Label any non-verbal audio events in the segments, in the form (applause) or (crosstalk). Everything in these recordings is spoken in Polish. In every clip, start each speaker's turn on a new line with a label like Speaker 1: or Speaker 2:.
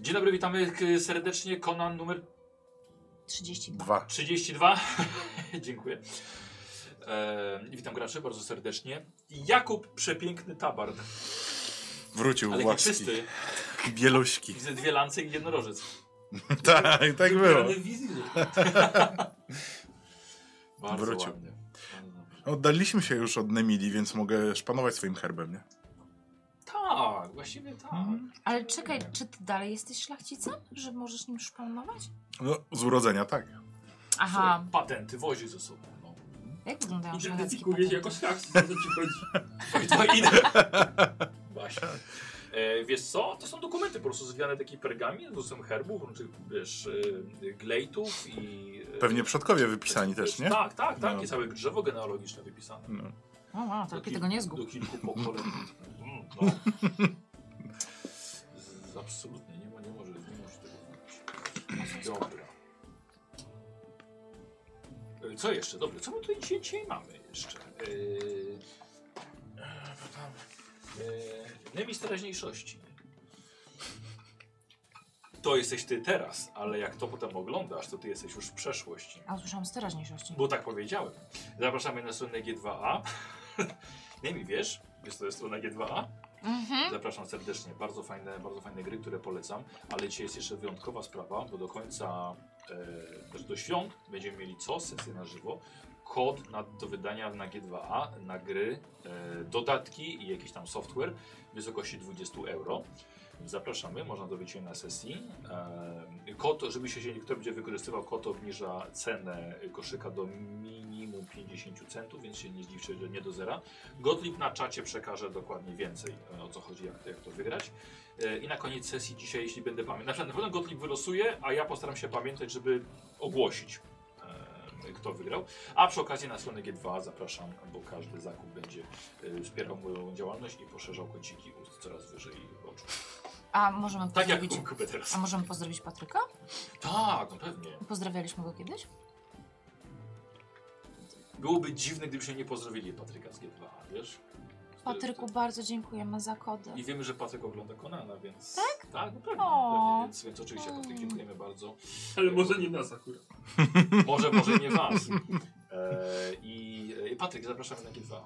Speaker 1: Dzień dobry, witamy k- serdecznie. Konan numer
Speaker 2: 32.
Speaker 3: Dwa.
Speaker 1: 32. (laughs) Dziękuję. E, witam graczy bardzo serdecznie. Jakub, przepiękny tabard,
Speaker 3: Wrócił
Speaker 1: ale jaki
Speaker 3: właśnie.
Speaker 1: czysty. (laughs)
Speaker 3: Bieluśki.
Speaker 1: Widzę dwie lance i jednorożec.
Speaker 3: tak, tak było.
Speaker 1: Wybierany w
Speaker 3: (laughs)
Speaker 1: wizji. (laughs) Bardzo
Speaker 3: Wrócił.
Speaker 1: ładnie. Bardzo dobrze.
Speaker 3: Oddaliśmy się już od Nemili, więc mogę szpanować swoim herbem, nie?
Speaker 1: Tak, właściwie tak.
Speaker 2: Ale czekaj, czy ty dalej jesteś szlachcicem? Że możesz nim szpanować?
Speaker 3: No, z urodzenia, tak.
Speaker 2: Aha,
Speaker 1: Słuchaj, Patenty wozi ze sobą. No.
Speaker 2: jak wyglądają szlacheckie
Speaker 4: Identyfikuje
Speaker 2: patenty?
Speaker 4: się jako szlachcic,
Speaker 1: tak,
Speaker 4: co ci chodzi.
Speaker 1: To idę. Właśnie. E, wiesz co? To są dokumenty po prostu zwijane taki pergamin z usem herbów, różnych, wiesz, e, glejtów i... e,
Speaker 3: Pewnie przodkowie wypisani też, nie?
Speaker 1: Tak, tak, tak.
Speaker 3: No.
Speaker 1: I całe drzewo genealogiczne wypisane.
Speaker 3: No.
Speaker 2: O, o, to lepiej tego nie zgub.
Speaker 1: Do kilku pokoleń.
Speaker 2: (laughs)
Speaker 1: Mm, no. Z- Absolutnie, nie, mo- nie może, nie może tego mówić. Dobra. E, Co jeszcze? Dobra, co my tutaj dzisiaj, dzisiaj mamy jeszcze? E, Yy... Nemis E, teraźniejszości. To jesteś ty teraz, ale jak to potem oglądasz, to ty jesteś już w przeszłości.
Speaker 2: A usłyszałam z teraźniejszości.
Speaker 1: Bo tak powiedziałem. Zapraszamy na stronę G2A. (laughs) Nie mi wiesz, wiesz to jest strona G2A.
Speaker 2: Mhm.
Speaker 1: Zapraszam serdecznie. Bardzo fajne, bardzo fajne gry, które polecam. Ale dzisiaj jest jeszcze wyjątkowa sprawa, bo do końca, e, też do świąt będziemy mieli co? Sesję na żywo. Kod na, do wydania na G2A, na gry, e, dodatki i jakiś tam software w wysokości 20 euro. Zapraszamy, można dowiedzieć się na sesji. E, kod, żeby się kto będzie wykorzystywał, kod obniża cenę koszyka do minimum 50 centów, więc się nie zdziwcie, że nie do zera. Gotlib na czacie przekaże dokładnie więcej, e, o co chodzi, jak to, jak to wygrać. E, I na koniec sesji dzisiaj, jeśli będę pamiętał, na przykład na pewno Gotlib wylosuje, a ja postaram się pamiętać, żeby ogłosić, e, kto wygrał. A przy okazji na stronę G2 zapraszam, bo każdy zakup będzie e, wspierał moją działalność i poszerzał kąciki ust coraz wyżej oczu.
Speaker 2: A możemy
Speaker 1: Tak jak
Speaker 2: pozdrowić...
Speaker 1: u Kuby
Speaker 2: A
Speaker 1: teraz.
Speaker 2: możemy pozdrowić Patryka?
Speaker 1: Tak, no pewnie.
Speaker 2: Pozdrawialiśmy go kiedyś?
Speaker 1: Byłoby dziwne, gdybyśmy nie pozdrowili Patryka z G2, wiesz?
Speaker 2: Patryku, bardzo dziękujemy za kody.
Speaker 1: I wiemy, że Patryk ogląda Konana, więc... Tak? Tak, no pewnie.
Speaker 2: O.
Speaker 1: pewnie więc, więc oczywiście Patryk, dziękujemy bardzo.
Speaker 4: Ale może nie nas akurat.
Speaker 1: Może, może nie was. E, I e, Patryk, zapraszamy na G2.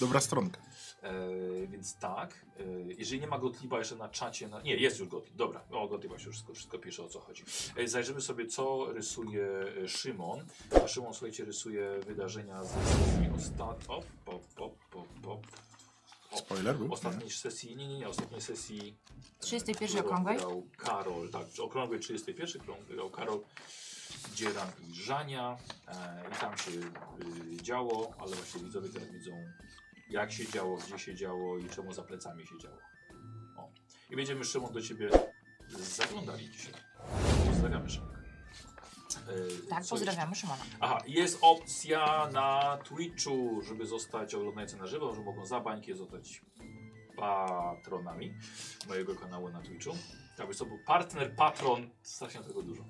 Speaker 3: Dobra stronka.
Speaker 1: E, więc tak, e, jeżeli nie ma Gotliba jeszcze na czacie, na... nie, jest już Gotlib, dobra, o Gotliba się już wszystko, wszystko pisze, o co chodzi. E, zajrzymy sobie, co rysuje e, Szymon, a Szymon, słuchajcie, rysuje wydarzenia z sesji ostat... op, pop, pop, pop, pop.
Speaker 3: Spoiler był?
Speaker 1: Ostatniej sesji, nie, nie, nie, ostatniej sesji... e,
Speaker 2: 31
Speaker 1: którą
Speaker 2: okrągłej?
Speaker 1: Grał Karol, tak, przy okrągłej 31, którą grał Karol Dzieran i Żania. E, I tam się y, działo, ale właśnie widzowie teraz widzą jak się działo, gdzie się działo i czemu za plecami się działo. O. I będziemy Szymon do ciebie zaglądali dzisiaj. Pozdrawiamy Szymon. E,
Speaker 2: Tak,
Speaker 1: co jeszcze?
Speaker 2: pozdrawiamy Szymona.
Speaker 1: Aha, jest opcja na Twitchu, żeby zostać oglądający na żywo, że mogą za bańki zostać patronami mojego kanału na Twitchu. Tak, by to był partner, patron, strasznie tego dużo.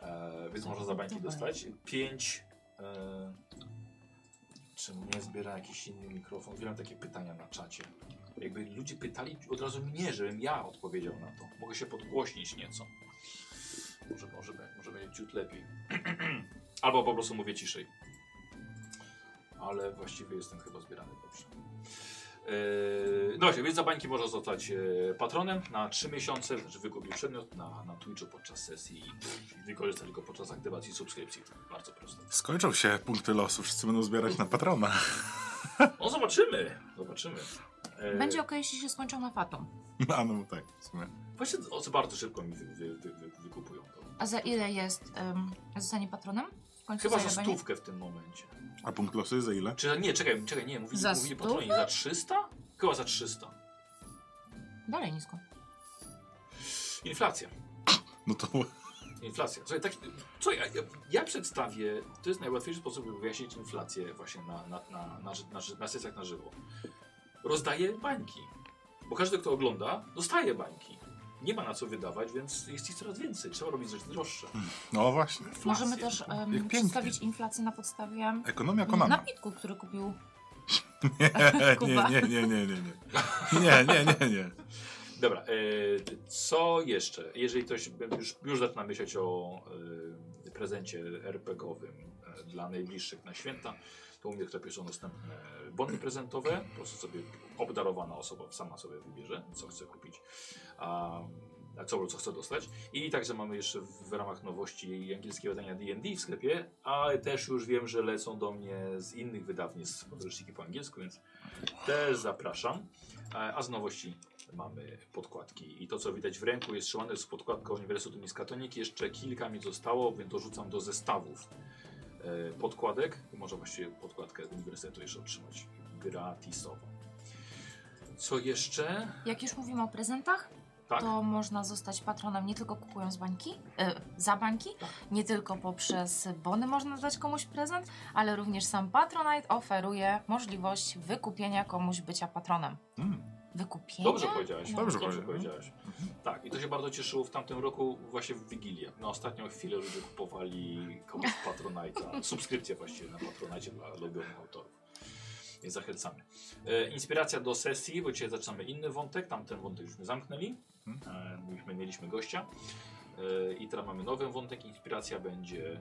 Speaker 1: E, więc można za bańki dostać. Pięć. E, czy mnie zbiera jakiś inny mikrofon? Wiem takie pytania na czacie. Jakby ludzie pytali od razu mnie, żebym ja odpowiedział na to. Mogę się podgłośnić nieco. Może, może, be- może będzie ciut lepiej. Albo po prostu mówię ciszej. Ale właściwie jestem chyba zbierany dobrze. Yy, no właśnie, więc za bańki można zostać e, patronem na 3 miesiące, znaczy wykupił przedmiot na, na Twitchu podczas sesji i pff, wykorzystać go podczas aktywacji subskrypcji. Bardzo proste.
Speaker 3: Skończą się punkty losu, wszyscy będą zbierać na patrona. (laughs)
Speaker 1: No zobaczymy, zobaczymy. E,
Speaker 2: Będzie ok, jeśli się skończą na fatum.
Speaker 3: A no tak, w sumie.
Speaker 1: Właśnie o co bardzo szybko mi wy, wy, wy, wy, wykupują to.
Speaker 2: A za ile jest um, zostanie patronem? W końcu
Speaker 1: Chyba za
Speaker 2: zajebanie?
Speaker 1: stówkę w tym momencie.
Speaker 3: A punkt losu jest za ile?
Speaker 1: Czy nie, czekaj, czekaj, nie, mówili,
Speaker 2: Za
Speaker 1: mówili patroni za 300? Chyba za 300.
Speaker 2: Dalej nisko.
Speaker 1: Inflacja.
Speaker 3: No to
Speaker 1: Inflacja. Słuchaj, tak, co ja, ja, ja przedstawię, to jest najłatwiejszy sposób, by wyjaśnić inflację właśnie na, na, na, na, ży- na, ży- na sesjach na żywo. Rozdaję bańki, bo każdy, kto ogląda, dostaje bańki. Nie ma na co wydawać, więc jest ich coraz więcej. Trzeba robić rzeczy droższe.
Speaker 3: no właśnie.
Speaker 1: Inflacja.
Speaker 2: Możemy też em,
Speaker 3: pięknie.
Speaker 2: przedstawić inflację na podstawie
Speaker 3: Ekonomia konana.
Speaker 2: napitku, który kupił
Speaker 3: (laughs) Nie,
Speaker 2: No tak, Kuba.
Speaker 3: nie, nie, nie, nie, nie. Nie, nie, nie, nie.
Speaker 1: Dobra, e, co jeszcze? Jeżeli ktoś już, już zaczyna myśleć o e, prezencie RPGowym e, dla najbliższych na święta, to u mnie w sklepie są dostępne bony prezentowe. Po prostu sobie obdarowana osoba sama sobie wybierze, co chce kupić, a, a co, co chce dostać. I także mamy jeszcze w, w ramach nowości angielskie wydania D&D w sklepie, ale też już wiem, że lecą do mnie z innych wydawnictw podręczniki po angielsku, więc też zapraszam. E, A, a z nowości mamy podkładki. I to, co widać w ręku, jest trzymane z podkładką Uniwersytetu Miskatonik. Jeszcze kilka mi zostało, więc dorzucam do zestawów e, podkładek. Można właściwie podkładkę Uniwersytetu jeszcze otrzymać gratisowo. Co jeszcze?
Speaker 2: Jak już mówimy o prezentach,
Speaker 1: Tak?
Speaker 2: to można zostać patronem nie tylko kupując bańki, e, za bańki,
Speaker 1: Tak.
Speaker 2: nie tylko poprzez bony można dać komuś prezent, ale również sam Patronite oferuje możliwość wykupienia komuś bycia patronem.
Speaker 3: Mm.
Speaker 2: Wykupienia?
Speaker 1: Dobrze powiedziałeś.
Speaker 2: No.
Speaker 3: Dobrze
Speaker 1: Dobrze
Speaker 3: powiedziałem.
Speaker 1: powiedziałeś. Tak, i to się bardzo cieszyło w tamtym roku, właśnie w Wigilię. Na ostatnią chwilę ludzie kupowali komuś
Speaker 3: (laughs)
Speaker 1: Patronite'a, subskrypcję właściwie na Patronite dla ulubionych autorów. Więc zachęcamy. E, inspiracja do sesji, bo dzisiaj zaczynamy inny wątek, tamten wątek żeśmy zamknęli. E, mieliśmy, mieliśmy gościa. E, I teraz mamy nowy wątek. Inspiracja będzie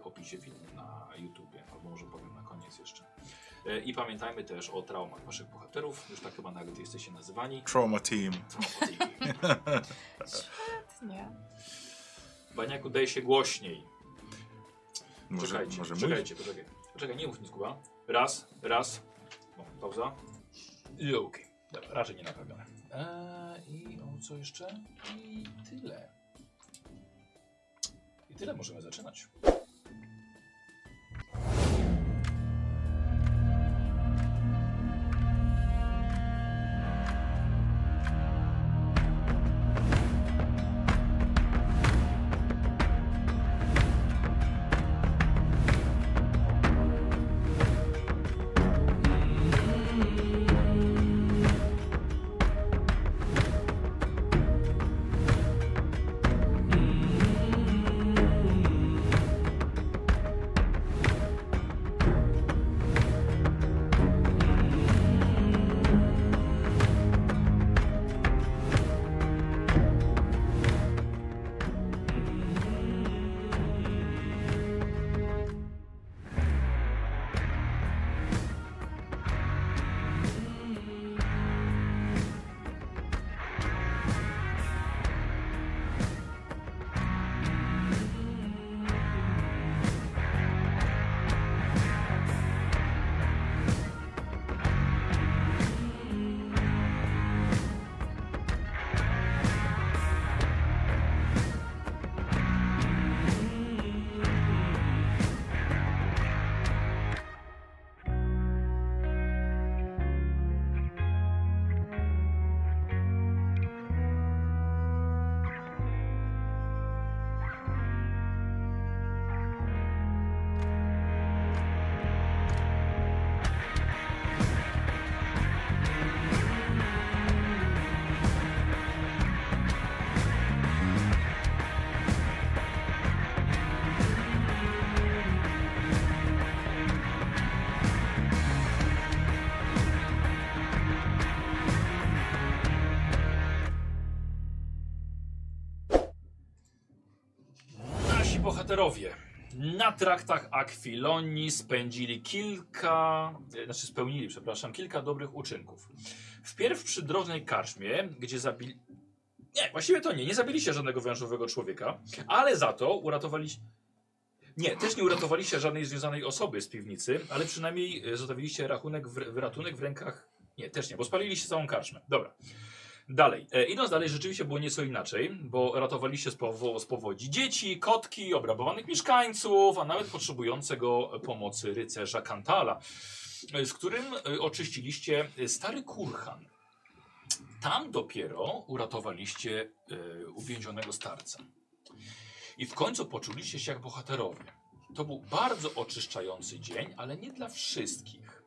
Speaker 1: w opisie filmu na YouTubie, albo może powiem na koniec jeszcze. E, I pamiętajmy też o traumach waszych bohaterów. Już tak chyba nawet jesteście nazywani.
Speaker 3: Trauma Team.
Speaker 2: Nie.
Speaker 1: (laughs) Baniaku, daj się głośniej.
Speaker 3: Może,
Speaker 1: czekajcie,
Speaker 3: może mówić?
Speaker 1: czekajcie, poczekaj. Poczekaj, nie mów nic, Kuba. Raz, raz. O, pauza. I okej. Dobra, raczej nie naprawione. Eee, I o co jeszcze? I tyle. I tyle, możemy zaczynać. Nasi bohaterowie na traktach Akwilonii spędzili kilka, e, znaczy spełnili, przepraszam, kilka dobrych uczynków. Wpierw przy drożnej karczmie, gdzie zabili... Nie, właściwie to nie, nie zabiliście żadnego wężowego człowieka, ale za to uratowaliście... Nie, też nie uratowaliście żadnej związanej osoby z piwnicy, ale przynajmniej e, zostawiliście rachunek w, w ratunek w rękach... Nie, też nie, bo spaliliście całą karczmę. Dobra. Dalej. E, idąc dalej, rzeczywiście było nieco inaczej, bo ratowaliście z, powo z powodzi dzieci, kotki, obrabowanych mieszkańców, a nawet potrzebującego pomocy rycerza Kantala, e, z którym e, oczyściliście e, stary kurhan. Tam dopiero uratowaliście e, uwięzionego starca. I w końcu poczuliście się jak bohaterowie. To był bardzo oczyszczający dzień, ale nie dla wszystkich.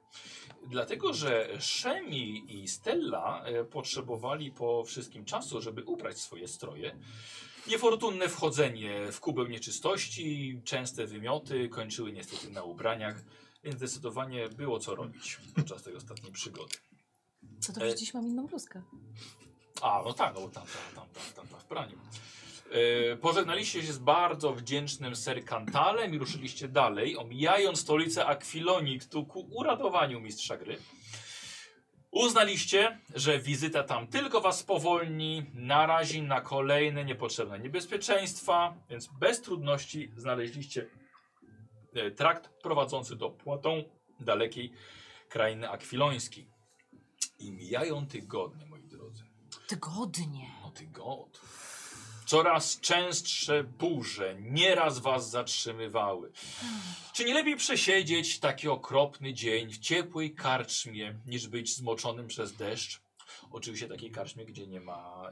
Speaker 1: Dlatego, że Szemi i Stella e, potrzebowali po wszystkim czasu, żeby ubrać swoje stroje. Niefortunne wchodzenie w kubeł nieczystości, częste wymioty kończyły niestety na ubraniach, więc zdecydowanie było co robić podczas tej ostatniej przygody.
Speaker 2: E, Co to przecież mam inną bluzkę.
Speaker 1: A, no tak, no bo tam, tam, tam, tam, tam, tam w praniu. E, Pożegnaliście się z bardzo wdzięcznym ser Kantalem i ruszyliście dalej, omijając stolicę Aquilonik tu ku uradowaniu mistrza gry. Uznaliście, że wizyta tam tylko was spowolni, narazi na kolejne niepotrzebne niebezpieczeństwa, więc bez trudności znaleźliście e, trakt prowadzący do płatą dalekiej krainy akwilońskiej. I mijają tygodnie, moi drodzy.
Speaker 2: Tygodnie.
Speaker 1: No tygod. Coraz częstsze burze nieraz was zatrzymywały. Czy nie lepiej przesiedzieć taki okropny dzień w ciepłej karczmie, niż być zmoczonym przez deszcz? Oczywiście takiej karczmie, gdzie nie ma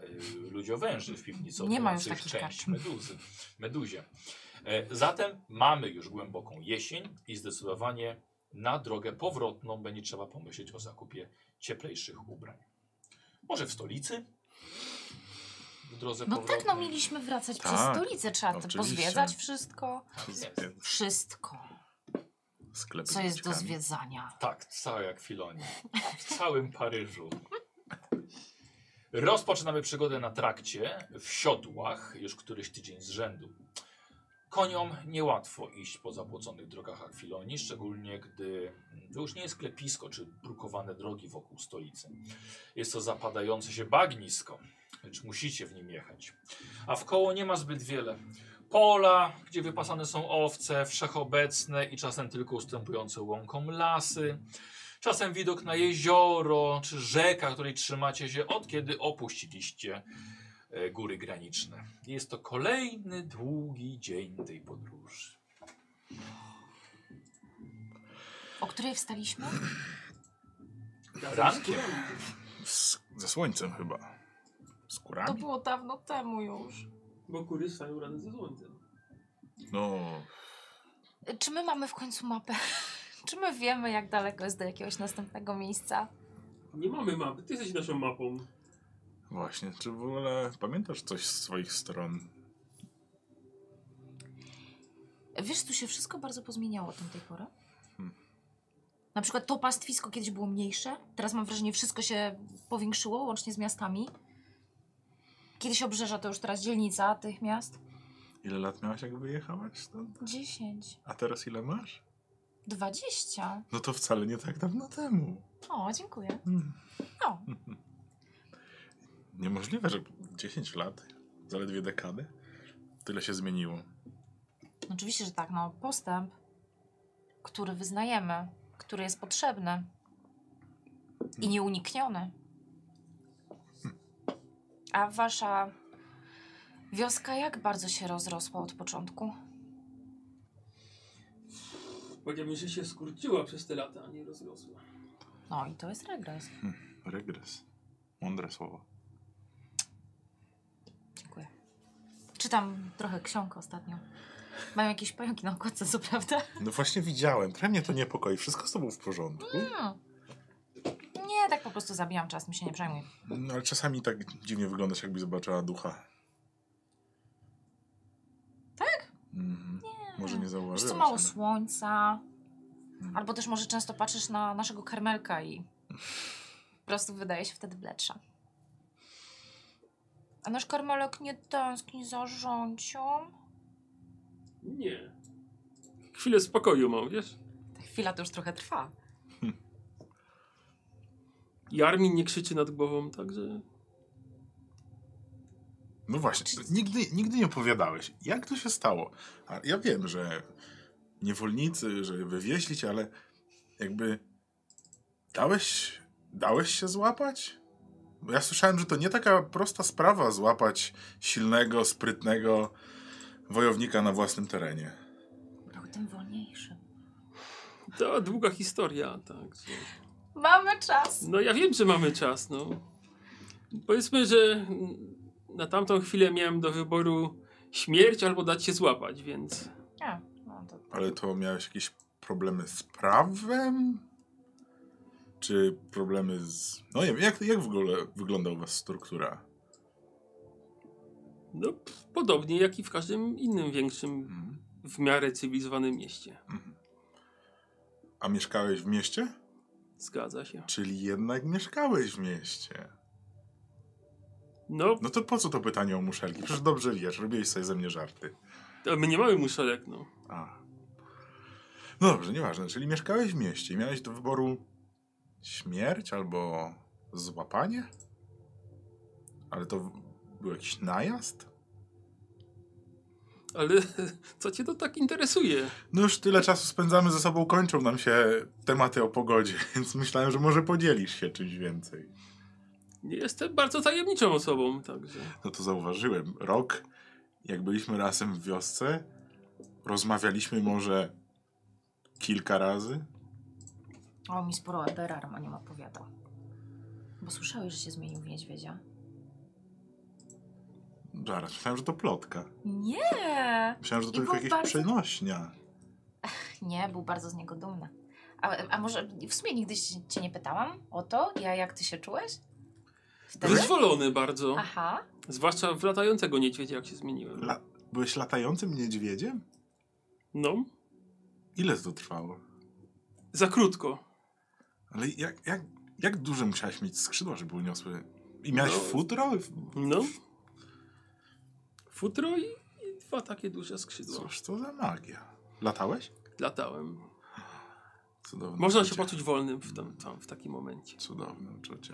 Speaker 1: y, ludziowęży w piwnicy
Speaker 2: Nie ma już
Speaker 1: odbywających
Speaker 2: takich
Speaker 1: część
Speaker 2: karczm.
Speaker 1: meduzy, meduzie. E, zatem mamy już głęboką jesień i zdecydowanie na drogę powrotną będzie trzeba pomyśleć o zakupie cieplejszych ubrań. Może w stolicy? W drodze
Speaker 2: No
Speaker 1: powrotnej.
Speaker 2: tak, no mieliśmy wracać
Speaker 3: Tak,
Speaker 2: przez stolicę, trzeba
Speaker 3: oczywiście.
Speaker 2: pozwiedzać wszystko.
Speaker 1: Jest.
Speaker 2: Wszystko,
Speaker 3: Sklepy
Speaker 2: co
Speaker 3: z
Speaker 2: jest do
Speaker 3: buciami.
Speaker 2: zwiedzania.
Speaker 1: Tak, całe jak Filonie. W całym Paryżu. Rozpoczynamy przygodę na trakcie, w siodłach, już któryś tydzień z rzędu. Koniom niełatwo iść po zapłoconych drogach Akwilonii, szczególnie gdy to już nie jest klepisko czy brukowane drogi wokół stolicy. Jest to zapadające się bagnisko, lecz musicie w nim jechać. A w koło nie ma zbyt wiele. Pola, gdzie wypasane są owce, wszechobecne i czasem tylko ustępujące łąkom lasy. Czasem widok na jezioro czy rzeka, której trzymacie się od kiedy opuściliście e, góry graniczne. Jest to kolejny długi dzień tej podróży.
Speaker 2: O której wstaliśmy?
Speaker 1: Rankiem.
Speaker 3: Z, ze słońcem chyba. Z
Speaker 2: To
Speaker 3: kurami?
Speaker 2: było dawno temu już.
Speaker 4: Bo kury stają rany ze słońcem.
Speaker 3: No,
Speaker 2: Y, Czy my mamy w końcu mapę? (laughs) Czy my wiemy, jak daleko jest do jakiegoś następnego miejsca?
Speaker 4: Nie mamy mapy, ty jesteś naszą mapą.
Speaker 3: właśnie. Czy w ogóle pamiętasz coś z swoich stron?
Speaker 2: Wiesz, tu się wszystko bardzo pozmieniało od tamtej pory.
Speaker 3: Hmm.
Speaker 2: Na przykład to pastwisko kiedyś było mniejsze. Teraz mam wrażenie, wszystko się powiększyło, łącznie z miastami. Kiedyś obrzeża to już teraz dzielnica tych miast.
Speaker 3: Ile lat miałaś, jak wyjechałaś stąd?
Speaker 2: 10,
Speaker 3: A teraz ile masz?
Speaker 2: 20.
Speaker 3: No to wcale nie tak dawno temu.
Speaker 2: O, dziękuję.
Speaker 3: Hmm. (laughs)
Speaker 2: No,
Speaker 3: Niemożliwe, że 10 lat, zaledwie dekady, tyle się zmieniło.
Speaker 2: oczywiście, że tak. No, postęp, który wyznajemy, który jest potrzebny i nieunikniony. A wasza wioska jak bardzo się rozrosła od początku?
Speaker 4: Powiedziałbym, że się skróciła przez te lata, a nie rozrosła.
Speaker 2: No i to jest regres.
Speaker 3: Regres. Mądre słowo.
Speaker 2: Dziękuję. Czytam trochę ksiąg ostatnio. Mam jakieś pająki na okładce, co prawda.
Speaker 3: No właśnie widziałem, trochę mnie to niepokoi. Wszystko z tobą w porządku.
Speaker 2: Hmm. Nie, tak po prostu zabijam czas, mi się nie przejmuj.
Speaker 3: No ale czasami tak dziwnie wyglądasz, jakby zobaczyła ducha.
Speaker 2: Tak?
Speaker 3: Mhm. Może nie
Speaker 2: Wiesz
Speaker 3: zauważyłeś.
Speaker 2: co, mało
Speaker 3: ale-
Speaker 2: słońca.
Speaker 3: Hmm.
Speaker 2: Albo też może często patrzysz na naszego karmelka i po prostu wydaje się wtedy bledsza. A nasz karmelek nie tęskni za rzącią.
Speaker 4: Nie. Chwilę spokoju mam, wiesz?
Speaker 2: Ta chwila to już trochę trwa.
Speaker 4: I Armin nie krzyczy nad głową, także...
Speaker 3: No właśnie, nigdy, nigdy nie opowiadałeś. Jak to się stało? A ja wiem, że niewolnicy, że wywieźli cię, ale jakby dałeś, dałeś się złapać? Bo ja słyszałem, że to nie taka prosta sprawa złapać silnego, sprytnego wojownika na własnym terenie.
Speaker 2: Był tym wolniejszy.
Speaker 4: To długa historia, także...
Speaker 2: Mamy czas.
Speaker 4: No ja wiem, że mamy czas, no. Powiedzmy, że mm, na tamtą chwilę miałem do wyboru śmierć albo dać się złapać, więc...
Speaker 2: Nie, no to
Speaker 3: Ale to miałeś jakieś problemy z prawem? Czy problemy z... No nie wiem, jak, jak w ogóle wygląda u was struktura?
Speaker 4: No, p- podobnie jak i w każdym innym większym,
Speaker 3: Mhm.
Speaker 4: w miarę cywilizowanym mieście.
Speaker 3: A mieszkałeś w mieście?
Speaker 4: Zgadza się.
Speaker 3: Czyli jednak mieszkałeś w mieście.
Speaker 4: No,
Speaker 3: No to po co to pytanie o muszelki? Przecież dobrze wiesz, robiłeś sobie ze mnie żarty.
Speaker 4: a my nie mamy muszelek, no.
Speaker 3: A. No dobrze, nieważne. Czyli mieszkałeś w mieście i miałeś do wyboru śmierć albo złapanie? Ale to w- był jakiś najazd?
Speaker 4: Ale (laughs) co cię to tak interesuje?
Speaker 3: No już tyle czasu spędzamy ze sobą, kończą nam się tematy o pogodzie, (laughs) więc myślałem, że może podzielisz się czymś więcej.
Speaker 4: Nie Jestem bardzo tajemniczą osobą, także.
Speaker 3: No to zauważyłem. Rok, jak byliśmy razem w wiosce, rozmawialiśmy może kilka razy.
Speaker 2: O, mi sporo Eberarm o nim opowiadał. Bo słyszałeś, że się zmienił w niedźwiedzia.
Speaker 3: Zaraz, myślałem, że to plotka.
Speaker 2: Nie!
Speaker 3: Myślałem, że to
Speaker 2: I
Speaker 3: tylko
Speaker 2: był
Speaker 3: jakieś
Speaker 2: bardzo-
Speaker 3: przenośnia.
Speaker 2: Nie, był bardzo z niego dumny. A, a może w sumie nigdy ci- cię nie pytałam o to, ja jak ty się czułeś? Wtedy?
Speaker 4: Wyzwolony bardzo.
Speaker 2: Aha.
Speaker 4: Zwłaszcza w latającego niedźwiedzia, jak się zmieniłem.
Speaker 3: La... Byłeś latającym niedźwiedziem?
Speaker 4: No,
Speaker 3: Ile to trwało?
Speaker 4: za krótko.
Speaker 3: Ale jak, jak, jak duże musiałeś mieć skrzydła, żeby uniosły? I miałeś
Speaker 4: No.
Speaker 3: futro?
Speaker 4: No. Futro i, i dwa takie duże skrzydła.
Speaker 3: Cóż to za magia? Latałeś?
Speaker 4: Latałem.
Speaker 3: Cudowne
Speaker 4: Można się
Speaker 3: uczucie.
Speaker 4: poczuć wolnym w, tam, tam, w takim momencie.
Speaker 3: Cudowne uczucie.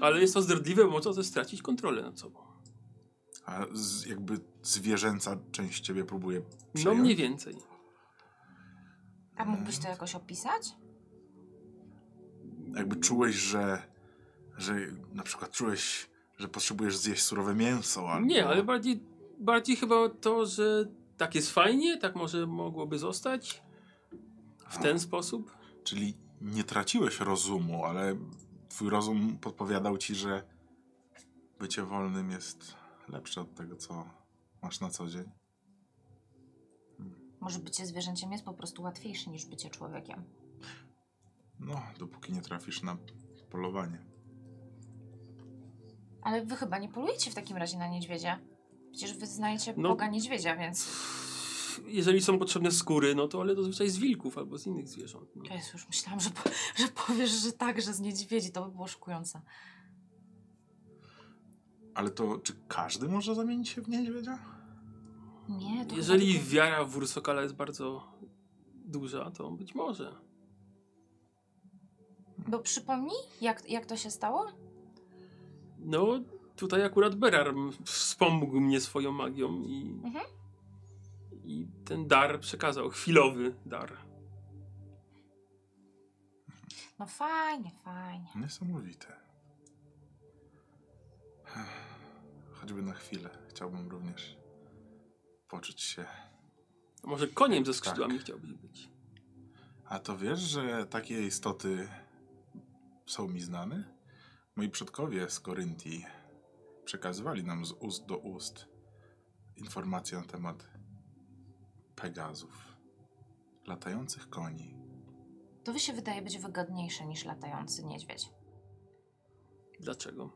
Speaker 4: Ale jest to zdradliwe, bo można też stracić kontrolę nad sobą.
Speaker 3: A z, jakby zwierzęca część ciebie próbuje
Speaker 4: No
Speaker 3: przejąć?
Speaker 4: mniej więcej.
Speaker 2: A mógłbyś
Speaker 4: Mm.
Speaker 2: to jakoś opisać?
Speaker 3: Jakby czułeś, że, że na przykład czułeś, że potrzebujesz zjeść surowe mięso albo...
Speaker 4: Nie, ale bardziej, bardziej chyba to, że tak jest fajnie, tak może mogłoby zostać. W ten sposób.
Speaker 3: Czyli nie traciłeś rozumu, ale twój rozum podpowiadał ci, że bycie wolnym jest lepsze od tego, co masz na co dzień.
Speaker 2: Może bycie zwierzęciem jest po prostu łatwiejsze niż bycie człowiekiem.
Speaker 3: No, dopóki nie trafisz na polowanie.
Speaker 2: Ale wy chyba nie polujecie w takim razie na niedźwiedzia. Przecież wy znajecie
Speaker 4: No.
Speaker 2: Boga niedźwiedzia, więc...
Speaker 4: Jeżeli są potrzebne skóry, no to ale to zazwyczaj z wilków albo z innych zwierząt. No.
Speaker 2: Ja już myślałam, że, po, (laughs) że powiesz, że tak, że z niedźwiedzi. To by było szokujące.
Speaker 3: Ale to czy każdy może zamienić się w niedźwiedzia?
Speaker 2: Nie, to
Speaker 4: Jeżeli
Speaker 2: chyba tylko-
Speaker 4: wiara w Ursokala jest bardzo duża, to być może.
Speaker 2: Bo przypomnij, jak, jak to się stało?
Speaker 4: No, tutaj akurat Berar m- wspomógł mnie swoją magią i,
Speaker 2: Mhm.
Speaker 4: i ten dar przekazał, chwilowy dar.
Speaker 2: No fajnie, fajnie.
Speaker 3: Niesamowite. Choćby na chwilę chciałbym również poczuć się.
Speaker 4: A może koniem ze skrzydłami
Speaker 3: Tak.
Speaker 4: chciałbyś być?
Speaker 3: A to wiesz, że takie istoty są mi znane? Moi przodkowie z Koryntii przekazywali nam z ust do ust informacje na temat Pegazów, latających koni.
Speaker 2: To wy się wydaje być wygodniejsze niż latający niedźwiedź.
Speaker 4: Dlaczego?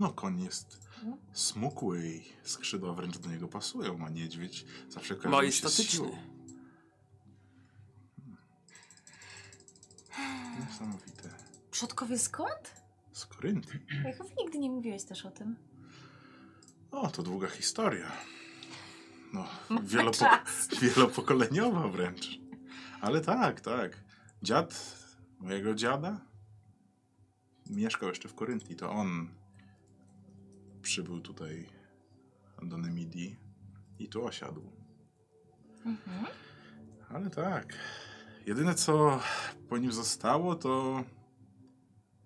Speaker 3: No, koń jest
Speaker 2: No.
Speaker 3: smukły i skrzydła wręcz do niego pasują, a niedźwiedź zawsze kojarzy mi się z siłą.
Speaker 4: Majestatyczny.
Speaker 3: Niesamowite.
Speaker 2: Przodkowie skąd?
Speaker 3: Z Koryntii.
Speaker 2: Ja chyba nigdy nie mówiłeś też o tym.
Speaker 3: O, to długa historia. No,
Speaker 2: Ma
Speaker 3: wielopok
Speaker 2: Tak, czas.
Speaker 3: wielopokoleniowa wręcz. Ale tak, tak. Dziad mojego dziada mieszkał jeszcze w Koryntii. To on przybył tutaj do Nemidii i tu osiadł.
Speaker 2: Mhm.
Speaker 3: Ale tak. Jedyne co po nim zostało to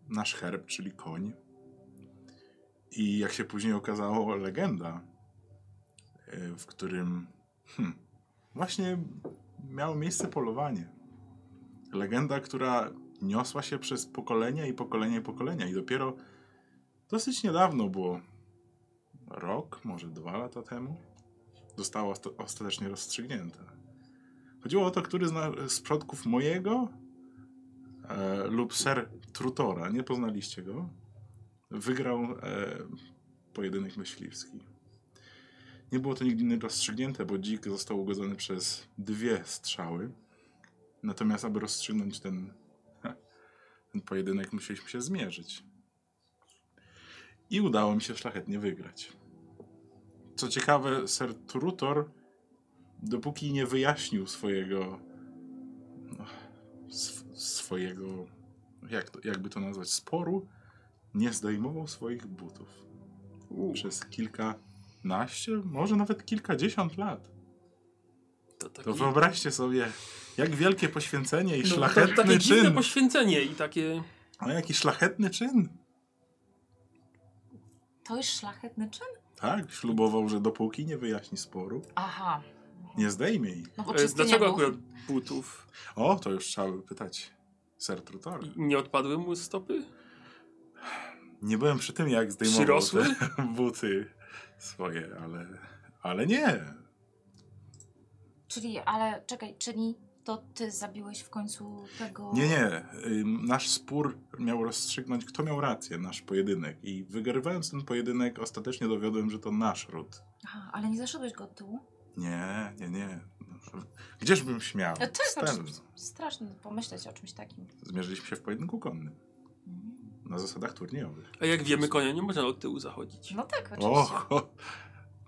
Speaker 3: nasz herb, czyli koń. I jak się później okazało, legenda, y, w którym hm, właśnie miało miejsce polowanie. Legenda, która niosła się przez pokolenia i pokolenia i pokolenia. I dopiero dosyć niedawno, bo rok, może dwa lata temu, została osta- ostatecznie rozstrzygnięta. Chodziło o to, który zna z przodków mojego e, lub ser Trutora, nie poznaliście go, wygrał e, pojedynek myśliwski. Nie było to nigdy rozstrzygnięte, bo dzik został ugodzony przez dwie strzały. Natomiast, aby rozstrzygnąć ten, (laughs) Ten pojedynek musieliśmy się zmierzyć. I udało mi się szlachetnie wygrać. Co ciekawe, ser Turutor, dopóki nie wyjaśnił swojego. no, Sw- swojego. Jak to, jakby to nazwać? Sporu, nie zdejmował swoich butów
Speaker 4: U,
Speaker 3: przez kilkanaście, może nawet kilkadziesiąt lat.
Speaker 4: to taki,
Speaker 3: To wyobraźcie sobie, jak wielkie poświęcenie i
Speaker 4: no,
Speaker 3: szlachetny
Speaker 4: to, takie dziwne
Speaker 3: czyn.
Speaker 4: poświęcenie i takie... e,
Speaker 3: A jaki szlachetny czyn.
Speaker 2: To jest szlachetny czyn?
Speaker 3: Tak, ślubował, że dopóki nie wyjaśni sporu,
Speaker 2: Aha.
Speaker 3: nie zdejmie jej.
Speaker 2: No bo
Speaker 4: E,
Speaker 2: czysty nie
Speaker 4: dlaczego
Speaker 2: był.
Speaker 4: akurat butów?
Speaker 3: O, to już trzeba by pytać ser Trutora.
Speaker 4: I Nie odpadły mu stopy?
Speaker 3: Nie byłem przy tym, jak zdejmował
Speaker 4: Przyrosły?
Speaker 3: te (laughs) buty swoje, ale, ale nie.
Speaker 2: Czyli, ale czekaj, czyli to ty zabiłeś w końcu tego...
Speaker 3: Nie, nie. Ym, Nasz spór miał rozstrzygnąć, kto miał rację, nasz pojedynek. I wygrywając ten pojedynek, ostatecznie dowiodłem, że to nasz ród.
Speaker 2: Aha, ale nie zaszedłeś go od tyłu?
Speaker 3: Nie, nie, nie. Gdzieżbym śmiał?
Speaker 2: No to jest znaczy,
Speaker 3: Stęp.
Speaker 2: straszne pomyśleć o czymś takim.
Speaker 3: Zmierzyliśmy się w pojedynku konnym.
Speaker 2: Mhm.
Speaker 3: Na zasadach turniejowych.
Speaker 4: A jak wiemy, konia nie można od tyłu zachodzić.
Speaker 2: No tak, oczywiście.
Speaker 3: Och, (laughs)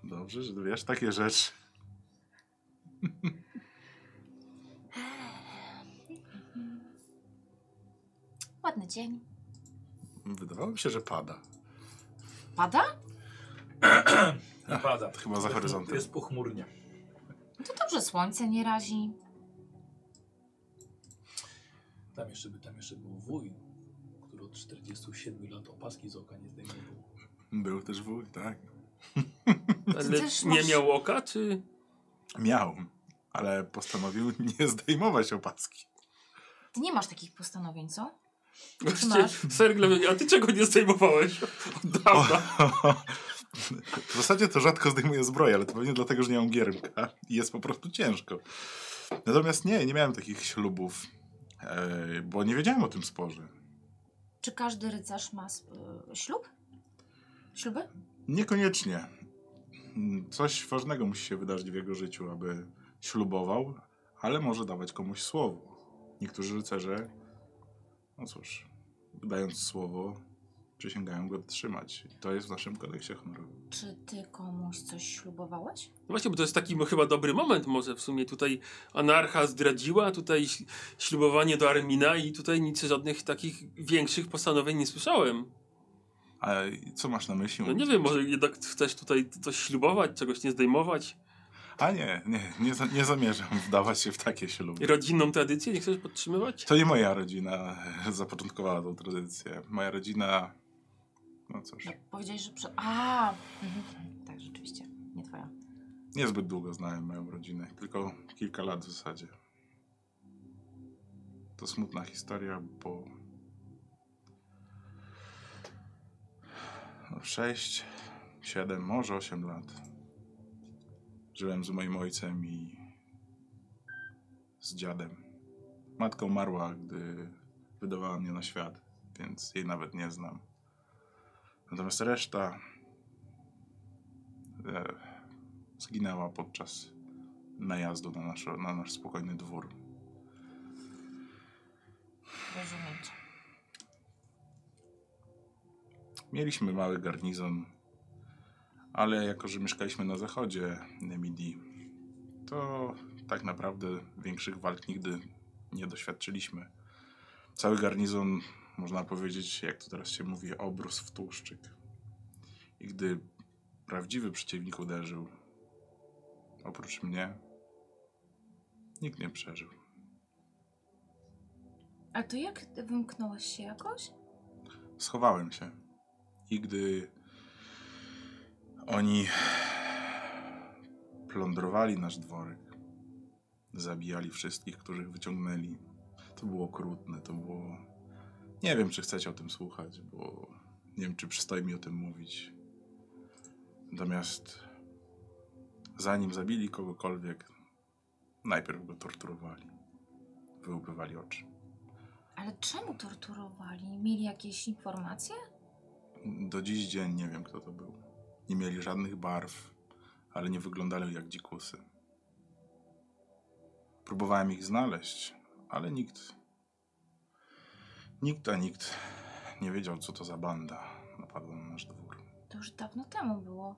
Speaker 3: dobrze, że wiesz takie rzeczy.
Speaker 2: Ładny dzień.
Speaker 3: Wydawało mi się, że pada.
Speaker 2: Pada?
Speaker 1: Nie pada.
Speaker 3: Chyba za horyzontem.
Speaker 1: Jest pochmurnie.
Speaker 2: No to dobrze, słońce nie razi.
Speaker 1: Tam jeszcze, by- tam jeszcze był wuj, który od 47 lat opaski z oka nie zdejmował.
Speaker 3: Był też wuj, tak.
Speaker 4: Ale
Speaker 2: też
Speaker 4: nie
Speaker 2: masz-
Speaker 4: miał oka, czy...
Speaker 3: Miał, ale postanowił (laughs) nie zdejmować opaski.
Speaker 2: Ty nie masz takich postanowień, co?
Speaker 4: Właściwie,
Speaker 2: masz?
Speaker 4: ser glewionie, a ty czego nie zdejmowałeś od dawna?
Speaker 3: W zasadzie to rzadko zdejmuję zbroję, ale to pewnie dlatego, że nie mam giermka i jest po prostu ciężko. Natomiast nie, nie miałem takich ślubów, e, bo nie wiedziałem o tym sporze.
Speaker 2: Czy każdy rycerz ma sp- y, ślub? Śluby?
Speaker 3: Niekoniecznie. Mm, Coś ważnego musi się wydarzyć w jego życiu, aby ślubował, ale może dawać komuś słowo. Niektórzy rycerze, no cóż, dając słowo, przysięgają go trzymać. I To jest w naszym kodeksie honorowym.
Speaker 2: Czy ty komuś coś ślubowałeś?
Speaker 4: No właśnie, bo to jest taki no, chyba dobry moment może w sumie. Tutaj anarcha zdradziła, tutaj ś- ślubowanie do Armina i tutaj nic żadnych takich większych postanowień nie słyszałem.
Speaker 3: A co masz na myśli?
Speaker 4: No nie wiem, może jednak chcesz tutaj coś ślubować, czegoś nie zdejmować.
Speaker 3: A nie, nie, nie, za, nie zamierzam (laughs) wdawać się w takie śluby.
Speaker 4: Rodzinną tradycję nie chcesz podtrzymywać?
Speaker 3: To nie moja rodzina (laughs) zapoczątkowała tą tradycję. Moja rodzina, no cóż,
Speaker 2: No, powiedziałeś, że przed... A, mhm. tak, rzeczywiście. Nie twoja.
Speaker 3: niezbyt długo znałem moją rodzinę, tylko kilka lat w zasadzie. To smutna historia, bo no, sześć, siedem, może osiem lat żyłem z moim ojcem i z dziadem. Matka umarła, gdy wydawała mnie na świat, więc jej nawet nie znam. Natomiast reszta e, zginęła podczas najazdu na, naszą, na nasz spokojny dwór.
Speaker 2: Rozumiem cię.
Speaker 3: Mieliśmy mały garnizon, ale jako, że mieszkaliśmy na zachodzie Nemidii, to tak naprawdę większych walk nigdy nie doświadczyliśmy. Cały garnizon, można powiedzieć, jak to teraz się mówi, obrósł w tłuszczyk. I gdy prawdziwy przeciwnik uderzył, oprócz mnie, nikt nie przeżył.
Speaker 2: Ale to jak ty wymknąłeś się jakoś?
Speaker 3: schowałem się. I gdy oni plądrowali nasz dworek, zabijali wszystkich, których wyciągnęli, to było okrutne, to było... Nie wiem, czy chcecie o tym słuchać, bo nie wiem, czy przystoi mi o tym mówić. Natomiast zanim zabili kogokolwiek, najpierw go torturowali. Wyłupywali oczy.
Speaker 2: Ale czemu torturowali? Mieli jakieś informacje?
Speaker 3: Do dziś dzień nie wiem, kto to był. Nie mieli żadnych barw, ale nie wyglądali jak dzikusy. Próbowałem ich znaleźć, ale nikt Nikt, a nikt nie wiedział, co to za banda napadła na nasz dwór.
Speaker 2: To już dawno temu było.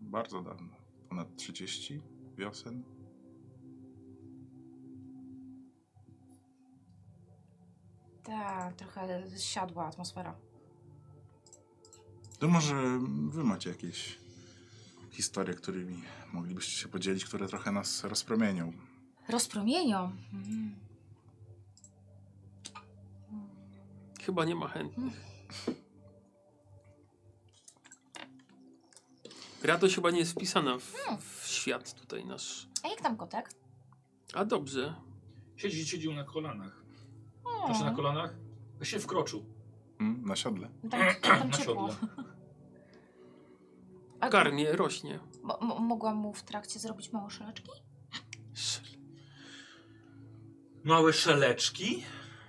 Speaker 3: Bardzo dawno. Ponad 30 wiosen.
Speaker 2: Tak, trochę siadła atmosfera.
Speaker 3: To może wy macie jakieś historie, którymi moglibyście się podzielić, które trochę nas rozpromienią.
Speaker 2: Rozpromienią. Mm.
Speaker 4: Chyba nie ma chętnych. Radość chyba nie jest wpisana w,
Speaker 2: Hmm.
Speaker 4: w świat tutaj nasz.
Speaker 2: A jak tam kotek?
Speaker 4: A dobrze.
Speaker 1: Siedzi, siedził na kolanach.
Speaker 2: O,
Speaker 1: Znaczy na kolanach? Się wkroczył.
Speaker 3: Hmm? Na siodle.
Speaker 2: tam, tam
Speaker 1: (clears throat) na
Speaker 2: ciepło.
Speaker 1: siodle.
Speaker 2: (laughs) A
Speaker 4: Karmie, rośnie.
Speaker 2: mo- mo- mogłam mu w trakcie zrobić małe szeleczki?
Speaker 1: Małe szeleczki,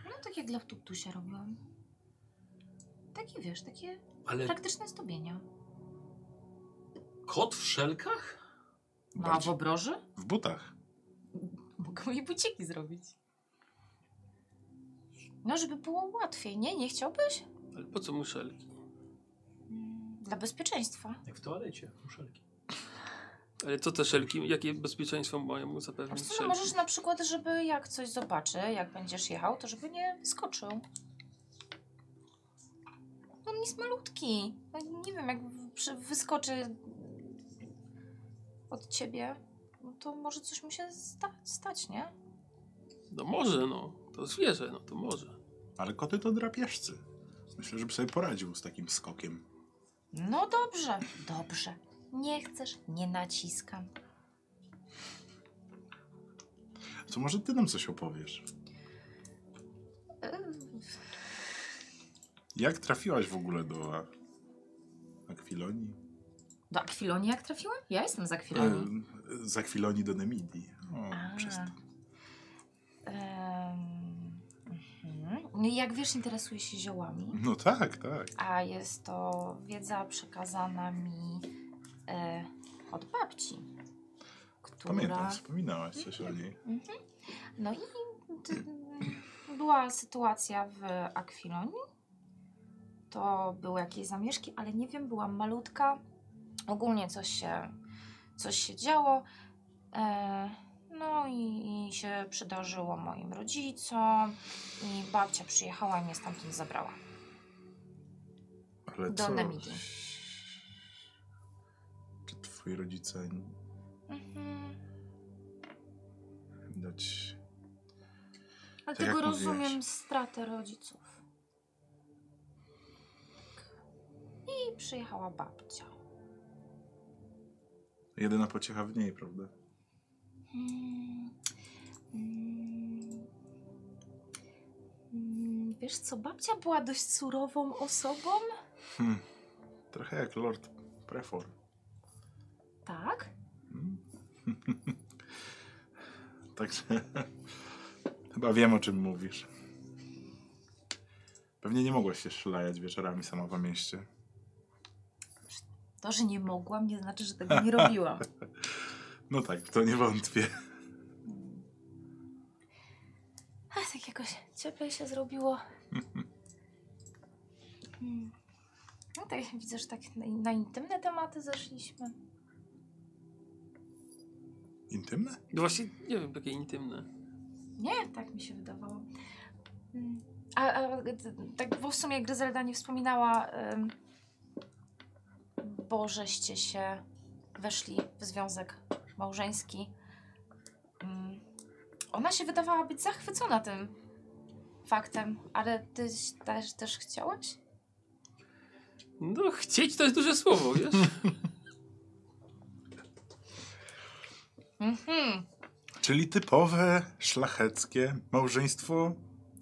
Speaker 2: No takie dla wtuptusia robiłam. Takie wiesz, takie
Speaker 1: ale
Speaker 2: praktyczne zdobienia.
Speaker 1: kot w szelkach?
Speaker 2: Ma w
Speaker 3: Bardziej.
Speaker 2: obroży?
Speaker 3: W butach.
Speaker 2: Mogę jej buciki zrobić. No, żeby było łatwiej, nie? Nie chciałbyś?
Speaker 4: Ale po co muszelki?
Speaker 2: Dla bezpieczeństwa.
Speaker 1: Jak w toalecie, szelki.
Speaker 4: Ale co te szelki? Jakie bezpieczeństwo mają mu
Speaker 2: Wiesz
Speaker 4: zapewnić
Speaker 2: co, no
Speaker 4: szelki?
Speaker 2: możesz na przykład, żeby jak coś zobaczy, jak będziesz jechał, to żeby nie skoczył. No on jest malutki. No, nie wiem, jak w- przy- wyskoczy od ciebie, no to może coś mu się sta- stać, nie?
Speaker 4: No może, no. To zwierzę, no to może.
Speaker 3: Ale koty to drapieżcy. Myślę, żeby sobie poradził z takim skokiem.
Speaker 2: No dobrze, dobrze. Nie chcesz, nie naciskam.
Speaker 3: Co może ty nam coś opowiesz? Jak trafiłaś w ogóle do a- Akwilonii?
Speaker 2: Do Akwilonii jak trafiłam? Ja jestem z Akwilonii.
Speaker 3: E, z Akwilonii do Nemidii. O,
Speaker 2: A.
Speaker 3: przez to.
Speaker 2: Em, mhm. No i Jak wiesz, interesuję się ziołami,
Speaker 3: No tak, tak.
Speaker 2: a jest to wiedza przekazana mi e, od babci, która...
Speaker 3: Pamiętam, wspominałaś coś o niej.
Speaker 2: No i ty, była sytuacja w Akwilonii. To były jakieś zamieszki, ale nie wiem, byłam malutka. Ogólnie coś się, coś się działo. E, no i, i się przydarzyło moim rodzicom. I babcia przyjechała i mnie stamtąd zabrała.
Speaker 3: Ale
Speaker 2: Do
Speaker 3: co?
Speaker 2: Nemidii.
Speaker 3: Czy twoi rodzice
Speaker 2: Mhm.
Speaker 3: widać...
Speaker 2: Ale
Speaker 3: Tak
Speaker 2: tego
Speaker 3: jak mówiłaś.
Speaker 2: rozumiem stratę rodziców. I przyjechała babcia.
Speaker 3: Jedyna pociecha w niej, prawda?
Speaker 2: Mm, mm, mm, Wiesz co, babcia była dość surową osobą,
Speaker 3: Hm. Trochę jak Lord Prefor.
Speaker 2: tak?
Speaker 3: Hmm? (laughs) Także chyba wiem o czym mówisz. Pewnie nie mogłaś się szlajać wieczorami sama po mieście.
Speaker 2: To, że nie mogłam, nie znaczy, że tego nie robiłam.
Speaker 3: No tak, w to nie wątpię.
Speaker 2: (laughs)
Speaker 3: (laughs)
Speaker 2: A tak jakoś cieplej się (laughs) zrobiło. Mm. No tak, widzę, że tak na, na intymne tematy zeszliśmy.
Speaker 3: Intymne?
Speaker 4: No właśnie, nie wiem, takie intymne.
Speaker 2: Nie, tak mi się wydawało. Mm. A, a d- tak, bo w sumie Gryzelda nie wspominała, ym, bo żeście się weszli w związek małżeński. Ym, ona się wydawała być zachwycona tym faktem, ale ty ś- też, też chciałeś?
Speaker 4: No chcieć to jest duże słowo, wiesz?
Speaker 2: Mhm.
Speaker 3: Czyli typowe, szlacheckie małżeństwo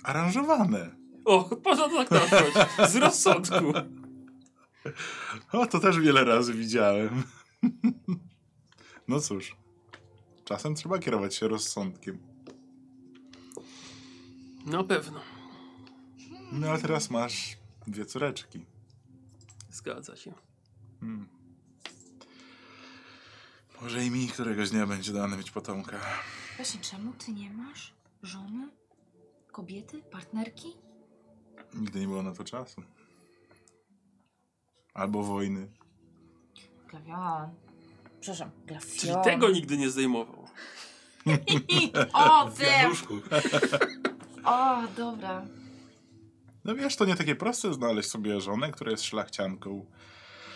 Speaker 3: aranżowane.
Speaker 4: O, poza tak na wprost. Z rozsądku.
Speaker 3: O, to też wiele razy widziałem. (laughs) No cóż, czasem trzeba kierować się rozsądkiem.
Speaker 4: Na pewno.
Speaker 3: No ale teraz masz dwie córeczki.
Speaker 4: Zgadza się.
Speaker 3: Hmm. Może i mi któregoś dnia będzie dane mieć potomka.
Speaker 2: Właśnie, czemu ty nie masz żony, kobiety, partnerki?
Speaker 3: Nigdy nie było na to czasu. Albo wojny.
Speaker 2: Glawion. Przepraszam, glawion.
Speaker 4: Czyli
Speaker 3: No.
Speaker 2: (laughs)
Speaker 4: tego nigdy nie zdejmował.
Speaker 2: O,
Speaker 1: W
Speaker 2: wiem!
Speaker 1: wianuszku.
Speaker 2: O, dobra.
Speaker 3: No wiesz, to nie takie proste znaleźć sobie żonę, która jest szlachcianką.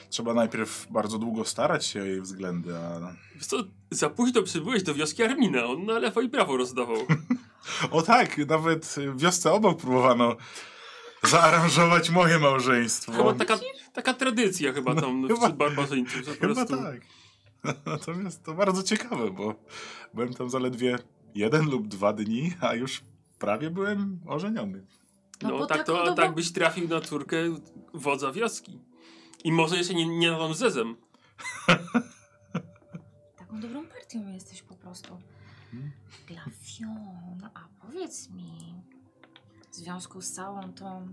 Speaker 3: Trzeba najpierw bardzo długo starać się o jej względy, a...
Speaker 4: Wiesz co, za późno przybyłeś do wioski Armina, on na lewo i prawo rozdawał.
Speaker 3: O tak, nawet w wiosce obok próbowano zaaranżować moje małżeństwo.
Speaker 4: No. Chyba taka, taka tradycja chyba tam no,
Speaker 3: Chyba-
Speaker 4: wśród barbarzyńców. że po
Speaker 3: Chyba
Speaker 4: prostu
Speaker 3: tak. (laughs) Natomiast to bardzo ciekawe, bo byłem tam zaledwie jeden lub dwa dni, a już prawie byłem ożeniony.
Speaker 2: No,
Speaker 4: No,
Speaker 2: bo
Speaker 4: tak,
Speaker 2: taką
Speaker 4: to,
Speaker 2: dobrą-
Speaker 4: tak byś trafił na córkę wodza wioski. I może jeszcze nie, nie na zezem.
Speaker 2: Taką dobrą partią jesteś po prostu.
Speaker 4: Hmm?
Speaker 3: Mhm.
Speaker 2: Glawion, a powiedz mi, w związku z całą tą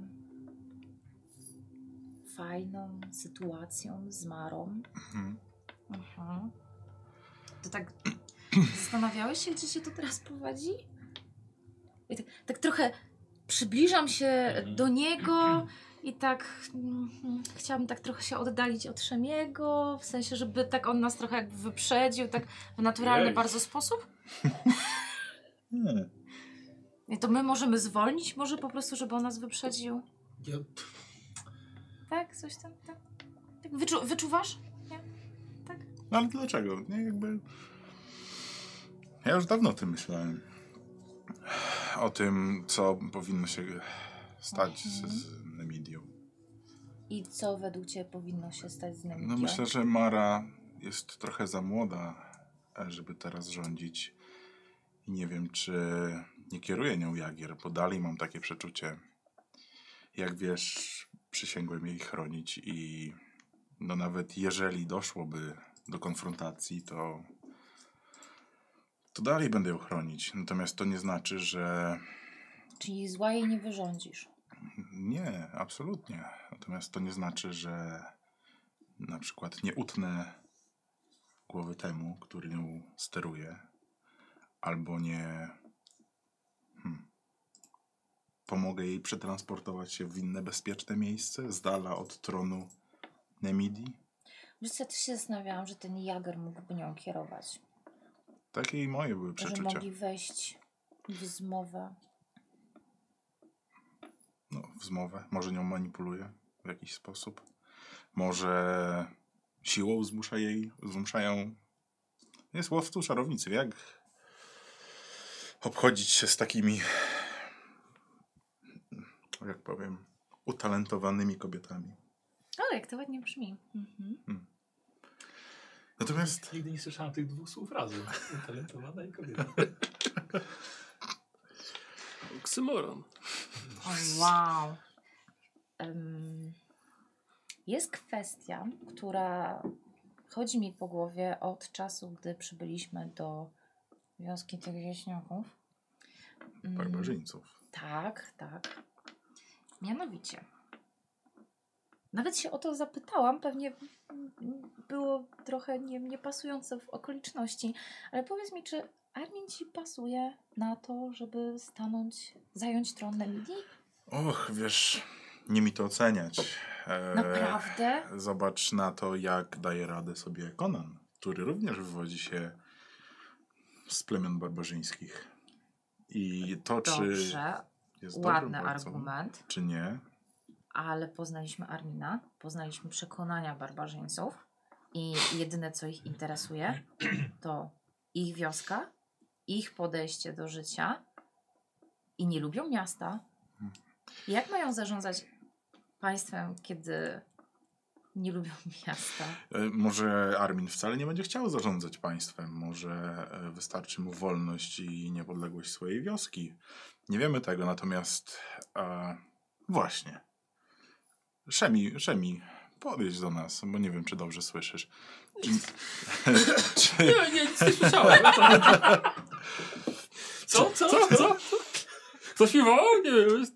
Speaker 2: fajną sytuacją z Marą,
Speaker 3: Mhm.
Speaker 2: mhm. to tak (clears throat) zastanawiałeś się, gdzie się to teraz prowadzi? I tak, tak trochę przybliżam się
Speaker 1: Mhm.
Speaker 2: do
Speaker 3: (clears throat)
Speaker 2: niego i tak mm, chciałabym tak trochę się oddalić od Szemiego, w sensie, żeby tak on nas trochę jakby wyprzedził, tak w naturalny
Speaker 1: Jej.
Speaker 2: bardzo sposób.
Speaker 3: Nie.
Speaker 2: Nie, to my możemy zwolnić, może po prostu, żeby on nas wyprzedził.
Speaker 5: Ja,
Speaker 2: Tak, coś tam. Tak. Tak, Wyczu wyczuwasz?
Speaker 3: No ale dlaczego? Nie, jakby... Ja już dawno o tym myślałem. O tym, co powinno się stać z, z
Speaker 4: Mhm.
Speaker 3: Nemidią.
Speaker 2: I co według Ciebie powinno się stać z nami?
Speaker 3: No myślę, że Mara jest trochę za młoda, e, żeby teraz rządzić. I nie wiem, czy nie kieruje nią Jagier, bo dalej mam takie przeczucie. Jak wiesz, przysięgłem jej chronić i no nawet jeżeli doszłoby do konfrontacji, to to dalej będę ją chronić. Natomiast to nie znaczy, że
Speaker 2: Czyli zła jej nie wyrządzisz.
Speaker 3: nie, absolutnie. Natomiast to nie znaczy, że na przykład nie utnę głowy temu, który nią steruje, albo nie hmm, pomogę jej przetransportować się w inne bezpieczne miejsce, z dala od tronu Nemidii.
Speaker 2: Wiesz co, ja też się zastanawiałam, że ten Jager mógłby nią kierować.
Speaker 3: Takie i moje były
Speaker 2: Że
Speaker 3: przeczucia.
Speaker 2: mogli wejść w zmowę.
Speaker 3: no, w zmowę. Może nią manipuluje w jakiś sposób. Może siłą zmusza jej, zmuszają. Jest łowcą czarownicy. Jak obchodzić się z takimi, jak powiem, utalentowanymi kobietami.
Speaker 2: Ale jak to ładnie brzmi. Mhm.
Speaker 3: Natomiast
Speaker 5: nigdy nie słyszałam tych dwóch słów razem. Utalentowana i kobieta.
Speaker 4: Oksymoron.
Speaker 2: wow. jest kwestia, która chodzi mi po głowie od czasu, gdy przybyliśmy do wioski tych wieśniaków. Ym,
Speaker 3: barbarzyńców.
Speaker 2: Tak, tak. Mianowicie. Nawet się o to zapytałam, pewnie mm, było trochę nie, niepasujące w okoliczności, ale powiedz mi, czy Armin ci pasuje na to, żeby stanąć, zająć tron Nemidii?
Speaker 3: Och, wiesz, nie mi to oceniać. Eee,
Speaker 2: No, Naprawdę?
Speaker 3: Zobacz na to, jak daje radę sobie Conan, który również wywodzi się z plemion barbarzyńskich. I to, czy
Speaker 2: Dobrze,
Speaker 3: znaczy, jest
Speaker 2: ładny
Speaker 3: dobrym władcą,
Speaker 2: argument,
Speaker 3: czy nie.
Speaker 2: ale poznaliśmy Armina, poznaliśmy przekonania barbarzyńców i jedyne, co ich interesuje, to ich wioska, ich podejście do życia i nie lubią miasta. Jak mają zarządzać państwem, kiedy nie lubią (laughs) miasta?
Speaker 3: E, Może Armin wcale nie będzie chciał zarządzać państwem, może e, wystarczy mu wolność i niepodległość swojej wioski. Nie wiemy tego, natomiast e, właśnie. Szemi, Szemi, podejdź do nas, bo nie wiem, czy dobrze słyszysz. Czy, czy,
Speaker 4: Nie, nie, nic nie słyszałem. No
Speaker 5: Co?
Speaker 4: Co?
Speaker 5: Co? Co? Co? Co?
Speaker 4: Zaśpiewało? Nie wiem. jest-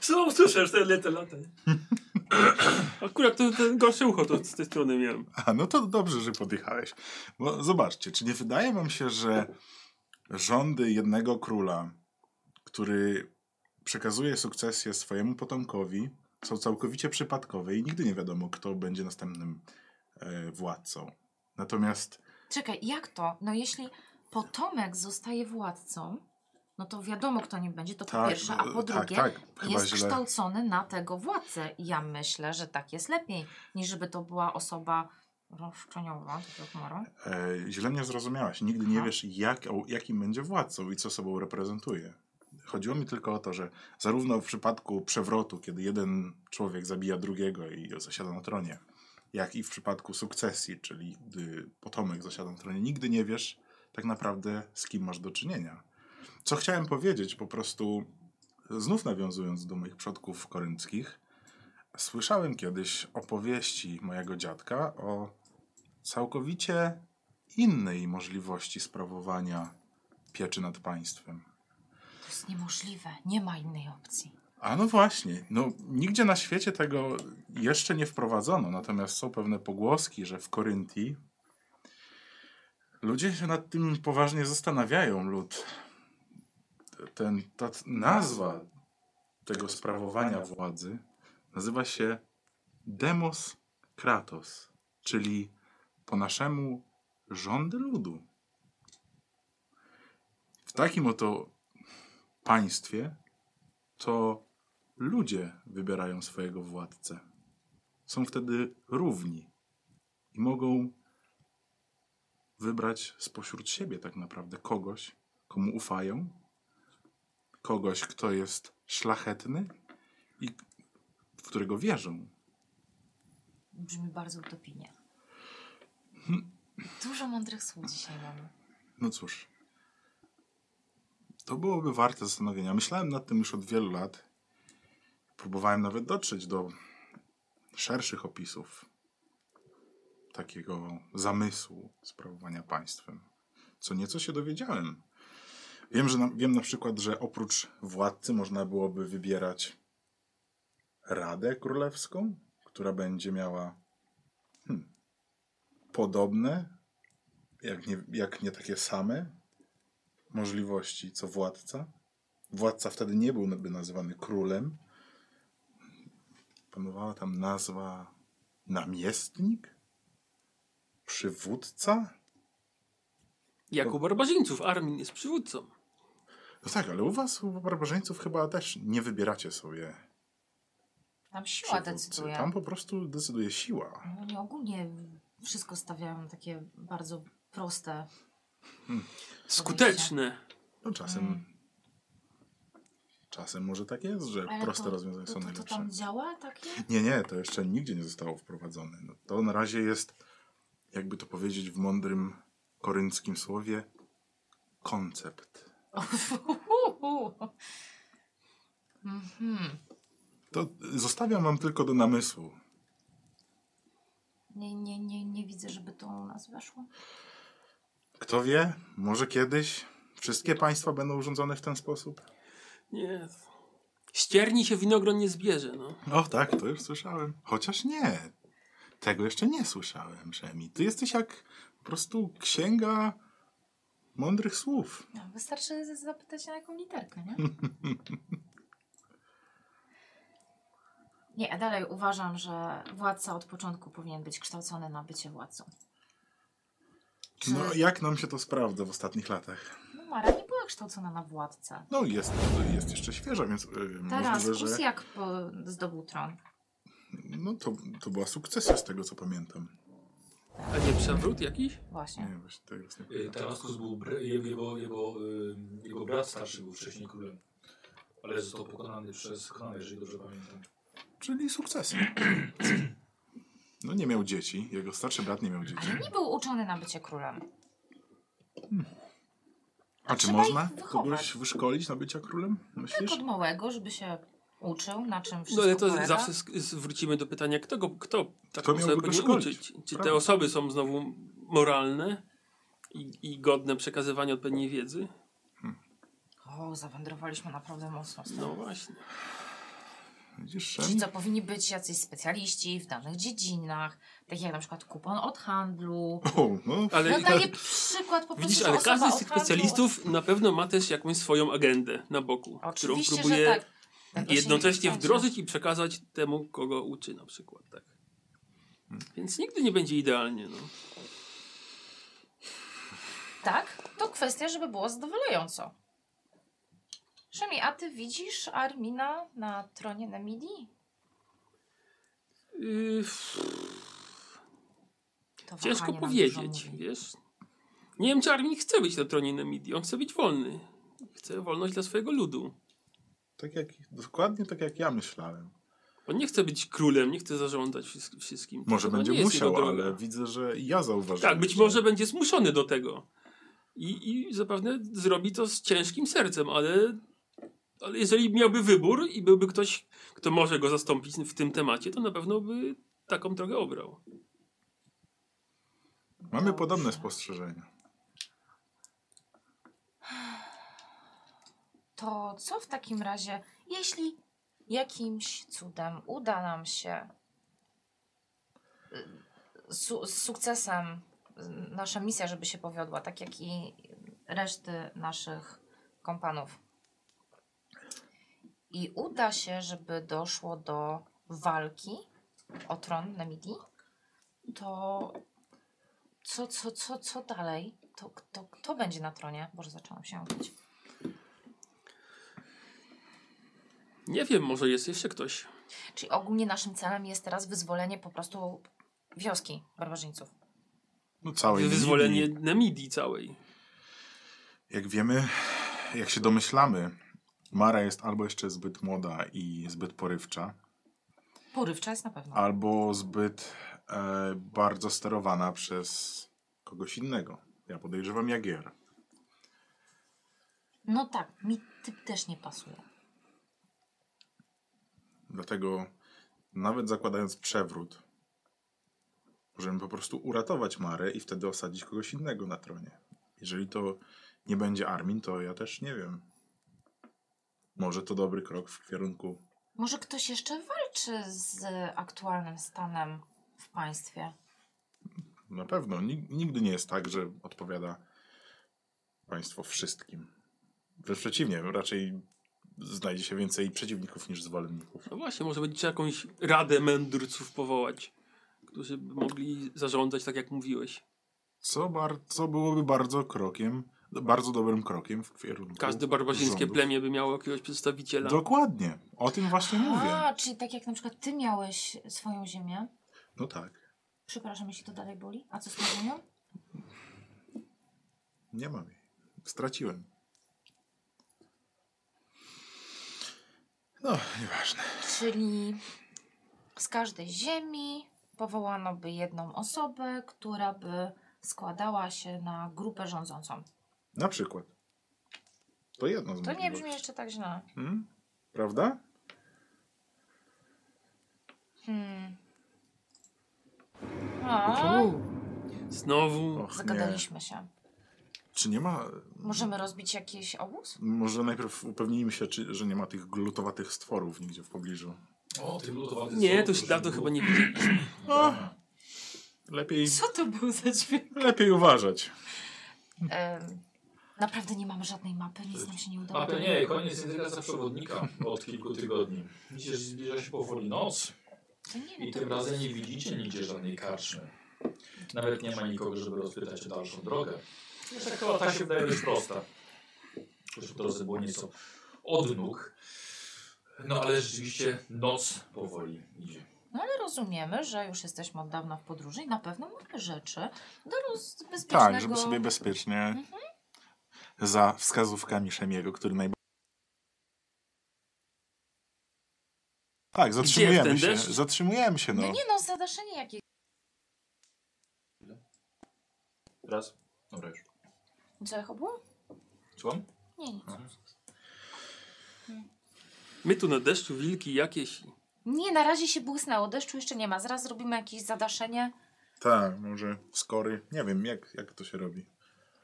Speaker 5: Co? Słyszę, że lata, lata.
Speaker 4: Akurat to, to gorsze ucho to z tej strony miałem.
Speaker 3: A, no to dobrze, że podjechałeś. Bo zobaczcie, czy nie wydaje wam się, że rządy jednego króla, który przekazuje sukcesję swojemu potomkowi, są całkowicie przypadkowe i nigdy nie wiadomo, kto będzie następnym e, władcą. Natomiast
Speaker 2: Czekaj, jak to? No jeśli potomek zostaje władcą, no to wiadomo kto nim będzie, to po
Speaker 3: tak,
Speaker 2: pierwsze, a po
Speaker 3: e, tak,
Speaker 2: drugie
Speaker 3: tak, chyba
Speaker 2: jest
Speaker 3: źle.
Speaker 2: kształcony na tego władcę. I Ja myślę, że tak jest lepiej, niż żeby to była osoba roszczeniowa, tak jak Maro.
Speaker 3: E, źle mnie zrozumiałaś. Nigdy nie
Speaker 2: Aha.
Speaker 3: wiesz, jak, o, jakim będzie władcą i co sobą reprezentuje. Chodziło mi tylko o to, że zarówno w przypadku przewrotu, kiedy jeden człowiek zabija drugiego i zasiada na tronie, jak i w przypadku sukcesji, czyli gdy potomek zasiada na tronie, nigdy nie wiesz tak naprawdę, z kim masz do czynienia. Co chciałem powiedzieć, po prostu znów nawiązując do moich przodków korynckich, słyszałem kiedyś opowieści mojego dziadka o całkowicie innej możliwości sprawowania pieczy nad państwem.
Speaker 2: To jest niemożliwe, nie ma innej opcji.
Speaker 3: A no właśnie, no nigdzie na świecie tego jeszcze nie wprowadzono, natomiast są pewne pogłoski, że w Koryntii ludzie się nad tym poważnie zastanawiają lud. Ten, ta nazwa tego sprawowania władzy nazywa się Demos Kratos, czyli po naszemu rząd ludu. W takim oto państwie to ludzie wybierają swojego władcę. Są wtedy równi i mogą wybrać spośród siebie tak naprawdę kogoś, komu ufają, kogoś, kto jest szlachetny i w którego wierzą.
Speaker 2: Brzmi bardzo utopijnie. Dużo mądrych słów dzisiaj mamy.
Speaker 3: No cóż, to byłoby warte zastanowienia. Myślałem nad tym już od wielu lat. Próbowałem nawet dotrzeć do szerszych opisów takiego zamysłu sprawowania państwem. Co nieco się dowiedziałem. Wiem, że na, wiem na przykład, że oprócz władcy można byłoby wybierać Radę Królewską, która będzie miała hmm, podobne jak nie, jak nie takie same możliwości co władca. Władca wtedy nie byłby nazywany królem. Panowała tam nazwa namiestnik? Przywódca?
Speaker 4: Jak u barbarzyńców, Armin jest przywódcą.
Speaker 3: No tak, ale u was, u barbarzyńców chyba też nie wybieracie sobie
Speaker 2: Tam siła
Speaker 3: przywódcy.
Speaker 2: decyduje.
Speaker 3: Tam po prostu decyduje siła.
Speaker 2: No, Oni ogólnie wszystko stawiają takie bardzo proste.
Speaker 4: Skuteczne.
Speaker 3: No czasem...
Speaker 2: Mm.
Speaker 3: Czasem może tak jest, że
Speaker 2: Ale
Speaker 3: proste
Speaker 2: to,
Speaker 3: rozwiązania
Speaker 2: to,
Speaker 3: są
Speaker 2: to, to
Speaker 3: najlepsze.
Speaker 2: tam działa
Speaker 3: (laughs)
Speaker 2: takie?
Speaker 3: Nie, nie, to jeszcze nigdzie nie zostało wprowadzone. No, to na razie jest, jakby to powiedzieć w mądrym korynckim słowie, koncept.
Speaker 2: Mhm.
Speaker 3: To zostawiam wam tylko do namysłu.
Speaker 2: Nie, nie, nie, nie widzę, żeby to u nas weszło.
Speaker 3: Kto wie, może kiedyś wszystkie państwa będą urządzone w ten sposób?
Speaker 4: Nie. Ścierni się winogron nie zbierze, no.
Speaker 3: O tak, to już słyszałem. Chociaż nie, tego jeszcze nie słyszałem, Rzemi. Ty jesteś jak po prostu księga mądrych słów.
Speaker 2: No, wystarczy z- zapytać się na jaką literkę, nie? (laughs) Nie, ja dalej uważam, że władca od początku powinien być kształcony na bycie władcą. Czy-
Speaker 3: No, jak nam się to sprawdza w ostatnich latach?
Speaker 2: No Mara nie była kształcona na władcę.
Speaker 3: No i jest, jest jeszcze świeża, więc yy,
Speaker 2: Teraz
Speaker 3: możliwe, że...
Speaker 2: Kusiak po, zdobył tron.
Speaker 3: No to, to była sukcesja z tego, co pamiętam.
Speaker 4: A nie przewrót jakiś?
Speaker 3: Nie
Speaker 2: Właśnie.
Speaker 3: wiem, właśnie tego jest nie
Speaker 1: Y,
Speaker 4: tak.
Speaker 3: pamiętam.
Speaker 1: Taraskus był, br- jego, jego, jego, y, jego brat starszy był wcześniej królem. Ale został pokonany przez Hanę, jeżeli dobrze pamiętam.
Speaker 3: Czyli sukcesja. No nie miał dzieci, jego starszy brat nie miał dzieci.
Speaker 2: Ale nie był uczony na bycie królem.
Speaker 3: A czy
Speaker 2: trzeba
Speaker 3: można
Speaker 2: ich wychować.
Speaker 3: kogoś wyszkolić na bycia królem?
Speaker 2: Tylko
Speaker 3: Myślisz?
Speaker 2: od małego, żeby się uczył, na czym
Speaker 4: No
Speaker 2: wszystko
Speaker 4: ale to
Speaker 2: polega.
Speaker 4: zawsze sk- z- wrócimy do pytania, kto, go, kto taką
Speaker 3: Kto miałby go
Speaker 4: osobę powinien
Speaker 3: szkolić?
Speaker 4: uczyć? Czy
Speaker 3: Prawda.
Speaker 4: te osoby są znowu moralne i, i godne przekazywania odpowiedniej wiedzy?
Speaker 2: O, zawędrowaliśmy naprawdę mocno. stąd.
Speaker 4: No właśnie.
Speaker 3: Widzisz,
Speaker 2: Ci,
Speaker 3: Szemi?
Speaker 2: co powinni być jacyś specjaliści w danych dziedzinach, takich jak na przykład kupon od handlu.
Speaker 3: O, no,
Speaker 4: Ale, tak-
Speaker 2: No daję przykład po prostu,
Speaker 4: widzisz,
Speaker 2: że
Speaker 4: ale
Speaker 2: osoba
Speaker 4: każdy z
Speaker 2: od
Speaker 4: tych
Speaker 2: handlu-
Speaker 4: specjalistów na pewno ma też jakąś swoją agendę na boku,
Speaker 2: Oczywiście,
Speaker 4: którą próbuje
Speaker 2: że tak. Tego się
Speaker 4: I jednocześnie
Speaker 2: nie
Speaker 4: wdrożyć i przekazać temu, kogo uczy na przykład, tak.
Speaker 3: Hmm.
Speaker 4: Więc nigdy nie będzie idealnie, no.
Speaker 2: Tak, to kwestia, żeby było zadowalająco. Szemi, a ty widzisz Armina na tronie Nemidii?
Speaker 4: Yy,
Speaker 2: To
Speaker 4: ciężko
Speaker 2: wahanie nam dużo
Speaker 4: powiedzieć,
Speaker 2: mówi.
Speaker 4: wiesz. Nie wiem, czy Armin chce być na tronie Nemidii, on chce być wolny. Chce wolność dla swojego ludu.
Speaker 3: Tak jak, dokładnie tak jak ja myślałem.
Speaker 4: On nie chce być królem, nie chce zarządzać wszystkim. wszystkim.
Speaker 3: Może
Speaker 4: To No, nie
Speaker 3: będzie
Speaker 4: jest jego
Speaker 3: musiał,
Speaker 4: droga.
Speaker 3: ale no. widzę, że i ja zauważyłem.
Speaker 4: Tak, być
Speaker 3: że-
Speaker 4: może będzie zmuszony do tego. I, I zapewne zrobi to z ciężkim sercem, ale, ale jeżeli miałby wybór i byłby ktoś, kto może go zastąpić w tym temacie, to na pewno by taką drogę obrał.
Speaker 3: Mamy podobne spostrzeżenia.
Speaker 2: To co w takim razie, jeśli jakimś cudem uda nam się y, su z sukcesem y, nasza misja, żeby się powiodła, tak jak i reszty naszych kompanów. I uda się, żeby doszło do walki o tron Nemidii, to co, co, co, co dalej? To, to kto będzie na tronie? Boże, zaczęłam się mówić.
Speaker 4: Nie wiem, może jest jeszcze ktoś.
Speaker 2: Czyli ogólnie naszym celem jest teraz wyzwolenie po prostu wioski barbarzyńców.
Speaker 3: No całej
Speaker 4: Wyzwolenie
Speaker 3: Namibii.
Speaker 4: Namidii całej.
Speaker 3: Jak wiemy, jak się domyślamy, Mara jest albo jeszcze zbyt młoda i zbyt porywcza,
Speaker 2: Porywcza jest na pewno.
Speaker 3: albo zbyt e, bardzo sterowana przez kogoś innego. Ja podejrzewam Jagier.
Speaker 2: No tak, mi typ też nie pasuje.
Speaker 3: Dlatego nawet zakładając przewrót, możemy po prostu uratować Marę i wtedy osadzić kogoś innego na tronie. Jeżeli to nie będzie Armin, to ja też nie wiem. Może to dobry krok w kierunku
Speaker 2: Może ktoś jeszcze walczy z aktualnym stanem w państwie?
Speaker 3: Na pewno. Nig- Nigdy nie jest tak, że odpowiada państwo wszystkim. Wręcz przeciwnie, raczej znajdzie się więcej przeciwników niż zwolenników.
Speaker 4: No właśnie, może będzie trzeba jakąś radę mędrców powołać, którzy by mogli zarządzać tak, jak mówiłeś.
Speaker 3: Co, bar- co byłoby bardzo krokiem, bardzo dobrym krokiem w kierunku
Speaker 4: Każde barbarzyńskie
Speaker 3: rządów.
Speaker 4: plemię by miało jakiegoś przedstawiciela.
Speaker 3: Dokładnie. O tym właśnie mówię.
Speaker 2: A, czyli tak jak na przykład ty miałeś swoją ziemię.
Speaker 3: No tak.
Speaker 2: Przepraszam, jeśli to dalej boli. A co z tą ziemią?
Speaker 3: Nie mam jej. Straciłem. No, nieważne.
Speaker 2: Czyli z każdej ziemi powołano by jedną osobę, która by składała się na grupę rządzącą.
Speaker 3: Na przykład. To jedno
Speaker 2: To nie
Speaker 3: z możliwości.
Speaker 2: brzmi jeszcze tak źle.
Speaker 3: Hmm? Prawda?
Speaker 2: Hmm. A,
Speaker 4: Znowu.
Speaker 3: Och, nie.
Speaker 2: zagadaliśmy się.
Speaker 3: Czy nie ma.
Speaker 2: Możemy rozbić jakiś obóz?
Speaker 3: Może najpierw upewnijmy się, czy, że nie ma tych glutowatych stworów nigdzie w pobliżu.
Speaker 1: O, tym lutowatym
Speaker 4: Nie, to się dawno chyba nie widzieli.
Speaker 3: O, lepiej,
Speaker 2: Co to był za dźwięk?
Speaker 3: lepiej uważać.
Speaker 2: Em, naprawdę nie mamy żadnej mapy, nic nam się nie udało.
Speaker 1: A to nie, koniec integracja przewodnika od kilku tygodni. Widzicie, że zbliża się powoli noc
Speaker 2: To nie,
Speaker 1: i
Speaker 2: to
Speaker 1: tym razem nie widzicie nigdzie żadnej karczmy. Nawet nie ma nikogo, żeby rozpytać o dalszą drogę. Jest taka, ta tak, się wydaje być prosta. Już w drodze było nieco od nóg. No ale rzeczywiście noc powoli idzie.
Speaker 2: No ale rozumiemy, że już jesteśmy od dawna w podróży i na pewno mamy rzeczy do roz... bezpiecznego...
Speaker 3: Tak, żeby sobie bezpiecznie za wskazówkami Szemiego, który najbardziej. Tak, zatrzymujemy
Speaker 4: ten
Speaker 3: się.
Speaker 4: deszcz?
Speaker 3: Zatrzymujemy się,
Speaker 2: No
Speaker 3: no.
Speaker 2: nie no, zadaszenie jakieś.
Speaker 1: Raz. Dobra już.
Speaker 2: Co echo było?
Speaker 1: Słucham?
Speaker 2: Nie,
Speaker 1: No.
Speaker 2: nic.
Speaker 4: My tu na deszczu wilki jakieś.
Speaker 2: Nie, na razie się błysnęło, deszczu jeszcze nie ma. Zaraz zrobimy jakieś zadaszenie
Speaker 3: Tak, może skory. Nie wiem, jak, jak to się robi.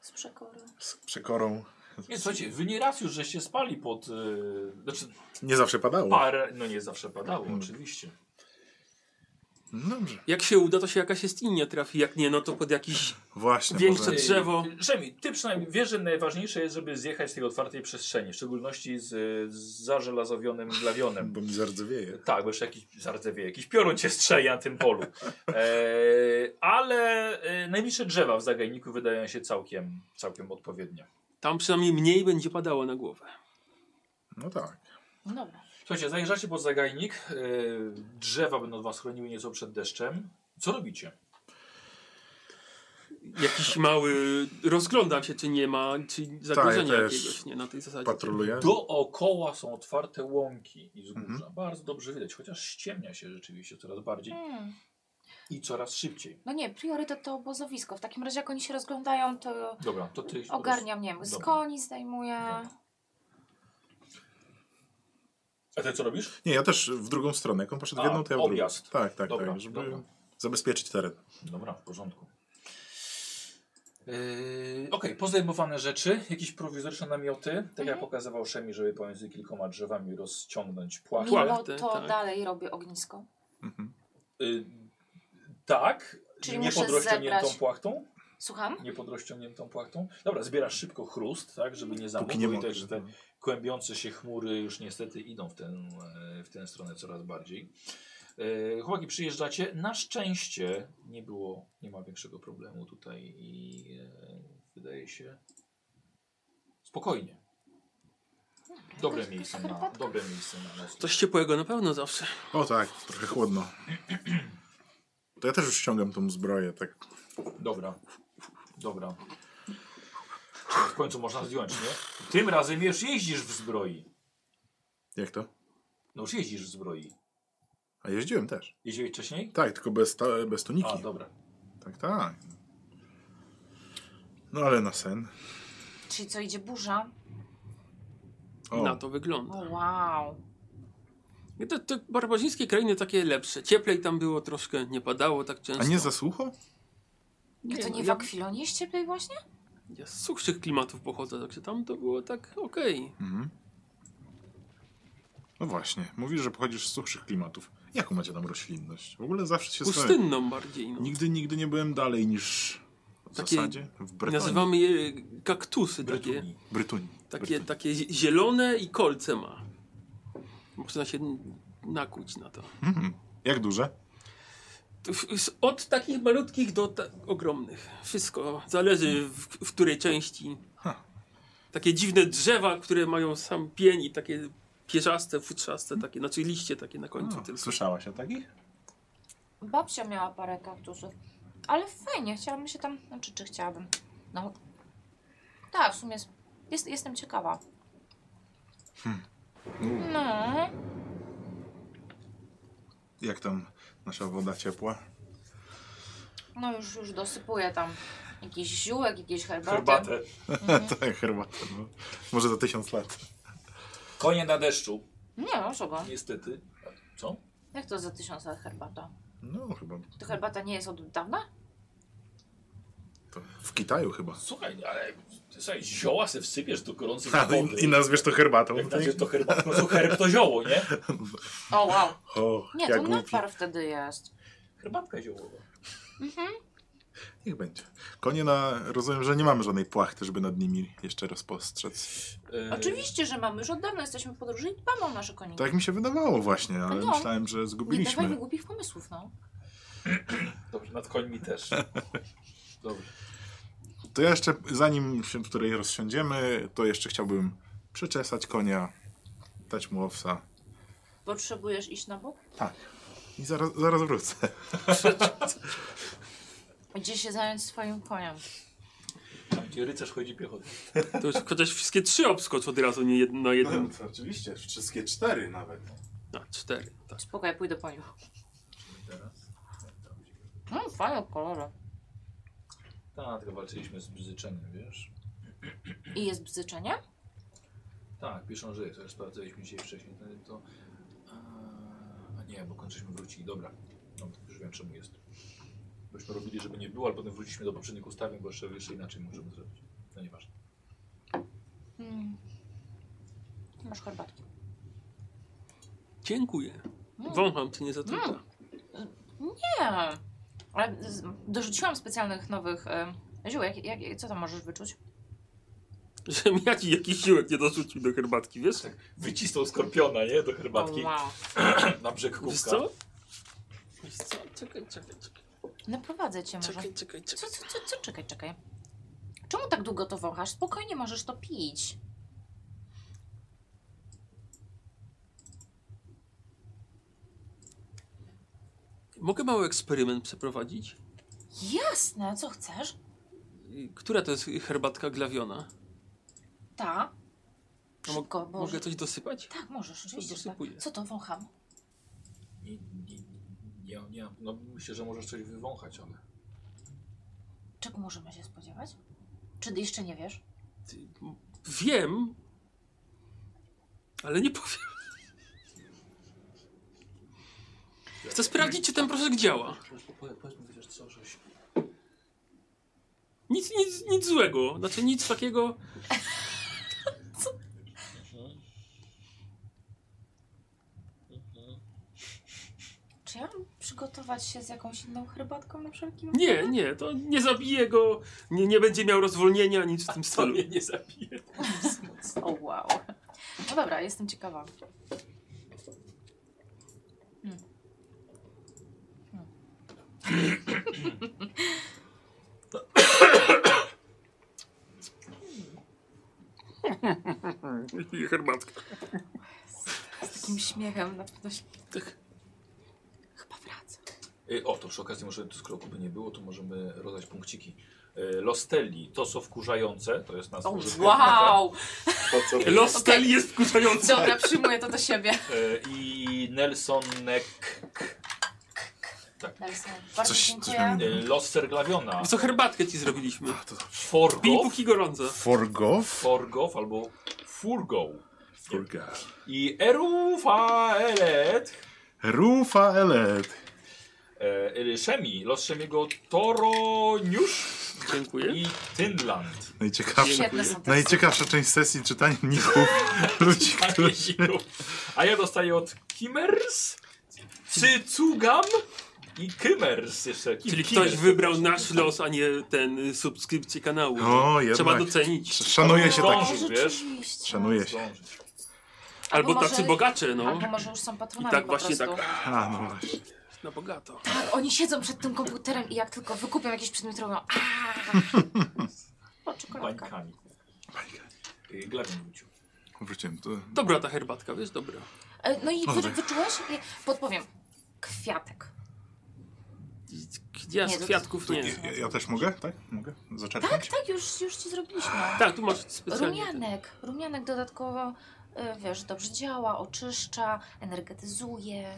Speaker 2: z przekory.
Speaker 3: Z przekorą.
Speaker 1: Nie, słuchajcie, wy nie raz już żeście spali pod... Yy, znaczy no
Speaker 3: Nie zawsze padało.
Speaker 1: Hmm. parę... No nie zawsze padało, oczywiście.
Speaker 3: No Dobrze.
Speaker 4: Jak się uda, to się jakaś jest inna trafi. Jak nie, no to pod jakiś
Speaker 3: Właśnie.
Speaker 4: większe
Speaker 3: może-
Speaker 4: drzewo.
Speaker 1: Rzemi, e, ty przynajmniej wiesz, że najważniejsze jest, żeby zjechać z tej otwartej przestrzeni, w szczególności z, e, z zażelazowionym glawionem.
Speaker 3: Bo mi zardzewieje.
Speaker 1: Tak, bo jeszcze jakiś zardzewie, jakiś piorun cię strzeli na tym polu. E, ale e, najbliższe drzewa w zagajniku wydają się całkiem, całkiem odpowiednie.
Speaker 4: Tam przynajmniej mniej będzie padało na głowę.
Speaker 3: No tak.
Speaker 2: No dobra.
Speaker 1: Słuchajcie, zajeżdżacie pod zagajnik, e, drzewa będą was chroniły nieco przed deszczem. Co robicie?
Speaker 4: Jakiś mały... Rozglądam się, czy nie ma, czy zagrożenia
Speaker 3: Tak, też
Speaker 4: jakiegoś, nie? Na tej zasadzie.
Speaker 3: Patroluję.
Speaker 1: Dookoła są otwarte łąki i wzgórza.
Speaker 3: Mhm.
Speaker 1: Bardzo dobrze widać, chociaż ściemnia się rzeczywiście coraz bardziej
Speaker 2: Hmm.
Speaker 1: i coraz szybciej.
Speaker 2: No nie, priorytet to obozowisko. W takim razie jak oni się rozglądają, to
Speaker 1: Dobra, to ty...
Speaker 2: ogarniam, nie wiem, z
Speaker 1: Dobra.
Speaker 2: koni zdejmuję.
Speaker 1: Dobra. A ty co robisz?
Speaker 3: Nie, ja też w drugą stronę. Jak on poszedł w
Speaker 1: A,
Speaker 3: jedną, to ja w drugą.
Speaker 1: objazd.
Speaker 3: Tak, tak,
Speaker 1: Dobra,
Speaker 3: tak. Żeby
Speaker 1: dobra.
Speaker 3: zabezpieczyć teren.
Speaker 1: Dobra, w porządku. Yy, Okej, pozajmowane rzeczy, jakieś prowizoryczne namioty, tak jak
Speaker 2: Mhm.
Speaker 1: pokazywał Szemi, żeby pomiędzy kilkoma drzewami rozciągnąć płachę.
Speaker 2: Mimo
Speaker 4: Płachtę,
Speaker 2: to
Speaker 4: tak.
Speaker 2: dalej robię ognisko.
Speaker 3: Mhm.
Speaker 1: Y, tak,
Speaker 2: Czyli
Speaker 1: nie
Speaker 2: muszę
Speaker 1: pod rozciągniętą
Speaker 2: zebrać-
Speaker 1: płachtą.
Speaker 2: Słucham?
Speaker 1: Nie pod rozciągniętą płachtą. Dobra, zbierasz szybko chrust, tak, żeby nie
Speaker 3: Póki nie
Speaker 1: zamokło i
Speaker 3: mogę.
Speaker 1: też, że te kłębiące się chmury już niestety idą w, ten, e, w tę stronę coraz bardziej. E, Chłopaki, przyjeżdżacie. Na szczęście nie było, nie ma większego problemu tutaj i e, wydaje się spokojnie. Dobre
Speaker 2: Jakaś
Speaker 1: miejsce na,
Speaker 2: herbatka?
Speaker 1: dobre miejsce na noc.
Speaker 4: Coś ciepłego na pewno zawsze.
Speaker 3: O tak, trochę chłodno. (clears throat) To ja też już ściągam tą zbroję, tak.
Speaker 1: Dobra, dobra. Czyli W końcu można zdjąć, nie? Tym razem już jeździsz w zbroi.
Speaker 3: Jak to?
Speaker 1: No już jeździsz w zbroi.
Speaker 3: A jeździłem też.
Speaker 1: Jeździłeś wcześniej?
Speaker 3: Tak, tylko bez, ta, bez
Speaker 1: A,
Speaker 3: tuniki.
Speaker 1: dobra.
Speaker 3: tak, tak. No ale na sen.
Speaker 2: Czyli co, idzie burza?
Speaker 3: O,
Speaker 4: Na to wygląda.
Speaker 2: O, wow.
Speaker 4: I Te, te barbarzyńskie krainy takie lepsze. Cieplej tam było troszkę, nie padało tak często.
Speaker 3: a nie za sucho?
Speaker 2: Nie, to
Speaker 4: no,
Speaker 2: nie w
Speaker 4: ja-
Speaker 2: akwilonie jest cieplej właśnie?
Speaker 4: Ja z suchszych klimatów pochodzę, także tam to było tak okej.
Speaker 3: Mhm. No właśnie, mówisz, że pochodzisz z suchszych klimatów. Jaką macie tam roślinność? W ogóle zawsze się zastanawiam.
Speaker 4: Pustynną bardziej. No.
Speaker 3: Nigdy, nigdy nie byłem dalej niż w
Speaker 4: Takie-
Speaker 3: zasadzie w Bretonii.
Speaker 4: Nazywamy je kaktusy, takie,
Speaker 1: Brytuni.
Speaker 3: Brytunii.
Speaker 4: takie, tak
Speaker 3: Brytunii.
Speaker 4: takie zie- zielone i kolce ma. Można się n- nakuć na to.
Speaker 3: Mhm. Jak duże?
Speaker 4: To w- z- Od takich malutkich do ta ogromnych. Wszystko zależy w, w której części.
Speaker 3: Ha.
Speaker 4: Takie dziwne drzewa, które mają sam pień i takie pierzaste, futrzaste, takie, znaczy liście takie na końcu.
Speaker 3: O,
Speaker 4: tylko.
Speaker 3: słyszałaś o takich?
Speaker 2: Babcia miała parę kaktusów. Ale fajnie, chciałabym się tam... Znaczy, czy chciałabym? No... Tak, w sumie jest, jest, jestem ciekawa. No...
Speaker 3: Jak tam nasza woda ciepła? (laughs)
Speaker 2: No już, już dosypuję tam jakiś ziółek, jakieś herbaty. Mhm.
Speaker 1: Herbatę.
Speaker 3: tak, herbata. No. Może za tysiąc lat.
Speaker 1: Konie na deszczu.
Speaker 2: Nie, no czego?
Speaker 1: Niestety. Co?
Speaker 2: Jak to za tysiąc lat herbata?
Speaker 3: No chyba.
Speaker 2: To herbata nie jest od dawna?
Speaker 3: To w Kitaju chyba.
Speaker 1: Słuchaj, ale ty sobie zioła se wsypiesz do gorącej
Speaker 3: A,
Speaker 1: wody.
Speaker 3: (laughs) i, I nazwiesz to herbatą.
Speaker 1: Jak znaczy to herbatę, no to herb to zioło, nie?
Speaker 2: O, wow.
Speaker 3: O,
Speaker 2: Nie,
Speaker 3: jak
Speaker 2: to
Speaker 3: głupi.
Speaker 2: napar wtedy jest.
Speaker 1: Herbatka ziołowa.
Speaker 2: Mhm.
Speaker 3: Niech będzie. Konie na... Rozumiem, że nie mamy żadnej płachty, żeby nad nimi jeszcze rozpostrzec.
Speaker 1: E,
Speaker 2: Oczywiście, że mamy. Już od dawna jesteśmy w podróży i dbamy o nasze koniki.
Speaker 3: Tak mi się wydawało właśnie, ale
Speaker 2: No.
Speaker 3: myślałem, że
Speaker 2: nie dawajmy
Speaker 3: zgubiliśmy.
Speaker 2: głupich pomysłów, no.
Speaker 1: Dobrze, nad końmi też. Dobrze.
Speaker 3: To ja jeszcze, zanim się tutaj rozsiądziemy, to jeszcze chciałbym przeczesać konia, dać mu owsa.
Speaker 2: Potrzebujesz iść na bok?
Speaker 3: Tak. I zaraz, zaraz wrócę.
Speaker 2: Gdzie się zająć swoim koniem?
Speaker 1: Tam gdzie rycerz chodzi piechotą.
Speaker 4: To już chociaż wszystkie trzy obskocz od razu, nie jedno na jednym.
Speaker 3: oczywiście, wszystkie cztery nawet.
Speaker 4: A, cztery, tak.
Speaker 2: Spokojnie, pójdę po nią. No, fajne kolory.
Speaker 1: Tak, tylko walczyliśmy z bzyczeniem, wiesz?
Speaker 2: I jest bzyczenie?
Speaker 1: Tak, piszą, że jest, ale sprawdzaliśmy dzisiaj wcześniej, to- to... A nie, bo kończyliśmy wrócili, dobra. No, już wiem czemu jest. Byśmy robili, żeby nie było, ale potem wróciliśmy do poprzednich ustawień, bo jeszcze, jeszcze inaczej możemy zrobić. No nieważne.
Speaker 2: Mm. Masz herbatki.
Speaker 4: Dziękuję.
Speaker 2: Mm.
Speaker 4: Wącham, czy nie zatruta.
Speaker 2: Nie. Ale z- dorzuciłam specjalnych nowych e, ziół. Jak, jak, co tam możesz wyczuć?
Speaker 4: Że mi jakiś, jakiś siłek nie dorzucił do herbatki, wiesz?
Speaker 1: Wycisnął skorpiona, nie? Do herbatki.
Speaker 2: O, wow.
Speaker 1: Na brzeg
Speaker 4: Wiesz
Speaker 1: kubka.
Speaker 4: co? Wiesz co? Czekaj, czekaj, czekaj.
Speaker 2: Naprowadzę cię może.
Speaker 4: Czekaj, czekaj, czekaj.
Speaker 2: Co, co, co, co? Czekaj, czekaj. Czemu tak długo to wąchasz? Spokojnie możesz to pić.
Speaker 4: Mogę mały eksperyment przeprowadzić?
Speaker 2: Jasne, co chcesz?
Speaker 4: I Która to jest herbatka glawiona?
Speaker 2: Ta.
Speaker 4: A No, mo-
Speaker 2: Szybko, bo...
Speaker 4: Mogę coś dosypać?
Speaker 2: Tak, możesz, oczywiście. że tak.
Speaker 4: dosypuję.
Speaker 2: Co to wącham?
Speaker 1: Nie, nie, nie, nie, no myślę, że możesz coś wywąchać, ale...
Speaker 2: Czego możemy się spodziewać? Czy ty jeszcze nie wiesz?
Speaker 4: Ty, m- Wiem, ale nie powiem. Chcę sprawdzić, czy ten proszek działa.
Speaker 1: Powiedz mi chociaż co, żeś...
Speaker 4: Nic, nic, nic złego, znaczy nic takiego.
Speaker 2: Czy ja mam przygotować się z jakąś inną herbatką na wszelki wypadek?
Speaker 4: Nie, nie, to nie zabije go, nie, nie będzie miał rozwolnienia, nic w tym
Speaker 1: To
Speaker 4: stylu.
Speaker 1: mnie nie zabije.
Speaker 2: O wow. No dobra, jestem ciekawa. Hmm. Hmm.
Speaker 4: I herbatka.
Speaker 2: Z takim śmiechem na pewno się...
Speaker 4: Tak.
Speaker 2: Chyba wraca.
Speaker 1: Y, O, to przy okazji może, skoro by nie było, to możemy rozdać punkciki. Y, Lostelli, to są wkurzające, to jest nazwa.
Speaker 2: O
Speaker 1: użytkownika.
Speaker 4: (laughs)
Speaker 2: wow!
Speaker 3: To co?
Speaker 4: Los
Speaker 2: Okej.
Speaker 4: stali jest wkurzający.
Speaker 2: Dobra, przyjmuję to do siebie.
Speaker 1: Y, I Nelsonek...
Speaker 2: Nelson, bardzo
Speaker 3: Coś- coś
Speaker 2: dziękuję.
Speaker 3: mam-
Speaker 1: y, Los Serglawiona.
Speaker 4: Co herbatkę ci zrobiliśmy?
Speaker 3: A, to
Speaker 4: Pij
Speaker 1: Forgow.
Speaker 4: póki gorąca.
Speaker 3: Forgow?
Speaker 1: Forgow albo Furgow.
Speaker 3: Forgow.
Speaker 1: I Erufaelet.
Speaker 3: Rufaelet.
Speaker 1: E, y, Szemi, los Szemiego Toroniusz
Speaker 4: Dziękuję.
Speaker 1: i
Speaker 4: (laughs)
Speaker 1: Tynland.
Speaker 3: Najciekawsza,
Speaker 2: Świetne są te
Speaker 3: najciekawsza część sesji czytanie ników ludzi, którzy...
Speaker 1: A ja dostaję od Kimmers, Cycugam i Kymers jeszcze. Kim,
Speaker 4: Czyli
Speaker 1: Kimmers.
Speaker 4: ktoś wybrał nasz los, a nie ten y, subskrypcję kanału.
Speaker 3: O,
Speaker 4: Trzeba
Speaker 3: jednak.
Speaker 4: docenić.
Speaker 3: Szanuję się
Speaker 1: Zdążył.
Speaker 3: tak.
Speaker 2: O,
Speaker 1: wiesz?
Speaker 2: rzeczywiście.
Speaker 3: Szanuję się.
Speaker 1: Zdążyć.
Speaker 4: Albo
Speaker 2: Albo
Speaker 4: tacy
Speaker 2: może-
Speaker 4: bogacze, no.
Speaker 2: Albo może już są
Speaker 4: I
Speaker 2: patronami
Speaker 4: tak
Speaker 2: po
Speaker 4: właśnie
Speaker 2: prostu.
Speaker 4: tak.
Speaker 3: A, no właśnie.
Speaker 4: Na bogato.
Speaker 2: Tak, oni siedzą przed tym komputerem i jak tylko wykupią jakiś przedmiot, robią
Speaker 3: (laughs)
Speaker 2: O, czekoladka.
Speaker 1: Bańkami. Y, Glawion wrócił.
Speaker 3: Wróciłem tu.
Speaker 4: Dobra ta herbatka, wiesz, dobra.
Speaker 2: E, No i wy,
Speaker 3: Dobra.
Speaker 2: wyczułeś? I Podpowiem. Kwiatek.
Speaker 4: Ja
Speaker 2: Nie,
Speaker 4: z
Speaker 2: to-
Speaker 4: kwiatków nie.
Speaker 3: Ja, ja też mogę? Tak? Mogę? Zaczerpnąć?
Speaker 2: Tak, tak, już, już ci zrobiliśmy.
Speaker 4: Tak, tu masz specjalnie.
Speaker 2: Rumianek. Rumianek dodatkowo, e, wiesz, dobrze działa, oczyszcza, energetyzuje.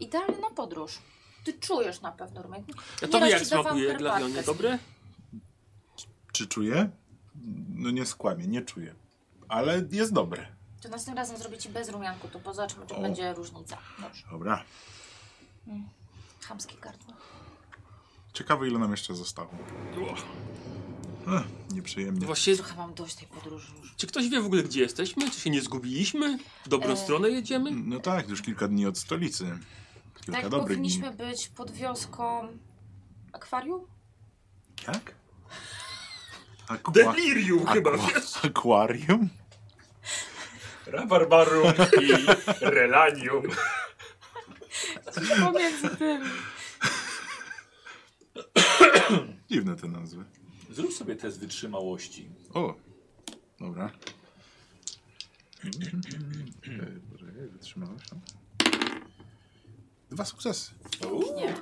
Speaker 2: Idealny na podróż. Ty czujesz na pewno rumianek.
Speaker 4: Ja
Speaker 2: Nieraz
Speaker 4: tobie jak
Speaker 2: no, ci dawałam
Speaker 4: smakuje
Speaker 2: herbatkę
Speaker 4: glawionie,
Speaker 2: z-
Speaker 4: dobre?
Speaker 3: Czy czuję? No nie skłamię, nie czuję. Ale jest dobre.
Speaker 2: To następnym razem zrobię ci bez rumianku, to pozaczmy, czy
Speaker 3: O.
Speaker 2: będzie różnica. Dobrze.
Speaker 3: Dobra.
Speaker 2: Chamskie gardło.
Speaker 3: Ciekawe ile nam jeszcze zostało.
Speaker 4: O,
Speaker 3: Ech, nieprzyjemnie.
Speaker 4: Właśnie,
Speaker 2: Trochę mam dość tej podróży już.
Speaker 4: czy ktoś wie w ogóle gdzie jesteśmy? Czy się nie zgubiliśmy? W dobrą
Speaker 2: E,
Speaker 4: stronę jedziemy?
Speaker 3: No tak, już kilka dni od stolicy. Kilka
Speaker 2: Tak,
Speaker 3: dobrych
Speaker 2: powinniśmy
Speaker 3: dni.
Speaker 2: być pod wioską akwarium?
Speaker 3: (laughs) Jak? Akwa...
Speaker 4: Delirium chyba,
Speaker 3: Akwa...
Speaker 4: wiesz?
Speaker 3: Akwarium?
Speaker 1: Rabarbarum i Relanium.
Speaker 2: Pomiędzy tym.
Speaker 3: Dziwne te nazwy.
Speaker 1: Zrób sobie test wytrzymałości.
Speaker 3: O! Dobra. Okej, poczekaj, Wytrzymałeś tam? Dwa sukcesy.
Speaker 2: Nie.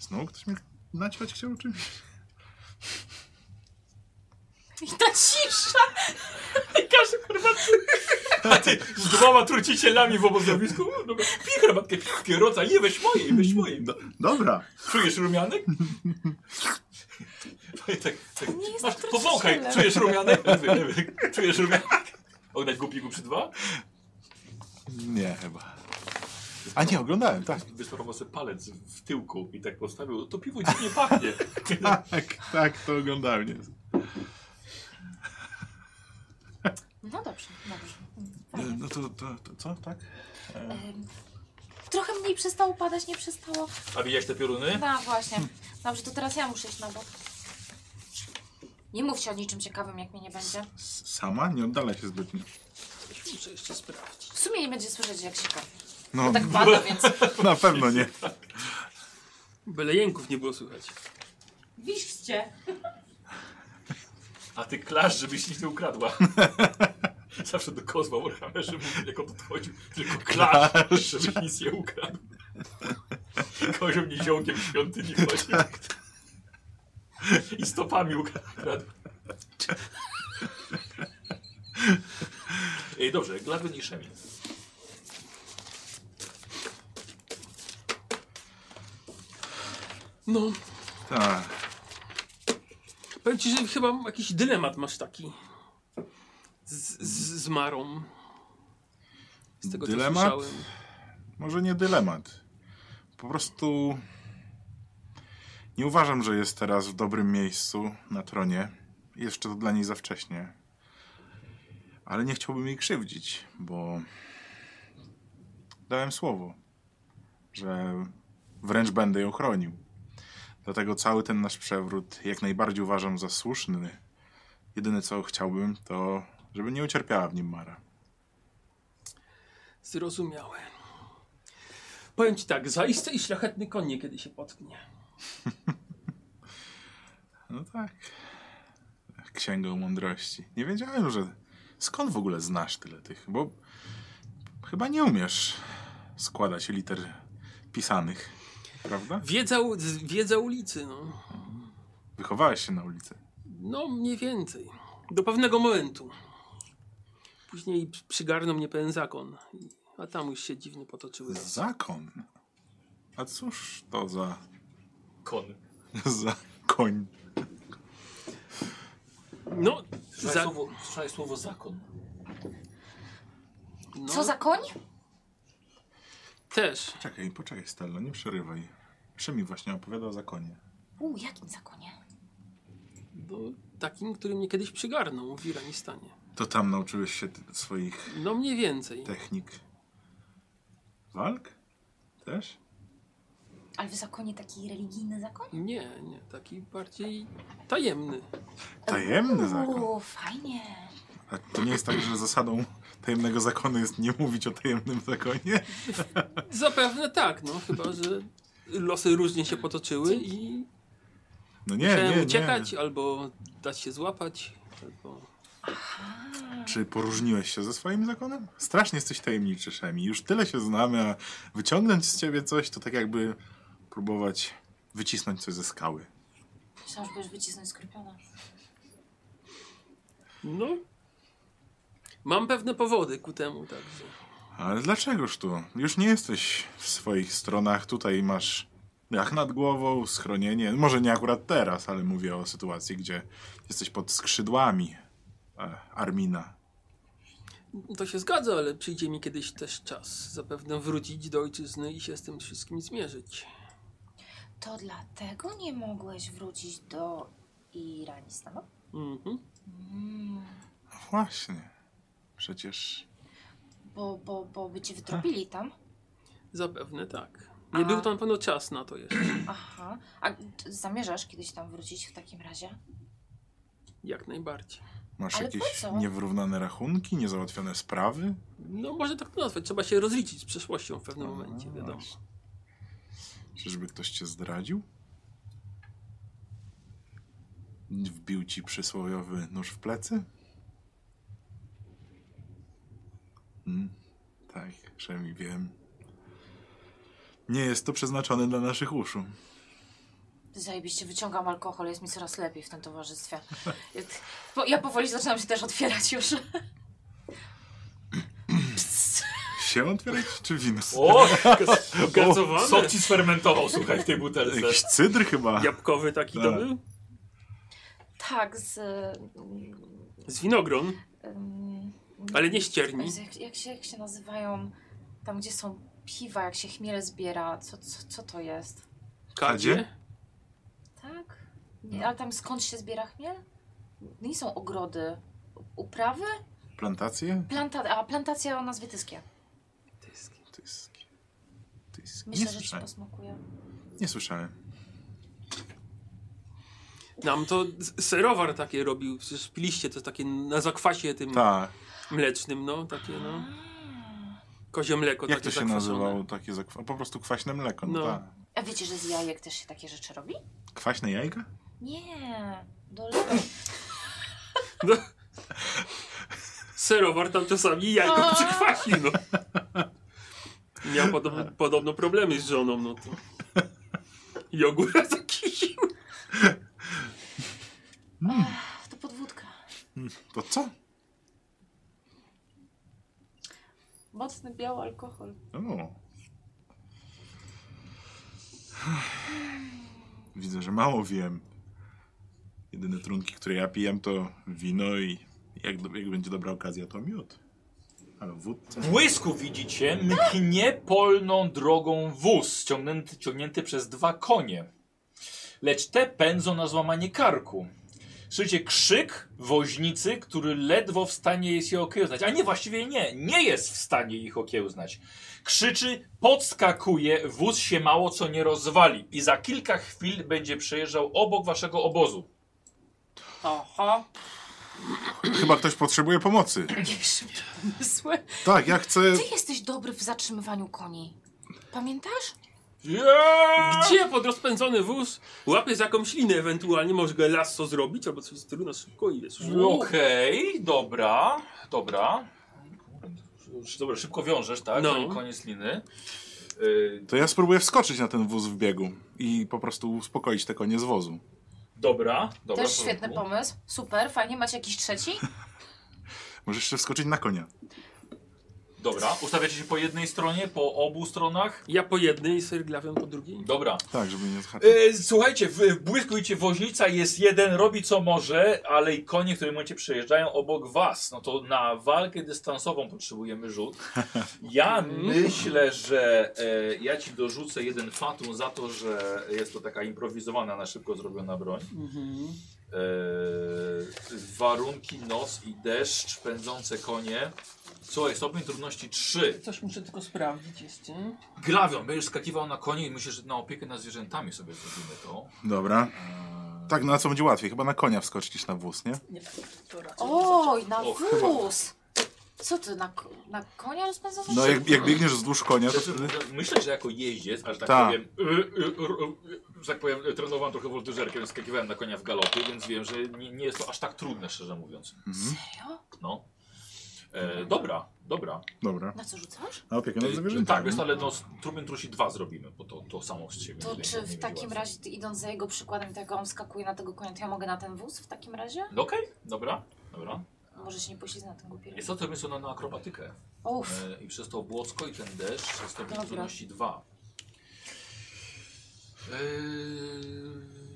Speaker 3: Znowu ktoś mnie naćpać chciał czymś?
Speaker 2: I ta cisza!
Speaker 1: A ty z dwoma trucicielami w obozowisku? No, dobra. Pij herbatkę, pij kieroca, nie weź mojej, weź mojej.
Speaker 3: Do, dobra.
Speaker 1: Czujesz rumianek? tak, tak, tak.
Speaker 2: Nie jest
Speaker 1: Masz,
Speaker 2: trucicielem.
Speaker 1: powąchaj, czujesz rumianek? czujesz rumianek? Oglądać gupiku przy dwa?
Speaker 3: Nie, chyba. A nie, oglądałem, tak.
Speaker 1: Wysparował sobie palec w tyłku i tak postawił, to piwo dziwnie pachnie.
Speaker 3: Tak, tak, to oglądałem. Nie.
Speaker 2: No dobrze, dobrze.
Speaker 3: No to, to, to co, tak?
Speaker 2: Ym, trochę mniej przestało padać, nie przestało.
Speaker 1: A widziałeś te pioruny?
Speaker 2: No właśnie. Dobrze, to teraz ja muszę iść na bok. Nie mówcie o niczym ciekawym, jak mnie nie będzie.
Speaker 3: S- Sama? Nie oddala się zbytnio.
Speaker 4: Coś muszę jeszcze sprawdzić.
Speaker 2: W sumie nie będzie słyszeć, jak się kapi.
Speaker 3: No,
Speaker 2: Tak
Speaker 3: (laughs)
Speaker 2: pada, więc
Speaker 3: na pewno nie.
Speaker 4: Byle jęków nie było słychać.
Speaker 2: wiszcie.
Speaker 1: A ty klasz, żebyś nic nie ukradła. (laughs) Zawsze do kozła Warhammerze mówił, jak on podchodził, tylko klasz, żebyś nic nie ukradł. (laughs) Kozioł niziołkiem w świątyni chodzi. I stopami ukradł. Ej, dobrze, Gladwin i Szemin.
Speaker 4: No,
Speaker 3: Tak.
Speaker 4: powiem ci, że chyba jakiś dylemat masz taki. Z, z, z Marą. Z tego,
Speaker 3: Dylemat?
Speaker 4: co słyszałem.
Speaker 3: Może nie dylemat. Po prostu nie uważam, że jest teraz w dobrym miejscu na tronie. Jeszcze to dla niej za wcześnie. Ale nie chciałbym jej krzywdzić, bo dałem słowo, że wręcz będę ją chronił. Dlatego cały ten nasz przewrót jak najbardziej uważam za słuszny. Jedyne co chciałbym, to żeby nie ucierpiała w nim Mara.
Speaker 4: Zrozumiałe. Powiem ci tak, zaiste i szlachetny koń niekiedy się potknie.
Speaker 3: No tak. Księgą mądrości. Nie wiedziałem, że. Skąd w ogóle znasz tyle tych? Bo chyba nie umiesz składać liter pisanych, prawda?
Speaker 4: Wiedza, u- z- wiedza ulicy, no.
Speaker 3: Wychowałeś się na ulicy.
Speaker 4: No, mniej więcej. Do pewnego momentu. Później p- przygarnął mnie pewien zakon. I- A tam już się dziwnie potoczyły. losy.
Speaker 3: Zakon. A cóż to za. (laughs)
Speaker 1: Kon.
Speaker 3: za koń?
Speaker 4: No,
Speaker 1: Słyszałeś,
Speaker 4: za,
Speaker 1: słowo, słyszałeś słowo zakon.
Speaker 4: no
Speaker 2: Co za koń?
Speaker 4: Też.
Speaker 3: Czekaj, poczekaj, Stella, nie przerywaj. Szymi właśnie opowiada o zakonie.
Speaker 2: U, jakim zakonie?
Speaker 4: No, takim, który mnie kiedyś przygarnął w Iranistanie.
Speaker 3: To tam nauczyłeś się ty- swoich
Speaker 4: No, mniej więcej.
Speaker 3: technik. Walk? Też?
Speaker 2: Ale w zakonie taki religijny zakon?
Speaker 4: Nie, nie, taki bardziej tajemny.
Speaker 3: Tajemny zakon.
Speaker 2: U, fajnie.
Speaker 3: A to nie jest tak, że zasadą tajemnego zakonu jest nie mówić o tajemnym zakonie?
Speaker 4: Zapewne tak, no, chyba że losy różnie się potoczyły i
Speaker 3: No nie,
Speaker 4: musiałem
Speaker 3: nie,
Speaker 4: uciekać
Speaker 3: nie.
Speaker 4: albo dać się złapać. Albo...
Speaker 3: Czy poróżniłeś się ze swoim zakonem? Strasznie jesteś tajemniczy, Szemi. Już tyle się znamy, a wyciągnąć z ciebie coś, to tak jakby próbować wycisnąć coś ze skały.
Speaker 2: Myślałam, że będziesz wycisnąć skorpiona.
Speaker 4: No. Mam pewne powody ku temu, także.
Speaker 3: Ale dlaczegoż tu? Już nie jesteś w swoich stronach. Tutaj masz dach nad głową, schronienie. Może nie akurat teraz, ale mówię o sytuacji, gdzie jesteś pod skrzydłami e, Armina.
Speaker 4: To się zgadza, ale przyjdzie mi kiedyś też czas. Zapewne wrócić do ojczyzny i się z tym wszystkim zmierzyć.
Speaker 2: To dlatego nie mogłeś wrócić do Iranistanu?
Speaker 4: Mhm.
Speaker 2: Mm,
Speaker 3: Właśnie. Przecież
Speaker 2: bo, bo, bo by cię wydrobili tam.
Speaker 4: Zapewne tak. Nie
Speaker 2: A-
Speaker 4: był tam pewno czas na to jeszcze.
Speaker 2: Aha. A t- zamierzasz kiedyś tam wrócić w takim razie?
Speaker 4: Jak najbardziej.
Speaker 3: masz
Speaker 2: Ale po
Speaker 3: jakieś
Speaker 2: co?
Speaker 3: niewyrównane rachunki, niezałatwione sprawy.
Speaker 4: No może tak to nazwać. Trzeba się rozliczyć z przeszłością w pewnym
Speaker 3: No,
Speaker 4: momencie,
Speaker 3: no
Speaker 4: wiadomo.
Speaker 3: właśnie. Czyżby ktoś cię zdradził? Wbił ci przysłowiowy nóż w plecy? Mm, tak, przynajmniej wiem. Nie jest to przeznaczone dla naszych uszu.
Speaker 2: Zajebiście, wyciągam alkohol, jest mi coraz lepiej w tym towarzystwie. Ja- po- Ja powoli zaczynam się też otwierać już. Psst.
Speaker 3: Się otwierać czy wino?
Speaker 1: O!
Speaker 4: Gazowane.
Speaker 1: Sok ci sfermentował, słuchaj, w tej butelce.
Speaker 3: Jakiś cydr chyba.
Speaker 4: Jabłkowy taki to
Speaker 3: Tak.
Speaker 4: był?
Speaker 2: Tak, z... mm,
Speaker 4: Z winogron,
Speaker 2: mm,
Speaker 4: ale nie ścierni.
Speaker 2: Jak, jak, się, jak się nazywają tam, gdzie są piwa, jak się chmiele zbiera? Co, co, co to jest?
Speaker 4: Kadzie?
Speaker 2: Tak? Nie, ale tam skąd się zbiera chmiel? Nie są ogrody. Uprawy?
Speaker 3: Plantacje?
Speaker 2: Planta, a plantacja o nazwie Tyskie.
Speaker 3: Tyski. To jest...
Speaker 2: Myślę,
Speaker 3: nie,
Speaker 2: że ci
Speaker 3: słyszałem.
Speaker 2: posmakuje.
Speaker 3: nie słyszałem.
Speaker 4: Nam to s- serowar takie robił, przecież piliście to takie na zakwasie tym
Speaker 3: Tak.
Speaker 4: mlecznym, no, takie no, kozie mleko
Speaker 3: Jak
Speaker 4: takie
Speaker 3: to się
Speaker 4: zakwaszone.
Speaker 3: nazywało? Takie zakwa... Po prostu kwaśne mleko. No.
Speaker 4: No.
Speaker 3: tak.
Speaker 2: A wiecie, że z jajek też się takie rzeczy robi?
Speaker 3: Kwaśne jajka?
Speaker 2: Nie, do lewej.
Speaker 4: No. Serowar tam czasami jajko
Speaker 2: A.
Speaker 4: przykwasi, no. Miał podobno, podobno problemy z żoną, no to. (laughs) Jogura zakisił.
Speaker 2: Ach, To podwódka.
Speaker 3: To co?
Speaker 2: Mocny biały alkohol.
Speaker 3: O. (sighs) Widzę, że mało wiem. Jedyne trunki, które ja pijam, to wino i jak, do, jak będzie dobra okazja, to miód. Ale wódce.
Speaker 1: W błysku widzicie mknie polną drogą wóz, ciągnięty, ciągnięty przez dwa konie. Lecz te pędzą na złamanie karku. Słyszycie krzyk woźnicy, który ledwo w stanie jest je okiełznać. A nie, właściwie nie, nie jest w stanie ich okiełznać. Krzyczy, podskakuje, wóz się mało co nie rozwali i za kilka chwil będzie przejeżdżał obok waszego obozu.
Speaker 2: Oho, (laughs)
Speaker 3: Chyba ktoś potrzebuje (clears throat) pomocy.
Speaker 2: jakieś pomysły.
Speaker 3: Tak, ja chcę.
Speaker 2: Ty jesteś dobry w zatrzymywaniu koni. Pamiętasz?
Speaker 4: Gdzie pod rozpędzony wóz łapie za jakąś linę ewentualnie, może go lasso zrobić albo coś z tylu na szybko i wiesz.
Speaker 1: Okej, dobra, dobra. Dobra, szybko wiążesz, tak?
Speaker 4: No.
Speaker 1: No. Koniec liny. Yy,
Speaker 3: To ja spróbuję wskoczyć na ten wóz w biegu i po prostu uspokoić te konie z wozu.
Speaker 1: dobra, dobra.
Speaker 2: Też
Speaker 1: w
Speaker 2: świetny
Speaker 1: porządku.
Speaker 2: pomysł. Super, fajnie. Macie jakiś trzeci?
Speaker 3: Możesz jeszcze wskoczyć na konia.
Speaker 1: Dobra, ustawiacie się po jednej stronie, po obu stronach.
Speaker 4: Ja po jednej, serglawiam po drugiej.
Speaker 1: Dobra.
Speaker 3: Tak, żeby nie zhaczyć.
Speaker 1: Yy, słuchajcie, w, w błysku idzie woźnica, jest jeden, robi co może, ale i konie, w którym momencie przejeżdżają obok was. No to na walkę dystansową potrzebujemy rzut. Ja myślę, że e, ja ci dorzucę jeden fatum za to, że jest to taka improwizowana, na szybko zrobiona broń.
Speaker 4: Mhm.
Speaker 1: Eee, warunki, noc i deszcz, pędzące konie. Słuchaj, stopień trudności 3.
Speaker 4: Coś muszę tylko sprawdzić jeszcze.
Speaker 1: Glawion, będziesz skakiwał na konie i myślę, że na opiekę nad zwierzętami sobie zrobimy to.
Speaker 3: Dobra.
Speaker 1: Eee,
Speaker 3: Tak, na co będzie łatwiej? Chyba na konia wskoczyć niż na wóz, nie?
Speaker 4: Nie, to raczej
Speaker 2: Oj, na
Speaker 1: Och,
Speaker 2: wóz. Co ty, na, ko- na konia rozpędzałeś?
Speaker 3: No, jak, jak biegniesz wzdłuż konia, to
Speaker 1: znaczy,
Speaker 3: wtedy.
Speaker 1: Myślę, że jako jeździec, aż tak
Speaker 3: Tak.
Speaker 1: powiem, y, y, y, y, y, że tak powiem, y, trenowałem trochę woltyżerkiem, skakiwałem na konia w galopie, więc wiem, że nie, nie jest to aż tak trudne, szczerze mówiąc.
Speaker 3: Mhm.
Speaker 2: Serio?
Speaker 1: No. Eee, dobra, dobra.
Speaker 3: Dobra.
Speaker 2: Na co rzucasz?
Speaker 3: Na opiekę nad
Speaker 1: Eee,
Speaker 3: zwierzętami.
Speaker 1: tak, wiesz, ale no, trumien trusi 2 zrobimy, bo to, to samo z siebie.
Speaker 2: To
Speaker 1: nie-
Speaker 2: czy
Speaker 1: nie
Speaker 2: w
Speaker 1: będzie
Speaker 2: takim
Speaker 1: łatwe.
Speaker 2: razie, ty, idąc za jego przykładem, tego on skakuje na tego konia, to ja mogę na ten wóz w takim razie?
Speaker 1: No okej, dobra, dobra.
Speaker 2: Może się nie poślizgnę na tym głupie.
Speaker 1: Jest to to jest ona na akrobatykę.
Speaker 2: Uff,
Speaker 1: E, I przez to błocko i ten deszcz jest to
Speaker 2: Dobra.
Speaker 1: trudności 2. E,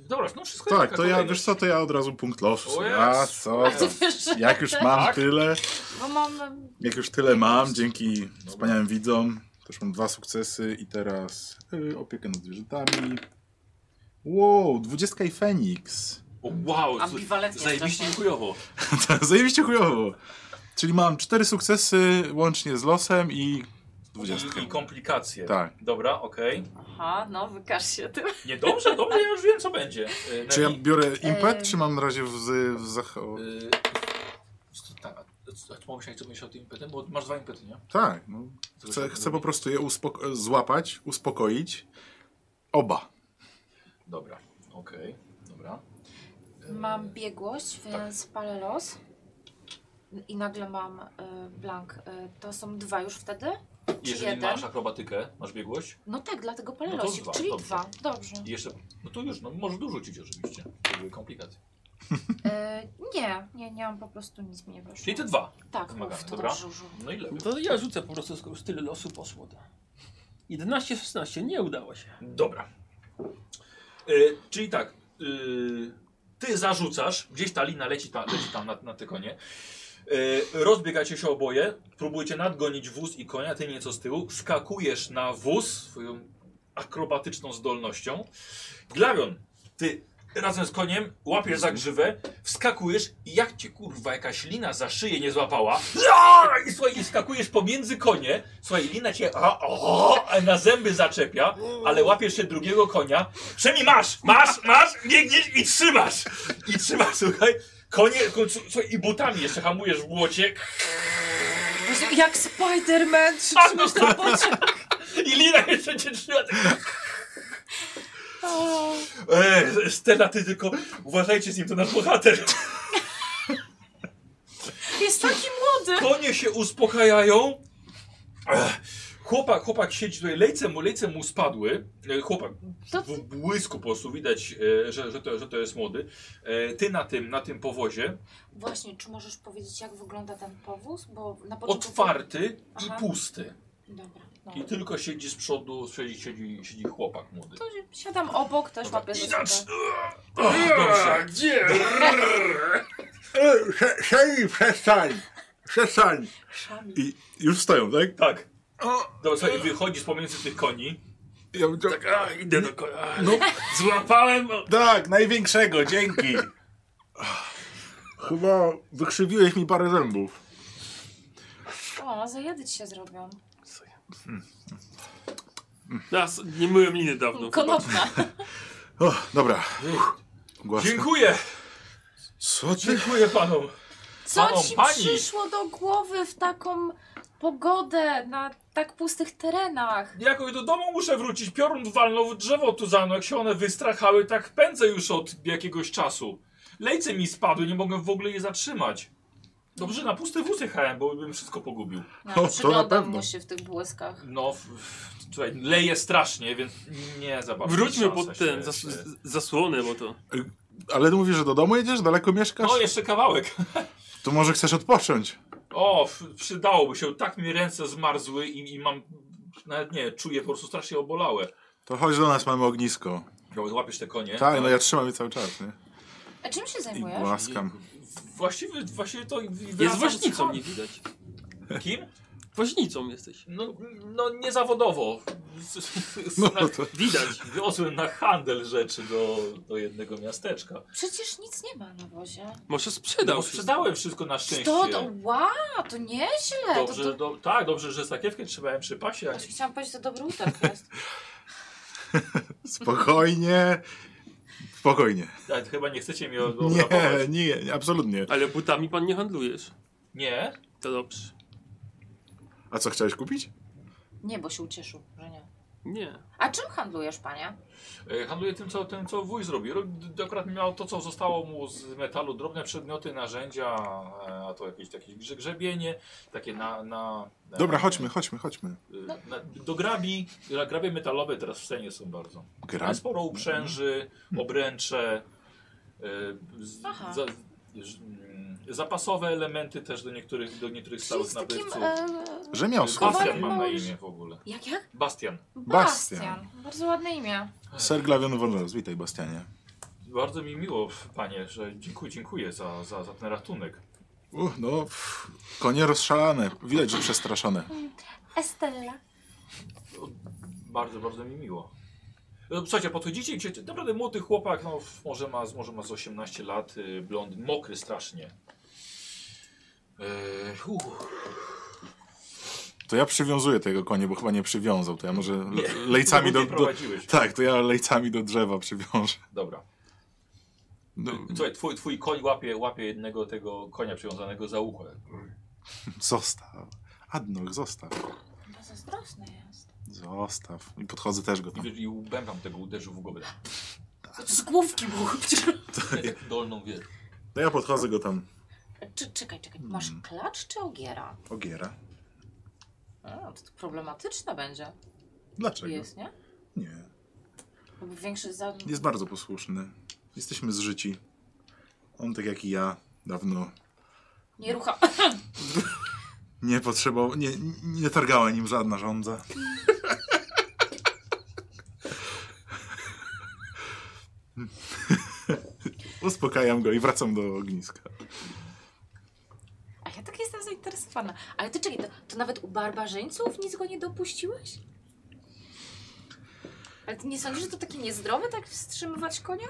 Speaker 1: dobra, no wszystko jest
Speaker 3: Tak,
Speaker 1: taka
Speaker 3: to ja,
Speaker 1: kolejność.
Speaker 3: wiesz co, to ja od razu punkt losu.
Speaker 1: O
Speaker 3: sobie.
Speaker 1: Jezu.
Speaker 3: A co?
Speaker 2: a ty wiesz, że...
Speaker 3: Jak już mam
Speaker 1: Tak?
Speaker 3: tyle,
Speaker 2: Bo mam... em,
Speaker 3: jak już tyle mam, dzięki wspaniałym widzom, też mam dwa sukcesy i teraz y, opiekę nad zwierzętami. Wow, 20 i Feniks.
Speaker 1: O, wow,
Speaker 2: Ambiwalentnie
Speaker 1: zajebiście
Speaker 2: strasznie.
Speaker 1: i chujowo.
Speaker 3: To (laughs) Zajebiście chujowo. Czyli mam cztery sukcesy łącznie z losem i 20.
Speaker 1: I, I komplikacje.
Speaker 3: Tak.
Speaker 1: Dobra, okej.
Speaker 2: Aha, no wykaż się tym.
Speaker 1: Nie, dobrze, dobrze, ja już wiem co będzie. E,
Speaker 3: Czy ja
Speaker 1: Nemi,
Speaker 3: biorę impet,
Speaker 2: Em.
Speaker 3: czy mam na razie w, w zach-
Speaker 1: e, co- tak, a co- a pomyślałeś co myślisz o tym impetem? Bo masz dwa impety, nie?
Speaker 3: Tak, no. Chcę, chcę po prostu je uspoko- złapać, uspokoić. Oba.
Speaker 1: Dobra, okej, dobra. E,
Speaker 2: Mam
Speaker 1: Tak.
Speaker 2: biegłość, więc palę los. I nagle mam y, blank. Y, to są dwa już wtedy?
Speaker 1: Jeżeli
Speaker 2: jeden.
Speaker 1: masz akrobatykę, masz biegłość?
Speaker 2: No tak, dlatego palę
Speaker 1: No to
Speaker 2: losik,
Speaker 1: dwa,
Speaker 2: czyli
Speaker 1: dobrze.
Speaker 2: dwa. Dobrze.
Speaker 1: I jeszcze, no to już, no możesz dorzucić oczywiście. To były komplikacje.
Speaker 2: Y, nie, nie, nie mam po prostu nic mi nie wyszło.
Speaker 1: Czyli te dwa.
Speaker 2: Tak,
Speaker 1: wymagane,
Speaker 2: mów, to
Speaker 1: dobra?
Speaker 2: dobrze użył.
Speaker 1: No i lepiej.
Speaker 4: To ja rzucę po prostu, skoro już tyle losu poszło. To. 11-16, nie udało się.
Speaker 1: Dobra. Y, czyli tak, y, ty zarzucasz, gdzieś ta lina leci, ta, leci tam na, na te konie. Y, rozbiegacie się oboje, próbujecie nadgonić wóz i konia, ty nieco z tyłu. Skakujesz na wóz swoją akrobatyczną zdolnością. Glawion, ty razem z koniem, łapiesz za grzywę, wskakujesz i jak cię kurwa jakaś lina za szyję nie złapała Aaa! i słuchaj, i skakujesz pomiędzy konie, słuchaj, lina cię a, o, a na zęby zaczepia, ale łapiesz się drugiego konia, Przemi masz, masz, masz, biegniesz i trzymasz, i trzymasz, słuchaj, konie, ko- słuchaj, i butami jeszcze hamujesz w błocie
Speaker 2: Jezu, jak Spider-Man
Speaker 1: A,
Speaker 2: trzymasz na bocie.
Speaker 1: (laughs) i lina jeszcze cię trzyma. E, Stella, ty tylko uważajcie z nim, to nasz bohater.
Speaker 2: Jest taki młody.
Speaker 1: Konie się uspokajają. Ech. Chłopak, chłopak siedzi tutaj, lejce mu, lejce mu spadły. E, Chłopak
Speaker 2: To-
Speaker 1: w błysku po prostu widać, e, że, że, to, że to jest młody. E, Ty na tym, na tym powozie,
Speaker 2: Właśnie, czy możesz powiedzieć, jak wygląda ten powóz? Bo na początku...
Speaker 1: otwarty i
Speaker 2: Aha.
Speaker 1: pusty.
Speaker 2: Dobra, no.
Speaker 1: I tylko siedzi z przodu, siedzi, siedzi, siedzi chłopak młody.
Speaker 2: To siadam obok, też łapię
Speaker 1: I
Speaker 2: za
Speaker 1: zacz...
Speaker 2: sobą.
Speaker 1: Ach, Dobrze.
Speaker 3: Gdzie? Hej, przestań! Przestań!
Speaker 2: Szami.
Speaker 3: I już stoją, tak?
Speaker 1: Tak.
Speaker 3: O,
Speaker 1: Dobrze, i wychodzi z pomiędzy tych koni.
Speaker 3: ja bym chciał...
Speaker 4: Tak, A, idę do końca.
Speaker 3: No,
Speaker 4: Złapałem. o-
Speaker 3: tak, największego, dzięki! Chyba wykrzywiłeś mi parę zębów.
Speaker 2: O, zajadę ci się zrobią.
Speaker 4: Nas, nie myłem liny
Speaker 1: No
Speaker 4: dawno.
Speaker 2: Konopna.
Speaker 3: O, dobra. Uff, Głaska.
Speaker 1: Dziękuję,
Speaker 3: Co ty?
Speaker 1: dziękuję panom. Panom,
Speaker 2: Co ci
Speaker 1: pani!
Speaker 2: przyszło do głowy w taką pogodę na tak pustych terenach?
Speaker 1: Jakoś do domu muszę wrócić. Piorun walnął w drzewo tu za jak się one wystrachały, tak pędzę już od jakiegoś czasu. Lejce mi spadły, nie mogę w ogóle je zatrzymać. Dobrze, na pusty wóz jechałem, bo bym wszystko pogubił.
Speaker 2: No,
Speaker 3: (laughs) to na
Speaker 2: przyglądam
Speaker 3: pewno.
Speaker 2: mu się w tych błyskach.
Speaker 1: No, w, w, słuchaj, leje strasznie, więc nie za bardzo.
Speaker 4: Wróćmy
Speaker 1: szansa
Speaker 4: pod
Speaker 1: się-
Speaker 4: ten zas
Speaker 1: się-
Speaker 4: z- zasłonę, bo to.
Speaker 3: Ale ty mówisz, że do domu jedziesz? Daleko mieszkasz?
Speaker 1: No, jeszcze kawałek.
Speaker 3: To może chcesz odpocząć?
Speaker 1: O, f- przydałoby się. Tak mi ręce zmarzły i, i mam, nawet nie, czuję po prostu strasznie obolałe.
Speaker 3: To chodź do nas, mamy ognisko.
Speaker 1: No, Łapiesz te konie.
Speaker 3: Tak, no ja trzymam je cały czas, nie?
Speaker 2: A czym się
Speaker 3: I
Speaker 2: zajmujesz?
Speaker 3: głaskam.
Speaker 1: Właściwie, właściwie to...
Speaker 4: Jest
Speaker 1: wracam z
Speaker 4: woźnicą,
Speaker 1: kon-
Speaker 4: nie widać.
Speaker 1: Kim?
Speaker 4: Woźnicą jesteś.
Speaker 1: No, no niezawodowo. Z- z- z-
Speaker 3: No
Speaker 1: na-
Speaker 3: to...
Speaker 4: Widać.
Speaker 1: Wiozłem na handel rzeczy do, do jednego miasteczka.
Speaker 2: Przecież nic nie ma na wozie.
Speaker 4: Może
Speaker 1: No,
Speaker 4: sprzedał.
Speaker 1: bo
Speaker 4: wszystko.
Speaker 1: sprzedałem wszystko na szczęście.
Speaker 2: To, to, wow, to nieźle.
Speaker 1: Dobrze,
Speaker 2: To, to,
Speaker 1: Do, tak, dobrze, że sakiewkę trzymałem przy pasie. a nie-
Speaker 2: Właśnie Chciałam powiedzieć, że to dobry utarg jest. (laughs)
Speaker 3: Spokojnie. Spokojnie.
Speaker 1: Ale chyba nie chcecie mnie od-
Speaker 3: Nie,
Speaker 1: obrabować.
Speaker 3: nie, nie, absolutnie.
Speaker 4: Ale butami pan nie handlujesz.
Speaker 1: Nie?
Speaker 4: To dobrze.
Speaker 3: A co chciałeś kupić?
Speaker 2: Nie, bo się ucieszył, że nie.
Speaker 4: Nie.
Speaker 2: A czym handlujesz, panie?
Speaker 1: E, Handluję tym, co, tym, co wuj zrobił. Ro- d- Akurat miał to, co zostało mu z metalu, drobne przedmioty, narzędzia, e, a to jakieś takie grze- grzebienie, takie na... na, na
Speaker 3: Dobra, chodźmy, chodźmy, chodźmy.
Speaker 1: e, Na, do grabi, gra- grabie metalowe teraz w cenie są bardzo.
Speaker 3: Gra... Mhm.
Speaker 1: Tam sporo uprzęży, obręcze, e, z,
Speaker 2: Aha.
Speaker 1: za, z, mm, zapasowe elementy też do niektórych, do niektórych
Speaker 2: Czyli
Speaker 1: stałych
Speaker 2: z takim...
Speaker 1: nabywców.
Speaker 2: E,
Speaker 3: Rzemiosło.
Speaker 1: Bastian mam na
Speaker 2: Kowalem
Speaker 1: imię w ogóle.
Speaker 2: jak, jak?
Speaker 1: Bastian.
Speaker 3: Bastian.
Speaker 2: Bardzo ładne imię.
Speaker 3: Ser Glawion Wolnos, witaj Bastianie.
Speaker 1: Bardzo mi miło, panie, że dziękuję, dziękuję za, za, za ten ratunek.
Speaker 3: Uch, no, pff, konie rozszalane. Widać, że przestraszone.
Speaker 2: Estella.
Speaker 1: Bardzo, bardzo mi miło. No, Słuchajcie, podchodzicie i gdzie naprawdę młody chłopak, no f- może ma, z- może ma z 18 lat, y, blond, mokry strasznie. Eee, uh,
Speaker 3: To ja przywiązuję tego konie, bo chyba nie przywiązał. To ja może le-
Speaker 1: (laughs) Nie.
Speaker 3: lejcami
Speaker 1: Ty
Speaker 3: do, do...
Speaker 1: prowadziłeś.
Speaker 3: Tak, to ja lejcami do drzewa przywiążę.
Speaker 1: Dobra.
Speaker 3: No,
Speaker 1: Słuchaj, twój, twój koń łapie, łapie jednego tego konia przywiązanego za ucho.
Speaker 3: zostaw. Adnok, zostaw.
Speaker 2: To zazdrosny jest.
Speaker 3: Zostaw. I podchodzę też go
Speaker 1: I,
Speaker 3: tam.
Speaker 1: wiesz, i bębam tego uderzył w głowę.
Speaker 2: Z główki mu.
Speaker 1: Tak dolną wiesz.
Speaker 3: No ja podchodzę go tam.
Speaker 2: Czy, czekaj, czekaj. Masz klacz czy ogiera?
Speaker 3: Ogiera.
Speaker 2: A, to, to problematyczne będzie.
Speaker 3: Dlaczego?
Speaker 2: Jest, nie?
Speaker 3: Nie.
Speaker 2: Bo większy za...
Speaker 3: Jest bardzo posłuszny. Jesteśmy zżyci. On tak jak i ja dawno
Speaker 2: Nie rucha.
Speaker 3: nie potrzebował, nie, nie targała nim żadna żądza. Uspokajam go i wracam do ogniska.
Speaker 2: A ja tak jestem zainteresowana. Ale ty czekaj, to, to nawet u barbarzyńców nic go nie dopuściłeś? Ale ty nie sądzisz, że to takie niezdrowe tak wstrzymywać konia?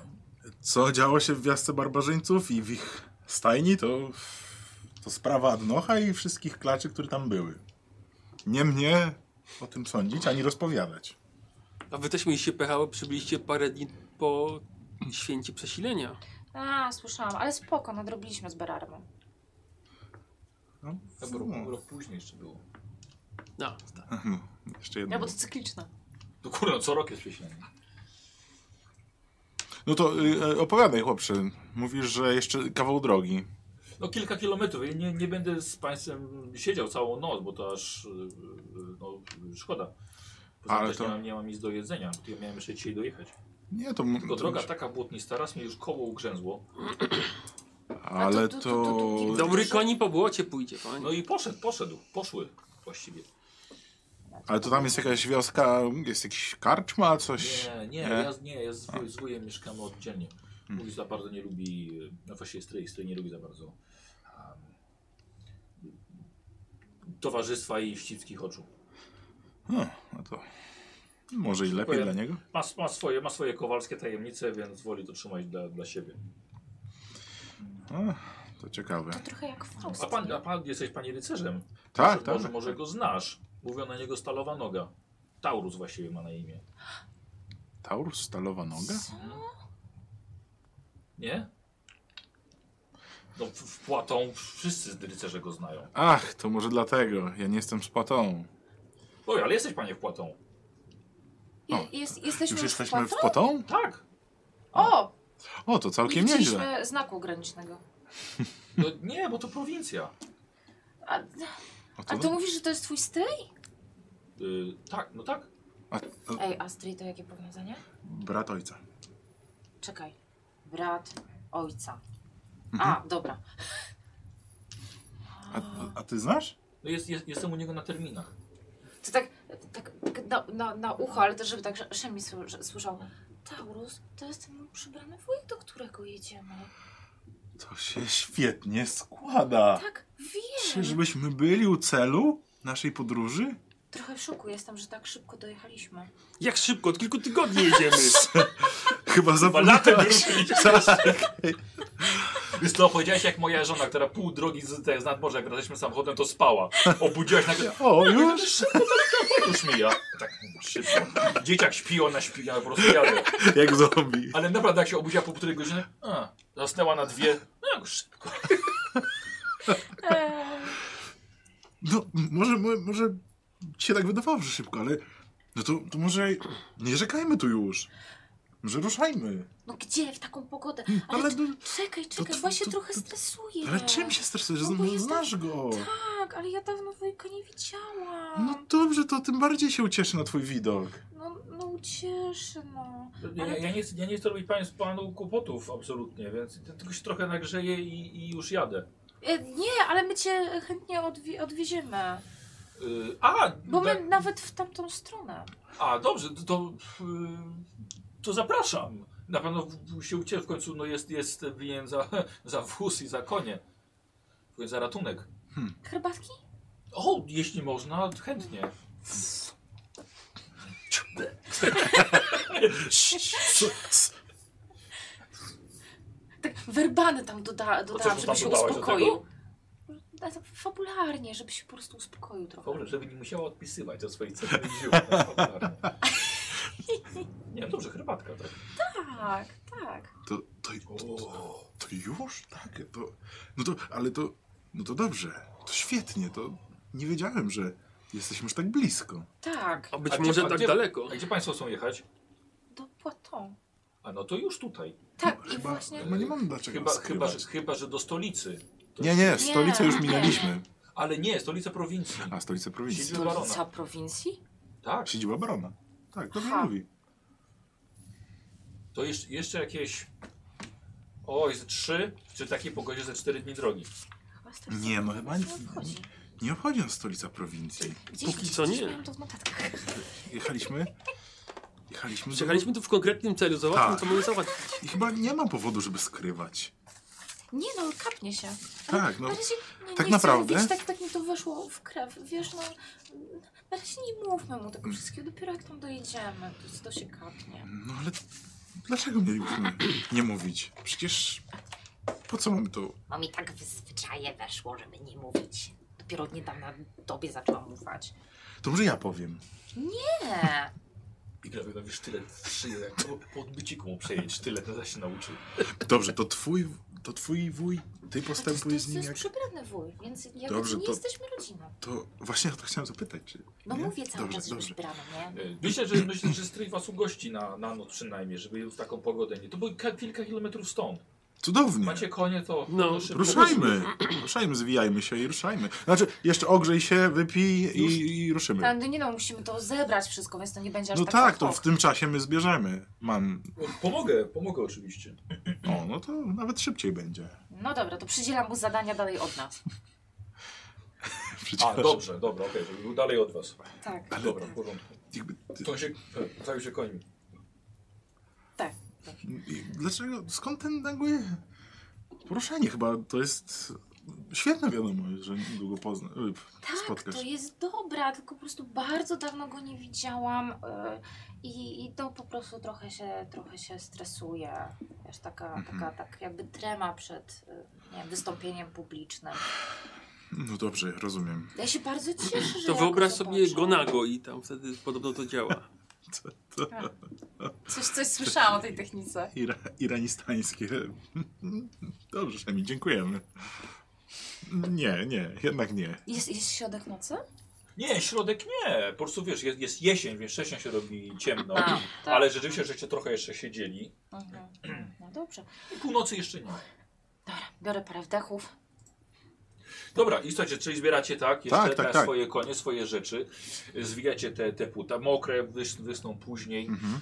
Speaker 3: co działo się w wiasce barbarzyńców i w ich stajni, to, to sprawa Adnocha i wszystkich klaczy, które tam były. Nie mnie o tym sądzić, ani rozpowiadać.
Speaker 4: A wy też mieliście pecha, bo przybyliście parę dni po święcie przesilenia.
Speaker 2: A, słyszałam, ale spoko, nadrobiliśmy z Berarmą.
Speaker 3: No, hmm,
Speaker 1: Chyba tak rok, rok później jeszcze było.
Speaker 4: No, tak.
Speaker 3: (laughs) jeszcze jedno.
Speaker 2: to cykliczne.
Speaker 1: No kurde, no co rok jest przesilenie.
Speaker 3: No to y, y, opowiadaj, chłopcze. Mówisz, że jeszcze kawał drogi.
Speaker 1: No kilka kilometrów. Ja nie, nie będę z Państwem siedział całą noc, bo to aż yy, yy, no, szkoda. Poza tym
Speaker 3: Ale
Speaker 1: też
Speaker 3: to-
Speaker 1: nie, mam, nie mam nic do jedzenia. Ja miałem jeszcze dzisiaj
Speaker 3: (clears throat)
Speaker 1: dojechać.
Speaker 3: Nie, to... m-
Speaker 1: Tylko
Speaker 3: to
Speaker 1: droga tak?
Speaker 3: już-
Speaker 1: taka błotnista, raz mnie już koło ugrzęzło.
Speaker 3: Ale
Speaker 2: A tu- tu- tu- tu- tu-
Speaker 3: to...
Speaker 2: tu-
Speaker 4: Dobry koni po błocie pójdzie, panie.
Speaker 1: No i poszedł, poszedł, poszły właściwie.
Speaker 3: Ale to tam jest jakaś wioska, jest jakiś karczma, coś...
Speaker 1: Nie, nie, ja, z- nie, ja z, wuj- z wujem mieszkamy oddzielnie.
Speaker 3: Hmm.
Speaker 1: Wuj za bardzo nie lubi, e, no właściwie stryj, stryj nie lubi za bardzo um, towarzystwa i ścipskich oczu.
Speaker 3: No, no to... Może i lepiej
Speaker 1: Dziękuję.
Speaker 3: dla niego.
Speaker 1: Ma, ma, swoje, ma swoje kowalskie tajemnice, więc woli to trzymać dla, dla siebie.
Speaker 3: A, to ciekawe.
Speaker 2: To trochę jak Faust.
Speaker 1: A pan, a pan jesteś panie rycerzem.
Speaker 3: Tak,
Speaker 1: może, Może,
Speaker 3: tak.
Speaker 1: może go znasz. Mówią na niego stalowa noga. Taurus właściwie ma na imię.
Speaker 3: Taurus, stalowa noga?
Speaker 1: Nie? No w, w Płatą wszyscy rycerze go znają.
Speaker 3: Ach, to może dlatego. Ja nie jestem z Patą.
Speaker 1: Oj, ale jesteś panie w Płatą.
Speaker 3: No.
Speaker 2: Je, jest, jesteśmy
Speaker 3: Już jesteśmy
Speaker 2: w
Speaker 3: w Patą?
Speaker 1: Tak.
Speaker 2: O!
Speaker 3: O, to
Speaker 2: Nie
Speaker 3: całkiem nieźle.
Speaker 2: widzieliśmy znaku granicznego.
Speaker 1: No, nie, bo to prowincja.
Speaker 2: A,
Speaker 3: Znaczy, O,
Speaker 2: a
Speaker 3: to,
Speaker 2: ty mówisz, że to jest twój styl?
Speaker 1: Y, tak, no tak.
Speaker 3: a, to
Speaker 2: Ej, Astrid, to jakie powiązanie?
Speaker 3: brat ojca.
Speaker 2: Czekaj. Brat ojca. A, dobra.
Speaker 3: Mhm. A, a ty znasz?
Speaker 1: No jest, jest, jestem u niego na terminach.
Speaker 2: To tak, tak, tak na, na, na ucho, ale też żeby tak że- Szemi sły- że- słyszał. Taurus, to jest ten mój przybrany wujek, do którego jedziemy.
Speaker 3: To się świetnie składa.
Speaker 2: Tak, wiem.
Speaker 3: Czyżbyśmy byli u celu naszej podróży?
Speaker 2: Trochę w szoku jestem, że tak szybko dojechaliśmy.
Speaker 4: Jak szybko, od kilku tygodni
Speaker 1: (laughs)
Speaker 4: jedziemy.
Speaker 3: Chyba
Speaker 1: Chyba latem
Speaker 3: zapomniałeś.
Speaker 1: ruszyliście.
Speaker 3: Tak.
Speaker 1: Wiesz co, powiedziałeś jak moja żona, która pół drogi z, z nadmorza, jak wracaliśmy samochodem, to spała. Obudziłaś nagle,
Speaker 3: O, już?
Speaker 1: już tak, mija. Tak szybko. Dzieciak śpi, ona śpi, ja po prostu jadę.
Speaker 3: Jak zombie.
Speaker 1: Ale naprawdę jak się obudziła po półtorej godziny, a, zasnęła na dwie, no jak szybko.
Speaker 2: Eee,
Speaker 3: E. No, m- może, mo- może ci się tak wydawało, że szybko, ale... No to, to może nie rzekajmy tu już. Może ruszajmy.
Speaker 2: no gdzie w taką pogodę? Ale,
Speaker 3: Ale, no,
Speaker 2: c-
Speaker 3: do,
Speaker 2: czekaj, czekaj,
Speaker 3: to-
Speaker 2: bo ja się
Speaker 3: to-
Speaker 2: trochę
Speaker 3: to-
Speaker 2: stresuję.
Speaker 3: ale czym się stresujesz?
Speaker 2: No bo
Speaker 3: No,
Speaker 2: jest-
Speaker 3: znasz go.
Speaker 2: Tak, ale ja dawno wujka nie widziałam.
Speaker 3: No dobrze, to tym bardziej się ucieszy na twój widok.
Speaker 2: No, no ucieszy, no.
Speaker 1: Ja, ja, nie, chcę- ja nie chcę robić panu, panu kłopotów absolutnie, więc tylko się trochę nagrzeję i, i już jadę.
Speaker 2: E, nie, ale my cię chętnie odwi odwieziemy.
Speaker 1: Y, a,
Speaker 2: Bo my
Speaker 1: tak-
Speaker 2: nawet w tamtą stronę.
Speaker 1: A, dobrze, to, to, y, to zapraszam. Na pewno w- w- się ucieszy w końcu, no jest, jest winien za, (laughs) za wóz i za konie. Winien Za ratunek.
Speaker 2: Herbatki?
Speaker 1: O, jeśli można, chętnie.
Speaker 2: Tak, werbany tam
Speaker 1: co
Speaker 2: doda dodałam,
Speaker 1: mu
Speaker 2: żeby
Speaker 1: tam
Speaker 2: się
Speaker 1: dodałaś do
Speaker 2: uspokoił. A to Fabularnie, żeby się po prostu uspokoił trochę.
Speaker 1: Dobrze, żeby nie musiała odpisywać o swojej cenie
Speaker 2: (laughs)
Speaker 1: ziół. Nie, dobrze, herbatka, tak.
Speaker 2: Tak, tak.
Speaker 3: To, to, to, to, to już? Tak, to... No to, ale to... No to dobrze, to świetnie, to... Nie wiedziałem, że jesteśmy już tak blisko.
Speaker 2: Tak.
Speaker 4: A być
Speaker 1: A gdzie-
Speaker 4: może
Speaker 1: a
Speaker 4: tak
Speaker 1: gdzie-
Speaker 4: daleko.
Speaker 1: A gdzie Państwo chcą jechać?
Speaker 2: Do Poitou.
Speaker 1: A no to już tutaj.
Speaker 2: Tak, i
Speaker 3: No, Chyba,
Speaker 2: właśnie.
Speaker 3: chyba nie mamy dlaczego
Speaker 1: Chyba, chyba,
Speaker 3: skrywać.
Speaker 1: że, chyba, że do stolicy.
Speaker 3: Nie, nie, stolicę już
Speaker 2: Nie.
Speaker 3: minęliśmy.
Speaker 1: Ale nie, stolica prowincji.
Speaker 3: A, stolicę prowincji.
Speaker 1: Siedziba barona.
Speaker 2: Stolica prowincji?
Speaker 1: Tak.
Speaker 3: Siedziba barona. Tak, dobrze
Speaker 2: Aha.
Speaker 3: mówi.
Speaker 1: To jeszcze, jeszcze jakieś. Oj, z trzy, czy takiej pogodzie ze cztery dni drogi.
Speaker 2: Chyba stolica
Speaker 3: Nie, no chyba nie-
Speaker 2: prowincji obchodzi.
Speaker 3: Nie obchodzi nas stolica prowincji.
Speaker 2: Gdzieś,
Speaker 4: Póki co
Speaker 2: gdzieś
Speaker 4: nie.
Speaker 2: miałam to w notatkach.
Speaker 3: Jechaliśmy... Jechaliśmy... do-
Speaker 4: Przyjechaliśmy tu w konkretnym celu, załatwmy
Speaker 3: Tak.
Speaker 4: co mamy załatwić.
Speaker 3: I chyba nie ma powodu, żeby skrywać.
Speaker 2: Nie no, kapnie się.
Speaker 3: Tak, no...
Speaker 2: na razie nie,
Speaker 3: tak
Speaker 2: nie
Speaker 3: naprawdę?
Speaker 2: Chcę, mówić, tak, tak mi to weszło w krew. Wiesz, no. Na razie nie mówmy mu tego wszystkiego, dopiero jak tam dojedziemy, to, to się kapnie.
Speaker 3: No ale Dlaczego mielibyśmy nie mówić? Przecież po co mamy to?
Speaker 2: Bo mi tak w zwyczaje weszło, żeby nie mówić. Dopiero od niedawna tobie zaczęłam ufać.
Speaker 3: To może ja powiem.
Speaker 2: Nie.
Speaker 1: I Grawiona wiesz tyle w szyję, jak po, po odbyciku mu przejęć tyle, to się nauczył.
Speaker 3: Dobrze, to twój, to twój wuj, ty
Speaker 2: to
Speaker 3: postępuj
Speaker 2: jest,
Speaker 3: z
Speaker 2: to
Speaker 3: nim
Speaker 2: jest
Speaker 3: jak...
Speaker 2: przybrany wuj, więc jakby
Speaker 3: Dobrze,
Speaker 2: nie
Speaker 3: to-
Speaker 2: jesteśmy rodziną.
Speaker 3: To właśnie o to chciałem zapytać. Czy...
Speaker 2: No
Speaker 3: nie?
Speaker 2: mówię cały
Speaker 3: Dobrze,
Speaker 2: czas, że
Speaker 3: dobrze.
Speaker 2: przybrany, nie?
Speaker 1: E, Myślę, że, myślę, że stryj was ugości na, na noc przynajmniej, żeby w taką pogodę nie. To było ka- kilka kilometrów stąd.
Speaker 3: Cudownie.
Speaker 1: Macie konie, to,
Speaker 4: No,
Speaker 1: to szybko.
Speaker 3: Ruszajmy, ruszajmy, zwijajmy się i ruszajmy. Znaczy, jeszcze ogrzej się, wypij i, i ruszymy.
Speaker 2: Tak, no nie no, musimy to zebrać wszystko, więc to nie będzie aż
Speaker 3: No
Speaker 2: tak
Speaker 3: tak,
Speaker 2: ad hoc.
Speaker 3: to w tym czasie my zbierzemy. Mam.
Speaker 1: Pomogę, pomogę oczywiście.
Speaker 3: O, no to nawet szybciej będzie.
Speaker 2: No dobra, to przydzielam mu zadania dalej od
Speaker 3: (laughs)
Speaker 2: nas.
Speaker 3: Przecież-
Speaker 1: A, dobrze, dobra, okej, żeby był dalej od was.
Speaker 2: Tak,
Speaker 3: Ale-
Speaker 1: Dobra, w porządku.
Speaker 3: jakby ty-
Speaker 1: To się, zajął się końmi.
Speaker 2: tak.
Speaker 3: i Dlaczego? Skąd ten nagły poruszenie? Chyba to jest świetna wiadomość, że niedługo pozna, y,
Speaker 2: Tak,
Speaker 3: spotkasz.
Speaker 2: to jest dobra, tylko po prostu bardzo dawno go nie widziałam e, i, i to po prostu trochę się, trochę się stresuje. Wiesz, taka,
Speaker 3: Mhm.
Speaker 2: taka tak jakby trema przed e, nie wiem, wystąpieniem publicznym.
Speaker 3: No dobrze, rozumiem.
Speaker 2: Ja się bardzo cieszę, że
Speaker 4: To
Speaker 2: ja
Speaker 4: wyobraź sobie
Speaker 2: zobaczę.
Speaker 4: go nago i tam wtedy podobno to działa.
Speaker 2: Coś, coś słyszałam o tej technice.
Speaker 3: Ira, iranistańskie. (laughs) Dobrze, Szemi, dziękujemy. Nie, nie, jednak nie.
Speaker 2: Jest, jest środek nocy?
Speaker 1: Nie, środek nie. Po prostu wiesz, jest, jest jesień, więc wcześniej się robi ciemno.
Speaker 2: A, tak.
Speaker 1: Ale rzeczywiście, żeście trochę jeszcze siedzieli.
Speaker 2: Mhm. No dobrze.
Speaker 1: I północy jeszcze nie.
Speaker 2: Biorę parę wdechów.
Speaker 1: Dobra, i słuchajcie, czyli zbieracie tak, jeszcze
Speaker 3: Tak, tak,
Speaker 1: na
Speaker 3: tak.
Speaker 1: swoje konie, swoje rzeczy, zwijacie te, te puta, mokre, wys, wysną później,
Speaker 3: Mhm.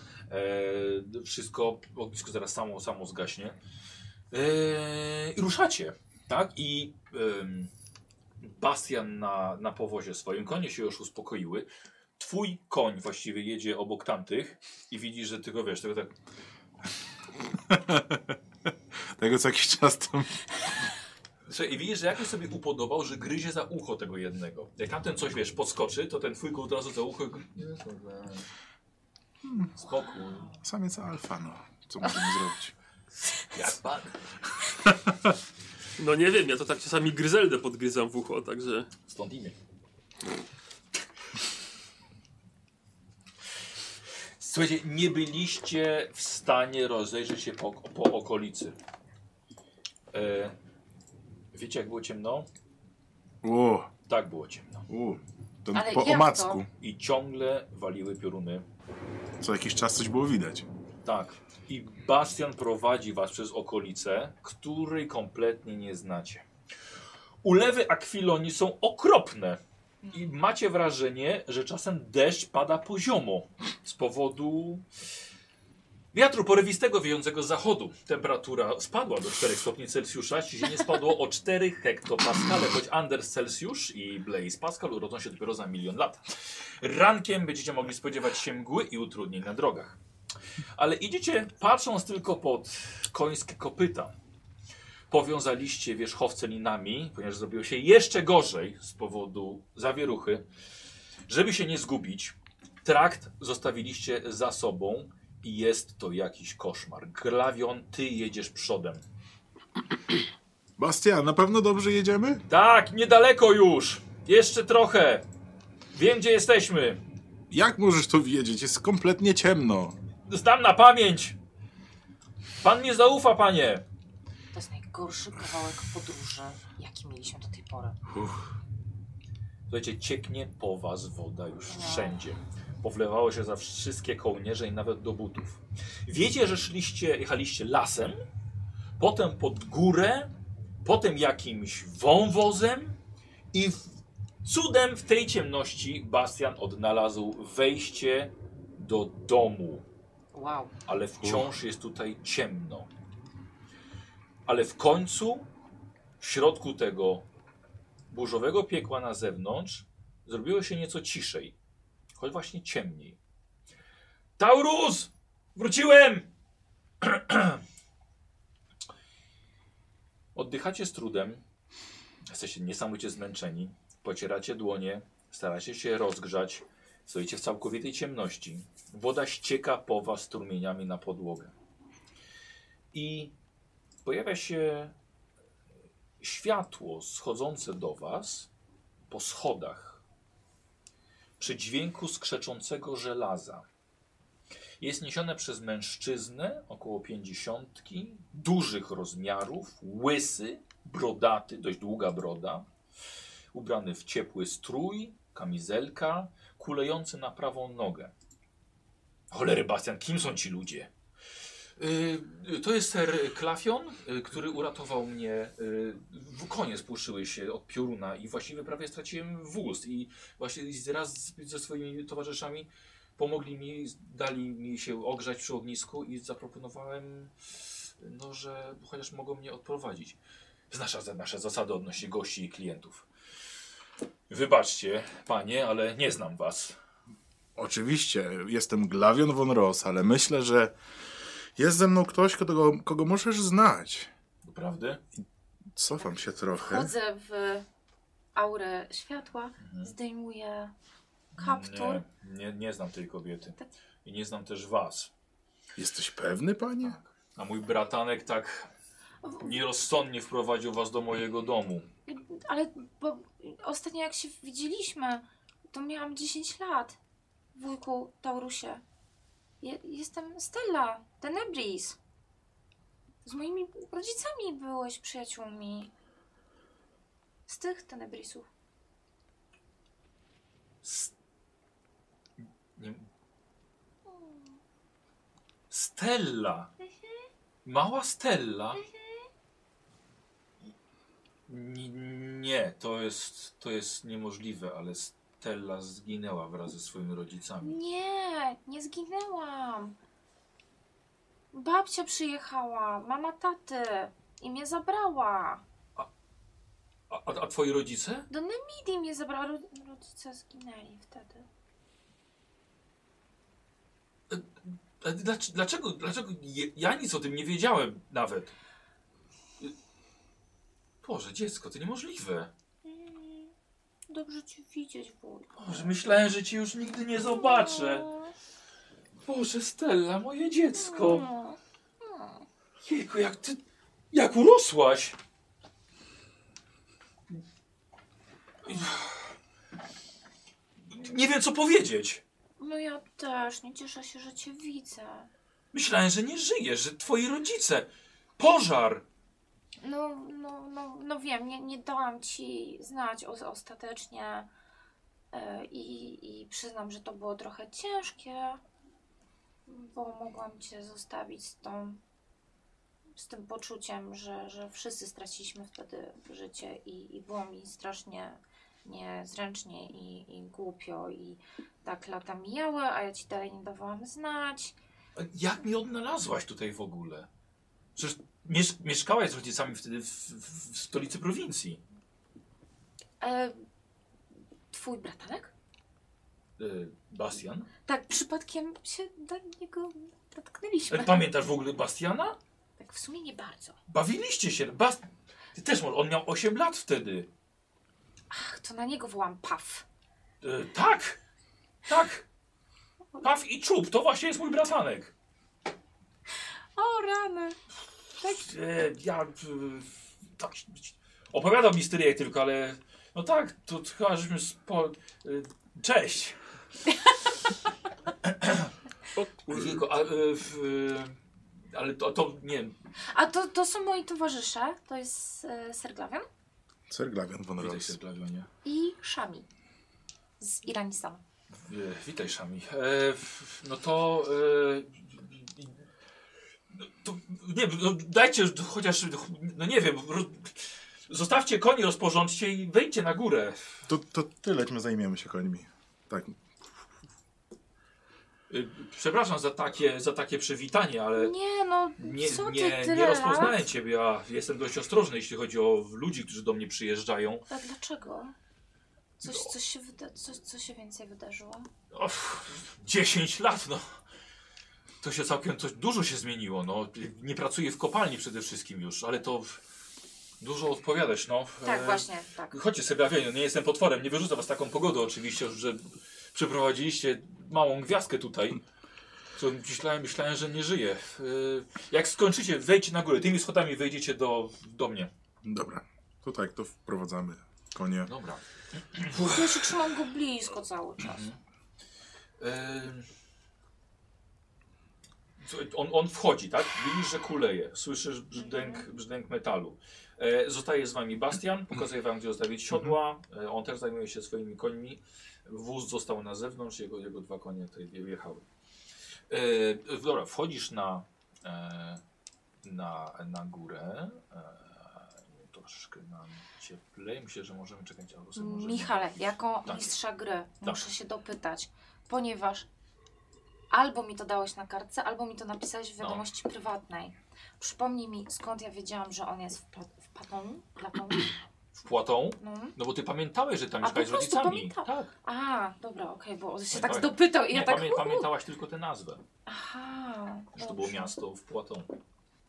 Speaker 1: e, wszystko, ognisko zaraz samo, samo zgaśnie. E, I ruszacie, tak? I em, Bastian na, na powozie swoim, konie się już uspokoiły. Twój koń właściwie jedzie obok tamtych i widzisz, że tylko wiesz, tylko tak
Speaker 3: Tego co jakiś czas tam.
Speaker 1: Słuchaj, i widzisz, że jakoś sobie upodobał, że gryzie za ucho tego jednego. Jak tamten coś, wiesz, podskoczy, to ten twój go od razu za ucho... i go- Spokój.
Speaker 3: Samiec alfa, no. Co możemy zrobić?
Speaker 1: Jak pan?
Speaker 4: No nie wiem, ja to tak czasami gryzeldę podgryzam w ucho, także...
Speaker 1: Stąd imię. Słuchajcie, nie byliście w stanie rozejrzeć się po, po okolicy. E, wiecie, jak było ciemno?
Speaker 3: O,
Speaker 1: Tak było ciemno.
Speaker 3: o. To
Speaker 2: Ale
Speaker 3: po
Speaker 2: jak to?
Speaker 3: omacku.
Speaker 1: I ciągle waliły pioruny
Speaker 3: Co jakiś czas coś było widać.
Speaker 1: Tak. I Bastian prowadzi was przez okolicę, której kompletnie nie znacie. Ulewy akwiloni są okropne. I macie wrażenie, że czasem deszcz pada poziomo z powodu wiatru porywistego wiejącego z zachodu. Temperatura spadła do 4 stopni Celsjusza, ci się nie spadło o 4 hektopaskale, choć Anders Celsjusz i Blaise Pascal urodzą się dopiero za milion lat. Rankiem będziecie mogli spodziewać się mgły i utrudnień na drogach. Ale idziecie patrząc tylko pod końskie kopyta. Powiązaliście wierzchowce linami, ponieważ zrobiło się jeszcze gorzej z powodu zawieruchy. Żeby się nie zgubić, trakt zostawiliście za sobą i jest to jakiś koszmar. Glawion, ty jedziesz przodem.
Speaker 3: Bastian, na pewno dobrze jedziemy?
Speaker 1: Tak, niedaleko już! Jeszcze trochę! Wiem, gdzie jesteśmy!
Speaker 3: Jak możesz tu wiedzieć? Jest kompletnie ciemno.
Speaker 1: Znam na pamięć! Pan nie zaufa, panie!
Speaker 2: To jest najgorszy kawałek podróży, jaki mieliśmy do tej pory.
Speaker 1: Słuchajcie, cieknie po was woda już wszędzie. Powlewało się za wszystkie kołnierze i nawet do butów. Wiecie, że szliście, jechaliście lasem, potem pod górę, potem jakimś wąwozem i w, cudem w tej ciemności Bastian odnalazł wejście do domu
Speaker 2: Wow.
Speaker 1: ale wciąż jest tutaj ciemno. Ale w końcu, w środku tego burzowego piekła na zewnątrz, zrobiło się nieco ciszej, choć właśnie ciemniej. Taurus! Wróciłem! (clears throat) Oddychacie z trudem, jesteście niesamowicie zmęczeni, pocieracie dłonie, staracie się rozgrzać, Stoicie w całkowitej ciemności. Woda ścieka po was strumieniami na podłogę. I pojawia się światło schodzące do was po schodach przy dźwięku skrzeczącego żelaza. Jest niesione przez mężczyznę około pięćdziesiątki, dużych rozmiarów, łysy, brodaty, dość długa broda, ubrany w ciepły strój, kamizelka, kulejący na prawą nogę. Cholery, Bastian, kim są ci ludzie? Y, To jest ser Klafion, y, który uratował mnie. y, w- Konie spłoszyły się od pioruna i właściwie prawie straciłem wóz. I właśnie raz z- ze swoimi towarzyszami pomogli mi, dali mi się ogrzać przy ognisku i zaproponowałem, no, że chociaż mogą mnie odprowadzić. Znasz nasze- nasze zasady odnośnie gości i klientów. Wybaczcie, panie, ale nie znam was.
Speaker 3: Oczywiście, jestem Glavion von Ross, ale myślę, że jest ze mną ktoś, kogo, kogo możesz znać.
Speaker 1: Doprawdy?
Speaker 3: Cofam się trochę.
Speaker 2: Wchodzę w aurę światła, zdejmuję
Speaker 1: No
Speaker 2: kaptur.
Speaker 1: Nie, nie, nie znam tej kobiety. I nie znam też was.
Speaker 3: Jesteś pewny, panie?
Speaker 1: A mój bratanek tak nierozsądnie wprowadził was do mojego domu.
Speaker 2: Ale bo ostatnio jak się widzieliśmy, to miałam 10 lat. Wujku Taurusie. Je, jestem Stella, Tenebris. Z moimi rodzicami byłeś przyjaciółmi. Z tych Tenebrisów.
Speaker 1: S- nie... Stella. Mała Stella. N- nie, to jest, to jest niemożliwe, ale Stella zginęła wraz ze swoimi rodzicami.
Speaker 2: Nie, nie zginęłam. Babcia przyjechała, mama taty i mnie zabrała.
Speaker 1: A, a, a twoi rodzice?
Speaker 2: Do Nemidi mnie zabrała. Ro- Rodzice zginęli wtedy.
Speaker 1: A E, dlac- Dlaczego, dlaczego je- ja nic o tym nie wiedziałem nawet? Y, Boże, dziecko, to niemożliwe.
Speaker 2: Mm, Dobrze cię widzieć, wujku. No.
Speaker 1: Boże, myślałem, że cię już nigdy nie zobaczę. Boże, Stella, moje dziecko.
Speaker 2: No, no.
Speaker 1: Jejku, jak ty... Jak urosłaś? Nie wiem, co powiedzieć.
Speaker 2: No ja też, nie cieszę się, że cię widzę.
Speaker 1: Myślałem, że nie żyjesz, że twoi rodzice... Pożar!
Speaker 2: No, no, no, no wiem, nie, nie dałam ci znać o, ostatecznie e, i, i przyznam, że to było trochę ciężkie, bo mogłam cię zostawić z tą, z tym poczuciem, że, że wszyscy straciliśmy wtedy życie i, i było mi strasznie niezręcznie i, i głupio i tak lata mijały, a ja ci dalej nie dawałam znać.
Speaker 1: A Jak mi odnalazłaś tutaj w ogóle? Przecież miesz mieszkałaś z rodzicami wtedy w, w, w stolicy prowincji.
Speaker 2: E, twój bratanek?
Speaker 1: Y, Bastian?
Speaker 2: Tak, przypadkiem się do niego
Speaker 1: E,
Speaker 2: dotknęliśmy.
Speaker 1: Pamiętasz w ogóle Bastiana?
Speaker 2: Tak, w sumie nie bardzo.
Speaker 1: Bawiliście się. Bas Ty też, może- on miał 8 lat wtedy.
Speaker 2: Ach, to na niego wołam paw.
Speaker 1: E, tak! Tak! Paw i czub, to właśnie jest mój bratanek.
Speaker 2: O, rany.
Speaker 1: E, ja... E, tak, opowiadał mi styliej tylko, ale... No tak, to chyba żeśmy... Spo... E, cześć!
Speaker 4: O kurde.
Speaker 1: Jego, a, e, w, e, ale to, to nie wiem,
Speaker 2: A to, to są moi towarzysze. To jest e, Serglawian
Speaker 3: Sir Glavion von
Speaker 1: Witaj
Speaker 3: Ross.
Speaker 1: się, Glawionie.
Speaker 2: i Szami z Iranistanu.
Speaker 1: E, Witaj, Szami. E, f- no to... E, i- i- no to nie wiem, no dajcie już chociaż... No nie wiem, ro, zostawcie konie, rozporządźcie i wejdźcie na górę.
Speaker 3: To, to tyle, my zajmiemy się końmi. Tak,
Speaker 1: E, przepraszam za takie, za takie przywitanie, ale...
Speaker 2: Nie, no,
Speaker 1: Nie,
Speaker 2: co ty
Speaker 1: nie,
Speaker 2: tyle
Speaker 1: nie
Speaker 2: lat?
Speaker 1: rozpoznałem Ciebie, ja jestem dość ostrożny, jeśli chodzi o ludzi, którzy do mnie przyjeżdżają.
Speaker 2: A dlaczego? Coś, coś, się wyda- coś, co się więcej wydarzyło?
Speaker 1: O, 10 lat, no. To się całkiem to dużo się zmieniło, no. Nie pracuję w kopalni przede wszystkim już, ale to w- dużo odpowiadać, no.
Speaker 2: Tak,
Speaker 1: E,
Speaker 2: właśnie, tak.
Speaker 1: Chodźcie sobie, Awieniu, nie jestem potworem, nie wyrzucę was taką pogodą oczywiście, że Przeprowadziliście małą gwiazdkę tutaj. Co myślałem, myślałem, że nie żyje. Yy, Jak skończycie, wejdźcie na górę. Tymi schodami wejdziecie do, do mnie.
Speaker 3: Dobra, to tak, to wprowadzamy konie. (laughs)
Speaker 1: Dobra.
Speaker 2: Ja się trzymam go blisko cały czas.
Speaker 1: Em, słuchaj, On, on wchodzi, tak? Widzisz, że kuleje. Słyszysz brzdęk, brzdęk metalu. E, zostaje z wami Bastian, pokazuje wam, gdzie zostawić siodła. E, on też zajmuje się swoimi końmi. Wóz został na zewnątrz, jego, jego dwa konie tutaj wjechały. E, w- dobra, wchodzisz na, e, na, na górę. E, troszkę nam cieplej. Myślę, że możemy czekać. albo sobie możemy-
Speaker 2: Michale, jako
Speaker 1: Tak.
Speaker 2: mistrza gry
Speaker 1: Tak.
Speaker 2: muszę się dopytać, ponieważ albo mi to dałeś na kartce, albo mi to napisałeś w
Speaker 1: No.
Speaker 2: wiadomości prywatnej. Przypomnij mi, skąd ja wiedziałam, że on jest w, pla- w Platon? Platon?
Speaker 1: W płatą.
Speaker 2: No.
Speaker 1: No bo ty pamiętałeś, że tam
Speaker 2: A,
Speaker 1: mieszkałeś z
Speaker 2: po prostu
Speaker 1: rodzicami.
Speaker 2: pamiętałam.
Speaker 1: Tak.
Speaker 2: A, dobra, okej, bo on się
Speaker 1: Nie,
Speaker 2: tak
Speaker 1: pamię-
Speaker 2: dopytał i
Speaker 1: Nie,
Speaker 2: ja tak...
Speaker 1: pamię,
Speaker 2: hu, hu.
Speaker 1: pamiętałaś tylko tę nazwę,
Speaker 2: Aha,
Speaker 1: że to było
Speaker 2: dobrze.
Speaker 1: miasto w Płatą.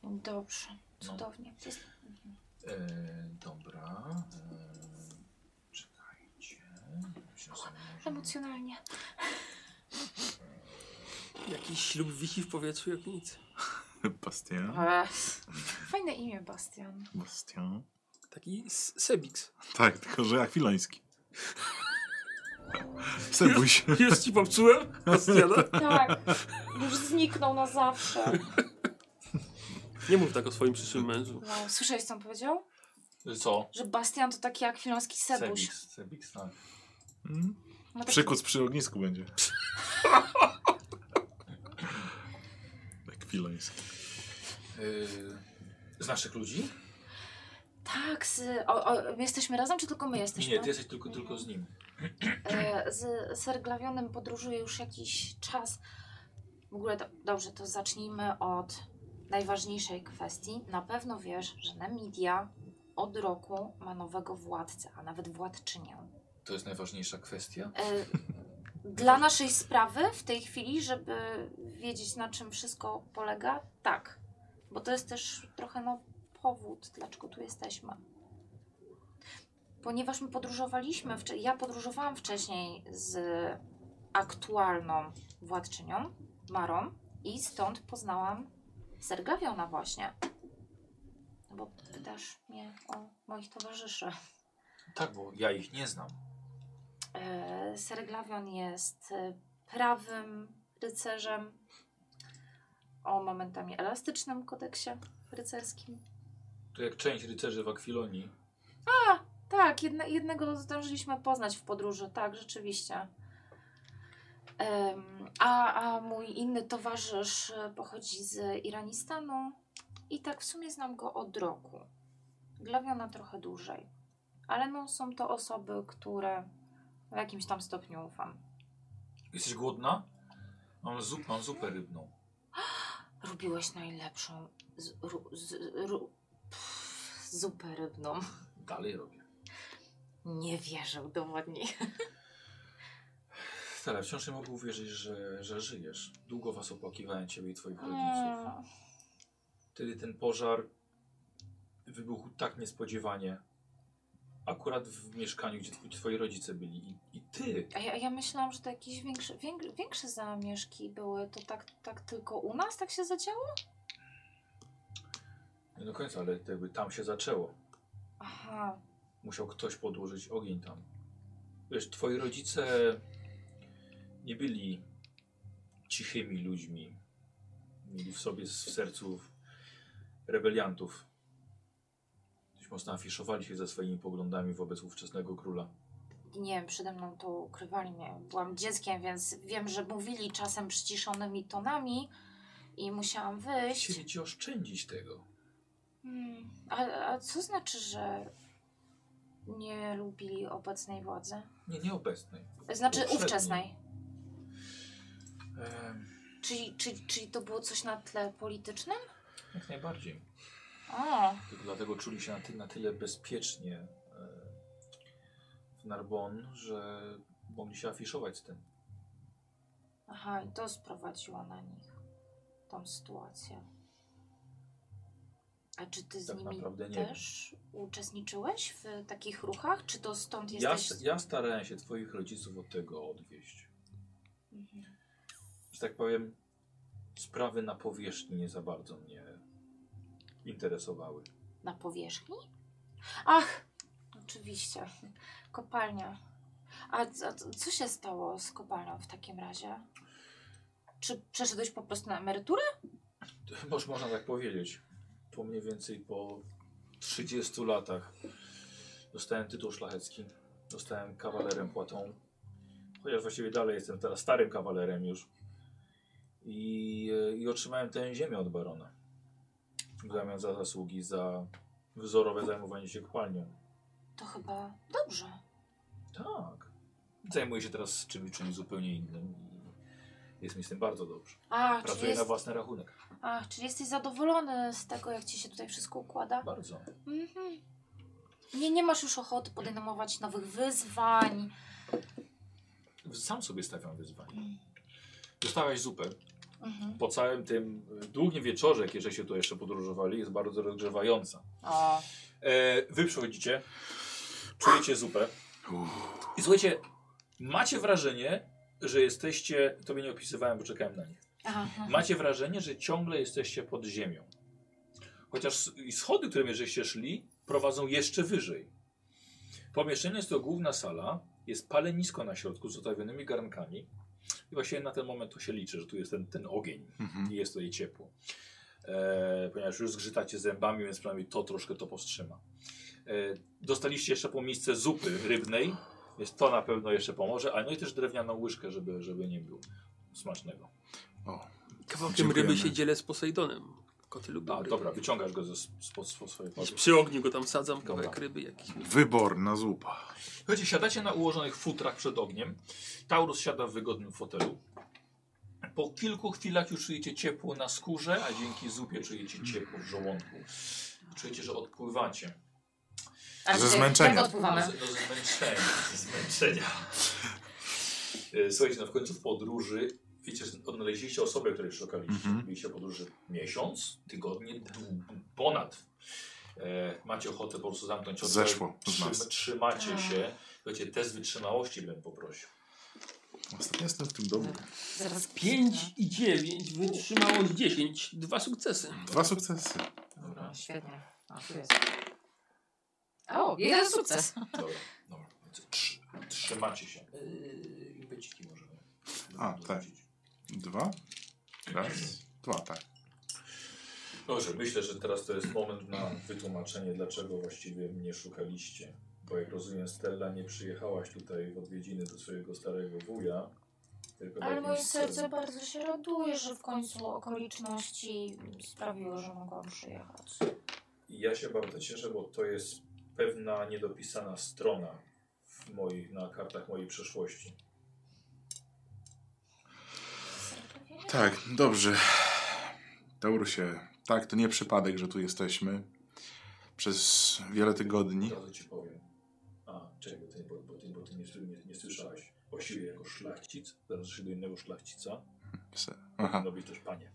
Speaker 2: Dobrze,
Speaker 1: No.
Speaker 2: cudownie. To jest-
Speaker 1: E, dobra. E, czekajcie. Myślę, że sobie możemy-
Speaker 2: Emocjonalnie.
Speaker 4: Jakiś ślub wisi w powietrzu jak nic.
Speaker 3: Bastian.
Speaker 1: Mhm.
Speaker 2: Ech. Fajne imię, Bastian.
Speaker 3: Bastian.
Speaker 4: Taki s- Sebix. (laughs)
Speaker 3: Tak, tylko że (laughs) akwiloński. Sebuś.
Speaker 4: (laughs) Już ci popsułem? Bastiana?
Speaker 1: (laughs)
Speaker 2: Tak, już zniknął na zawsze.
Speaker 4: Nie mów tak o swoim przyszłym mężu.
Speaker 2: Wow, No, słyszałeś, co on powiedział?
Speaker 1: Co?
Speaker 2: Że Bastian to taki jak filmski sebuś.
Speaker 1: Sebix. Sebix, tak.
Speaker 3: Mm.
Speaker 2: Ma taki-
Speaker 3: Przykuc przy ognisku będzie. (laughs) Akwiloński.
Speaker 1: E, z naszych ludzi?
Speaker 2: Tak, z, o, o, my jesteśmy razem, czy tylko my jesteśmy?
Speaker 1: Nie, ty jesteś tylko, tylko z nim.
Speaker 2: E, z Serglawionem podróżuję już jakiś czas. W ogóle do, dobrze, to zacznijmy od najważniejszej kwestii. Na pewno wiesz, że Namidia od roku ma nowego władcę, a nawet władczynię.
Speaker 1: To jest najważniejsza kwestia.
Speaker 2: E, Dla naszej sprawy w tej chwili, żeby wiedzieć na czym wszystko polega, tak. Bo to jest też trochę no, powód, dlaczego tu jesteśmy. Ponieważ my podróżowaliśmy, wcze- ja podróżowałam wcześniej z aktualną władczynią, Marą, i stąd poznałam Sergawiona właśnie. No Bo pytasz mnie o moich towarzyszy.
Speaker 1: Tak, bo ja ich nie znam.
Speaker 2: E, Serglawion jest e, prawym rycerzem o momentami elastycznym kodeksie rycerskim.
Speaker 1: To jak część rycerzy w Akwilonii.
Speaker 2: Tak, jedna, jednego zdążyliśmy poznać w podróży, tak, rzeczywiście. Em, a, a mój inny towarzysz e, pochodzi z Iranistanu i tak w sumie znam go od roku. Glawiona trochę dłużej. Ale no, są to osoby, które w jakimś tam stopniu ufam.
Speaker 1: Jesteś głodna? Mam, zup, mam zupę rybną.
Speaker 2: Robiłeś najlepszą z, ru, z, ru, pff, zupę rybną.
Speaker 1: Dalej robię.
Speaker 2: Nie wierzę, udowodnij.
Speaker 1: Stara, wciąż nie mogę uwierzyć, że, że żyjesz. Długo was opłakiwałem, ciebie i twoich rodziców.
Speaker 2: Mm,
Speaker 1: Wtedy ten pożar wybuchł tak niespodziewanie. Akurat w mieszkaniu, gdzie tw- twoi rodzice byli. I, i ty.
Speaker 2: A ja, ja myślałam, że to jakieś większe, większe, większe zamieszki były. To tak, tak tylko u nas tak się zadziało?
Speaker 1: Nie do końca, No, ale jakby tam się zaczęło.
Speaker 2: Aha,
Speaker 1: Musiał ktoś podłożyć ogień tam. Wiesz, twoi rodzice nie byli cichymi ludźmi. Mieli w sobie, s- w sercu rebeliantów. Dość mocno afiszowali się ze swoimi poglądami wobec ówczesnego króla.
Speaker 2: nie wiem, przede mną to ukrywali mnie. Byłam dzieckiem, więc wiem, że mówili czasem przyciszonymi tonami i musiałam wyjść.
Speaker 1: Chcieli ci oszczędzić tego.
Speaker 2: Mm, a, a co znaczy, że nie lubili obecnej władzy?
Speaker 1: Nie, nie obecnej.
Speaker 2: Znaczy
Speaker 1: Poprzedniej.
Speaker 2: ówczesnej.
Speaker 1: Em,
Speaker 2: Czyli, czyli, czyli to było coś na tle politycznym?
Speaker 1: jak najbardziej.
Speaker 2: O,
Speaker 1: Tylko dlatego czuli się na, ty, na tyle bezpiecznie e, w Narbon, że mogli się afiszować z tym.
Speaker 2: aha, i to sprowadziło na nich tą sytuację. A czy ty z
Speaker 1: Tak
Speaker 2: nimi
Speaker 1: naprawdę nie
Speaker 2: też uczestniczyłeś w takich ruchach? Czy to stąd
Speaker 1: Ja,
Speaker 2: jesteś...
Speaker 1: st- ja starałem się twoich rodziców od tego odwieść.
Speaker 2: Mhm.
Speaker 1: że tak powiem, sprawy na powierzchni nie za bardzo mnie interesowały. (laughs)
Speaker 6: Na powierzchni? Ach, oczywiście. Kopalnia. A, c- a c- co się stało z kopalnią w takim razie? Czy przeszedłeś po prostu na emeryturę?
Speaker 1: Może można tak powiedzieć. Po mniej więcej po 30 latach dostałem tytuł szlachecki. Dostałem kawalerem płatą. Chociaż właściwie dalej jestem teraz starym kawalerem już. I, e, i otrzymałem tę ziemię od barona. W zamian za zasługi, za wzorowe zajmowanie się kopalnią.
Speaker 6: To chyba dobrze.
Speaker 1: Tak. Zajmuję się teraz czymś, czymś zupełnie innym. i Jest mi z tym bardzo dobrze.
Speaker 6: A czyli,
Speaker 1: Pracuję
Speaker 6: jest,
Speaker 1: na własny rachunek.
Speaker 6: ach, czyli jesteś zadowolony z tego, jak ci się tutaj wszystko układa?
Speaker 1: Bardzo.
Speaker 6: Mhm. Nie, nie masz już ochoty podejmować nowych wyzwań.
Speaker 1: Sam sobie stawiam wyzwanie. Dostałaś zupę.
Speaker 6: Mhm.
Speaker 1: Po całym tym y, długim wieczorze, kiedy się tu jeszcze podróżowali, jest bardzo rozgrzewająca.
Speaker 2: O,
Speaker 1: E, wy przychodzicie, czujecie zupę i słuchajcie, macie wrażenie, że jesteście, tobie nie opisywałem, bo czekałem na nie.
Speaker 2: aha.
Speaker 1: Macie wrażenie, że ciągle jesteście pod ziemią. Chociaż s- i schody, którymi żeście szli, prowadzą jeszcze wyżej. Pomieszczenie jest to główna sala, jest palenisko na środku z zostawionymi garnkami. I właśnie na ten moment to się liczy, że tu jest ten, ten ogień
Speaker 3: Mhm.
Speaker 1: i jest tutaj ciepło. E, ponieważ już zgrzytacie zębami, więc przynajmniej to troszkę to powstrzyma. E, dostaliście jeszcze po misce zupy rybnej, więc to na pewno jeszcze pomoże. A no i też drewnianą łyżkę, żeby, żeby nie było smacznego.
Speaker 4: Kawałkiem
Speaker 3: Dziękujemy.
Speaker 4: ryby się dzielę z Posejdonem. Koty lubią
Speaker 1: A,
Speaker 4: ryby.
Speaker 1: dobra, wyciągasz go ze spod swojej
Speaker 4: Gdzieś
Speaker 1: paluchy.
Speaker 4: przy ogniu go tam sadzam, kawałek
Speaker 1: Dobra.
Speaker 4: ryby jakiś.
Speaker 3: Wyborna zupa.
Speaker 1: Słuchajcie, siadacie na ułożonych futrach przed ogniem. Taurus siada w wygodnym fotelu. Po kilku chwilach już czujecie ciepło na skórze, a dzięki zupie czujecie ciepło w żołądku. Czujecie, że odpływacie.
Speaker 2: Ale
Speaker 3: Ze
Speaker 2: tutaj
Speaker 3: zmęczenia.
Speaker 2: Jak
Speaker 1: No,
Speaker 2: odpływamy?
Speaker 1: z- no, ze zmęczenia. ze (laughs) zmęczenia. E, Słuchajcie, no w końcu w podróży, wiecie, że odnaleźliście osobę, której szukaliście.
Speaker 3: Mhm.
Speaker 1: Byliście w podróży miesiąc, tygodnie, dłu- ponad. E, macie ochotę po prostu zamknąć oczy.
Speaker 3: Zeszło z
Speaker 1: Trzy-
Speaker 3: nas.
Speaker 1: Trzymacie się. Słuchajcie, test wytrzymałości bym poprosił.
Speaker 3: Ostatnio jestem w tym domu.
Speaker 2: Zaraz
Speaker 4: 5 i 9 wytrzymało z 10. Dwa sukcesy.
Speaker 3: Dwa sukcesy.
Speaker 1: Dobra.
Speaker 2: No, Świetnie. O, tu jest. O, jeden sukces.
Speaker 1: Dobra. Dobra. Więc trzy- Trzymacie się. Yy, I beciki możemy.
Speaker 3: A, tak.
Speaker 1: dorzucić.
Speaker 3: Dwa. Raz. Dwa, tak.
Speaker 1: Dobrze, myślę, że teraz to jest moment na wytłumaczenie, dlaczego właściwie mnie szukaliście. Bo jak rozumiem, Stella nie przyjechałaś tutaj w odwiedziny do swojego starego wuja. Tylko w
Speaker 6: Ale
Speaker 1: jakimś
Speaker 6: moje
Speaker 1: celu.
Speaker 6: serce bardzo się raduje, że w końcu okoliczności sprawiły, że mogłam przyjechać.
Speaker 1: I ja się bardzo cieszę, bo to jest pewna niedopisana strona w moich, na kartach mojej przeszłości.
Speaker 3: Tak, dobrze. Taurusie, tak, to nie przypadek, że tu jesteśmy. Przez wiele tygodni.
Speaker 1: Drodzy ci powiem. A, czego ty, bo, bo ty, bo ty nie, sły- nie, nie słyszałeś. Właściwie jako szlachcic, zaraz się do innego szlachcica,
Speaker 3: Se- Aha,
Speaker 1: no być też panie.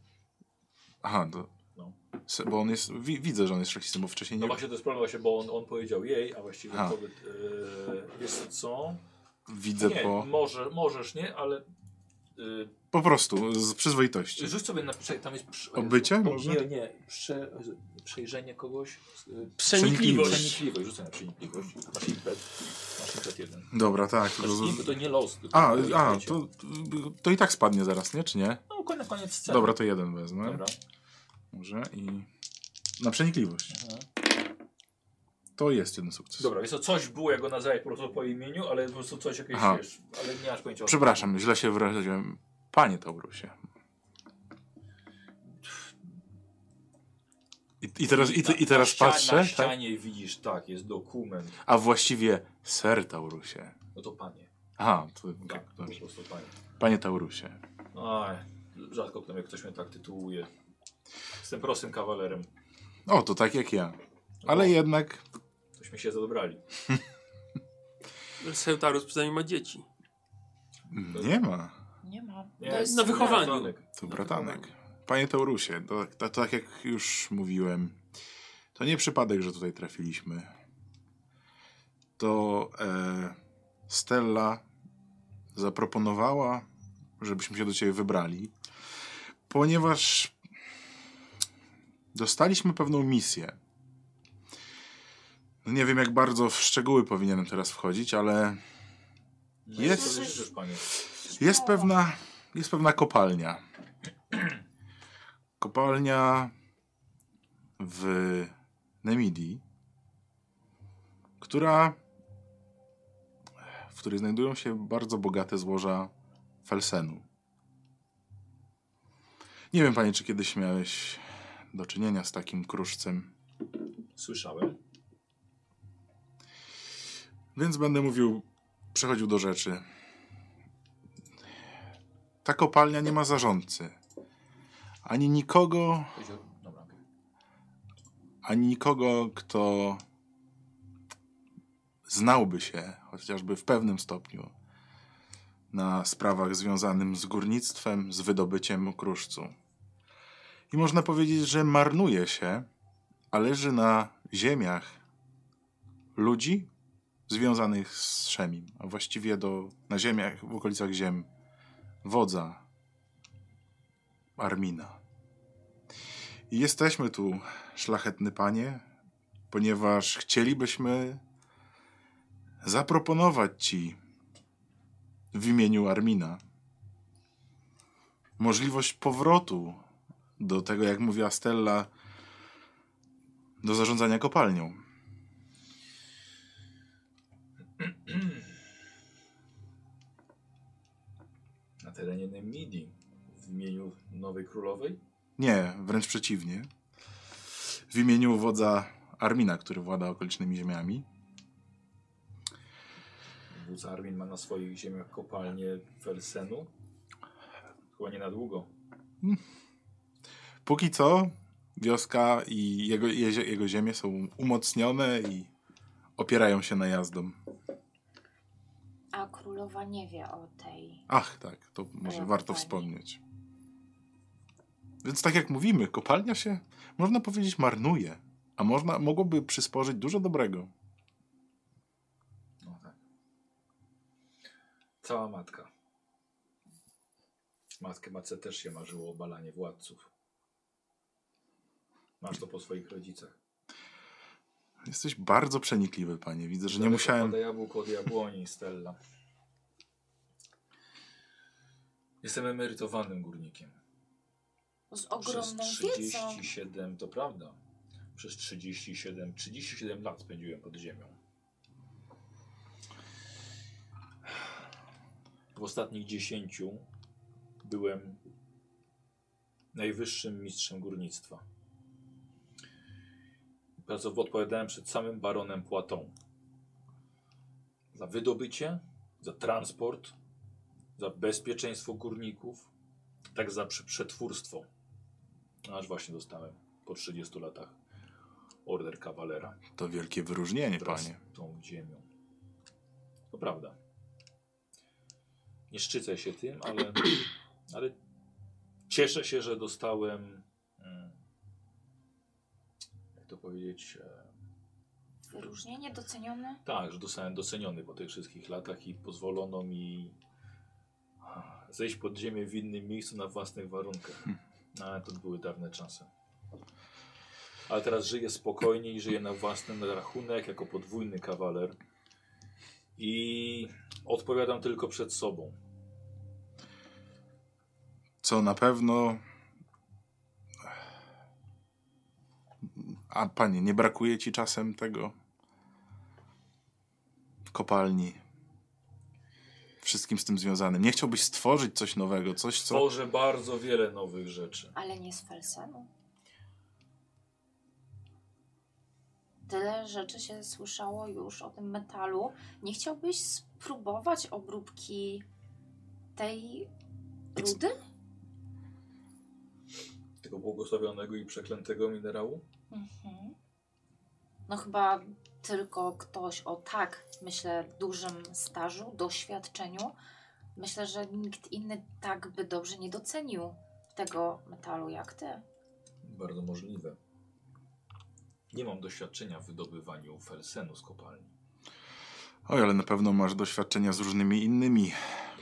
Speaker 3: aha, to...
Speaker 1: No.
Speaker 3: Se, bo on jest... Wi, widzę, że on jest szlachcicem, bo wcześniej
Speaker 1: No
Speaker 3: nie...
Speaker 1: właśnie to jest problem, właśnie, bo on, on powiedział jej, a właściwie
Speaker 3: Ha.
Speaker 1: kobiet, yy, wiesz co, co?
Speaker 3: Widzę
Speaker 1: Nie, no.
Speaker 3: po...
Speaker 1: może, możesz nie, ale yy,
Speaker 3: Po prostu, z przyzwoitości.
Speaker 1: rzuć sobie na, prze- tam jest... Przy,
Speaker 3: Obycie może?
Speaker 1: Nie, nie, prze, przejrzenie kogoś, yy,
Speaker 4: Przenikliwość.
Speaker 1: przenikliwość, rzucę na przenikliwość, masz impet, masz impet jeden.
Speaker 3: Dobra, tak.
Speaker 1: Masz impet, Znaczy, to nie los. tylko
Speaker 3: A,
Speaker 1: impet,
Speaker 3: a
Speaker 1: wiecie.
Speaker 3: to, to i tak spadnie zaraz, nie? Czy nie?
Speaker 1: No, koniec, koniec sceny.
Speaker 3: Dobra, to jeden wezmę.
Speaker 1: Dobra.
Speaker 3: Może i... Na przenikliwość.
Speaker 1: Mhm.
Speaker 3: To jest jeden sukces.
Speaker 1: Dobra, jest to coś było, jak go nazywałeś po prostu po imieniu, ale po prostu coś jakieś,
Speaker 3: Aha.
Speaker 1: wiesz, ale nie masz pojęcia. o-
Speaker 3: Przepraszam, źle się wyraziłem. Panie Taurusie. I, i teraz, i, te- i teraz
Speaker 1: na, Na
Speaker 3: patrzę, tak?
Speaker 1: ścianie widzisz, tak, jest dokument.
Speaker 3: a właściwie ser Taurusie.
Speaker 1: No to panie.
Speaker 3: Aha, to,
Speaker 1: Tak,
Speaker 3: tak,
Speaker 1: to po
Speaker 3: dobrze.
Speaker 1: prostu panie. No
Speaker 3: Panie Taurusie.
Speaker 1: Aj, rzadko kto mnie, ktoś mnie tak tytułuje. Jestem prostym kawalerem.
Speaker 3: O, to tak jak ja. Ale
Speaker 1: O,
Speaker 3: jednak
Speaker 1: Tośmy się zadobrali.
Speaker 4: Sełtarus przynajmniej ma dzieci.
Speaker 3: nie ma.
Speaker 2: Nie ma.
Speaker 1: Nie,
Speaker 2: To jest
Speaker 4: na wychowaniu.
Speaker 1: bratanek.
Speaker 3: To bratanek. Panie Taurusie, to, to, to tak jak już mówiłem, to nie przypadek, że tutaj trafiliśmy. To e, Stella zaproponowała, żebyśmy się do ciebie wybrali, ponieważ dostaliśmy pewną misję. No nie wiem, jak bardzo w szczegóły powinienem teraz wchodzić, ale
Speaker 1: No,
Speaker 3: Jest.
Speaker 1: co życzysz, panie.
Speaker 3: jest pewna, jest pewna kopalnia. Kopalnia w Nemidii, która, w której znajdują się bardzo bogate złoża felsenu. Nie wiem, panie, czy kiedyś miałeś do czynienia z takim kruszcem.
Speaker 1: Słyszałem.
Speaker 3: Więc będę mówił, przechodził do rzeczy. Ta kopalnia nie ma zarządcy. Ani nikogo,
Speaker 1: Powiedział- Dobra, okej.
Speaker 3: ani nikogo, kto znałby się, chociażby w pewnym stopniu, na sprawach związanym z górnictwem, z wydobyciem kruszcu. I można powiedzieć, że marnuje się, a leży na ziemiach ludzi związanych z Szemim, a właściwie do, na ziemiach, w okolicach ziem wodza Armina. I jesteśmy tu szlachetny panie, ponieważ chcielibyśmy zaproponować ci w imieniu Armina możliwość powrotu do tego, jak mówiła Stella, do zarządzania kopalnią.
Speaker 1: Na terenie Nemidi w imieniu nowej królowej.
Speaker 3: Nie, wręcz przeciwnie. W imieniu wodza Armina, który włada okolicznymi ziemiami.
Speaker 1: Wódz Armin ma na swoich ziemiach kopalnię Felsenu. Chyba nie na długo.
Speaker 3: Póki co wioska i jego, jezie- jego ziemie są umocnione i opierają się najazdom.
Speaker 6: A królowa nie wie o tej.
Speaker 3: Ach, tak, to może
Speaker 6: Ale
Speaker 3: warto
Speaker 6: fajnie.
Speaker 3: wspomnieć. Więc tak jak mówimy, kopalnia się, można powiedzieć, marnuje, a można, mogłoby przysporzyć dużo dobrego.
Speaker 1: No tak. Cała matka. Matkę matce też się marzyło o balanie władców. Masz to po swoich rodzicach.
Speaker 3: Jesteś bardzo przenikliwy, panie. Widzę, że nie
Speaker 1: Daleko
Speaker 3: musiałem...
Speaker 1: Pada Tak, jabłko od jabłoni, Stella. Jestem emerytowanym górnikiem.
Speaker 6: Z
Speaker 1: Przez
Speaker 6: ogromną wiedzą.
Speaker 1: 37, to prawda. Przez 37, 37 lat spędziłem pod ziemią. W ostatnich 10 byłem najwyższym mistrzem górnictwa. Pracowo odpowiadałem przed samym baronem Płatą. Za wydobycie, za transport, za bezpieczeństwo górników, tak za prze- przetwórstwo. Aż właśnie dostałem po 30 latach order kawalera.
Speaker 3: To wielkie wyróżnienie,
Speaker 1: wraz
Speaker 3: panie.
Speaker 1: z Tą ziemią. To prawda. Nie szczycę się tym, ale, (clears throat) ale cieszę się, że dostałem. mm, Jak to powiedzieć? e,
Speaker 6: Wyróżnienie docenione.
Speaker 1: Tak, że zostałem doceniony po tych wszystkich latach i pozwolono mi ah, zejść pod ziemię w innym miejscu na własnych warunkach. No, Ale to były dawne czasy. Ale teraz żyję spokojnie i żyję na własny rachunek jako podwójny kawaler. I odpowiadam tylko przed sobą.
Speaker 3: co na pewno. A panie, nie brakuje ci czasem tego kopalni? Wszystkim z tym związanym. Nie chciałbyś stworzyć coś nowego, coś co.
Speaker 1: Tworzę bardzo wiele nowych rzeczy.
Speaker 6: Ale nie z Felsenu. Tyle rzeczy się słyszało już o tym metalu. Nie chciałbyś spróbować obróbki tej
Speaker 3: It's-
Speaker 6: rudy?
Speaker 1: Tego błogosławionego i przeklętego minerału?
Speaker 6: Mhm. No chyba tylko ktoś o tak, myślę, dużym stażu, doświadczeniu. Myślę, że nikt inny tak by dobrze nie docenił tego metalu jak ty.
Speaker 1: Bardzo możliwe. Nie mam doświadczenia w wydobywaniu felsenu z kopalni.
Speaker 3: Oj, ale na pewno masz doświadczenia z różnymi innymi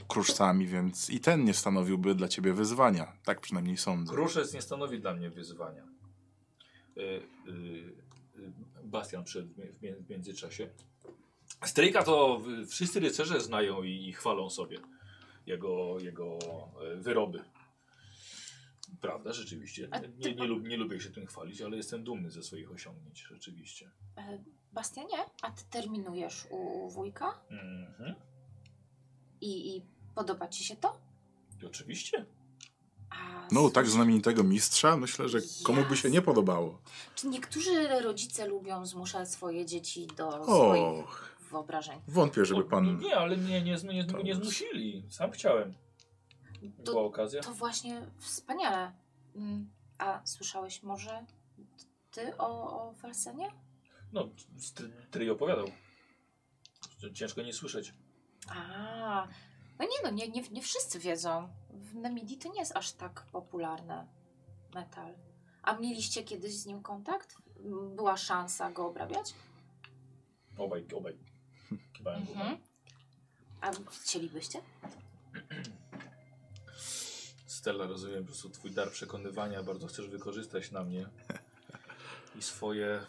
Speaker 3: kruszcami, więc i ten nie stanowiłby dla ciebie wyzwania. Tak przynajmniej sądzę.
Speaker 1: Kruszec nie stanowi dla mnie wyzwania. Y, y, y, Bastian przed, w mię- w międzyczasie. Stryjka to w- wszyscy rycerze znają i, i chwalą sobie jego, jego y, wyroby. Prawda, rzeczywiście.
Speaker 7: A ty-
Speaker 1: Nie, nie, lub, nie lubię się tym chwalić, ale jestem dumny ze swoich osiągnięć, rzeczywiście.
Speaker 2: E, Bastianie, a ty terminujesz u, u wujka?
Speaker 1: Mhm.
Speaker 2: I, I podoba ci się to?
Speaker 1: I Oczywiście.
Speaker 2: A
Speaker 3: No, tak znamienitego mistrza, myślę, że komu by się nie podobało.
Speaker 2: Czy niektórzy rodzice lubią zmuszać swoje dzieci do swoich
Speaker 3: Och,
Speaker 2: wyobrażeń?
Speaker 3: wątpię, żeby
Speaker 1: No, no
Speaker 3: pan...
Speaker 1: Nie, ale nie, nie, nie, nie, nie
Speaker 3: Thomas.
Speaker 1: zmusili. Sam chciałem.
Speaker 2: To-
Speaker 1: Była okazja.
Speaker 2: To właśnie wspaniale. Mm, A słyszałeś może ty o, o Felsenie?
Speaker 1: No, stry, stryj opowiadał. Ciężko nie słyszeć.
Speaker 2: A, no nie no, nie, nie, nie wszyscy wiedzą. W Nemidii to nie jest aż tak popularny metal. A mieliście kiedyś z nim kontakt? M, Była szansa go obrabiać?
Speaker 1: Obaj, obaj. Kiwałem głową.
Speaker 7: Mhm.
Speaker 2: A chcielibyście?
Speaker 1: Stella, rozumiem, po prostu twój dar przekonywania bardzo chcesz wykorzystać na mnie. I swoje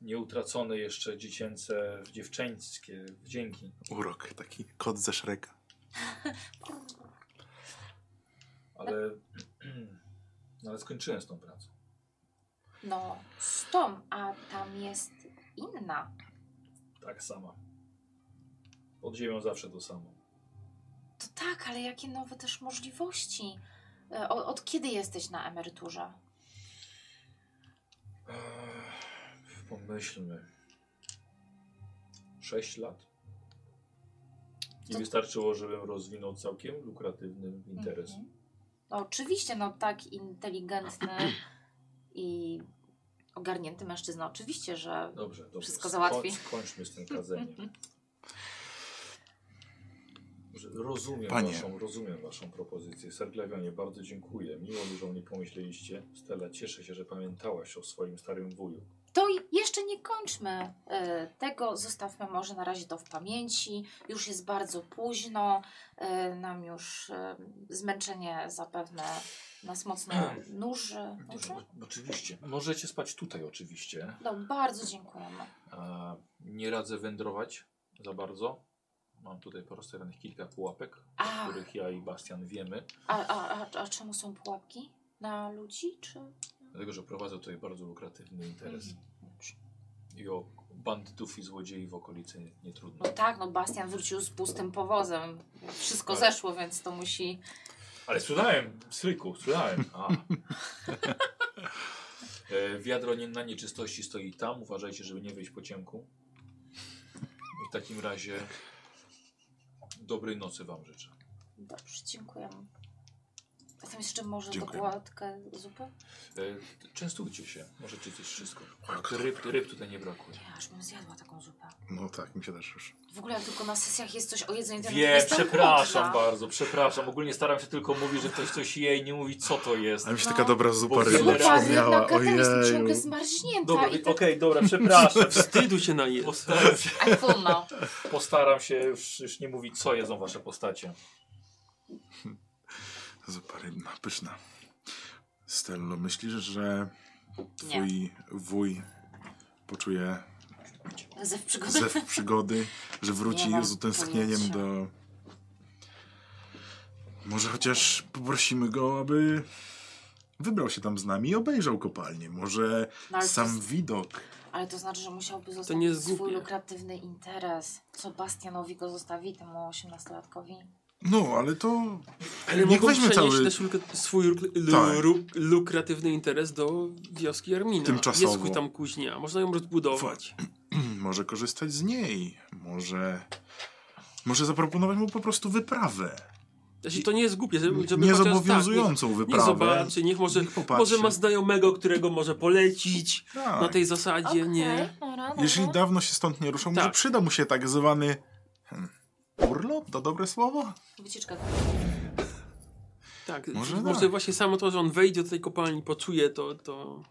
Speaker 1: nieutracone jeszcze dziecięce, dziewczęskie wdzięki.
Speaker 3: Urok, taki kot ze Szreka.
Speaker 1: Ale, (clears throat) ale skończyłem z tą pracą.
Speaker 2: No, z tą, a tam jest inna.
Speaker 1: Tak sama. Pod ziemią zawsze to samo.
Speaker 2: To tak, ale jakie nowe też możliwości. E, O, od kiedy jesteś na emeryturze?
Speaker 1: Ech, Pomyślmy. 6 lat? Nie
Speaker 2: To-
Speaker 1: wystarczyło, żebym rozwinął całkiem lukratywny interes.
Speaker 2: Mhm. No, oczywiście, no tak inteligentny i ogarnięty mężczyzna, oczywiście, że
Speaker 1: Dobrze, dobrze.
Speaker 2: Wszystko załatwi.
Speaker 1: Skończ- Skończmy z tym kadzeniem. Że Rozumiem
Speaker 3: Panie.
Speaker 1: waszą, rozumiem waszą propozycję. Serglewionie, bardzo dziękuję. Miło, że o mnie pomyśleliście. Stella, cieszę się, że pamiętałaś o swoim starym wuju.
Speaker 2: To i- jeszcze nie kończmy e, tego, zostawmy może na razie to w pamięci. Już jest bardzo późno, e, nam już e, zmęczenie zapewne nas mocno nuży. nuży?
Speaker 1: O- Oczywiście. Możecie spać tutaj oczywiście.
Speaker 2: No, bardzo dziękujemy.
Speaker 1: E, nie radzę wędrować za bardzo. Mam tutaj porozstawionych kilka pułapek, o
Speaker 2: A,
Speaker 1: których ja i Bastian wiemy.
Speaker 2: a, a, a, a czemu są pułapki? Na ludzi, czy?
Speaker 1: Dlatego, że prowadzę tutaj bardzo lukratywny interes.
Speaker 2: Dobrze.
Speaker 1: I o bandytów i złodziei w okolicy nie trudno.
Speaker 2: No tak, no Bastian wrócił z pustym powozem. Wszystko
Speaker 1: Ale-
Speaker 2: zeszło, więc to musi...
Speaker 1: Ale sprzedałem, stryku, sprzedałem. A. E, Wiadro nie, na nieczystości stoi tam, uważajcie, żeby nie wyjść po ciemku. I w takim razie dobrej nocy wam życzę.
Speaker 2: Dobrze, dziękujemy. A tam jeszcze może
Speaker 3: Dziękujemy.
Speaker 2: dokładkę zupy?
Speaker 1: E, częstujcie się, możecie coś wszystko. Ryb, ryb tutaj nie brakuje.
Speaker 2: Ja aż bym zjadła taką zupę.
Speaker 3: No tak, mi się też już...
Speaker 2: W ogóle jak tylko na sesjach jest coś o jedzeniu, to
Speaker 1: Wiem,
Speaker 2: jestem
Speaker 1: przepraszam
Speaker 2: głodna.
Speaker 1: bardzo, przepraszam. Ogólnie staram się tylko mówić, że ktoś coś je i nie mówi co to jest.
Speaker 3: A mi się
Speaker 2: No.
Speaker 3: taka dobra
Speaker 1: Bo
Speaker 3: zupa
Speaker 1: wiele
Speaker 3: ryby
Speaker 1: razy
Speaker 2: Chłopak,
Speaker 3: przypomniała.
Speaker 2: jednak Katar jest ciągle
Speaker 3: Ojeju.
Speaker 2: zmarznięta
Speaker 1: Dobra,
Speaker 2: i
Speaker 1: okej,
Speaker 2: tak
Speaker 1: dobra,
Speaker 4: (laughs)
Speaker 1: przepraszam.
Speaker 4: Wstydu się na je.
Speaker 1: Postaram się,
Speaker 7: A
Speaker 2: no.
Speaker 7: funo.
Speaker 1: postaram się już, już nie mówić co jedzą wasze postacie.
Speaker 3: Zupa rybna, pyszna. Stello, myślisz, że twój wuj
Speaker 2: (laughs)
Speaker 3: poczuje
Speaker 2: zew przygody.
Speaker 3: zew przygody, że wróci
Speaker 2: Nie mam
Speaker 3: z utęsknieniem
Speaker 2: pojęcia.
Speaker 3: do... Może chociaż poprosimy go, aby wybrał się tam z nami i obejrzał kopalnię. Może
Speaker 2: No, ale, to,
Speaker 3: sam widok.
Speaker 2: ale to znaczy, że musiałby zostawić
Speaker 4: nie jest
Speaker 2: swój
Speaker 4: głupie.
Speaker 2: lukratywny interes. Co Bastianowi go zostawi, temu 18-latkowi?
Speaker 3: No, ale to...
Speaker 4: Ale
Speaker 3: Niech
Speaker 4: mogą
Speaker 3: weźmie
Speaker 4: przenieść
Speaker 3: cały-
Speaker 4: też luk- swój luk- lu-
Speaker 3: Tak.
Speaker 4: ru- lukratywny interes do wioski Armina.
Speaker 3: Tymczasowo.
Speaker 4: Jest ku tam kuźnia, można ją rozbudować.
Speaker 3: Może korzystać z niej. Może... Może zaproponować mu po prostu wyprawę.
Speaker 4: Znaczy, to nie jest głupie, żeby, żeby chociaż-
Speaker 3: Niezobowiązującą
Speaker 4: tak, niech, niech
Speaker 3: wyprawę.
Speaker 4: zobaczy, niech może,
Speaker 3: Niech popatrzy.
Speaker 4: może ma znajomego, którego może polecić
Speaker 3: Tak.
Speaker 4: na tej zasadzie,
Speaker 2: Okej,
Speaker 4: nie?
Speaker 2: dobra, dobra.
Speaker 3: Jeżeli dawno się stąd nie ruszał, może
Speaker 4: Tak.
Speaker 3: przyda mu się tak zwany hmm, urlop, to dobre słowo?
Speaker 2: Wycieczka.
Speaker 4: Tak,
Speaker 3: Może
Speaker 4: może,
Speaker 3: tak.
Speaker 4: właśnie samo to, że on wejdzie do tej kopalni, poczuje to, to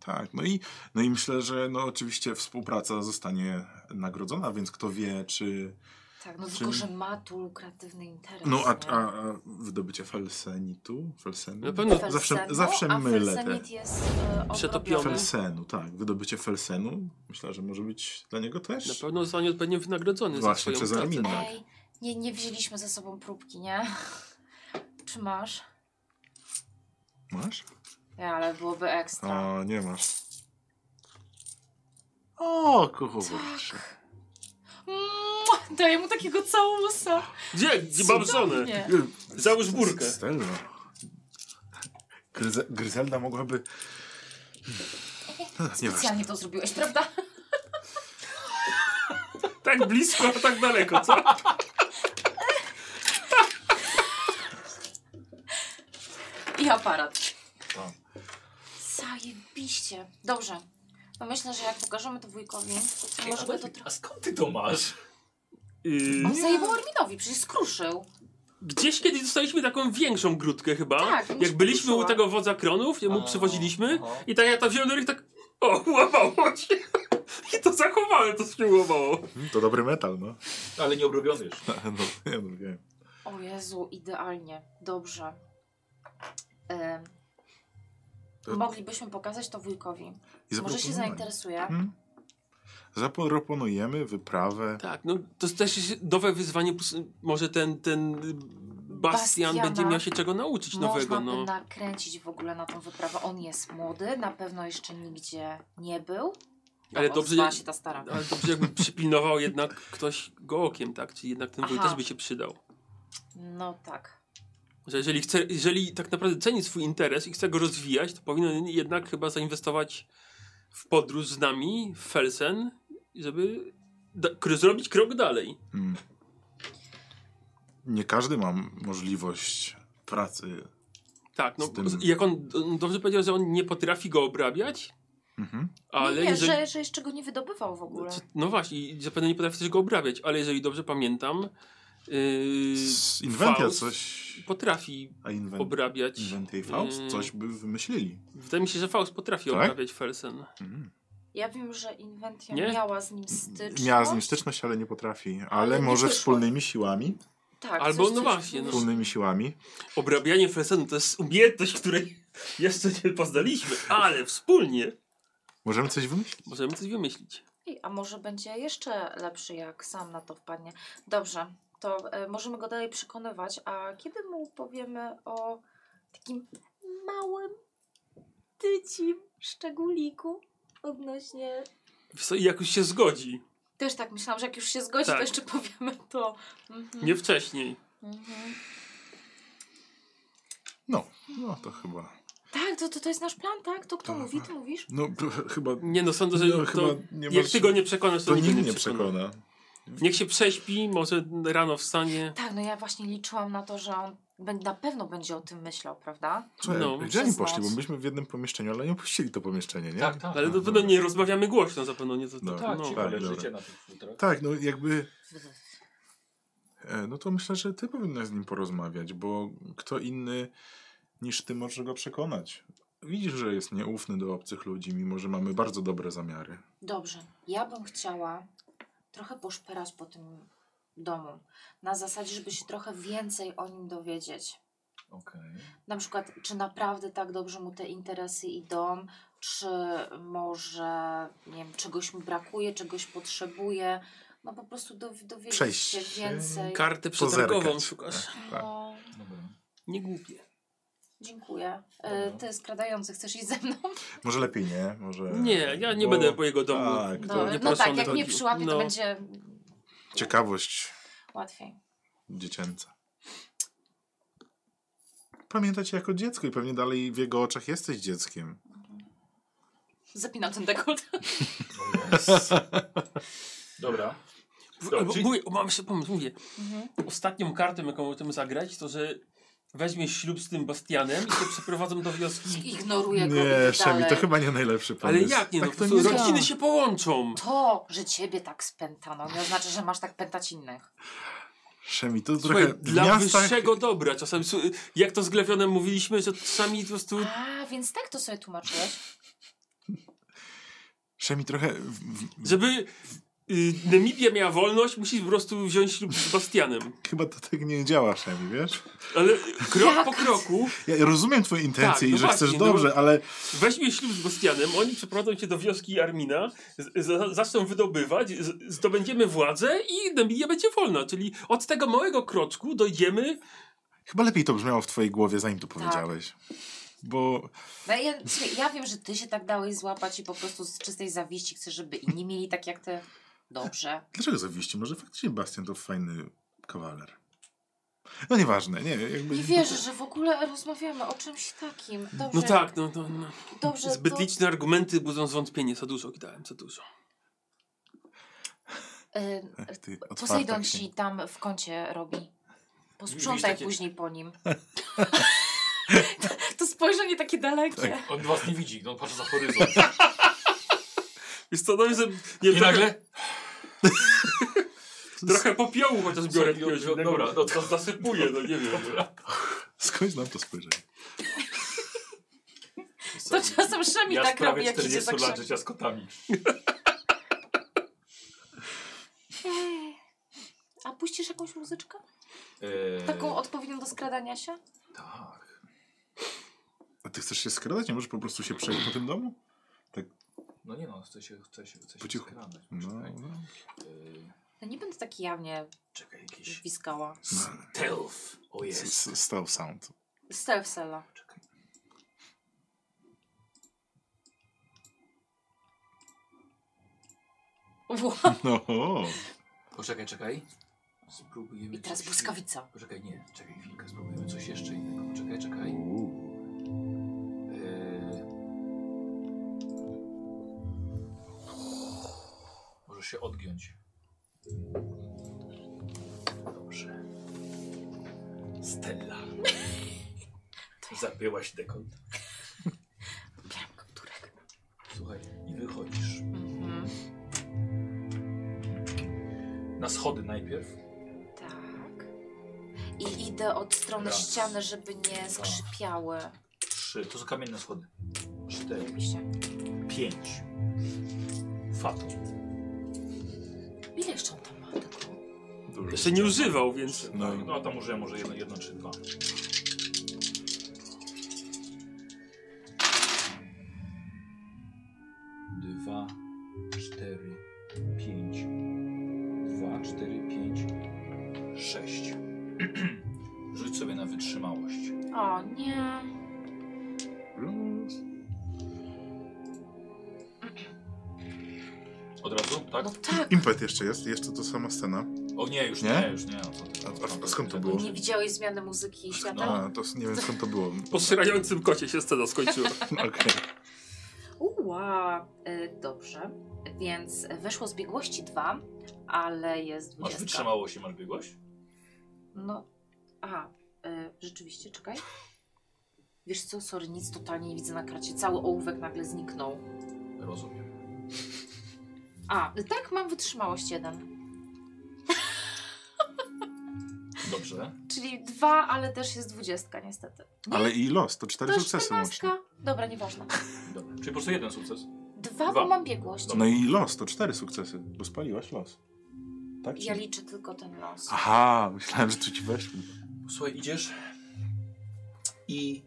Speaker 3: Tak, no i, no i myślę, że no oczywiście współpraca zostanie nagrodzona, więc kto wie, czy...
Speaker 2: Tak, no
Speaker 3: Czym-
Speaker 2: tylko, że ma tu lukratywny interes.
Speaker 3: No a,
Speaker 2: nie?
Speaker 3: a, a wydobycie felsenitu? Felsenu?
Speaker 4: Na pewno-
Speaker 2: Felsenu,
Speaker 3: Zawsze, zawsze
Speaker 2: a
Speaker 3: mylę te...
Speaker 2: felsenit jest e,
Speaker 4: Przetopiony.
Speaker 2: obrobiony.
Speaker 3: Felsenu, tak. Wydobycie felsenu. Myślę, że może być dla niego też.
Speaker 4: Na pewno zostanie odpowiednio wynagrodzony
Speaker 3: Właśnie,
Speaker 4: za
Speaker 3: przez
Speaker 4: swoją pracę.
Speaker 3: Armina.
Speaker 2: Ej, nie, nie wzięliśmy ze sobą próbki, nie? (laughs) Czy masz?
Speaker 3: Masz?
Speaker 2: Nie, ale byłoby ekstra.
Speaker 3: O, nie masz. O,
Speaker 2: Tak.
Speaker 3: kurczę.
Speaker 2: Mua, Daję mu takiego całusa.
Speaker 4: Gdzie? Gdzie Babsone?
Speaker 2: Cudownie.
Speaker 4: Załóż burkę.
Speaker 3: Stella. Gryze- Gryzelda mogłaby... No, nieważne.
Speaker 2: Specjalnie to zrobiłeś, prawda?
Speaker 4: Tak blisko, a tak daleko, co?
Speaker 2: I aparat.
Speaker 1: Tak.
Speaker 2: Zajebiście. Dobrze. No myślę, że jak pokażemy to wujkowi, to może by to
Speaker 5: A
Speaker 2: trochę...
Speaker 5: skąd ty to masz?
Speaker 4: Yy,
Speaker 2: On zajebał Arminowi, przecież skruszył.
Speaker 4: Gdzieś kiedyś dostaliśmy taką większą grudkę chyba.
Speaker 2: Tak, mi się
Speaker 4: jak byliśmy u
Speaker 2: przyszła.
Speaker 4: tego wodza kronów, mu przywoziliśmy.
Speaker 1: aha.
Speaker 4: I tak ja tam wziąłem do ręki tak. O, łapało się. I to zachowałem, to się łapało.
Speaker 3: To dobry metal, no. (laughs)
Speaker 1: Ale nie obrobiony już.
Speaker 3: No, ja no wiem.
Speaker 2: O Jezu, idealnie. Dobrze. Ym,
Speaker 3: To-
Speaker 2: Moglibyśmy pokazać to wujkowi.
Speaker 3: I
Speaker 2: Może się
Speaker 3: zaproponowanie.
Speaker 2: zainteresuje.
Speaker 3: Hmm? Zaproponujemy wyprawę.
Speaker 4: Tak, no to też jest nowe wyzwanie. plus Może ten, ten Bastian
Speaker 2: Bastiana.
Speaker 4: będzie miał się czego nauczyć nowego.
Speaker 2: Można by
Speaker 4: No.
Speaker 2: nakręcić w ogóle na tą wyprawę. On jest młody, na pewno jeszcze nigdzie nie był. No,
Speaker 4: Ale dobrze,
Speaker 2: odezwała się ta stara.
Speaker 4: Ale dobrze jakby przypilnował jednak ktoś go okiem, tak? Czyli jednak ten wuj
Speaker 2: Aha.
Speaker 4: też by się przydał.
Speaker 2: No tak.
Speaker 4: Że jeżeli, chce, jeżeli tak naprawdę ceni swój interes i chce go rozwijać, to powinien jednak chyba zainwestować w podróż z nami, w Felsen, żeby da, kr- zrobić krok dalej.
Speaker 3: Hmm. Nie każdy ma możliwość pracy.
Speaker 4: Tak, no
Speaker 3: Z tym-
Speaker 4: z- jak on, on dobrze powiedział, że on nie potrafi go obrabiać,
Speaker 3: Mhm.
Speaker 4: ale
Speaker 2: nie, nie
Speaker 4: jeżeli...
Speaker 2: że, że jeszcze go nie wydobywał w ogóle.
Speaker 4: Czy- No właśnie, i zapewne nie potrafi też go obrabiać, ale jeżeli dobrze pamiętam, yy,
Speaker 3: Z Inventia
Speaker 4: Faust
Speaker 3: coś.
Speaker 4: potrafi
Speaker 3: A invent,
Speaker 4: obrabiać.
Speaker 3: Inventia i Faust
Speaker 4: Yy,
Speaker 3: coś by wymyślili.
Speaker 4: Wydaje mi się, że Faust potrafi
Speaker 3: Tak?
Speaker 4: obrabiać Felsen.
Speaker 3: Mhm.
Speaker 2: Ja wiem, że Inventia
Speaker 4: Nie?
Speaker 2: miała z nim styczność.
Speaker 3: Miała z nim styczność, ale nie potrafi. Ale,
Speaker 2: Ale nie
Speaker 3: może
Speaker 2: wyszło.
Speaker 3: wspólnymi siłami.
Speaker 2: Tak,
Speaker 4: Albo
Speaker 2: coś-
Speaker 4: no
Speaker 2: coś-
Speaker 4: właśnie, no.
Speaker 3: Wspólnymi siłami.
Speaker 4: Obrabianie Felsenu to jest umiejętność, której jeszcze nie poznaliśmy, ale wspólnie
Speaker 3: Możemy coś wymyślić.
Speaker 4: możemy coś wymyślić.
Speaker 2: Ej, A może będzie jeszcze lepszy, jak sam na to wpadnie. Dobrze, to e, możemy go dalej przekonywać, a kiedy mu powiemy o takim małym, tycim szczególiku odnośnie...
Speaker 4: Wiesz co, i Jak już się zgodzi,
Speaker 2: Też tak myślałam, że jak już się zgodzi,
Speaker 4: Tak.
Speaker 2: to jeszcze powiemy to. Mhm.
Speaker 4: nie wcześniej.
Speaker 2: Mhm.
Speaker 3: No, no to chyba.
Speaker 2: Tak, to, to, to jest nasz plan, tak? To kto
Speaker 3: Dobra.
Speaker 2: mówi, ty mówisz?
Speaker 3: No p- chyba.
Speaker 4: Nie no, sądzę, że
Speaker 3: No,
Speaker 4: to,
Speaker 3: chyba nie
Speaker 4: jak
Speaker 3: masz-
Speaker 4: ty go nie przekonasz, to,
Speaker 3: To
Speaker 4: nikt
Speaker 3: nikt
Speaker 4: go
Speaker 3: nie przekona.
Speaker 4: Niech się prześpi, może rano wstanie.
Speaker 2: Tak, no ja właśnie liczyłam na to, że on bę- na pewno będzie o tym myślał, prawda?
Speaker 3: Słuchaj,
Speaker 4: No,
Speaker 3: gdzie oni
Speaker 2: przez
Speaker 3: poszli?
Speaker 2: noc.
Speaker 3: Bo byliśmy w jednym pomieszczeniu, ale nie opuścili to pomieszczenie, nie?
Speaker 1: Tak, tak.
Speaker 3: Aha,
Speaker 4: Ale to pewno
Speaker 3: dobra.
Speaker 4: nie rozmawiamy głośno, zapewne nie to, to,
Speaker 3: No.
Speaker 1: Tak,
Speaker 4: no.
Speaker 1: ci
Speaker 3: tak,
Speaker 1: leżycie
Speaker 3: dobra.
Speaker 1: na tych futrach.
Speaker 3: Tak, no jakby. E, No to myślę, że ty powinnaś z nim porozmawiać, bo kto inny niż ty może go przekonać. Widzisz, że jest nieufny do obcych ludzi, mimo że mamy bardzo dobre zamiary.
Speaker 2: Dobrze, ja bym chciała trochę poszperać po tym domu. Na zasadzie, żeby się trochę więcej o nim dowiedzieć.
Speaker 1: Okej.
Speaker 2: Na przykład, czy naprawdę tak dobrze mu te interesy idą, czy może, nie wiem, czegoś mu brakuje, czegoś potrzebuje. No po prostu do, dowiedzieć
Speaker 3: Przejść
Speaker 2: się
Speaker 3: się.
Speaker 2: więcej.
Speaker 4: Kartę przetargową
Speaker 3: Pozerkać.
Speaker 4: szukasz.
Speaker 3: Tak.
Speaker 2: No,
Speaker 1: Dobra.
Speaker 4: (laughs) Nie głupie.
Speaker 2: dziękuję. E,
Speaker 1: Dobra.
Speaker 2: Ty skradający, chcesz iść ze mną?
Speaker 3: Może lepiej nie? Może...
Speaker 4: Nie, ja nie
Speaker 3: bo
Speaker 4: będę po jego domu.
Speaker 3: No, Tak, to-
Speaker 2: No, no tak,
Speaker 4: proszony
Speaker 2: jak
Speaker 4: taki.
Speaker 2: mnie przyłapie,
Speaker 4: No.
Speaker 2: to będzie
Speaker 3: Ciekawość
Speaker 2: łatwiej.
Speaker 3: dziecięca. Pamiętać jako dziecko i pewnie dalej w jego oczach jesteś dzieckiem.
Speaker 2: Zapinam ten dekolt.
Speaker 1: Dobra.
Speaker 4: W- albo
Speaker 1: czyli-
Speaker 4: Mówię, o, mam jeszcze pomysł, mówię.
Speaker 2: Mhm.
Speaker 4: Ostatnią kartą, jaką możemy zagrać, to że weźmie ślub z tym Bastianem i się przeprowadzą
Speaker 2: (laughs)
Speaker 4: do wioski.
Speaker 2: Ignoruję go.
Speaker 3: Nie,
Speaker 2: Nie,
Speaker 3: Szemi,
Speaker 2: dalej.
Speaker 3: to chyba nie najlepszy
Speaker 4: Ale
Speaker 3: pomysł.
Speaker 4: jak nie? No,
Speaker 3: tak to
Speaker 4: to
Speaker 3: nie
Speaker 2: robi-
Speaker 4: rodziny się połączą.
Speaker 2: To, że ciebie tak spętano, nie oznacza, że masz tak pętać innych.
Speaker 3: Szemi, to
Speaker 4: Słuchaj,
Speaker 3: trochę
Speaker 4: dla
Speaker 3: w miastach...
Speaker 4: wyższego dobra. Czasami, su- jak to z Glewionem mówiliśmy, że czasami po prostu
Speaker 2: A, więc tak to sobie tłumaczyłeś.
Speaker 3: Szemi trochę... W, w,
Speaker 4: Żeby y, Namibia miała wolność, musisz po prostu wziąć ślub z Bastianem.
Speaker 3: chyba to tak nie działa, Szemi, wiesz?
Speaker 4: Ale krok po kroku
Speaker 3: Ja rozumiem twoje intencje
Speaker 4: Tak, no
Speaker 3: i że chcesz
Speaker 4: właśnie, no-
Speaker 3: dobrze, ale
Speaker 4: weźmie ślub z Bastianem, oni przeprowadzą cię do wioski Armina, z, z, zaczną wydobywać, z, zdobędziemy władzę i Namibia będzie wolna. Czyli od tego małego kroczku dojdziemy...
Speaker 3: chyba lepiej to brzmiało w twojej głowie, zanim to powiedziałeś. Bo
Speaker 2: No, ja, słuchaj, ja wiem, że ty się tak dałeś złapać i po prostu z czystej zawiści chcesz, żeby inni mieli tak jak ty. Dobrze.
Speaker 3: dlaczego zawiści? Może faktycznie Bastian to fajny kawaler. No nieważne, nie, jakby...
Speaker 6: Nie wierzę, że w ogóle rozmawiamy o czymś takim. Dobrze,
Speaker 4: No tak, no, no, no.
Speaker 6: dobrze.
Speaker 4: Zbyt
Speaker 6: to-
Speaker 4: liczne argumenty budzą zwątpienie. Za dużo dałem, za dużo.
Speaker 2: Y,
Speaker 3: Ech, e, ty, otwarta
Speaker 2: Posejdon
Speaker 3: księga.
Speaker 2: ci tam w kącie robi.
Speaker 1: Widzisz
Speaker 2: Posprzątaj
Speaker 1: takie-
Speaker 2: później po
Speaker 4: (laughs)
Speaker 2: nim. to spojrzenie takie dalekie.
Speaker 1: On was nie widzi, on patrzy za horyzont.
Speaker 4: Jest to, no, jest, nie,
Speaker 1: I
Speaker 4: trochę,
Speaker 1: nagle...
Speaker 4: trochę popiołu chociaż biorę.
Speaker 1: Co,
Speaker 4: jakiegoś
Speaker 1: no,
Speaker 4: innego.
Speaker 1: dobra, no to-
Speaker 4: zasypuję, no nie wiem.
Speaker 3: Skąd nam to spojrzenie?
Speaker 2: To czasem Szemi
Speaker 1: Ja
Speaker 2: tak
Speaker 1: sprawię
Speaker 2: robi, jak idzie
Speaker 1: 40
Speaker 2: za
Speaker 1: lat
Speaker 2: krzakiem.
Speaker 1: życia z kotami.
Speaker 6: Ej, A puścisz jakąś muzyczkę?
Speaker 1: Eee,
Speaker 6: Taką odpowiednią do skradania się?
Speaker 1: Tak.
Speaker 3: A ty chcesz się skradać? Nie możesz po prostu się przejść po tym domu?
Speaker 1: No nie no, chce się, chce się, chce
Speaker 3: Po
Speaker 1: się
Speaker 3: cichu.
Speaker 1: skradać.
Speaker 3: No,
Speaker 1: Czekaj.
Speaker 3: no.
Speaker 1: Eee,
Speaker 2: No nie będę tak jawnie
Speaker 1: czekaj, jakiś...
Speaker 2: wiskała.
Speaker 1: Stealth. O
Speaker 3: S-
Speaker 1: jest.
Speaker 3: s- Stał sound.
Speaker 2: Stealth Sella.
Speaker 1: Czekaj.
Speaker 2: Ło,
Speaker 3: No,
Speaker 1: Poczekaj, czekaj. Spróbujemy
Speaker 2: I teraz
Speaker 1: coś-
Speaker 2: błyskawica.
Speaker 1: Poczekaj, nie. Czekaj chwilkę, spróbujemy coś jeszcze innego. Poczekaj, czekaj. Yy. Eee... Możesz się odgiąć. Dobrze. Stella. Zapięłaś dekont.
Speaker 2: Bieram kapturek.
Speaker 1: Słuchaj, i wychodzisz.
Speaker 2: Mhm.
Speaker 1: Na schody najpierw.
Speaker 2: Tak. I idę od strony
Speaker 1: Raz,
Speaker 2: ściany, żeby nie skrzypiały.
Speaker 1: Trzy. To są kamienne schody. Cztery.
Speaker 2: Oczywiście.
Speaker 1: Pięć. Fatum.
Speaker 2: Ile jeszcze on tam ma tego?
Speaker 4: no. Jeszcze nie używał, więc...
Speaker 1: No, no a tam użyłem może jedno, jedno czy dwa. Dwa, cztery, pięć. Dwa, cztery, pięć, sześć. (clears throat) Rzuć sobie na wytrzymałość.
Speaker 2: O nie.
Speaker 1: Od razu, tak?
Speaker 2: No tak.
Speaker 3: Impet jeszcze jest, jeszcze to sama scena.
Speaker 1: O nie, już nie,
Speaker 3: Nie?
Speaker 1: już nie. No, co ty,
Speaker 3: A- a- a skąd to było?
Speaker 2: Nie widziałeś zmiany muzyki i świata?
Speaker 1: No.
Speaker 3: A, to s- nie wiem skąd to
Speaker 2: (laughs)
Speaker 3: było.
Speaker 4: Po srającym kocie się scena skończyła.
Speaker 2: Tak.
Speaker 3: Okej.
Speaker 2: Uła, y, dobrze. Więc wyszło z biegłości 2, ale jest
Speaker 1: Masz
Speaker 2: 20.
Speaker 1: wytrzymałość i masz biegłość?
Speaker 2: No, aha, y, rzeczywiście, czekaj. Wiesz co, sorry, nic totalnie nie widzę na kracie. Cały ołówek nagle zniknął.
Speaker 1: Rozumiem.
Speaker 2: A, y, tak, mam wytrzymałość 1.
Speaker 1: Dobrze.
Speaker 2: Czyli 2, ale też jest 20 niestety. Nie,
Speaker 3: Ale i los, to cztery
Speaker 2: to
Speaker 3: sukcesy łącznie.
Speaker 2: 14. Dobra, nieważne.
Speaker 1: Dobra. Czyli po prostu jeden sukces.
Speaker 2: Dwa,
Speaker 1: Dwa.
Speaker 2: bo mam biegłość.
Speaker 1: Dobra.
Speaker 3: No i los, to cztery sukcesy, bo spaliłaś los. Tak? czy
Speaker 2: Ja
Speaker 3: nie?
Speaker 2: liczę tylko ten los.
Speaker 3: Aha, myślałem, że tu ci weszli.
Speaker 1: Słuchaj, idziesz i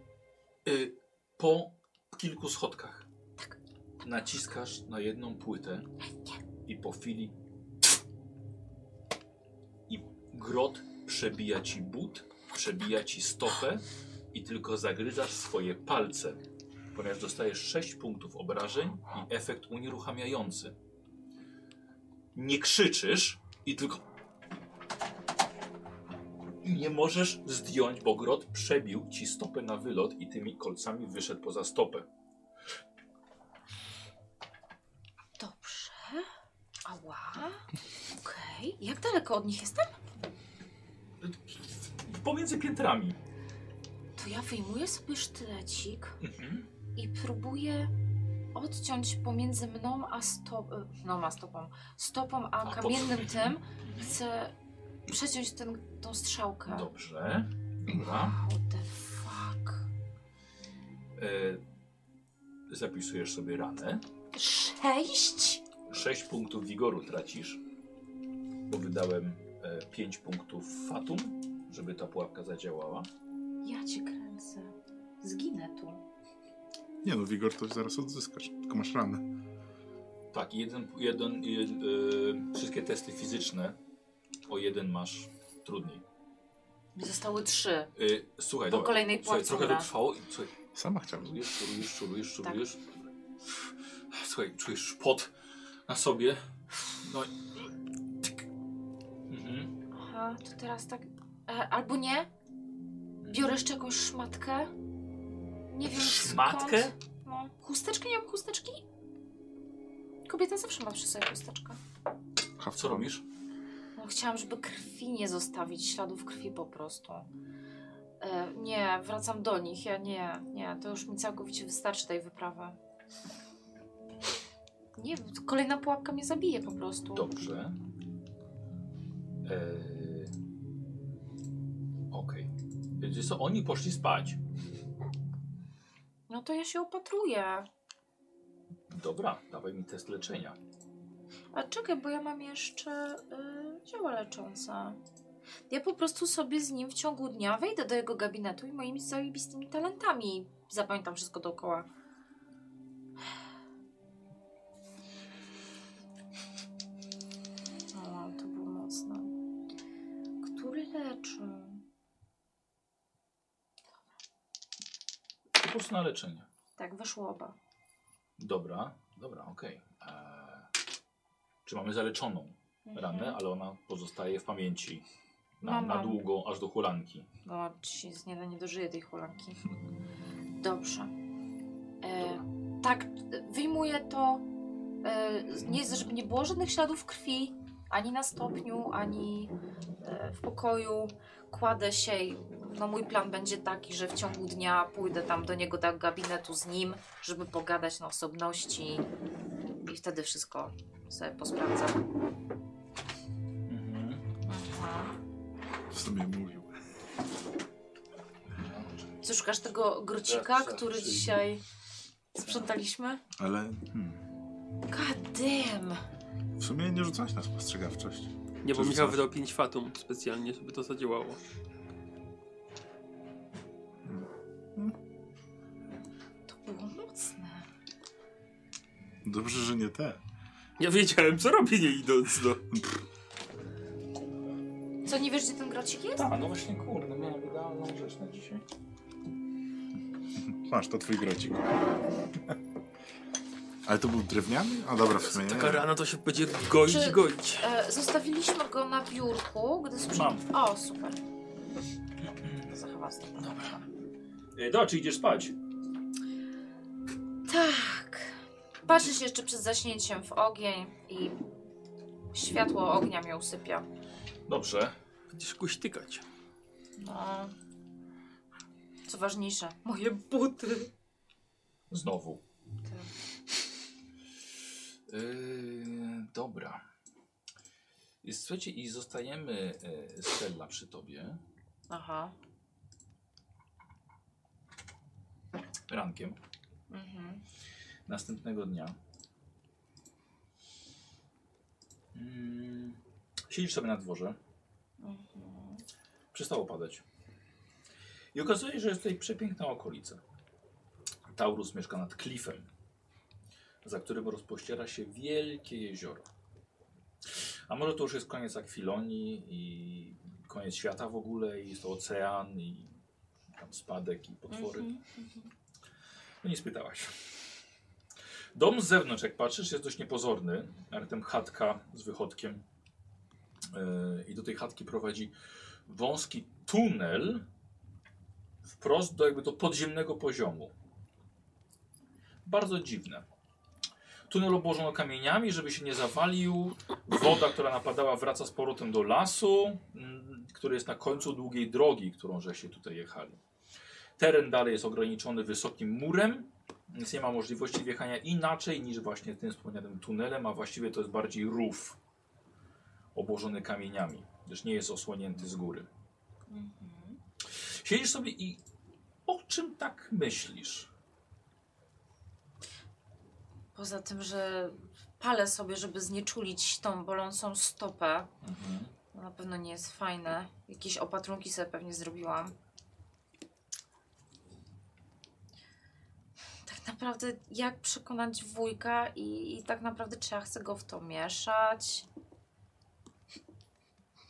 Speaker 1: y, po kilku schodkach naciskasz na jedną płytę i po chwili i grot przebija ci but, przebija ci stopę i tylko zagryzasz swoje palce, ponieważ dostajesz 6 punktów obrażeń i efekt unieruchamiający. Nie krzyczysz i tylko i nie możesz zdjąć, bo grot przebił ci stopę na wylot i tymi kolcami wyszedł poza stopę.
Speaker 2: Dobrze. Ała. Okej. Jak daleko od nich Tak, jestem?
Speaker 1: Pomiędzy piętrami.
Speaker 2: To ja wyjmuję sobie sztylecik
Speaker 1: Mhm.
Speaker 2: i próbuję odciąć pomiędzy mną a stopą, no a stopą, stopą a,
Speaker 1: A,
Speaker 2: kamiennym
Speaker 1: pod-
Speaker 2: tym. Chcę przeciąć ten, tą strzałkę.
Speaker 1: Dobrze. Dobra.
Speaker 2: Wow, the fuck.
Speaker 1: E, Zapisujesz sobie ranę.
Speaker 2: Sześć?
Speaker 1: 6 punktów wigoru tracisz, bo wydałem 5 punktów fatum, żeby ta pułapka zadziałała.
Speaker 8: Ja cię kręcę. Zginę tu.
Speaker 3: Nie no, Wigor to zaraz odzyskasz, tylko masz ranę.
Speaker 1: Tak, i jeden, jeden, jed- y, wszystkie testy fizyczne o jeden masz trudniej.
Speaker 8: Mi zostały trzy.
Speaker 1: Y, słuchaj,
Speaker 8: Po
Speaker 1: dobra,
Speaker 8: kolejnej
Speaker 1: słuchaj,
Speaker 8: pułapce,
Speaker 1: trochę to
Speaker 8: dobra.
Speaker 1: trwało. i- Słuchaj,
Speaker 3: Sama chciałbym.
Speaker 1: czujesz, czujesz, czujesz,
Speaker 8: Tak.
Speaker 1: czujesz. Słuchaj, czujesz szpot na sobie. No i... Mhm.
Speaker 2: Aha, to teraz tak... E, albo nie? Biorę jeszcze jakąś szmatkę? Nie wiem
Speaker 1: Szmatkę?
Speaker 2: skąd. No. Chusteczkę? Nie mam chusteczki? Kobieta zawsze ma przy sobie chusteczkę.
Speaker 1: Co robisz?
Speaker 8: No,
Speaker 2: No, chciałam, żeby krwi nie zostawić, śladów krwi po prostu. E, nie, wracam do nich. Ja nie, nie, to już mi całkowicie wystarczy tej wyprawy. Nie, kolejna pułapka mnie zabije po prostu.
Speaker 1: Dobrze. Eee, Okej. Wiecie co, oni poszli spać.
Speaker 2: No to ja się opatruję.
Speaker 1: Dobra, dawaj mi test leczenia.
Speaker 2: A czekaj, bo ja mam jeszcze y, zioła leczące. Ja po prostu sobie z nim w ciągu dnia wejdę do jego gabinetu i moimi zajebistymi talentami zapamiętam wszystko dookoła. O, to było mocne. Który leczy?
Speaker 1: Po prostu na leczenie.
Speaker 2: Tak, wyszło oba.
Speaker 1: Dobra, dobra, okej. Eee, Czy mamy zaleczoną
Speaker 2: Mhm.
Speaker 1: ranę, ale ona pozostaje w pamięci na,
Speaker 2: Mam,
Speaker 1: na
Speaker 2: mam.
Speaker 1: długo, aż do hulanki.
Speaker 2: No, ci nie, nie dożyję tej hulanki. Dobrze. E,
Speaker 1: Dobra.
Speaker 2: tak, e, wyjmuję to. E, nie, żeby nie było żadnych śladów krwi, ani na stopniu, ani e, w pokoju. Kładę się i no, mój plan będzie taki, że w ciągu dnia pójdę tam do niego do gabinetu z nim, żeby pogadać na osobności i wtedy wszystko sobie posprawdzam.
Speaker 1: Mhm.
Speaker 2: Mhm.
Speaker 3: Co sobie mówił?
Speaker 2: Co, szukasz tego grocika,
Speaker 1: Zawsze
Speaker 2: który
Speaker 1: przyjdzie.
Speaker 2: dzisiaj sprzątaliśmy?
Speaker 3: Ale hmm,
Speaker 2: Kadem!
Speaker 3: w sumie nie rzucałeś na spostrzegawczość.
Speaker 4: Nie, bo
Speaker 3: Czy
Speaker 4: Michał
Speaker 3: rzucasz?
Speaker 4: wydał 5 fatum specjalnie, żeby to zadziałało.
Speaker 2: To było mocne.
Speaker 3: Dobrze, że nie te.
Speaker 4: Ja wiedziałem, co robię nie idąc, no.
Speaker 2: Co, nie wiesz, gdzie ten grocik jest?
Speaker 1: Tak, no właśnie kurde, miałem idealną rzecz na dzisiaj.
Speaker 3: Masz, to twój grocik. (laughs) Ale to był drewniany? A dobra, w sumie nie.
Speaker 4: Taka rana to się będzie goić
Speaker 2: Czy-
Speaker 4: i goić.
Speaker 2: E, zostawiliśmy go na biurku, gdy sprzątaliśmy. O, super. Zachowa Dobra.
Speaker 1: E, dobra, czy idziesz spać?
Speaker 2: Tak. Patrzy się jeszcze przed zaśnięciem w ogień i światło ognia mnie usypia.
Speaker 1: Dobrze.
Speaker 4: Będziesz kuśtykać.
Speaker 2: No. Co ważniejsze, moje buty.
Speaker 1: Znowu.
Speaker 2: Tak.
Speaker 1: Yy, dobra. I Słuchajcie, i zostajemy yy, Stella przy tobie
Speaker 2: Aha.
Speaker 1: rankiem
Speaker 2: Mhm.
Speaker 1: następnego dnia. Mm, siedzisz sobie na dworze.
Speaker 2: Mhm.
Speaker 1: Przestało padać. I okazuje się, że jest tutaj przepiękna okolica. Taurus mieszka nad klifem, za którym rozpościera się wielkie jezioro. A może to już jest koniec Akwilonii i koniec świata w ogóle, i jest to ocean, i tam spadek, i potwory.
Speaker 2: Mhm.
Speaker 1: No nie spytałaś. Dom z zewnątrz, jak patrzysz, jest dość niepozorny. Ale tam chatka z wychodkiem. Yy, I do tej chatki prowadzi wąski tunel wprost do jakby do podziemnego poziomu. Bardzo dziwne. Tunel obłożono kamieniami, żeby się nie zawalił. Woda, która napadała, wraca z powrotem do lasu, mm, który jest na końcu długiej drogi, którą żeście tutaj jechali. Teren dalej jest ograniczony wysokim murem, więc nie ma możliwości wjechania inaczej niż właśnie tym wspomnianym tunelem, a właściwie to jest bardziej rów obłożony kamieniami, gdyż nie jest osłonięty z góry.
Speaker 2: Mhm.
Speaker 1: Siedzisz sobie i o czym tak myślisz?
Speaker 2: Poza tym, że palę sobie, żeby znieczulić tą bolącą stopę.
Speaker 1: Mhm.
Speaker 2: To na pewno nie jest fajne. Jakieś opatrunki sobie pewnie zrobiłam. Tak naprawdę, jak przekonać wujka i, i tak naprawdę, czy ja chcę go w to mieszać?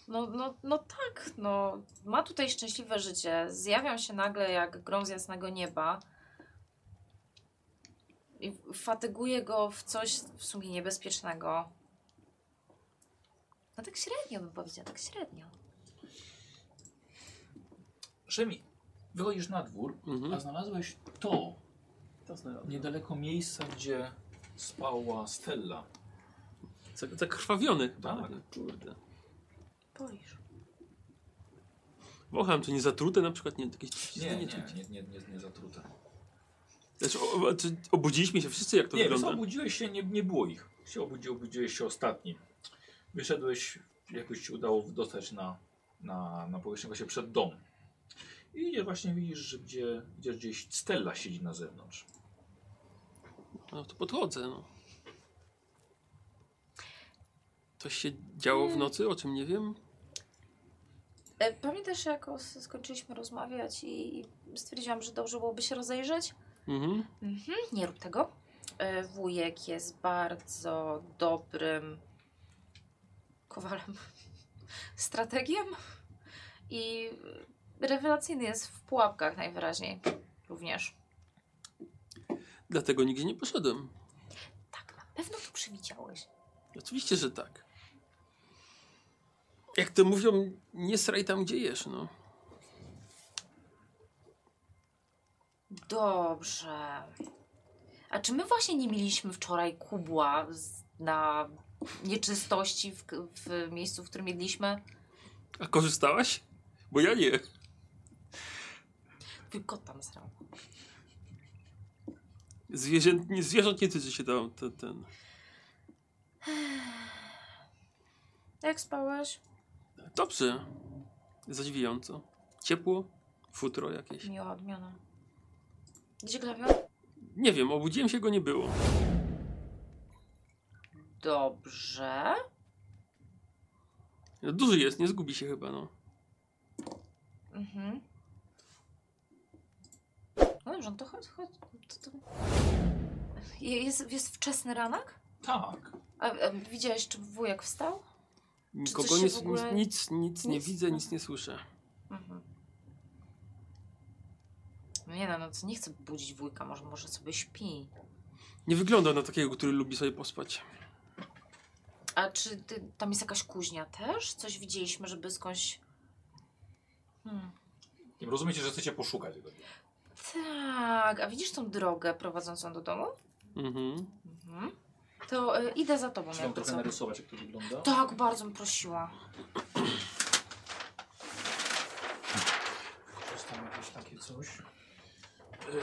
Speaker 2: No, no, no tak, no. Ma tutaj szczęśliwe życie. Zjawiam się nagle jak grom z jasnego nieba. I fatyguję go w coś w sumie niebezpiecznego. No tak średnio bym powiedziała, tak średnio.
Speaker 1: Szemi, wychodzisz na dwór,
Speaker 4: Mhm.
Speaker 1: a znalazłeś to
Speaker 5: To znalazłem.
Speaker 1: niedaleko miejsca, gdzie spała Stella.
Speaker 4: Zak- Zakrwawiony chyba.
Speaker 1: Tak.
Speaker 4: taki, Kurde.
Speaker 2: Polisz.
Speaker 4: Wącham, czy nie zatrute na przykład? Nie, jakieś
Speaker 1: Nie, nie,
Speaker 4: czuć.
Speaker 1: nie, nie, nie, nie zatrute.
Speaker 4: Znaczy, o, o, czy obudziliśmy się wszyscy, jak to
Speaker 1: nie,
Speaker 4: wygląda?
Speaker 1: wiesz, obudziłeś się, nie, nie było ich. Się obudzi, obudziłeś się ostatni. Wyszedłeś, jakoś ci udało dostać na, na, na powierzchnię właśnie przed dom. I idziesz, właśnie widzisz, że gdzie, gdzie gdzieś Stella siedzi na zewnątrz.
Speaker 4: No to podchodzę, no. Coś się działo w nocy, o czym nie wiem.
Speaker 6: E, Pamiętasz, jak os- skończyliśmy rozmawiać i i stwierdziłam, że dobrze byłoby się rozejrzeć?
Speaker 4: Mhm.
Speaker 2: Nie rób tego. E, Wujek jest bardzo dobrym kowalem, (laughs) strategiem i rewelacyjny jest w pułapkach najwyraźniej również.
Speaker 4: Dlatego nigdzie nie poszedłem.
Speaker 2: Tak, na pewno tu przywidziałeś.
Speaker 4: Oczywiście, że tak. Jak to mówią, nie sraj tam, gdzie jesz, no.
Speaker 2: Dobrze. A czy my właśnie nie mieliśmy wczoraj kubła z, na nieczystości w, k- w miejscu, w którym jedliśmy?
Speaker 4: A korzystałaś? Bo ja nie.
Speaker 2: Twój kot tam zrał.
Speaker 4: Zwierzęt nie, zwierząt nie tyczy się tam, ten, ten.
Speaker 6: Jak spałeś?
Speaker 4: Dobrze. Zadziwiająco. Ciepło, futro jakieś.
Speaker 6: Miła odmiana.
Speaker 2: Gdzie glawion?
Speaker 4: Nie wiem, obudziłem się, go nie było.
Speaker 2: Dobrze.
Speaker 4: Duży jest, nie zgubi się chyba, no.
Speaker 2: Mhm. No dobrze, no to chodź, chodź. To, to... Je- Jest, jest wczesny ranek?
Speaker 1: Tak.
Speaker 2: A, a widziałeś, czy wujek wstał?
Speaker 4: Nikogo
Speaker 2: coś się
Speaker 4: nie,
Speaker 2: w ogóle-
Speaker 4: nic, nic nie
Speaker 2: nic?
Speaker 4: widzę, nic nie słyszę.
Speaker 2: Mhm. No Nie no, no to nie chcę budzić wujka, może, może sobie śpi.
Speaker 4: Nie wygląda na takiego, który lubi sobie pospać.
Speaker 2: A czy ty, tam jest jakaś kuźnia też? Coś widzieliśmy, żeby skądś... Hmm.
Speaker 1: Nie rozumiecie, że chcecie poszukać tego.
Speaker 2: Tak, a widzisz tą drogę prowadzącą do domu?
Speaker 4: Mhm.
Speaker 2: Mhm. To y, idę za tobą.
Speaker 1: Czy wam
Speaker 2: jakby
Speaker 1: trochę
Speaker 2: co.
Speaker 1: narysować, jak to wygląda?
Speaker 2: Tak, bardzo bym prosiła.
Speaker 1: Jest tam jakieś takie coś. E,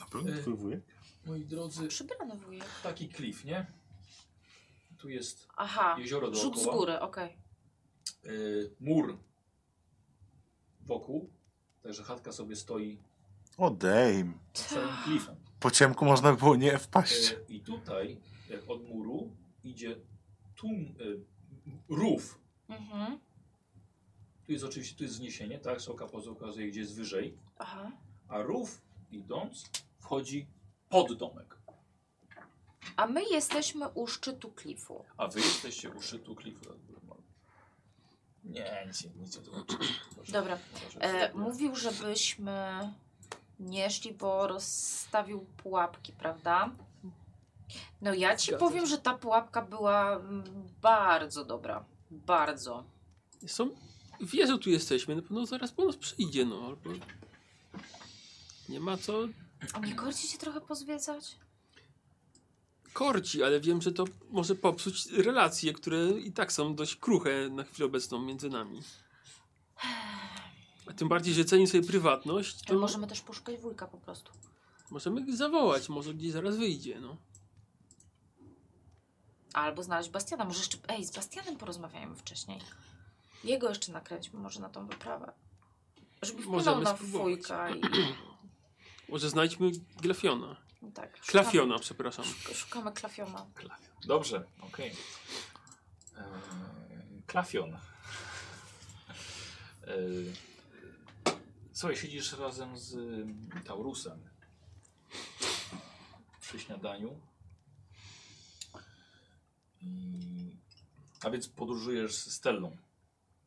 Speaker 3: Na pewno
Speaker 1: Y.
Speaker 3: twój wujek?
Speaker 1: moi drodzy,
Speaker 2: Przybrany wujek.
Speaker 1: taki klif, nie? Tu jest
Speaker 2: Aha,
Speaker 1: jezioro dookoła.
Speaker 2: rzut z góry, okej.
Speaker 1: y, mur wokół, także chatka sobie stoi
Speaker 3: Odejm.
Speaker 1: całym
Speaker 2: Tak.
Speaker 1: klifem.
Speaker 3: Po ciemku można było nie wpaść.
Speaker 1: Y, I tutaj, jak od muru, idzie tłum, y, rów.
Speaker 2: Mhm.
Speaker 1: Tu jest oczywiście, tu jest wzniesienie, tak? Soka pokazuje, gdzie jest wyżej.
Speaker 2: Aha.
Speaker 1: A rów, idąc, wchodzi pod domek.
Speaker 2: A my jesteśmy u szczytu klifu.
Speaker 1: A wy jesteście u szczytu klifu. Nie, nic, nie- nic nie zobaczycie. Proszę.
Speaker 2: Dobra.
Speaker 1: Proszę,
Speaker 2: E,
Speaker 1: wstępnie.
Speaker 2: mówił, żebyśmy nie szli, bo rozstawił pułapki, prawda? No ja ci
Speaker 4: Zgadza
Speaker 2: powiem,
Speaker 4: się.
Speaker 2: że ta pułapka była mm, bardzo dobra. Bardzo.
Speaker 4: Są... Wie, że tu jesteśmy, na pewno zaraz po nas przyjdzie, no. Albo... Nie ma co
Speaker 2: A nie korci się trochę pozwiedzać?
Speaker 4: korci, ale wiem, że to może popsuć relacje, które i tak są dość kruche na chwilę obecną między nami. A tym bardziej, że ceni sobie prywatność, to
Speaker 2: Ale możemy też poszukać wujka po prostu.
Speaker 4: możemy zawołać, może gdzieś zaraz wyjdzie, no.
Speaker 2: Albo znaleźć Bastiana. Może jeszcze. Ej, z Bastianem porozmawiajmy wcześniej. Jego jeszcze nakręćmy może na tą wyprawę. Żeby wpłynął
Speaker 4: Możemy
Speaker 2: na
Speaker 4: spróbować.
Speaker 2: fujka i.
Speaker 4: Może znajdźmy Glafiona. (clears throat)
Speaker 2: Tak, szukamy-
Speaker 4: Klafiona, przepraszam.
Speaker 2: szuk- Szukamy klafiona.
Speaker 1: Dobrze, okej. Eee, Klafion. E, Eee, Słuchaj, siedzisz razem z mm, Taurusem przy śniadaniu. I- A więc podróżujesz z Stellą.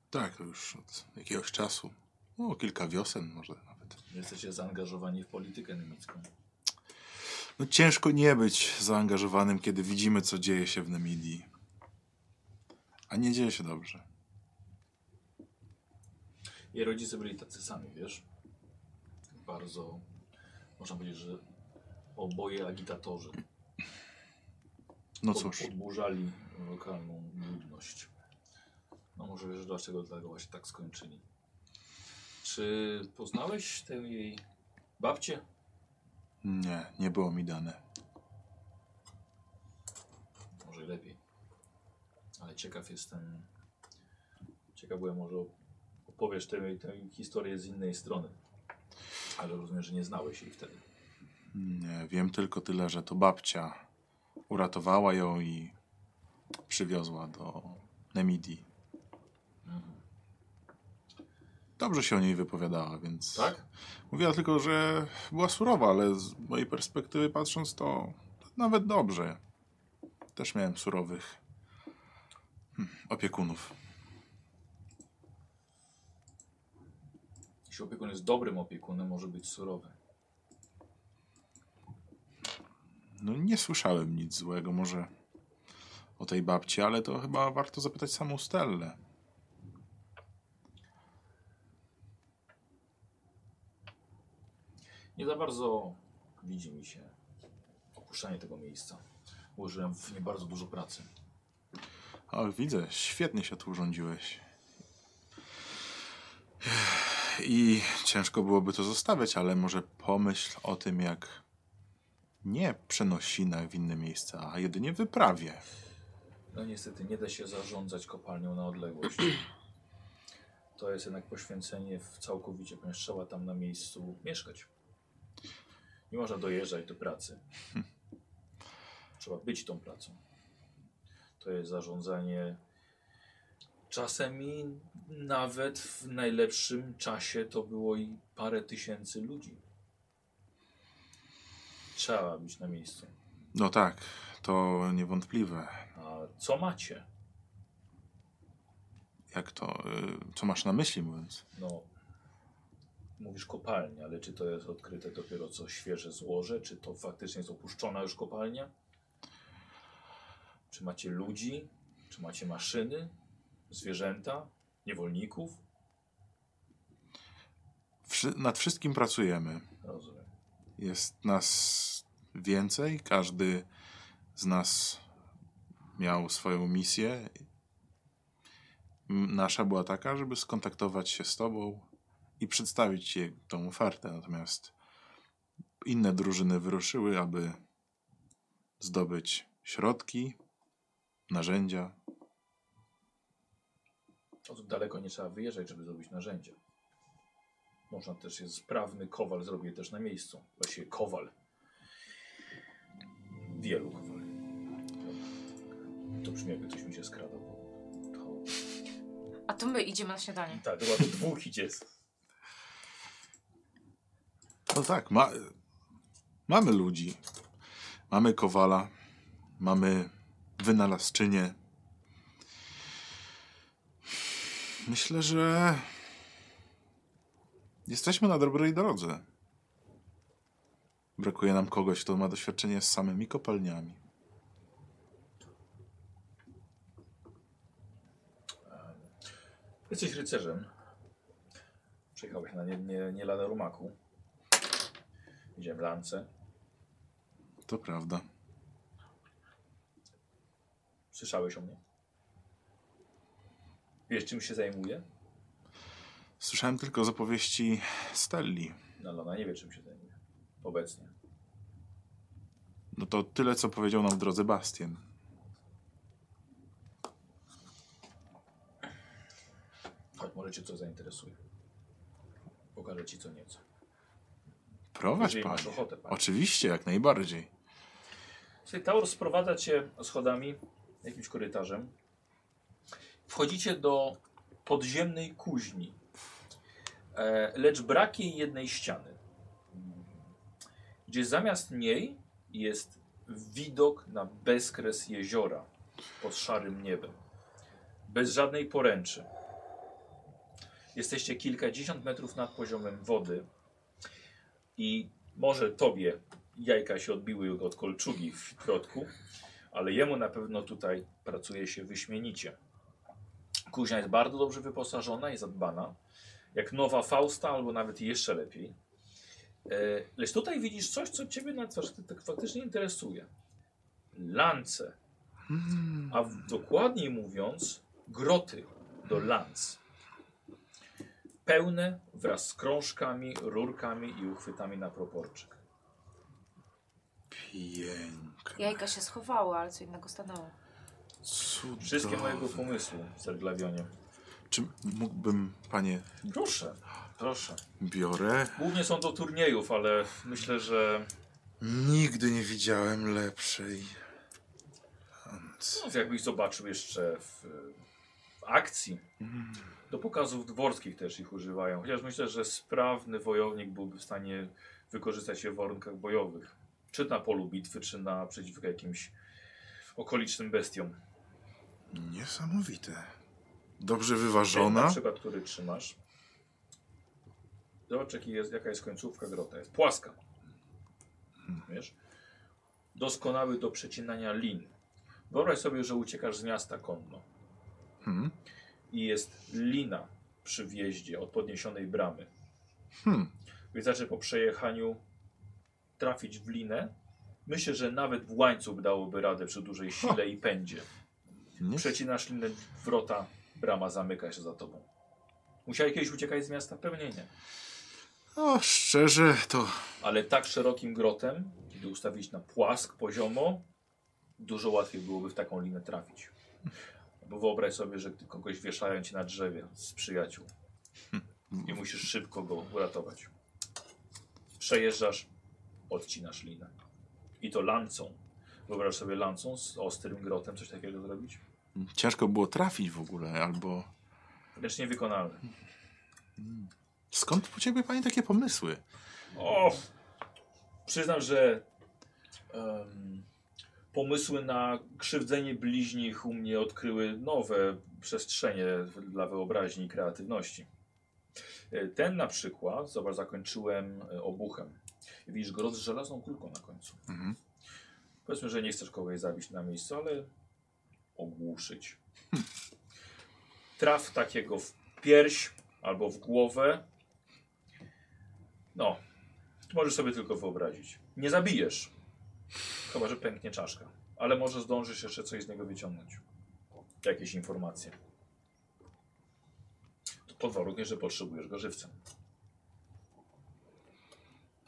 Speaker 3: Tak, to już od jakiegoś czasu. No, kilka wiosen może nawet.
Speaker 1: Jesteście zaangażowani w politykę niemiecką.
Speaker 3: No ciężko nie być zaangażowanym, kiedy widzimy, co dzieje się w Nemidii. A nie dzieje się dobrze.
Speaker 1: Jej rodzice byli tacy sami, wiesz? Bardzo, można powiedzieć, że oboje agitatorzy.
Speaker 3: No
Speaker 1: Pod-
Speaker 3: cóż,
Speaker 1: Podburzali lokalną ludność. No może wiesz, dlaczego dlatego właśnie tak skończyli. Czy poznałeś tę jej babcię?
Speaker 3: nie, nie było mi dane.
Speaker 1: Może lepiej. Ale ciekaw jestem. Ciekaw byłem, może opowiesz tę, tę historię z innej strony. Ale rozumiem, że nie znałeś jej wtedy.
Speaker 3: Nie, wiem tylko tyle, że to babcia uratowała ją i przywiozła do Nemidii. Dobrze się o niej wypowiadała, więc...
Speaker 1: Tak?
Speaker 3: Mówiła tylko, że była surowa, ale z mojej perspektywy patrząc to nawet dobrze. Też miałem surowych hmm, opiekunów.
Speaker 1: Jeśli opiekun jest dobrym opiekunem, może być surowy.
Speaker 3: No nie słyszałem nic złego, może o tej babci, ale to chyba warto zapytać samą Stellę.
Speaker 1: Nie za bardzo widzi mi się opuszczanie tego miejsca. Ułożyłem w nie bardzo dużo pracy.
Speaker 3: Ach, widzę, świetnie się tu urządziłeś. I ciężko byłoby to zostawiać, ale może pomyśl o tym, jak nie przenosinach w inne miejsca, a jedynie wyprawie.
Speaker 1: No niestety nie da się zarządzać kopalnią na odległość. (clears throat) To jest jednak poświęcenie w całkowicie, ponieważ trzeba tam na miejscu mieszkać. Nie można dojeżdżać do pracy. Trzeba być tą pracą. To jest zarządzanie czasem i nawet w najlepszym czasie to było i parę tysięcy ludzi. Trzeba być na miejscu.
Speaker 3: No tak, to niewątpliwe.
Speaker 1: A co macie?
Speaker 3: Jak to, y, co masz na myśli mówiąc?
Speaker 1: No, mówisz kopalnia, ale czy to jest odkryte dopiero co świeże złoże? Czy to faktycznie jest opuszczona już kopalnia? Czy macie ludzi? Czy macie maszyny? Zwierzęta? Niewolników?
Speaker 3: Wszy nad wszystkim pracujemy.
Speaker 1: Rozumiem.
Speaker 3: Jest nas więcej, każdy z nas miał swoją misję. M- Nasza była taka, żeby skontaktować się z tobą i przedstawić ci tą ofertę. Natomiast inne drużyny wyruszyły, aby zdobyć środki, narzędzia.
Speaker 1: No to daleko nie trzeba wyjeżdżać, żeby zrobić narzędzia. Można też jest sprawny kowal, zrobi je też na miejscu. Właściwie kowal. Wielu kowali. To brzmi jakby ktoś mi się skradał. bo To...
Speaker 2: A to my idziemy na śniadanie.
Speaker 1: Tak, chyba do dwóch idzie.
Speaker 3: No tak, ma, mamy ludzi. Mamy kowala, mamy wynalazczynię. Myślę, że jesteśmy na dobrej drodze. Brakuje nam kogoś, kto ma doświadczenie z samymi kopalniami.
Speaker 1: Jesteś rycerzem. Przyjechałeś na nie, nie, nie lada rumaku. Idziemy w lance.
Speaker 3: To prawda.
Speaker 1: Słyszałeś o mnie? Wiesz, czym się zajmuję?
Speaker 3: Słyszałem tylko z opowieści Stelli.
Speaker 1: No, Lona nie wie, czym się zajmuje. Obecnie.
Speaker 3: No to tyle, co powiedział nam w drodze Bastian.
Speaker 1: Chodź, może cię coś zainteresuje. Pokażę ci co nieco.
Speaker 3: Prowadź
Speaker 1: jeżeli masz
Speaker 3: panie.
Speaker 1: ochotę. Panie.
Speaker 3: Oczywiście, jak najbardziej.
Speaker 1: Słuchaj, Taur sprowadza cię schodami, jakimś korytarzem. Wchodzicie do podziemnej kuźni, e, lecz brak jej jednej ściany, Mm. gdzie zamiast niej jest widok na bezkres jeziora pod szarym niebem, bez żadnej poręczy. Jesteście kilkadziesiąt metrów nad poziomem wody i może tobie jajka się odbiły od kolczugi w środku, ale jemu na pewno tutaj pracuje się wyśmienicie. Kuźnia jest bardzo dobrze wyposażona i zadbana, jak nowa Fausta, albo nawet jeszcze lepiej. E, Lecz tutaj widzisz coś, co ciebie na twarz tak faktycznie interesuje. Lance, a w, dokładniej mówiąc, groty do lanc. Pełne wraz z krążkami, rurkami i uchwytami na proporczyk.
Speaker 3: Piękne.
Speaker 2: Jajka się schowały, ale co innego stanęło. (laughs)
Speaker 3: Cudowne.
Speaker 1: Wszystkie mojego pomysłu, Serglawionie.
Speaker 3: Czy mógłbym, panie,
Speaker 1: Proszę, proszę.
Speaker 3: biorę?
Speaker 1: Głównie są do turniejów, ale myślę, że
Speaker 3: Nigdy nie widziałem lepszej. Hans.
Speaker 1: no, jakbyś zobaczył jeszcze w, w akcji.
Speaker 3: Hmm,
Speaker 1: Do pokazów dworskich też ich używają. Chociaż myślę, że sprawny wojownik byłby w stanie wykorzystać je w warunkach bojowych. Czy na polu bitwy, czy na przeciwko jakimś okolicznym bestiom.
Speaker 3: Niesamowite. Dobrze
Speaker 1: Ten na
Speaker 3: wyważona.
Speaker 1: przykład, który trzymasz. Zobacz, jaki jest, jaka jest końcówka grota. Jest płaska. Wiesz? Doskonały do przecinania lin. Wyobraź sobie, że uciekasz z miasta konno
Speaker 3: Hmm.
Speaker 1: i jest lina przy wjeździe od podniesionej bramy.
Speaker 3: Hmm.
Speaker 1: Wystarczy po przejechaniu trafić w linę. Myślę, że nawet w łańcuch dałoby radę przy dużej sile i pędzie.
Speaker 3: Nie?
Speaker 1: Przecinasz linę wrota, brama zamyka się za tobą. Musiałeś kiedyś uciekać z miasta? Pewnie nie.
Speaker 3: O, szczerze, to
Speaker 1: Ale tak szerokim grotem, kiedy ustawić na płask poziomo, dużo łatwiej byłoby w taką linę trafić. Bo wyobraź sobie, że ty kogoś wieszają ci na drzewie z przyjaciół i musisz szybko go uratować. Przejeżdżasz, odcinasz linę. I to lancą. Wyobraź sobie lancą z ostrym grotem coś takiego zrobić?
Speaker 3: ciężko było trafić w ogóle, albo...
Speaker 1: Lecz niewykonalne.
Speaker 3: Skąd u ciebie, pani, takie pomysły?
Speaker 1: O! Przyznam, że em, pomysły na krzywdzenie bliźnich u mnie odkryły nowe przestrzenie dla wyobraźni i kreatywności. E, Ten na przykład, zobacz, zakończyłem e, obuchem. Widzisz grot z żelazną kulką na końcu.
Speaker 3: Mhm.
Speaker 1: Powiedzmy, że nie chcesz kogoś zabić na miejscu, ale ogłuszyć. Traf takiego w pierś albo w głowę. No, to możesz sobie tylko wyobrazić. Nie zabijesz. Chyba, że pęknie czaszka. Ale może zdążysz jeszcze coś z niego wyciągnąć. Jakieś informacje. To pod warunkiem, że potrzebujesz go żywcem.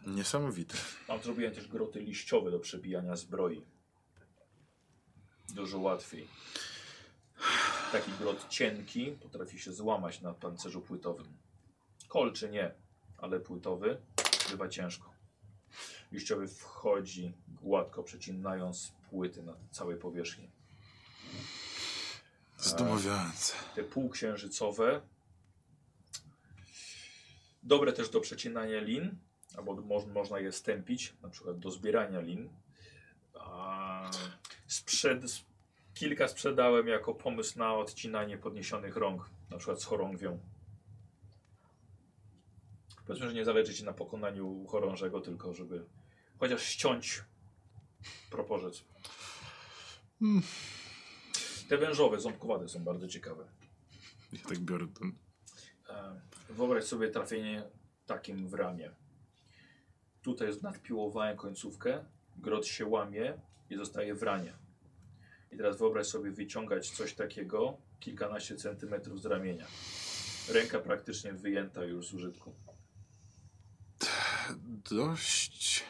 Speaker 3: Niesamowite.
Speaker 1: Tam zrobiłem też groty liściowe do przebijania zbroi. Dużo łatwiej. Taki grot cienki potrafi się złamać na pancerzu płytowym. Kolczy nie, ale płytowy bywa ciężko. Liściowy wchodzi gładko, przecinając płyty na całej powierzchni.
Speaker 3: Zdumiewające.
Speaker 1: te półksiężycowe. Dobre też do przecinania lin, albo moż, można je stępić, na przykład do zbierania lin. A sprzed, s- kilka sprzedałem jako pomysł na odcinanie podniesionych rąk, na przykład z chorągwią. Powiedzmy, że nie zależy ci na pokonaniu chorążego, tylko żeby chociaż ściąć proporzec.
Speaker 3: Mm.
Speaker 1: Te wężowe, ząbkowate są bardzo ciekawe.
Speaker 3: Ja tak biorę ten...
Speaker 1: E, Wyobraź sobie trafienie takim w ramię. Tutaj nadpiłowałem końcówkę, grot się łamie i zostaje w ranie. I teraz wyobraź sobie wyciągać coś takiego kilkanaście centymetrów z ramienia. Ręka praktycznie wyjęta już z użytku.
Speaker 3: Dość...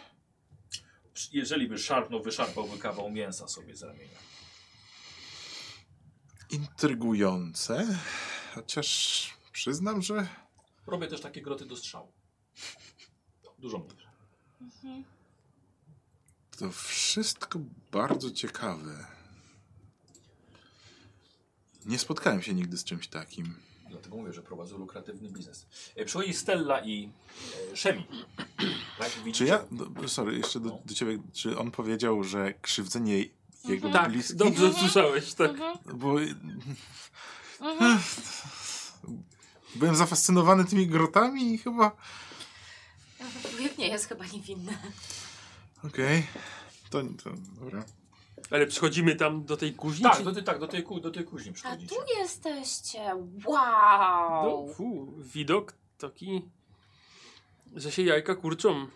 Speaker 1: Jeżeli by szarpnął, wyszarpałby kawał mięsa sobie z ramienia.
Speaker 3: intrygujące, chociaż przyznam, że
Speaker 1: Robię też takie groty do strzału. No, Dużo mniej.
Speaker 2: Mhm.
Speaker 3: To wszystko bardzo ciekawe. Nie spotkałem się nigdy z czymś takim.
Speaker 1: Dlatego mówię, że prowadzą lukratywny biznes. E, Przychodzi Stella i e, Szemi. Tak,
Speaker 3: Czy
Speaker 1: widzicie?
Speaker 3: ja, do, sorry, jeszcze do, do ciebie, czy on powiedział, że krzywdzenie jego
Speaker 4: Tak,
Speaker 3: bliskich?
Speaker 4: dobrze słyszałeś, tak.
Speaker 2: Mhm.
Speaker 3: Bo (laughs)
Speaker 2: Mhm.
Speaker 3: byłem zafascynowany tymi grotami i chyba...
Speaker 9: Wujek nie jest chyba niewinny.
Speaker 4: (laughs)
Speaker 3: Okej, to, to dobra.
Speaker 4: Ale przychodzimy tam do tej kuźni?
Speaker 1: Tak,
Speaker 4: czy-
Speaker 1: do, tej- tak do, tej, ku- do tej kuźni
Speaker 2: A
Speaker 1: przychodzicie.
Speaker 2: tu jesteście! Wow!
Speaker 4: No, fu, widok taki, że się jajka kurczą.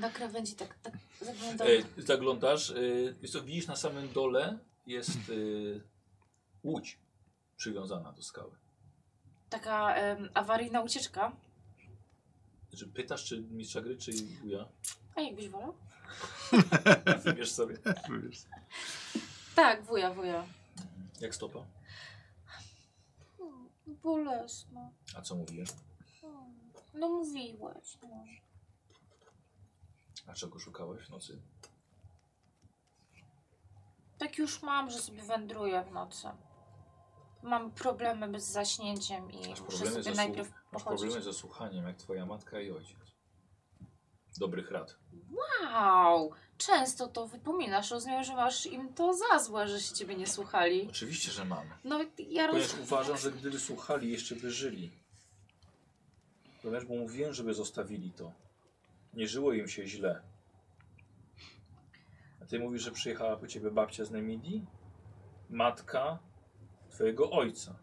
Speaker 2: Na krawędzi tak, tak zaglądam.
Speaker 1: E, zaglądasz, e, wiesz co, widzisz na samym dole jest e, łódź przywiązana do skały.
Speaker 9: Taka em, awaryjna ucieczka.
Speaker 1: Czy Znaczy, pytasz, czy mistrza gry, czy wuja?
Speaker 2: A jakbyś wolał?
Speaker 1: Wiesz sobie,
Speaker 9: Tak, wuja, wuja.
Speaker 1: jak stopa.
Speaker 2: Hmm, Bolesno.
Speaker 1: A co mówisz?
Speaker 2: Hmm. No mówiłeś. No.
Speaker 1: A czego szukałeś w nocy?
Speaker 2: Tak już mam, że sobie wędruję w nocy. Mam problemy z zaśnięciem i
Speaker 1: Masz
Speaker 2: No, muszę
Speaker 1: problemy,
Speaker 2: sobie
Speaker 1: ze,
Speaker 2: najpierw
Speaker 1: słuch- masz problemy ze słuchaniem, jak twoja matka i ojciec. Dobrych rad.
Speaker 2: Wow! Często to wypominasz, rozumiem, że masz im to za złe, że się ciebie nie słuchali.
Speaker 1: Oczywiście, że mam.
Speaker 2: No ja
Speaker 1: Ponieważ
Speaker 2: rozumiem.
Speaker 1: uważam, że gdyby słuchali, jeszcze by żyli. Ponieważ bo mówiłem, żeby zostawili to. Nie żyło im się źle. A ty mówisz, że przyjechała po ciebie babcia z Nemidii? Matka twojego ojca.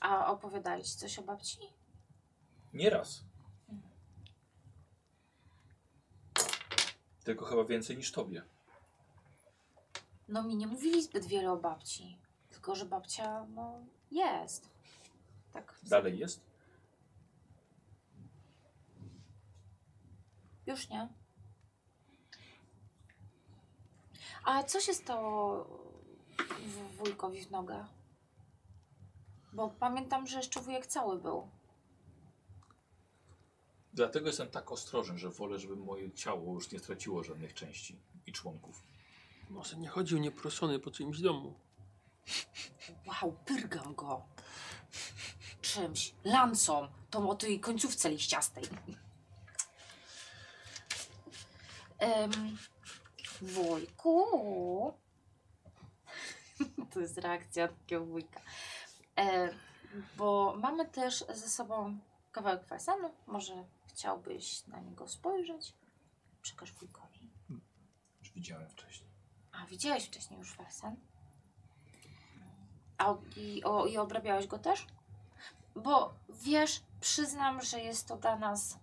Speaker 2: A opowiadali ci coś o babci?
Speaker 1: Nieraz. Tylko chyba więcej niż tobie.
Speaker 2: No mi nie mówili zbyt wiele o babci. Tylko, że babcia, no, jest. Tak.
Speaker 1: Dalej jest?
Speaker 2: Już nie. A co się stało w- wujkowi w nogę? Bo pamiętam, że jeszcze wujek cały był.
Speaker 1: Dlatego jestem tak ostrożny, że wolę, żeby moje ciało już nie straciło żadnych części i członków.
Speaker 4: Może nie chodził nieproszony po czyimś domu.
Speaker 9: Wow, pyrgam go. Czymś, lancą, tą o tej końcówce liściastej.
Speaker 2: Em, wujku.
Speaker 9: To jest reakcja takiego wujka. E, bo mamy też ze sobą kawałek fasanu. Może chciałbyś na niego spojrzeć? Przekaż wujkowi.
Speaker 1: Już widziałem wcześniej.
Speaker 9: A widziałeś wcześniej już fasan? A, o- i, o, I obrabiałeś go też?
Speaker 2: Bo wiesz, przyznam, że jest to dla nas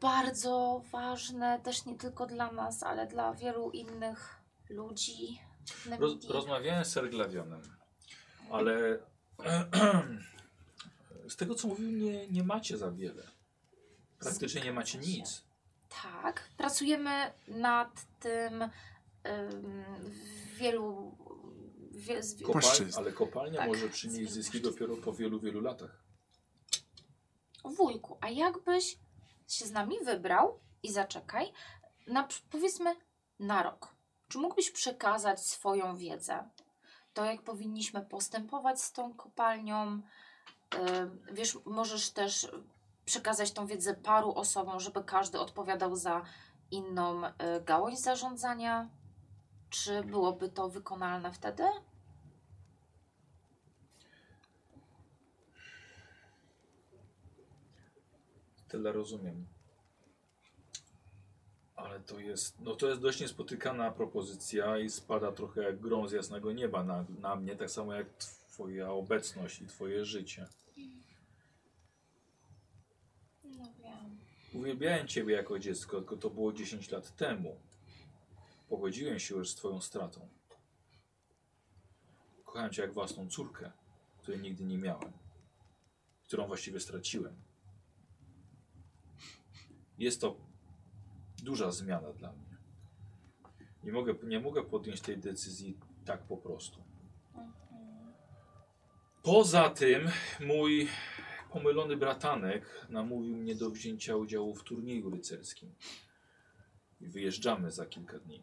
Speaker 2: bardzo ważne, też nie tylko dla nas, ale dla wielu innych ludzi.
Speaker 1: Roz, rozmawiałem z Serglawionem, ale (clears throat) z tego co mówił, nie, nie macie za wiele. Praktycznie nie macie nic.
Speaker 2: Tak, pracujemy nad tym ym, w wielu. Wie, z,
Speaker 1: Kopalnia,
Speaker 3: Płaszczyzna.
Speaker 1: ale kopalnia
Speaker 2: Tak.
Speaker 1: może przynieść zyski dopiero po wielu, wielu latach.
Speaker 2: wujku, a jakbyś się z nami wybrał i zaczekaj, na, przy- powiedzmy na rok, czy mógłbyś przekazać swoją wiedzę, to jak powinniśmy postępować z tą kopalnią? Ym, wiesz, możesz też przekazać tą wiedzę paru osobom, żeby każdy odpowiadał za inną y, gałąź zarządzania. Czy byłoby to wykonalne wtedy?
Speaker 1: Tyle rozumiem. Ale to jest, no to jest dość niespotykana propozycja i spada trochę jak grom z jasnego nieba na, na mnie, tak samo jak twoja obecność i twoje życie.
Speaker 2: No wiem.
Speaker 1: Uwielbiałem Ciebie jako dziecko, tylko to było 10 lat temu. Pogodziłem się już z Twoją stratą. Kochałem Cię jak własną córkę, której nigdy nie miałem, którą właściwie straciłem. Jest to duża zmiana dla mnie. Nie mogę, nie mogę podjąć tej decyzji tak po prostu. Poza tym mój pomylony bratanek namówił mnie do wzięcia udziału w turnieju rycerskim. I wyjeżdżamy za kilka dni.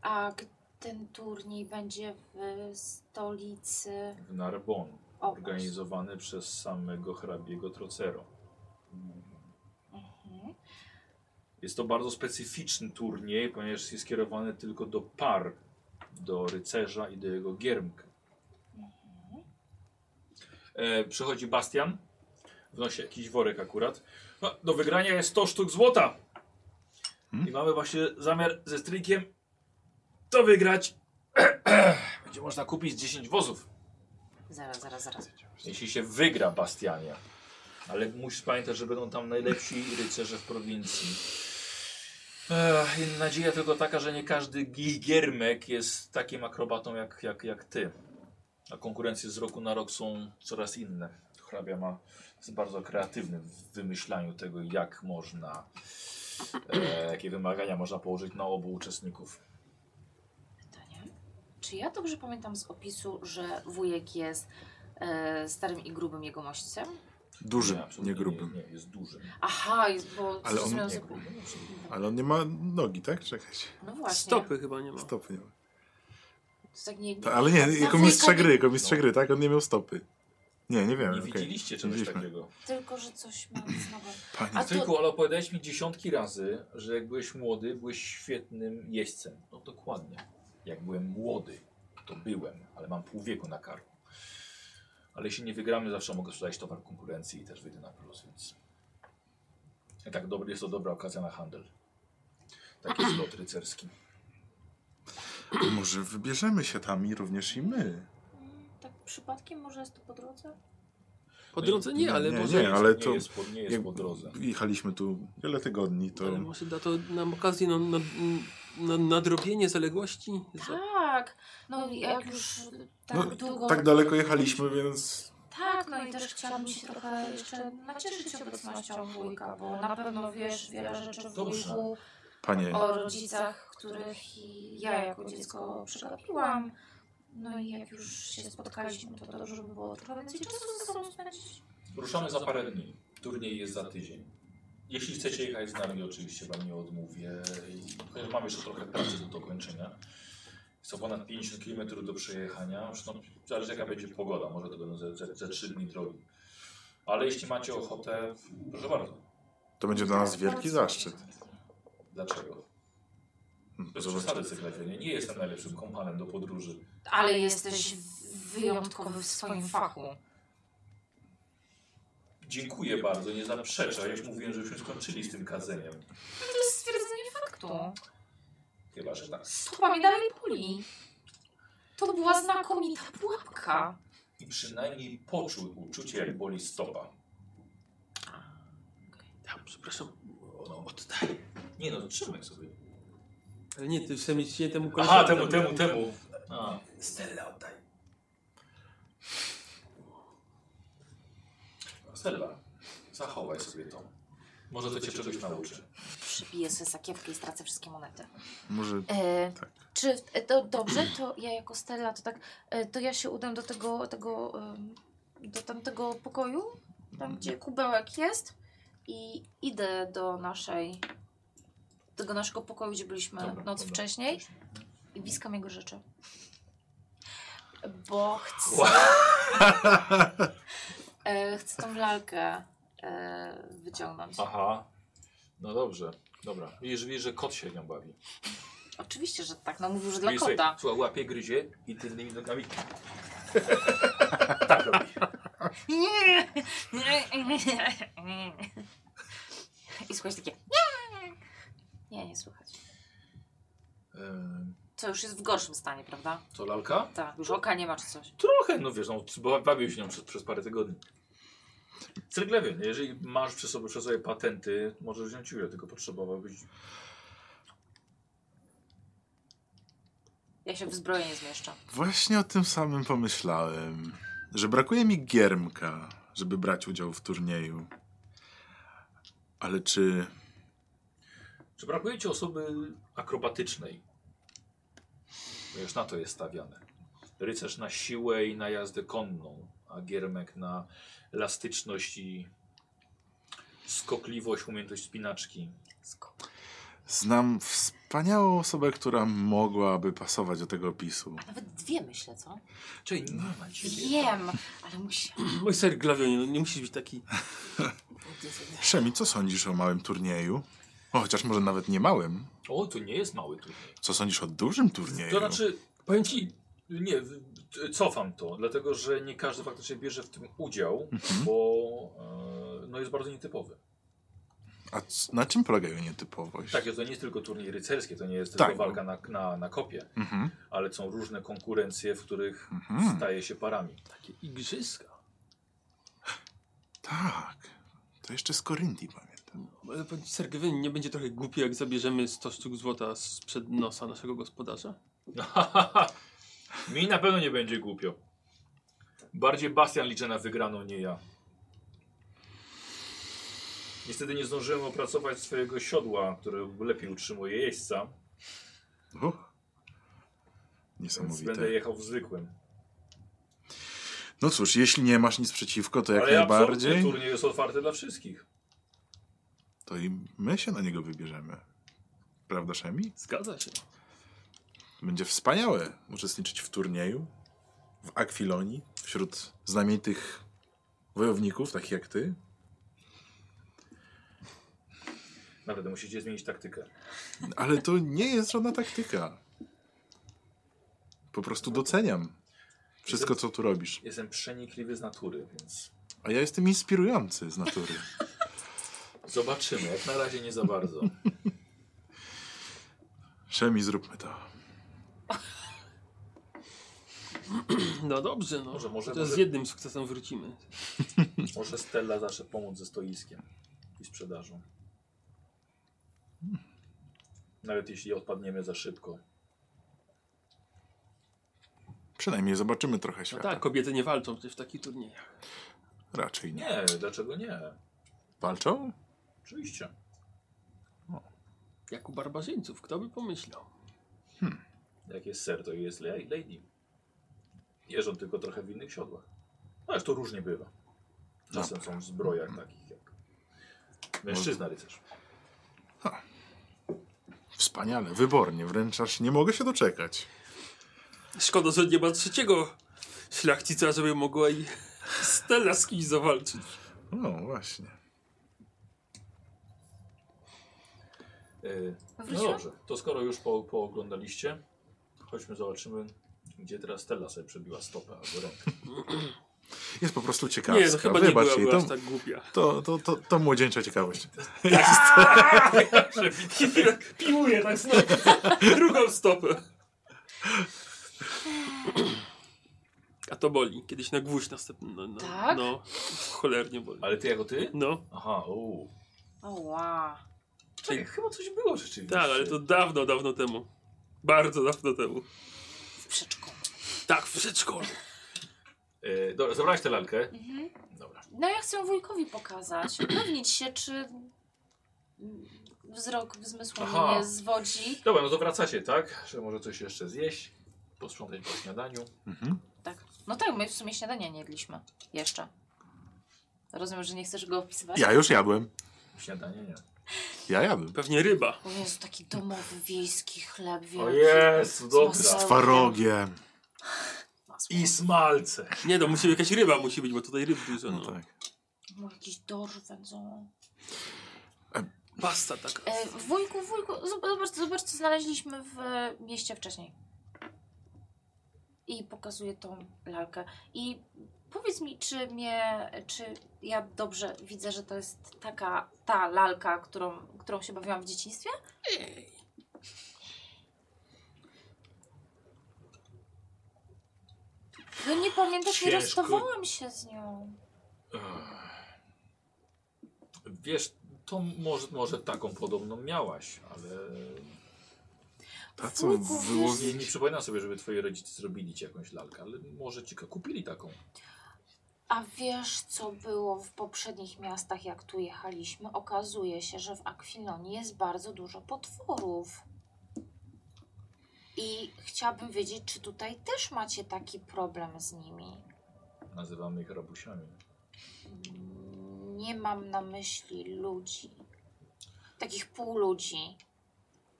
Speaker 6: A g- ten turniej będzie w stolicy
Speaker 1: W Narbon,
Speaker 6: o,
Speaker 1: organizowany przez samego hrabiego Trocero.
Speaker 6: mhm.
Speaker 1: Jest to bardzo specyficzny turniej, ponieważ jest skierowany tylko do par, do rycerza i do jego giermka.
Speaker 6: Mhm.
Speaker 1: E, przychodzi Bastian, wnosi jakiś worek akurat. No, do wygrania jest 100 sztuk złota.
Speaker 3: Hmm?
Speaker 1: I mamy właśnie zamiar ze strykiem to wygrać. (clears throat) Będzie można kupić 10 wozów,
Speaker 2: Zaraz, zaraz, zaraz.
Speaker 1: jeśli się wygra Bastianie. Ale musisz pamiętać, że będą tam najlepsi rycerze w prowincji. Ech, i nadzieja tylko taka, że nie każdy gi- giermek jest takim akrobatą jak, jak, jak ty. A konkurencje z roku na rok są coraz inne. Hrabia ma, jest bardzo kreatywny w wymyślaniu tego, jak można, e, jakie wymagania można położyć na obu uczestników.
Speaker 2: pytanie. Czy ja dobrze pamiętam z opisu, że wujek jest e, starym i grubym jegomoścem?
Speaker 3: Dużym, nie, E,
Speaker 1: absolutnie
Speaker 3: grubym.
Speaker 1: Nie, nie, jest dużym.
Speaker 2: Aha, jest, bo
Speaker 3: Ale
Speaker 2: coś
Speaker 3: on
Speaker 2: miał
Speaker 1: Nie
Speaker 2: z-
Speaker 1: grubym, absolutnie.
Speaker 3: Ale on nie ma nogi, tak? Czekajcie.
Speaker 2: No właśnie.
Speaker 4: Stopy chyba nie ma.
Speaker 3: Stopy nie ma.
Speaker 2: To tak nie,
Speaker 3: Ta, ale nie, jako
Speaker 2: wujka
Speaker 3: mistrza
Speaker 2: nie-
Speaker 3: gry, jako mistrza
Speaker 1: No.
Speaker 3: gry, tak? On nie miał stopy. Nie, nie wiem.
Speaker 1: Nie
Speaker 3: okej.
Speaker 1: widzieliście czegoś
Speaker 3: Widzieliśmy.
Speaker 1: takiego.
Speaker 6: Tylko, że coś mam znowu.
Speaker 3: Panie,
Speaker 6: A
Speaker 1: A
Speaker 6: to-
Speaker 1: tylko, ale opowiadałeś mi dziesiątki razy, że jak byłeś młody, byłeś świetnym jeźdźcem. No dokładnie. Jak byłem młody, to byłem, ale mam pół wieku na karku. Ale jeśli nie wygramy, zawsze mogę sprzedać towar konkurencji i też wyjdę na plus, więc... I tak dobry, jest to dobra okazja na handel. Taki jest lot rycerski.
Speaker 3: może wybierzemy się tam i również i my.
Speaker 6: Mm, Tak przypadkiem może jest to po drodze?
Speaker 4: Po drodze nie, ale
Speaker 3: Nie,
Speaker 4: może...
Speaker 3: nie, ale
Speaker 1: nie
Speaker 3: to-
Speaker 1: Jest po, nie jest
Speaker 3: jak-
Speaker 1: po drodze.
Speaker 3: Jechaliśmy tu wiele tygodni, to...
Speaker 4: Ale może da to nam okazję na, na, na nadrobienie zaległości. Za...
Speaker 6: Tak.
Speaker 2: No
Speaker 6: No
Speaker 2: jak
Speaker 6: jak
Speaker 2: już...
Speaker 6: już tak
Speaker 3: No,
Speaker 6: długo.
Speaker 3: Tak daleko jechaliśmy, więc...
Speaker 6: Tak, no i też chciałam się trochę jeszcze nacieszyć obecnością wujka, bo na pewno wiesz wiele rzeczy w
Speaker 1: Dobrze.
Speaker 6: wujku,
Speaker 3: Panie,
Speaker 6: o rodzicach, których i ja jako dziecko przegapiłam. No i jak już się spotkaliśmy, to dobrze by było trochę więcej czasu ze sobą spędzić.
Speaker 1: Ruszamy za parę dni. Turniej jest za tydzień. Jeśli chcecie jechać z nami, oczywiście Wam nie odmówię. I- chociaż Mam jeszcze trochę pracy do dokończenia. Są ponad 50 km do przejechania. Zresztą zależy jaka będzie pogoda. Może to będą ze- ze- ze 3 dni drogi. Ale jeśli macie ochotę, proszę bardzo.
Speaker 3: to będzie dla nas wielki zaszczyt.
Speaker 1: Dlaczego?
Speaker 3: Hmm,
Speaker 1: Bez
Speaker 3: Zobaczymy.
Speaker 1: przesady sekretarnie. Nie jestem najlepszym kompanem do podróży.
Speaker 2: Ale jesteś wyjątkowy w swoim fachu.
Speaker 1: Dziękuję bardzo, nie zaprzeczę. Ja już mówiłem, żebyśmy skończyli z tym kadzeniem.
Speaker 2: To jest stwierdzenie faktu.
Speaker 1: Chyba, że tak.
Speaker 2: Stupa mi dalej puli. To była znakomita pułapka.
Speaker 1: I przynajmniej poczuł uczucie, jak boli stopa.
Speaker 4: Tam, przepraszam.
Speaker 1: No, oddaj. Nie no, trzymaj sobie.
Speaker 4: Ale nie, ty w sensie temu
Speaker 1: Aha, temu, temu, temu. A.
Speaker 5: Stella oddaj.
Speaker 1: Stella, zachowaj sobie to. Może to cię czegoś nauczy.
Speaker 2: Przybiję sobie sakiewkę i stracę wszystkie monety.
Speaker 3: Może...
Speaker 6: E,
Speaker 3: Tak.
Speaker 6: Czy e, to dobrze, to ja jako Stella, to tak, e, to ja się udam do tego, tego em, do tamtego pokoju, tam gdzie
Speaker 1: Mhm.
Speaker 6: kubełek jest i idę do naszej, tego naszego pokoju, gdzie byliśmy
Speaker 1: Dobra,
Speaker 6: noc
Speaker 1: dobra.
Speaker 6: wcześniej i wiskam jego rzeczy. Bo chcę, (laughs) e, chcę tą lalkę e, wyciągnąć.
Speaker 1: Aha. No dobrze, dobra. Widzisz, widzisz że kot się nią bawi.
Speaker 2: Oczywiście, że tak. No mówił, że dla
Speaker 1: Widzisz,
Speaker 2: kota.
Speaker 1: Słuchaj, łapie, gryzie i tylnymi nogami. tak robi.
Speaker 2: I słuchaj takie...
Speaker 6: Nie, nie słychać.
Speaker 1: Ym,
Speaker 2: Co już jest w gorszym stanie, prawda?
Speaker 1: To lalka?
Speaker 2: Tak, już oka nie ma czy coś.
Speaker 1: Trochę, no wiesz, no, bo bawił się nią przez, przez parę tygodni. Cyrglewie, no, jeżeli masz przy sobie, przy sobie patenty, możesz wziąć ile, tylko potrzebowałbyś
Speaker 2: (laughs) Ja się w zbroję nie zmieszczę.
Speaker 3: Właśnie o tym samym pomyślałem, że brakuje mi giermka, żeby brać udział w turnieju. Ale czy...
Speaker 1: Czy brakuje ci osoby akrobatycznej? Bo już na to jest stawiane. Rycerz na siłę i na jazdę konną, a Giermek na elastyczność i skokliwość, umiejętność spinaczki.
Speaker 3: Znam wspaniałą osobę, która mogłaby pasować do tego opisu.
Speaker 6: A nawet dwie myślę, co?
Speaker 1: Czyli nie ma ciebie.
Speaker 2: Wiem, ale musiałam.
Speaker 4: Mój ser glawionie, no nie musisz być taki.
Speaker 3: Szemi, co sądzisz o małym turnieju? O, chociaż może nawet nie małym.
Speaker 1: O, to nie jest mały turniej.
Speaker 3: Co sądzisz o dużym turnieju?
Speaker 1: To znaczy,
Speaker 4: Powiem ci,
Speaker 1: Nie, w- t- cofam to, dlatego że nie każdy faktycznie bierze w tym udział,
Speaker 3: Mhm.
Speaker 1: bo e, no jest bardzo nietypowy.
Speaker 3: A c- na czym polega jego nietypowość?
Speaker 1: Tak, to nie jest tylko turniej rycerskie, to nie jest
Speaker 3: Tak,
Speaker 1: tylko
Speaker 3: bo-
Speaker 1: walka na, na, na kopie,
Speaker 3: Mhm.
Speaker 1: ale są różne konkurencje, w których
Speaker 3: Mhm.
Speaker 1: staje się parami.
Speaker 4: takie igrzyska.
Speaker 3: Tak. To jeszcze z Korynti pamiętam.
Speaker 4: No, Ale powiem ci, ser glawionie nie będzie trochę głupio, jak zabierzemy 100 sztuk złota sprzed nosa naszego gospodarza?
Speaker 1: Mi na pewno nie będzie głupio. Bardziej Bastian liczy na wygraną, nie ja. Niestety nie zdążyłem opracować swojego siodła, które lepiej utrzymuje jeźdźca,
Speaker 3: Uh.
Speaker 1: więc
Speaker 3: Niesamowite.
Speaker 1: będę jechał w zwykłym.
Speaker 3: No cóż, jeśli nie masz nic przeciwko, to jak
Speaker 1: Ale
Speaker 3: najbardziej,
Speaker 1: absolutnie turniej jest otwarty dla wszystkich.
Speaker 3: to i my się na niego wybierzemy. Prawda, Szemi?
Speaker 4: Zgadza się.
Speaker 3: Będzie wspaniałe uczestniczyć w turnieju w Akwilonii wśród znamienitych wojowników, takich jak ty.
Speaker 1: Nawet musicie zmienić taktykę.
Speaker 3: Ale to nie jest żadna taktyka. Po prostu doceniam wszystko, co tu robisz.
Speaker 1: Jestem przenikliwy z natury, więc
Speaker 3: A ja jestem inspirujący z natury.
Speaker 1: zobaczymy. Jak na razie nie za
Speaker 3: (laughs)
Speaker 1: bardzo.
Speaker 3: Szemi, zróbmy to.
Speaker 4: No dobrze, no.
Speaker 1: Może, może,
Speaker 4: to z
Speaker 1: może.
Speaker 4: jednym sukcesem wrócimy.
Speaker 1: Może Stella zawsze pomóc ze stoiskiem i sprzedażą. Nawet jeśli odpadniemy za szybko.
Speaker 3: Przynajmniej zobaczymy trochę
Speaker 4: No
Speaker 3: świata.
Speaker 4: tak, kobiety nie walczą przecież w takich turniejach.
Speaker 3: Raczej nie.
Speaker 1: Nie, dlaczego nie?
Speaker 3: Walczą?
Speaker 1: Oczywiście.
Speaker 4: Jak u barbarzyńców, kto by pomyślał?
Speaker 1: Jak jest ser, to jest la- lady. Jeżdżą tylko trochę w innych siodłach. No aż to różnie bywa.
Speaker 3: No.
Speaker 1: Czasem są w zbrojach takich jak mężczyzna rycerz.
Speaker 3: Wspaniale, wybornie, wręcz aż nie mogę się doczekać.
Speaker 4: Szkoda, że nie ma trzeciego szlachcica, żeby mogła i (laughs) Stella z kimś zawalczyć.
Speaker 3: No właśnie.
Speaker 1: E, No
Speaker 6: Wróciłam?
Speaker 1: dobrze, to skoro już po, pooglądaliście, chodźmy zobaczymy, gdzie teraz Stella sobie przebiła stopę albo rękę.
Speaker 3: Jest po prostu ciekawska.
Speaker 4: Nie, no chyba nie była,
Speaker 3: Wybacz
Speaker 4: była
Speaker 3: jej, to,
Speaker 4: aż tak głupia.
Speaker 3: to, to, to, to młodzieńcza ciekawość.
Speaker 4: Piłuje tak znowu. Drugą stopę. A to boli. Kiedyś na gwóźdź następny. No, no,
Speaker 6: Tak?
Speaker 4: no cholernie boli.
Speaker 1: Ale ty jako ty?
Speaker 4: No,
Speaker 1: Aha, uuu.
Speaker 6: Oła.
Speaker 1: Czekaj, chyba coś było rzeczywiście.
Speaker 4: tak, ale to dawno, dawno temu. Bardzo dawno temu.
Speaker 6: W przyczku.
Speaker 4: Tak, w przedszkolu.
Speaker 1: E, dobra, zabrałeś tę lalkę?
Speaker 2: Mhm.
Speaker 1: Dobra.
Speaker 2: No ja chcę wujkowi pokazać. (clears throat) Upewnić się, czy wzrok zmysłu
Speaker 1: Aha.
Speaker 2: mnie zwodzi.
Speaker 1: Dobra, no to wracacie, tak? Że może coś jeszcze zjeść, posprzątać po śniadaniu.
Speaker 3: Mhm.
Speaker 6: Tak. No tak, my w sumie śniadania nie jedliśmy. Jeszcze. Rozumiem, że nie chcesz go opisywać?
Speaker 3: Ja już jadłem.
Speaker 1: Śniadanie nie.
Speaker 3: Ja jadłem.
Speaker 4: Pewnie ryba.
Speaker 2: O Jezu, taki domowy, wiejski chleb
Speaker 1: O
Speaker 2: wielki.
Speaker 1: jest,
Speaker 3: Z
Speaker 1: dobra.
Speaker 2: Masło.
Speaker 3: twarogiem.
Speaker 2: Masło.
Speaker 1: I smalce.
Speaker 4: Nie no, musi jakaś ryba musi być, bo tutaj ryb dużo.
Speaker 3: No
Speaker 4: No.
Speaker 3: tak.
Speaker 2: Mu jakiś dorwę. co?
Speaker 4: Pasta taka.
Speaker 2: E, wujku, wujku, zob- zobacz, zobacz, co znaleźliśmy w e, mieście wcześniej. I pokazuję tą lalkę. I powiedz mi, czy mnie, czy ja dobrze widzę, że to jest taka, ta lalka, którą, którą się bawiłam w dzieciństwie? No nie pamiętasz, nie
Speaker 1: Ciężko.
Speaker 2: rozstawałam się z nią.
Speaker 1: Ech. Wiesz, to może, może taką podobną miałaś, ale
Speaker 3: Ta co
Speaker 2: Wujku,
Speaker 1: nie, nie
Speaker 3: wyłowić.
Speaker 1: przypominam sobie, żeby twoi rodzice zrobili ci jakąś lalkę, ale może ci kupili taką.
Speaker 2: A wiesz, co było w poprzednich miastach, jak tu jechaliśmy? Okazuje się, że w Akwilonii jest bardzo dużo potworów. I chciałabym wiedzieć, czy tutaj też macie taki problem z nimi.
Speaker 1: Nazywamy ich rabusiami.
Speaker 2: Nie mam na myśli ludzi. Takich półludzi.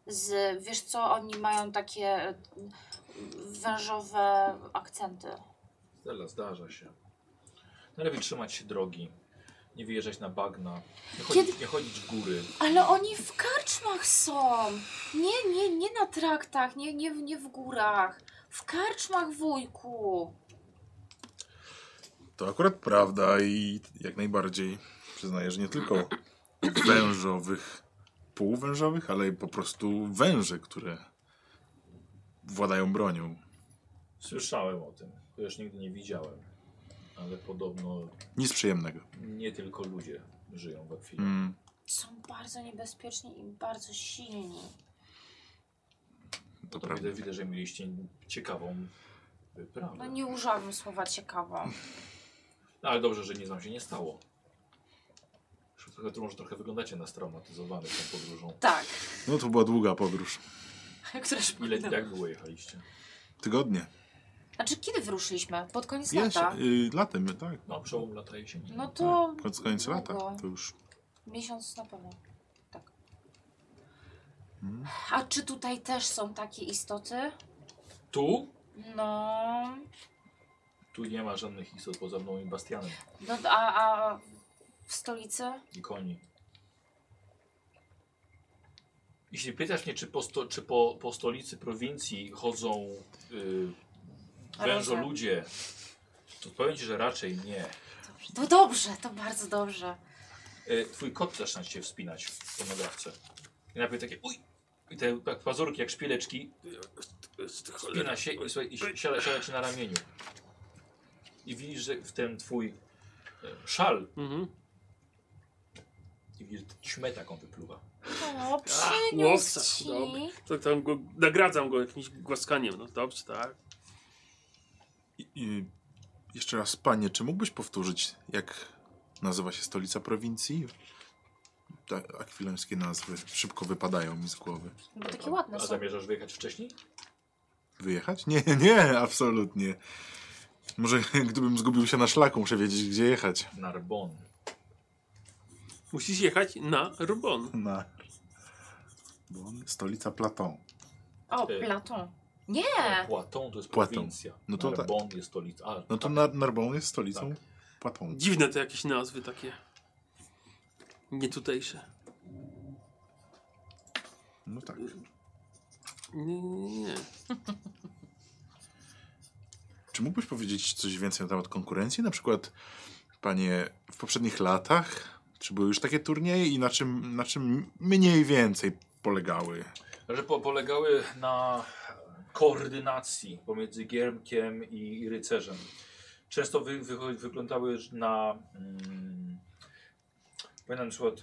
Speaker 2: Z, wiesz co, oni mają takie e, wężowe akcenty.
Speaker 1: Stella, zdarza się. Najlepiej trzymać się drogi. Nie wyjeżdżać na bagna. Nie chodzić, nie chodzić w góry.
Speaker 2: Ale oni w karczmach są. Nie, nie, nie na traktach, nie, nie, nie w górach. W karczmach, wujku.
Speaker 3: To akurat prawda i jak najbardziej przyznaję, że nie tylko wężowych, półwężowych, ale i po prostu węże, które władają bronią.
Speaker 1: Słyszałem o tym, chociaż nigdy nie widziałem. Ale podobno
Speaker 3: Nic przyjemnego.
Speaker 1: nie tylko ludzie żyją we chwili.
Speaker 3: Mm.
Speaker 2: Są bardzo niebezpieczni i bardzo silni.
Speaker 3: To
Speaker 1: To
Speaker 3: prawda.
Speaker 1: widzę, widzę, że mieliście ciekawą wyprawę.
Speaker 2: No nie używam słowa ciekawą.
Speaker 1: No, ale dobrze, że nic wam się nie stało. Już Trochę, może trochę wyglądacie na straumatyzowanych tą podróżą.
Speaker 2: Tak.
Speaker 3: No to była długa podróż.
Speaker 2: Któreś
Speaker 1: Ile, jak długo jechaliście?
Speaker 3: Tygodnie.
Speaker 2: Znaczy, kiedy wyruszyliśmy? Pod koniec lata.
Speaker 3: Jesie, y, latem, tak.
Speaker 1: No, przełom lata jesieni.
Speaker 2: No to
Speaker 3: Tak, Pod koniec lata.
Speaker 2: długo.
Speaker 3: To już.
Speaker 2: miesiąc na pewno. Tak.
Speaker 3: Mm.
Speaker 2: A czy tutaj też są takie istoty?
Speaker 1: Tu?
Speaker 2: No.
Speaker 1: Tu nie ma żadnych istot poza mną i Bastianem
Speaker 2: no a, a w stolicy?
Speaker 1: i koni. Jeśli pytasz mnie, czy po, sto, czy po, po stolicy prowincji chodzą y, wężoludzie, to powiem ci, że raczej nie.
Speaker 2: Dobrze. To No dobrze, to bardzo dobrze.
Speaker 1: E, twój kot zaczyna się wspinać w fonograwce. I najpierw takie uj! I te tak, pazurki jak szpileczki wspina się i, słuchaj, i si- siada, siada ci na ramieniu. I widzisz, że w ten twój e, szal
Speaker 4: Mhm.
Speaker 1: i widzisz że ćmę taką wypluwa.
Speaker 2: O,
Speaker 6: no,
Speaker 4: łowca.
Speaker 2: przyniósł
Speaker 4: Dobra.
Speaker 2: ci.
Speaker 4: To tam go, nagradzam go jakimś głaskaniem. No dobrze, tak.
Speaker 3: I, i, jeszcze raz, panie, czy mógłbyś powtórzyć, jak nazywa się stolica prowincji? Te akwilońskie nazwy szybko wypadają mi z głowy.
Speaker 2: Bo takie ładne
Speaker 1: A tak,
Speaker 2: są.
Speaker 1: zamierzasz wyjechać wcześniej?
Speaker 3: Wyjechać? Nie, (laughs) nie, absolutnie. Może (laughs) gdybym zgubił się na szlaku, muszę wiedzieć, gdzie jechać.
Speaker 1: Narbon.
Speaker 4: Musisz jechać na Rubon.
Speaker 3: Na. Bon, Stolica Platon.
Speaker 2: O,
Speaker 1: Y.
Speaker 2: Platon. Nie!
Speaker 1: Płatą e, to jest
Speaker 3: Płatą.
Speaker 1: prowincja.
Speaker 3: No to tak.
Speaker 1: Narbon jest stolica. A,
Speaker 3: No to Nar- Narbon jest stolicą
Speaker 1: Tak.
Speaker 3: Platon.
Speaker 4: Dziwne te jakieś nazwy takie. Nietutejsze.
Speaker 3: No tak.
Speaker 4: Nie, nie, nie.
Speaker 3: Czy mógłbyś powiedzieć coś więcej na temat konkurencji? Na przykład, panie, w poprzednich latach, czy były już takie turnieje i na czym, na czym mniej więcej polegały?
Speaker 1: że po, polegały na koordynacji pomiędzy giermkiem i, i rycerzem. Często wy, wycho- wyglądały na mm, pamiętam na przykład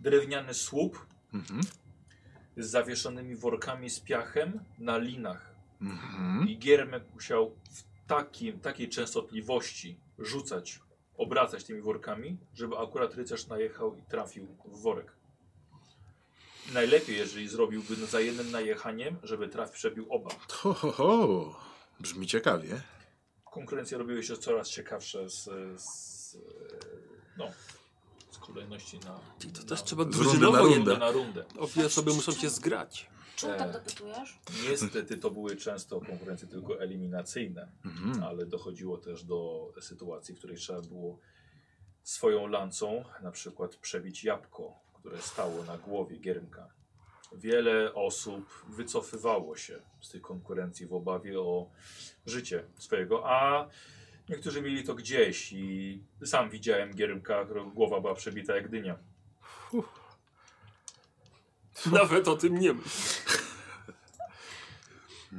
Speaker 1: drewniany słup
Speaker 3: Mhm.
Speaker 1: z zawieszonymi workami z piachem na linach.
Speaker 3: Mhm.
Speaker 1: I giermek musiał w takim, takiej częstotliwości rzucać, obracać tymi workami, żeby akurat rycerz najechał i trafił w worek. Najlepiej, jeżeli zrobiłby za jednym najechaniem, żeby traf przebił oba.
Speaker 3: Ho, ho, ho. Brzmi ciekawie.
Speaker 1: Konkurencje robiły się coraz ciekawsze z, z, no, z kolejności na.
Speaker 4: Czyli to
Speaker 1: na-
Speaker 3: No,
Speaker 4: też trzeba
Speaker 1: z
Speaker 4: drużynowo
Speaker 1: rundy
Speaker 4: jednak.
Speaker 1: na rundę.
Speaker 4: Obie osoby muszą się
Speaker 3: (laughs)
Speaker 4: zgrać.
Speaker 2: Czemu
Speaker 1: E.
Speaker 2: tak dopytujesz?
Speaker 1: Niestety to były często konkurencje tylko eliminacyjne.
Speaker 3: Mhm.
Speaker 1: ale dochodziło też do sytuacji, w której trzeba było swoją lancą na przykład przebić jabłko, które stało na głowie Giermka. Wiele osób wycofywało się z tych konkurencji w obawie o życie swojego, a niektórzy mieli to gdzieś i sam widziałem Giermka, którego głowa była przebita jak dynia.
Speaker 3: No.
Speaker 4: Nawet o tym nie myśl.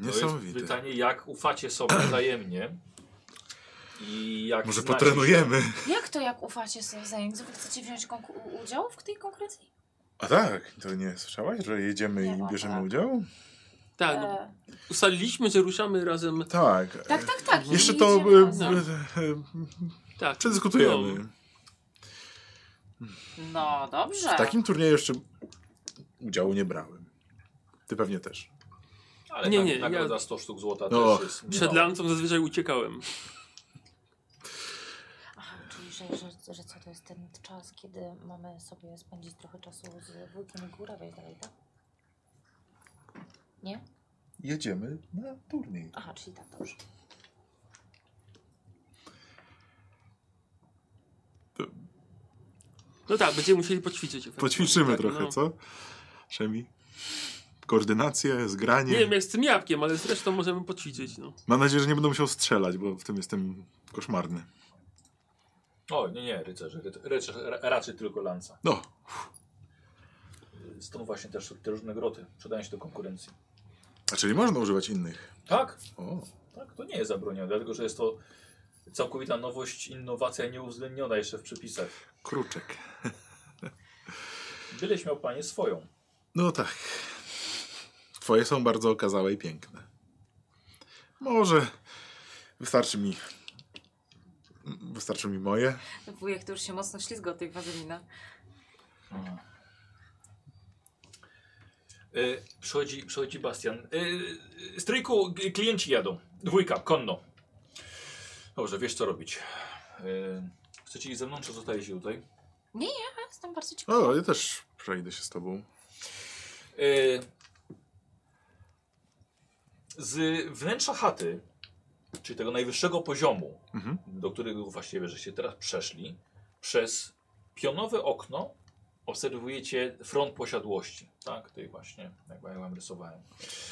Speaker 1: To jest
Speaker 3: Niesamowite.
Speaker 1: pytanie, jak ufacie sobie
Speaker 3: (clears throat)
Speaker 1: wzajemnie i jak
Speaker 3: Może
Speaker 1: znacie się.
Speaker 3: potrenujemy.
Speaker 2: Jak to, jak ufacie sobie wzajemnie? Wy chcecie wziąć konku- udział w tej konkurencji?
Speaker 3: A tak, to nie słyszałaś, że jedziemy
Speaker 2: Nie ma,
Speaker 3: i bierzemy
Speaker 2: tak.
Speaker 3: udział?
Speaker 4: Tak, no,
Speaker 2: E,
Speaker 4: ustaliliśmy, że ruszamy razem.
Speaker 3: Tak.
Speaker 2: tak, tak, tak. i
Speaker 3: Jeszcze to
Speaker 2: idziemy
Speaker 3: e,
Speaker 2: razem.
Speaker 3: e, e,
Speaker 4: Tak.
Speaker 3: przedyskutujemy.
Speaker 4: No,
Speaker 2: No dobrze.
Speaker 3: W takim turnieju jeszcze udziału nie brałem. Ty pewnie też.
Speaker 1: Ale tak
Speaker 4: Nie,
Speaker 1: nie,
Speaker 4: nie,
Speaker 1: nie, nagroda
Speaker 4: ja-
Speaker 1: 100 sztuk złota
Speaker 3: Och.
Speaker 1: też jest
Speaker 4: Przed
Speaker 1: niemała.
Speaker 4: lancą zazwyczaj uciekałem.
Speaker 10: że, że, że co to jest ten czas, kiedy mamy sobie spędzić trochę czasu z wujkiem i góra, wejść dalej, tak? Nie?
Speaker 3: Jedziemy na turniej.
Speaker 10: Aha, czyli tak, dobrze.
Speaker 4: No tak, będziemy musieli poćwiczyć. efektywnie.
Speaker 3: Poćwiczymy
Speaker 4: tak,
Speaker 3: trochę,
Speaker 4: no.
Speaker 3: co? Szemi? Koordynację, zgranie.
Speaker 4: Nie wiem jak z tym jabłkiem, ale zresztą możemy poćwiczyć. No.
Speaker 3: Mam nadzieję, że nie będę musiał strzelać, bo w tym jestem koszmarny.
Speaker 1: O, nie, nie, rycerze. Ry, rycerze ra- raczej tylko lanca.
Speaker 3: No,
Speaker 1: Stąd właśnie też te różne groty przydają się do konkurencji.
Speaker 3: a czyli można używać innych.
Speaker 1: Tak,
Speaker 3: O,
Speaker 1: tak, to nie jest zabronione, dlatego że jest to całkowita nowość, innowacja nieuwzględniona jeszcze w przepisach.
Speaker 3: kruczek.
Speaker 1: Byleś miał panie swoją.
Speaker 3: No tak. Twoje są bardzo okazałe i piękne. Może wystarczy mi. Wystarczy mi moje.
Speaker 2: Wujek to już się mocno ślizga od tej wazelina.
Speaker 1: Y, przychodzi, przychodzi Bastian. Y, stryjku, g- klienci jadą. Dwójka, konno. Dobrze, wiesz co robić. Y, chcecie iść ze mną, czy zostajecie tutaj?
Speaker 2: Ja jestem bardzo ciekawa.
Speaker 3: O, ja też przejdę się z tobą.
Speaker 1: Y, z wnętrza chaty, czyli tego najwyższego poziomu,
Speaker 3: Mhm.
Speaker 1: do którego właściwie żeście teraz przeszli, przez pionowe okno obserwujecie front posiadłości. Tak, tej właśnie, jak ja wam rysowałem.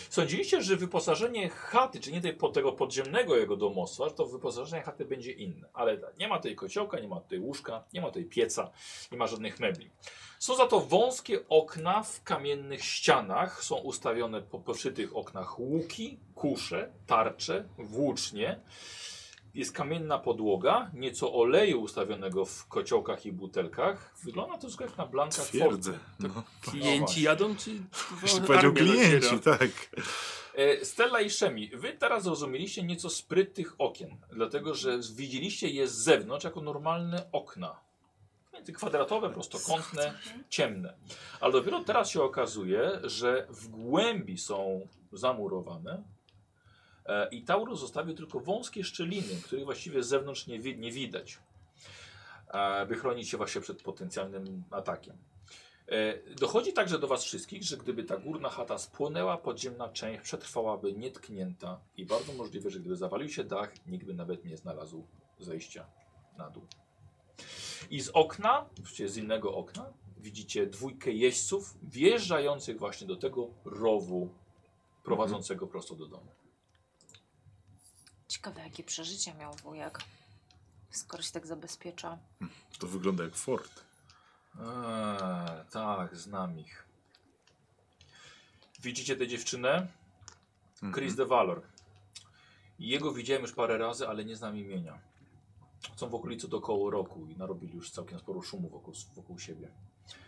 Speaker 1: Sądziliście, że wyposażenie chaty, czy nie tej, po- tego podziemnego jego domostwa, to wyposażenie chaty będzie inne. Ale tak, nie ma tej kociołka, nie ma tej łóżka, nie ma tej pieca, nie ma żadnych mebli. Są za to wąskie okna w kamiennych ścianach. Są ustawione po, przy tych oknach łuki, kusze, tarcze, włócznie. Jest kamienna podłoga, nieco oleju ustawionego w kociołkach i butelkach. Wygląda to jak na Blanka
Speaker 3: Twierdzę.
Speaker 1: Forte.
Speaker 3: No.
Speaker 4: Klienci jadą, czy...
Speaker 3: Jeśli powiedział
Speaker 4: armia
Speaker 3: klienci,
Speaker 4: dociera?
Speaker 1: no.
Speaker 3: tak.
Speaker 1: E, Stella i Szemi, wy teraz zrozumieliście nieco spryt tych okien, dlatego że widzieliście je z zewnątrz jako normalne okna. Między kwadratowe, prostokątne, ciemne. Ale dopiero teraz się okazuje, że w głębi są zamurowane e, i Taurus zostawił tylko wąskie szczeliny, których właściwie z zewnątrz nie, wi- nie widać, e, by chronić się właśnie przed potencjalnym atakiem. E, Dochodzi także do Was wszystkich, że gdyby ta górna chata spłonęła, podziemna część przetrwałaby nietknięta i bardzo możliwe, że gdyby zawalił się dach, nikt by nawet nie znalazł zejścia na dół. I z okna, właściwie z innego okna, widzicie dwójkę jeźdźców wjeżdżających właśnie do tego rowu prowadzącego prosto do domu.
Speaker 2: Ciekawe, jakie przeżycia miał wujek, skoro się tak zabezpiecza.
Speaker 3: To wygląda jak fort.
Speaker 1: Eee, tak, znam ich. Widzicie tę dziewczynę?
Speaker 3: Mhm.
Speaker 1: Chris de Valor. Jego widziałem już parę razy, ale nie znam imienia. Są w okolicy do koło roku i narobili już całkiem sporo szumu wokół, wokół siebie.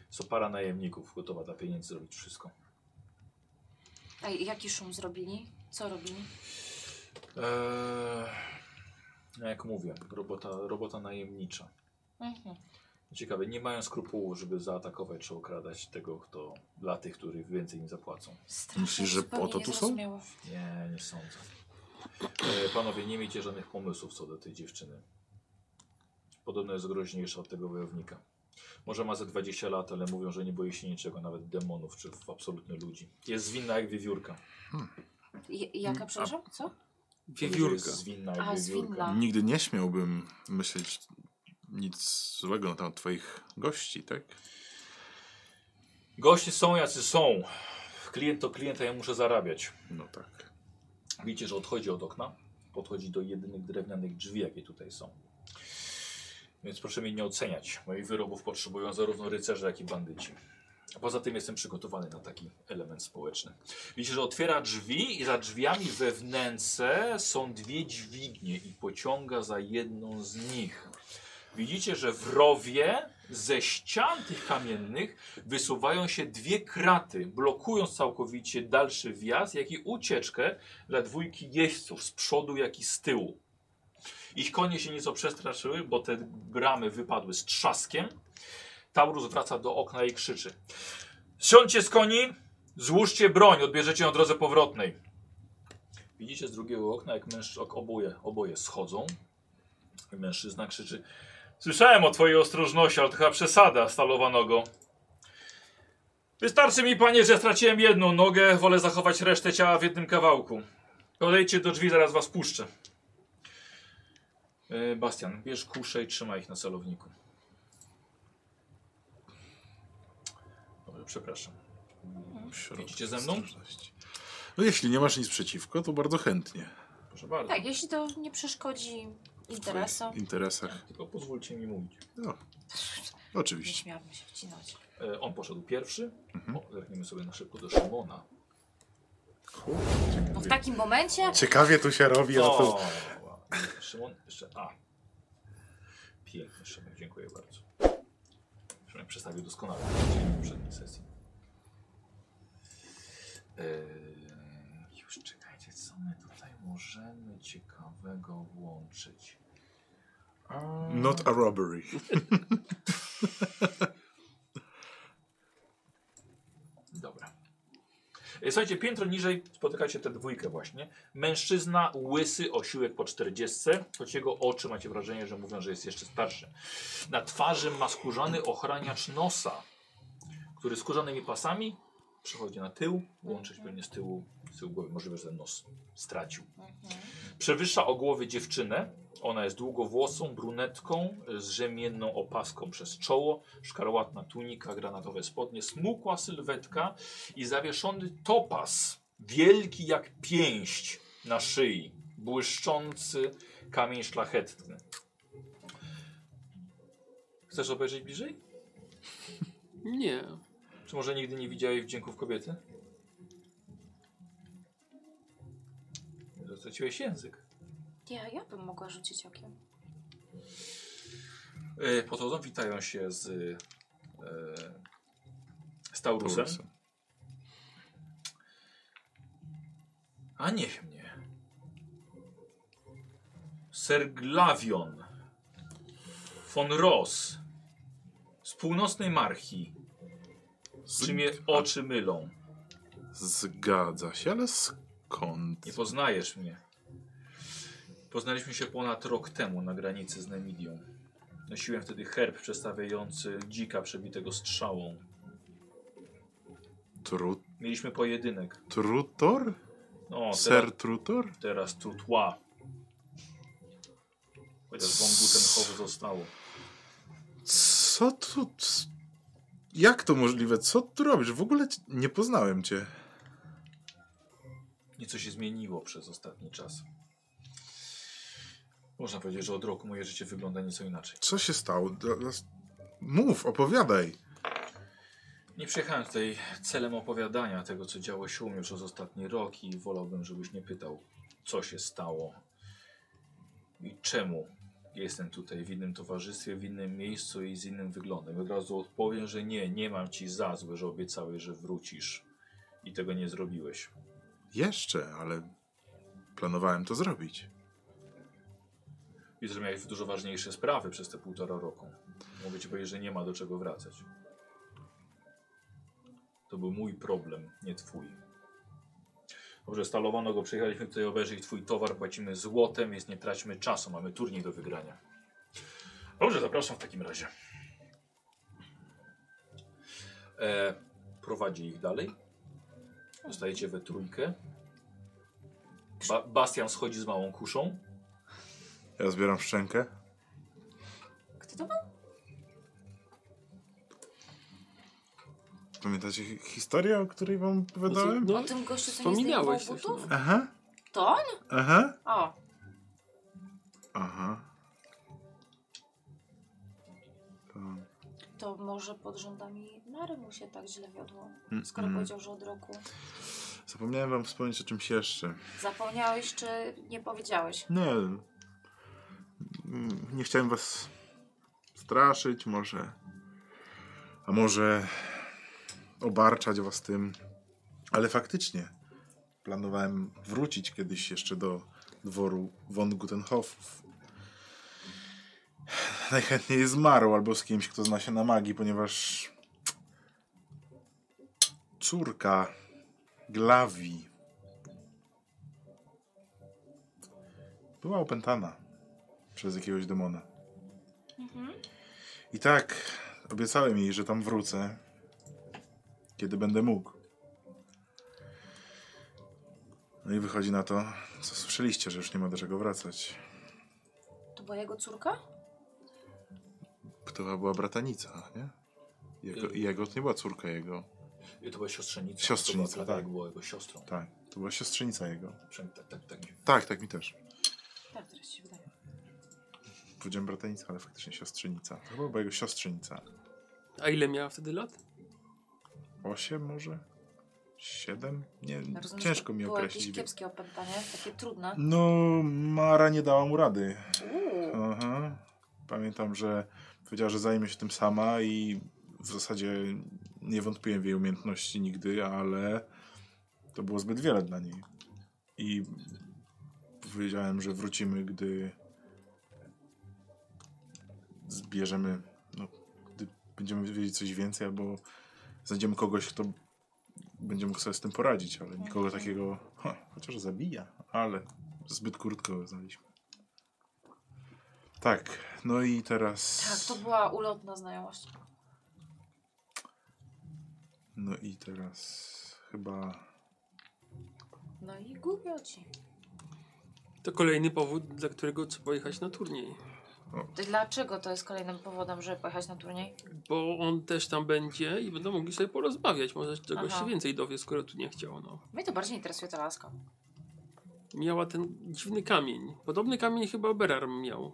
Speaker 1: Są para najemników gotowa dla pieniędzy zrobić wszystko.
Speaker 2: A jaki szum zrobili? Co robili?
Speaker 1: Eee, no jak mówię, robota, robota najemnicza.
Speaker 2: Mhm.
Speaker 1: Ciekawe, nie mają skrupułu, żeby zaatakować czy okradać tego, kto dla tych, których więcej im zapłacą.
Speaker 2: Strasznie,
Speaker 3: Myślisz, że
Speaker 2: zupełnie
Speaker 3: po to
Speaker 2: nie
Speaker 3: tu są?
Speaker 2: zrozumiałam.
Speaker 1: Nie, nie sądzę. E, panowie, nie miejcie żadnych pomysłów co do tej dziewczyny. Podobno jest groźniejsza od tego wojownika. Może ma ze 20 lat, ale mówią, że nie boi się niczego, nawet demonów czy w- absolutnie ludzi. Jest zwinna jak wiewiórka.
Speaker 2: J- Jaka, przepraszam? Co?
Speaker 4: Wiewiórka.
Speaker 1: Jest zwinna jak
Speaker 2: A,
Speaker 1: wiewiórka.
Speaker 2: zwinna.
Speaker 3: Nigdy nie śmiałbym myśleć nic złego na temat twoich gości, tak?
Speaker 1: Goście są jacy są. Klient to klienta, ja muszę zarabiać.
Speaker 3: No tak.
Speaker 1: Widzicie, że odchodzi od okna. Podchodzi do jedynych drewnianych drzwi, jakie tutaj są. Więc proszę mnie nie oceniać. Moich wyrobów potrzebują zarówno rycerze, jak i bandyci. A poza tym jestem przygotowany na taki element społeczny. Widzicie, że otwiera drzwi i za drzwiami we wnętrze są dwie dźwignie i pociąga za jedną z nich. Widzicie, że w rowie ze ścian tych kamiennych wysuwają się dwie kraty, blokując całkowicie dalszy wjazd, jak i ucieczkę dla dwójki jeźdźców z przodu, jak i z tyłu. Ich konie się nieco przestraszyły, bo te bramy wypadły z trzaskiem. Taurus wraca do okna i krzyczy. Siądźcie z koni, złóżcie broń, odbierzecie ją drodze powrotnej. Widzicie z drugiego okna, jak mężczyzn, oboje, oboje schodzą. I mężczyzna krzyczy, Słyszałem o twojej ostrożności, ale to chyba przesada, stalowanogo. Wystarczy mi, panie, że straciłem jedną nogę, wolę zachować resztę ciała w jednym kawałku. Podejdźcie do drzwi, zaraz was puszczę. E, Bastian, bierz kusze i trzymaj ich na celowniku. Dobrze, przepraszam. Idziecie No, ze mną?
Speaker 3: Ostrożności. No jeśli nie masz nic przeciwko, to bardzo chętnie.
Speaker 1: Proszę bardzo.
Speaker 6: Tak, jeśli to nie przeszkodzi
Speaker 3: W twoich
Speaker 6: interesom.
Speaker 3: interesach.
Speaker 1: Tylko pozwólcie mi mówić.
Speaker 2: Nie
Speaker 3: Oczywiście.
Speaker 2: śmiałabym się wcinać.
Speaker 1: E, on poszedł pierwszy. O, zerknijmy sobie na szybko do Szymona.
Speaker 6: Bo w takim momencie
Speaker 3: Ciekawie tu się robi, a to...
Speaker 1: O, Szymon, jeszcze A. Piękny Szymon, dziękuję bardzo. Szymon przedstawił doskonale w poprzedniej sesji. Eee, już czekajcie, co my tutaj możemy ciekawego włączyć? A,
Speaker 3: Not a robbery.
Speaker 1: Dobra. E, Słuchajcie, piętro niżej spotykacie tę dwójkę właśnie. Mężczyzna, łysy, osiłek po 40, choć jego oczy macie wrażenie, że mówią, że jest jeszcze starszy. Na twarzy ma skórzany ochraniacz nosa, który skórzanymi pasami przechodzi na tył, łączyć pewnie z tyłu, z tyłu głowy, możliwe, że ten nos stracił. Przewyższa o głowy dziewczynę. Ona jest długowłosą, brunetką, y, z rzemienną opaską przez czoło, szkarłatna tunika, granatowe spodnie, smukła sylwetka i zawieszony topas, wielki jak pięść na szyi, błyszczący kamień szlachetny. Chcesz obejrzeć bliżej?
Speaker 4: Nie.
Speaker 1: Czy może nigdy nie widziałeś wdzięków kobiety? Zatraciłeś język.
Speaker 6: ja, ja bym mogła rzucić okiem.
Speaker 1: E, Podchodzą, witają się z, e, z Taurusem. A niech mnie. Serglawion von Ross z północnej Marchi. Z czym je oczy mylą.
Speaker 3: Zgadza się, ale skąd?
Speaker 1: Nie poznajesz mnie. Poznaliśmy się ponad rok temu na granicy z Nemidią. Nosiłem wtedy herb przedstawiający dzika przebitego strzałą.
Speaker 3: Tru...
Speaker 1: Mieliśmy pojedynek.
Speaker 3: Trutor?
Speaker 1: No, teraz,
Speaker 3: Ser Trutor?
Speaker 1: teraz tu tła. Chociaż wągu ten chowu zostało.
Speaker 3: Co tu... c- Jak to możliwe? Co tu robisz? W ogóle ci- nie poznałem cię.
Speaker 1: Nieco się zmieniło przez ostatni czas. Można powiedzieć, że od roku moje życie wygląda nieco inaczej.
Speaker 3: Co się stało? Dla- dla- Mów, opowiadaj.
Speaker 1: Nie przyjechałem tutaj celem opowiadania tego, co działo się u mnie przez ostatni rok i wolałbym, żebyś nie pytał, co się stało i czemu jestem tutaj w innym towarzystwie, w innym miejscu i z innym wyglądem. Od razu odpowiem, że nie, nie mam ci za złe, że obiecałeś, że wrócisz i tego nie zrobiłeś.
Speaker 3: Jeszcze, ale planowałem to zrobić.
Speaker 1: I że miałeś dużo ważniejsze sprawy przez te półtora roku. Mogę ci powiedzieć, że nie ma do czego wracać. To był mój problem, nie twój. Dobrze, stalowano go, przyjechaliśmy tutaj obejrzeć twój towar, płacimy złotem, więc nie traćmy czasu, mamy turniej do wygrania. Dobrze, zapraszam w takim razie. E, prowadzi ich dalej. Zostajecie we trójkę. Ba Bastian schodzi z małą kuszą.
Speaker 3: Ja zbieram szczękę.
Speaker 6: Kto to był?
Speaker 3: Pamiętacie hi- historię, o której wam
Speaker 4: No co-
Speaker 3: opowiadałem?
Speaker 4: no,
Speaker 6: O tym gościu, co Znaczy, nie zdejmował
Speaker 4: wspominałeś coś.
Speaker 6: butów?
Speaker 4: No.
Speaker 3: Aha,
Speaker 6: To on?
Speaker 3: aha,
Speaker 6: O,
Speaker 3: aha. To...
Speaker 6: to może pod rządami Mary mu się tak źle wiodło.
Speaker 3: Mm,
Speaker 6: Skoro
Speaker 3: mm.
Speaker 6: powiedział, że od roku.
Speaker 3: Zapomniałem wam wspomnieć o czymś jeszcze.
Speaker 6: Zapomniałeś, czy nie powiedziałeś?
Speaker 3: Nie. mm, Nie chciałem was straszyć, może. A może obarczać was tym. Ale faktycznie planowałem wrócić kiedyś jeszcze do dworu von Gutenhofów. Najchętniej zmarł albo z kimś, kto zna się na magii, ponieważ córka Glawi była opętana przez jakiegoś demona.
Speaker 6: Mhm.
Speaker 3: I tak, obiecałem jej, że tam wrócę, kiedy będę mógł. No i wychodzi na to, co słyszeliście, że już nie ma do czego wracać.
Speaker 6: To była jego córka?
Speaker 3: To była bratanica, nie? Jego,
Speaker 1: Y-
Speaker 3: jego to nie była córka jego.
Speaker 1: I Y, to była siostrzenica.
Speaker 3: Siostrzenica,
Speaker 1: to była,
Speaker 3: tak.
Speaker 1: była jego siostrą.
Speaker 3: Tak, to była siostrzenica jego.
Speaker 1: Przynajmniej tak, tak, tak.
Speaker 3: Tak, tak mi też.
Speaker 6: Tak, teraz się wydaje.
Speaker 3: Powiedziałem bratanica, ale faktycznie siostrzenica. To chyba była jego siostrzenica.
Speaker 4: A ile miała wtedy lat?
Speaker 3: Osiem może? Siedem? Nie,
Speaker 6: Rozumiem, że
Speaker 3: ciężko mi
Speaker 6: było
Speaker 3: określić.
Speaker 6: jakieś kiepskie opętanie, takie trudne.
Speaker 3: No, Mara nie dała mu rady.
Speaker 6: Uuu.
Speaker 3: Aha. Pamiętam, że powiedziała, że zajmie się tym sama i w zasadzie nie wątpiłem w jej umiejętności nigdy, ale to było zbyt wiele dla niej. I powiedziałem, że wrócimy, gdy zbierzemy, no, gdy będziemy wiedzieć coś więcej, albo znajdziemy kogoś, kto będzie mógł sobie z tym poradzić, ale nikogo takiego, ha, chociaż zabija, ale zbyt krótko znaliśmy. Tak, no i teraz...
Speaker 6: Tak, to była ulotna znajomość.
Speaker 3: No i teraz chyba.
Speaker 6: No i gubioci.
Speaker 4: To kolejny powód, dla którego trzeba jechać na turniej.
Speaker 2: Dlaczego to jest kolejnym powodem, żeby pojechać na turniej?
Speaker 4: Bo on też tam będzie i będą mogli sobie porozmawiać. Może czegoś
Speaker 2: Aha.
Speaker 4: się więcej dowie, skoro tu nie chciał. No.
Speaker 2: Mnie to bardziej interesuje ta laska.
Speaker 4: Miała ten dziwny kamień. Podobny kamień chyba Berarm miał.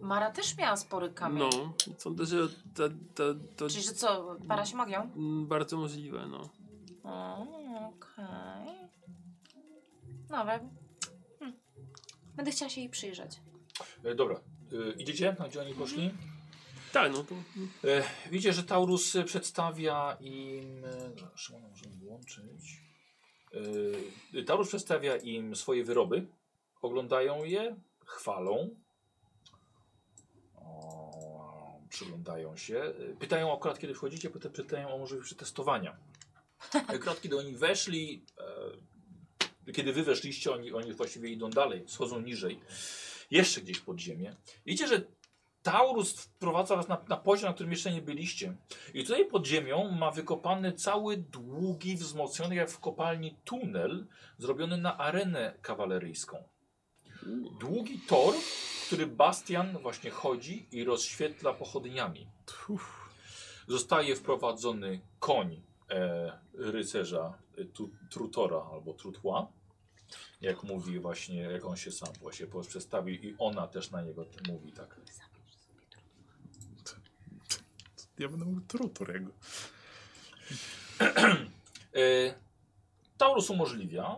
Speaker 2: Mara też miała spory kamień.
Speaker 4: No, sądzę, że ta, ta, to
Speaker 2: Czyli, że co, para się magią?
Speaker 4: mm, bardzo możliwe. No.
Speaker 2: O, Okej.
Speaker 6: No,
Speaker 2: Dobra.
Speaker 6: hmm.
Speaker 2: Hm. Będę chciała się jej przyjrzeć.
Speaker 1: E, dobra, e, idziecie? Tam, gdzie oni poszli?
Speaker 4: Tak, no to
Speaker 1: E, widzicie, że Taurus e, przedstawia im. e, no, Szymona możemy włączyć. E, Taurus przedstawia im swoje wyroby. Oglądają je, chwalą. O, przyglądają się. E, Pytają akurat, kiedy wchodzicie, pyta- pytają o możliwość przetestowania. E, Kratki do oni weszli. E, kiedy wy weszliście, oni, oni właściwie idą dalej, schodzą niżej. Jeszcze gdzieś pod ziemię. Widzicie, że Taurus wprowadza was na, na poziom, na którym jeszcze nie byliście. I tutaj pod ziemią ma wykopany cały długi, wzmocniony jak w kopalni tunel, zrobiony na arenę kawaleryjską. Długi tor, który Bastian właśnie chodzi i rozświetla pochodniami. Zostaje wprowadzony koń e, rycerza e, tu, Trutora albo Trutła. Jak mówi właśnie, jak on się sam właśnie przedstawił i ona też na niego t- mówi tak.
Speaker 3: Ja będę mówił trutor jego.
Speaker 1: E, Taurus umożliwia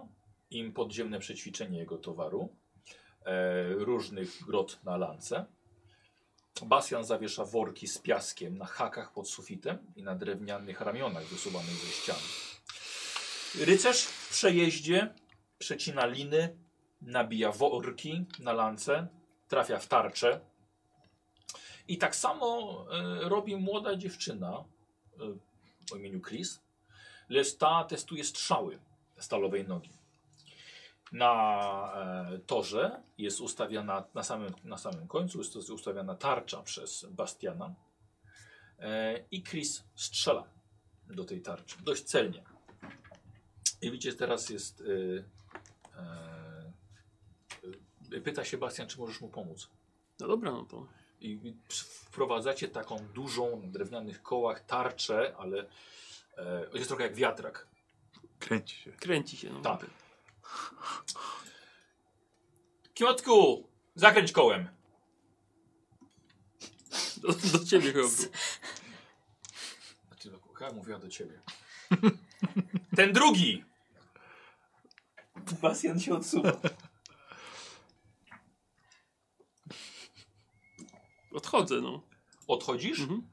Speaker 1: im podziemne przećwiczenie jego towaru, e, różnych grot na lance. Basjan zawiesza worki z piaskiem na hakach pod sufitem i na drewnianych ramionach wysuwanych ze ścian. Rycerz w przejeździe przecina liny, nabija worki na lance, trafia w tarczę. I tak samo e, robi młoda dziewczyna e, o imieniu Chris, lecz ta testuje strzały stalowej nogi. Na e, torze jest ustawiana, na samym, na samym końcu jest to ustawiana tarcza przez Bastiana e, i Chris strzela do tej tarczy, dość celnie. I widzicie, teraz jest, y, e, y, pyta się Bastian, czy możesz mu pomóc.
Speaker 4: No dobra, no to.
Speaker 1: I i ps- wprowadzacie taką dużą, na drewnianych kołach tarczę, ale e, jest trochę jak wiatrak.
Speaker 3: Kręci się.
Speaker 4: Kręci się. No.
Speaker 1: Tak. Kiotku, zakręć kołem.
Speaker 4: Do, do ciebie chyba był.
Speaker 1: Znaczy, chyba mówiła do ciebie. Ten drugi! Basjan się odsuwa.
Speaker 4: Odchodzę, no.
Speaker 1: Odchodzisz?
Speaker 4: Mhm.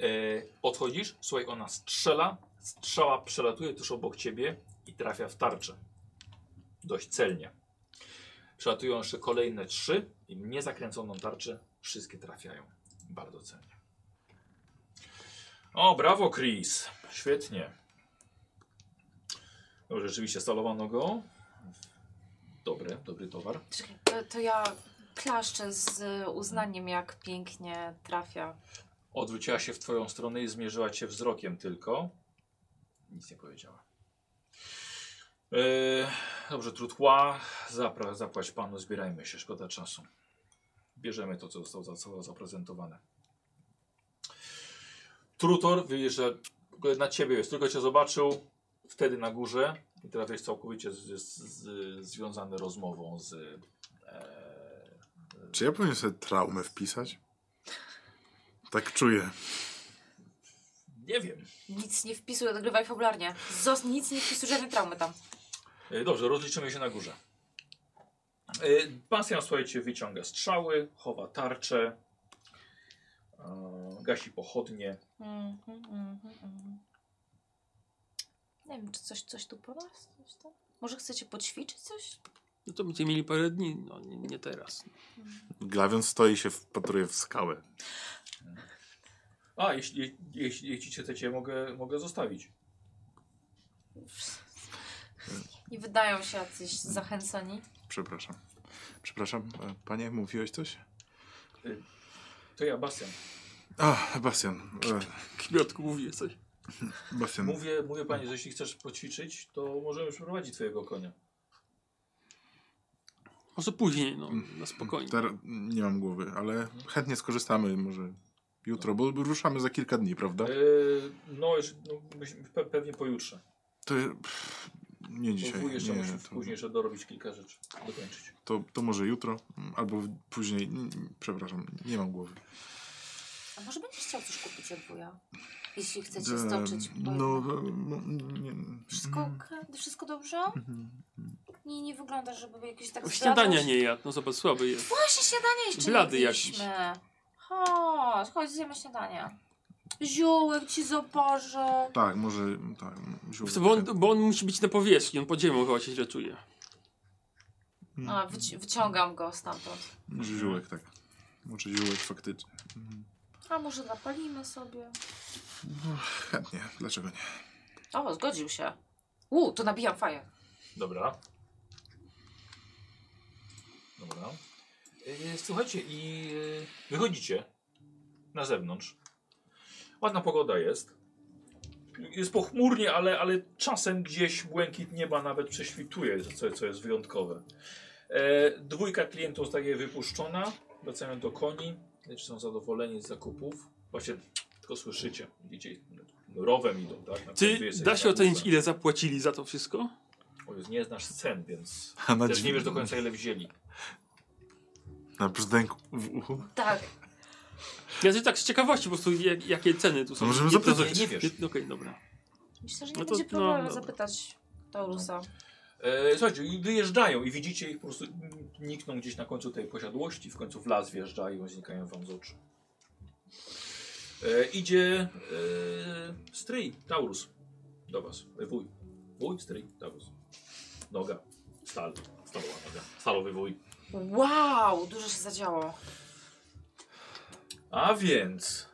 Speaker 1: E, odchodzisz, słuchaj, ona strzela, strzała przelatuje tuż obok ciebie i trafia w tarczę. Dość celnie. Przelatują jeszcze kolejne trzy i w niezakręconą tarczę wszystkie trafiają. Bardzo celnie. O, brawo, Chris. Świetnie. No, rzeczywiście stalowa nogą. Dobre, dobry towar.
Speaker 2: Czekaj, To, to ja klaszczę z uznaniem, jak pięknie trafia.
Speaker 1: Odwróciła się w twoją stronę i zmierzyła cię wzrokiem tylko. Nic nie powiedziała. E, dobrze, trutła. Zapra, zapłać panu, zbierajmy się, szkoda czasu. Bierzemy to, co zostało, za- zostało zaprezentowane. Trutor, widzisz, że w ogóle na ciebie jest, tylko cię zobaczył wtedy na górze i teraz jest całkowicie z, z, z, związany rozmową z... E,
Speaker 3: Czy ja powinien sobie traumę wpisać? Tak czuję.
Speaker 1: nie wiem.
Speaker 2: Nic nie wpisuj, odgrywaj fabularnie. Zos, nic nie wpisuj, żadnej traumy tam.
Speaker 1: E, Dobrze, rozliczymy się na górze. E, Bastian, słuchajcie, wyciąga strzały, chowa tarczę, e, gasi pochodnie.
Speaker 2: Mhm, mhm, mhm. Nie wiem, czy coś, coś tu po nas? Coś tam? Może chcecie poćwiczyć coś?
Speaker 4: No to będziecie mieli parę dni, no nie, nie teraz.
Speaker 3: Glawion stoi się, wpatruje w skałę.
Speaker 1: A, jeśli, jeśli, jeśli chcecie, mogę, mogę zostawić.
Speaker 2: Nie wydają się jacyś zachęceni.
Speaker 3: Przepraszam. Przepraszam, e, panie, mówiłeś coś?
Speaker 1: To ja, Bastian.
Speaker 3: A, Bastian. e,
Speaker 4: Kwiatku mówi coś.
Speaker 3: Bastian.
Speaker 1: Mówię, mówię pani, że jeśli chcesz poćwiczyć, to możemy przeprowadzić twojego konia.
Speaker 4: Może później, no, na spokojnie.
Speaker 3: Ter, nie mam głowy, ale chętnie skorzystamy może jutro, bo ruszamy za kilka dni, prawda?
Speaker 1: E, no, już, no myśl- pe, pewnie pojutrze.
Speaker 3: To pff, nie dzisiaj.
Speaker 1: Bo jeszcze
Speaker 3: nie,
Speaker 1: muszę
Speaker 3: to,
Speaker 1: później jeszcze dorobić kilka rzeczy, dokończyć.
Speaker 3: to, to może jutro, m, albo w- później. n- n- Przepraszam, nie mam głowy.
Speaker 10: A może będziesz chciał coś kupić od wuja? Jeśli chcecie
Speaker 3: Em,
Speaker 10: stoczyć. bo
Speaker 3: No,
Speaker 10: jednak-
Speaker 3: m, nie,
Speaker 6: Wszystko,
Speaker 3: mm,
Speaker 6: okej? wszystko dobrze?
Speaker 3: mhm.
Speaker 6: Nie, nie wygląda, żeby jakiś tak
Speaker 4: Śniadania
Speaker 6: zbladał-
Speaker 4: nie jadł, no zobacz, słaby jest.
Speaker 6: Właśnie śniadanie jeszcze
Speaker 4: Blady
Speaker 6: Blady
Speaker 4: jakiś.
Speaker 6: jakieś. Chodź, chodź, zjemy śniadanie. Ziołek ci zobaczę.
Speaker 3: Tak, może. Tak, m,
Speaker 4: Wiesz
Speaker 3: ziół-
Speaker 4: co, Bo on, bo on musi być na powierzchni, on pod ziemią chyba się źle czuje.
Speaker 3: Mm.
Speaker 2: A, wyci- wyciągam go stamtąd.
Speaker 3: Może ziółek, tak. Może ziółek faktycznie. Mhm.
Speaker 6: A może zapalimy sobie?
Speaker 3: No, chętnie, dlaczego nie?
Speaker 2: O, zgodził się. U, to nabijam faję.
Speaker 1: Dobra. Dobra. E, Słuchajcie, i e, wychodzicie na zewnątrz. Ładna pogoda jest. Jest pochmurnie, ale, ale czasem gdzieś błękit nieba nawet prześwituje, co, co jest wyjątkowe. E, dwójka klientów zostaje wypuszczona. Wracają do koni. Czy są zadowoleni z zakupów? Właśnie tylko słyszycie. Widzicie, ich, rowem idą, tak? Na pewno
Speaker 4: Czy
Speaker 1: jest
Speaker 4: da
Speaker 1: jakaś
Speaker 4: się ocenić,
Speaker 1: różnica.
Speaker 4: ile zapłacili za to wszystko?
Speaker 1: O Jezu, nie znasz cen, więc
Speaker 3: A na,
Speaker 1: też nie
Speaker 3: dźwię-
Speaker 1: wiesz do końca ile wzięli.
Speaker 3: na brzdęku w uchu.
Speaker 2: Tak,
Speaker 4: Ja się tak z ciekawości po prostu, jak, jakie ceny tu są.
Speaker 3: To możemy
Speaker 4: Nie-
Speaker 3: zapytać.
Speaker 1: Nie wiesz.
Speaker 4: nie- Okej, dobra.
Speaker 2: myślę, że nie
Speaker 4: No to-
Speaker 2: będzie
Speaker 4: no,
Speaker 2: problemu
Speaker 4: dobra.
Speaker 2: zapytać Taurusa.
Speaker 1: E, słuchajcie, i wyjeżdżają i widzicie ich po prostu mm, nikną gdzieś na końcu tej posiadłości, w końcu w las wjeżdżają, znikają wam z oczu. E, idzie e, stryj, Taurus, do was, E, wuj, wuj, stryj, Taurus, noga, stal, stalowa noga, stalowy wuj.
Speaker 2: Wow, dużo się zadziało.
Speaker 1: A więc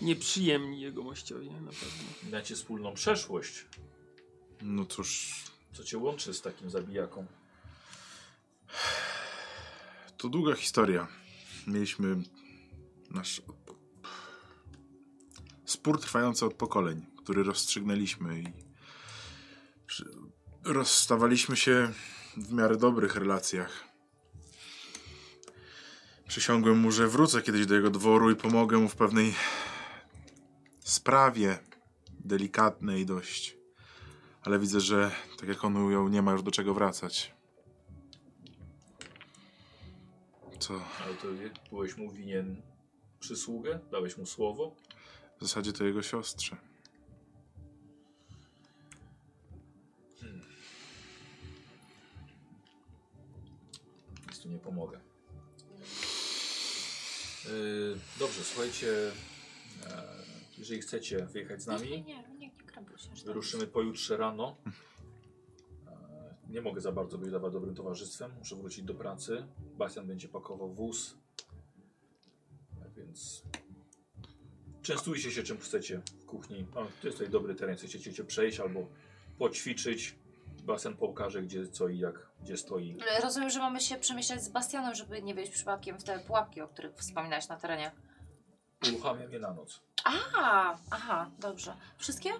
Speaker 4: Nieprzyjemni jego mościowie, na pewno.
Speaker 1: macie wspólną przeszłość,
Speaker 3: No cóż,
Speaker 1: co cię łączy z takim zabijaką.
Speaker 3: To długa historia. Mieliśmy nasz spór trwający od pokoleń, który rozstrzygnęliśmy i przy- rozstawaliśmy się w miarę dobrych relacjach. Przysiągłem mu, że wrócę kiedyś do jego dworu i pomogę mu w pewnej sprawie delikatnej dość. Ale widzę, że tak jak on ujął, nie ma już do czego wracać. Co?
Speaker 1: Ale to je- byłeś mu winien przysługę? Dałeś mu słowo?
Speaker 3: W zasadzie to jego siostrze.
Speaker 1: Nic tu nie pomogę. Yy, dobrze, słuchajcie. E, jeżeli chcecie wyjechać z
Speaker 6: Nie, nie,
Speaker 1: nami,
Speaker 6: nie, nie, nie krępuj się. aż tak.
Speaker 1: wyruszymy pojutrze rano. E, nie mogę za bardzo być dla was dobrym towarzystwem. Muszę wrócić do pracy. Bastian będzie pakował wóz. Tak więc. Częstujcie się czym chcecie w kuchni. Mam- To jest tutaj dobry teren. Jeśli Chcecie się przejść albo poćwiczyć. basen pokaże, gdzie co i jak, gdzie stoi.
Speaker 6: E, Rozumiem, że mamy się przemieszczać z Bastianem, żeby nie wejść przypadkiem w te pułapki, o których wspominałeś na terenie.
Speaker 1: Uruchamia mnie na noc.
Speaker 6: A, aha, dobrze. Wszystkie?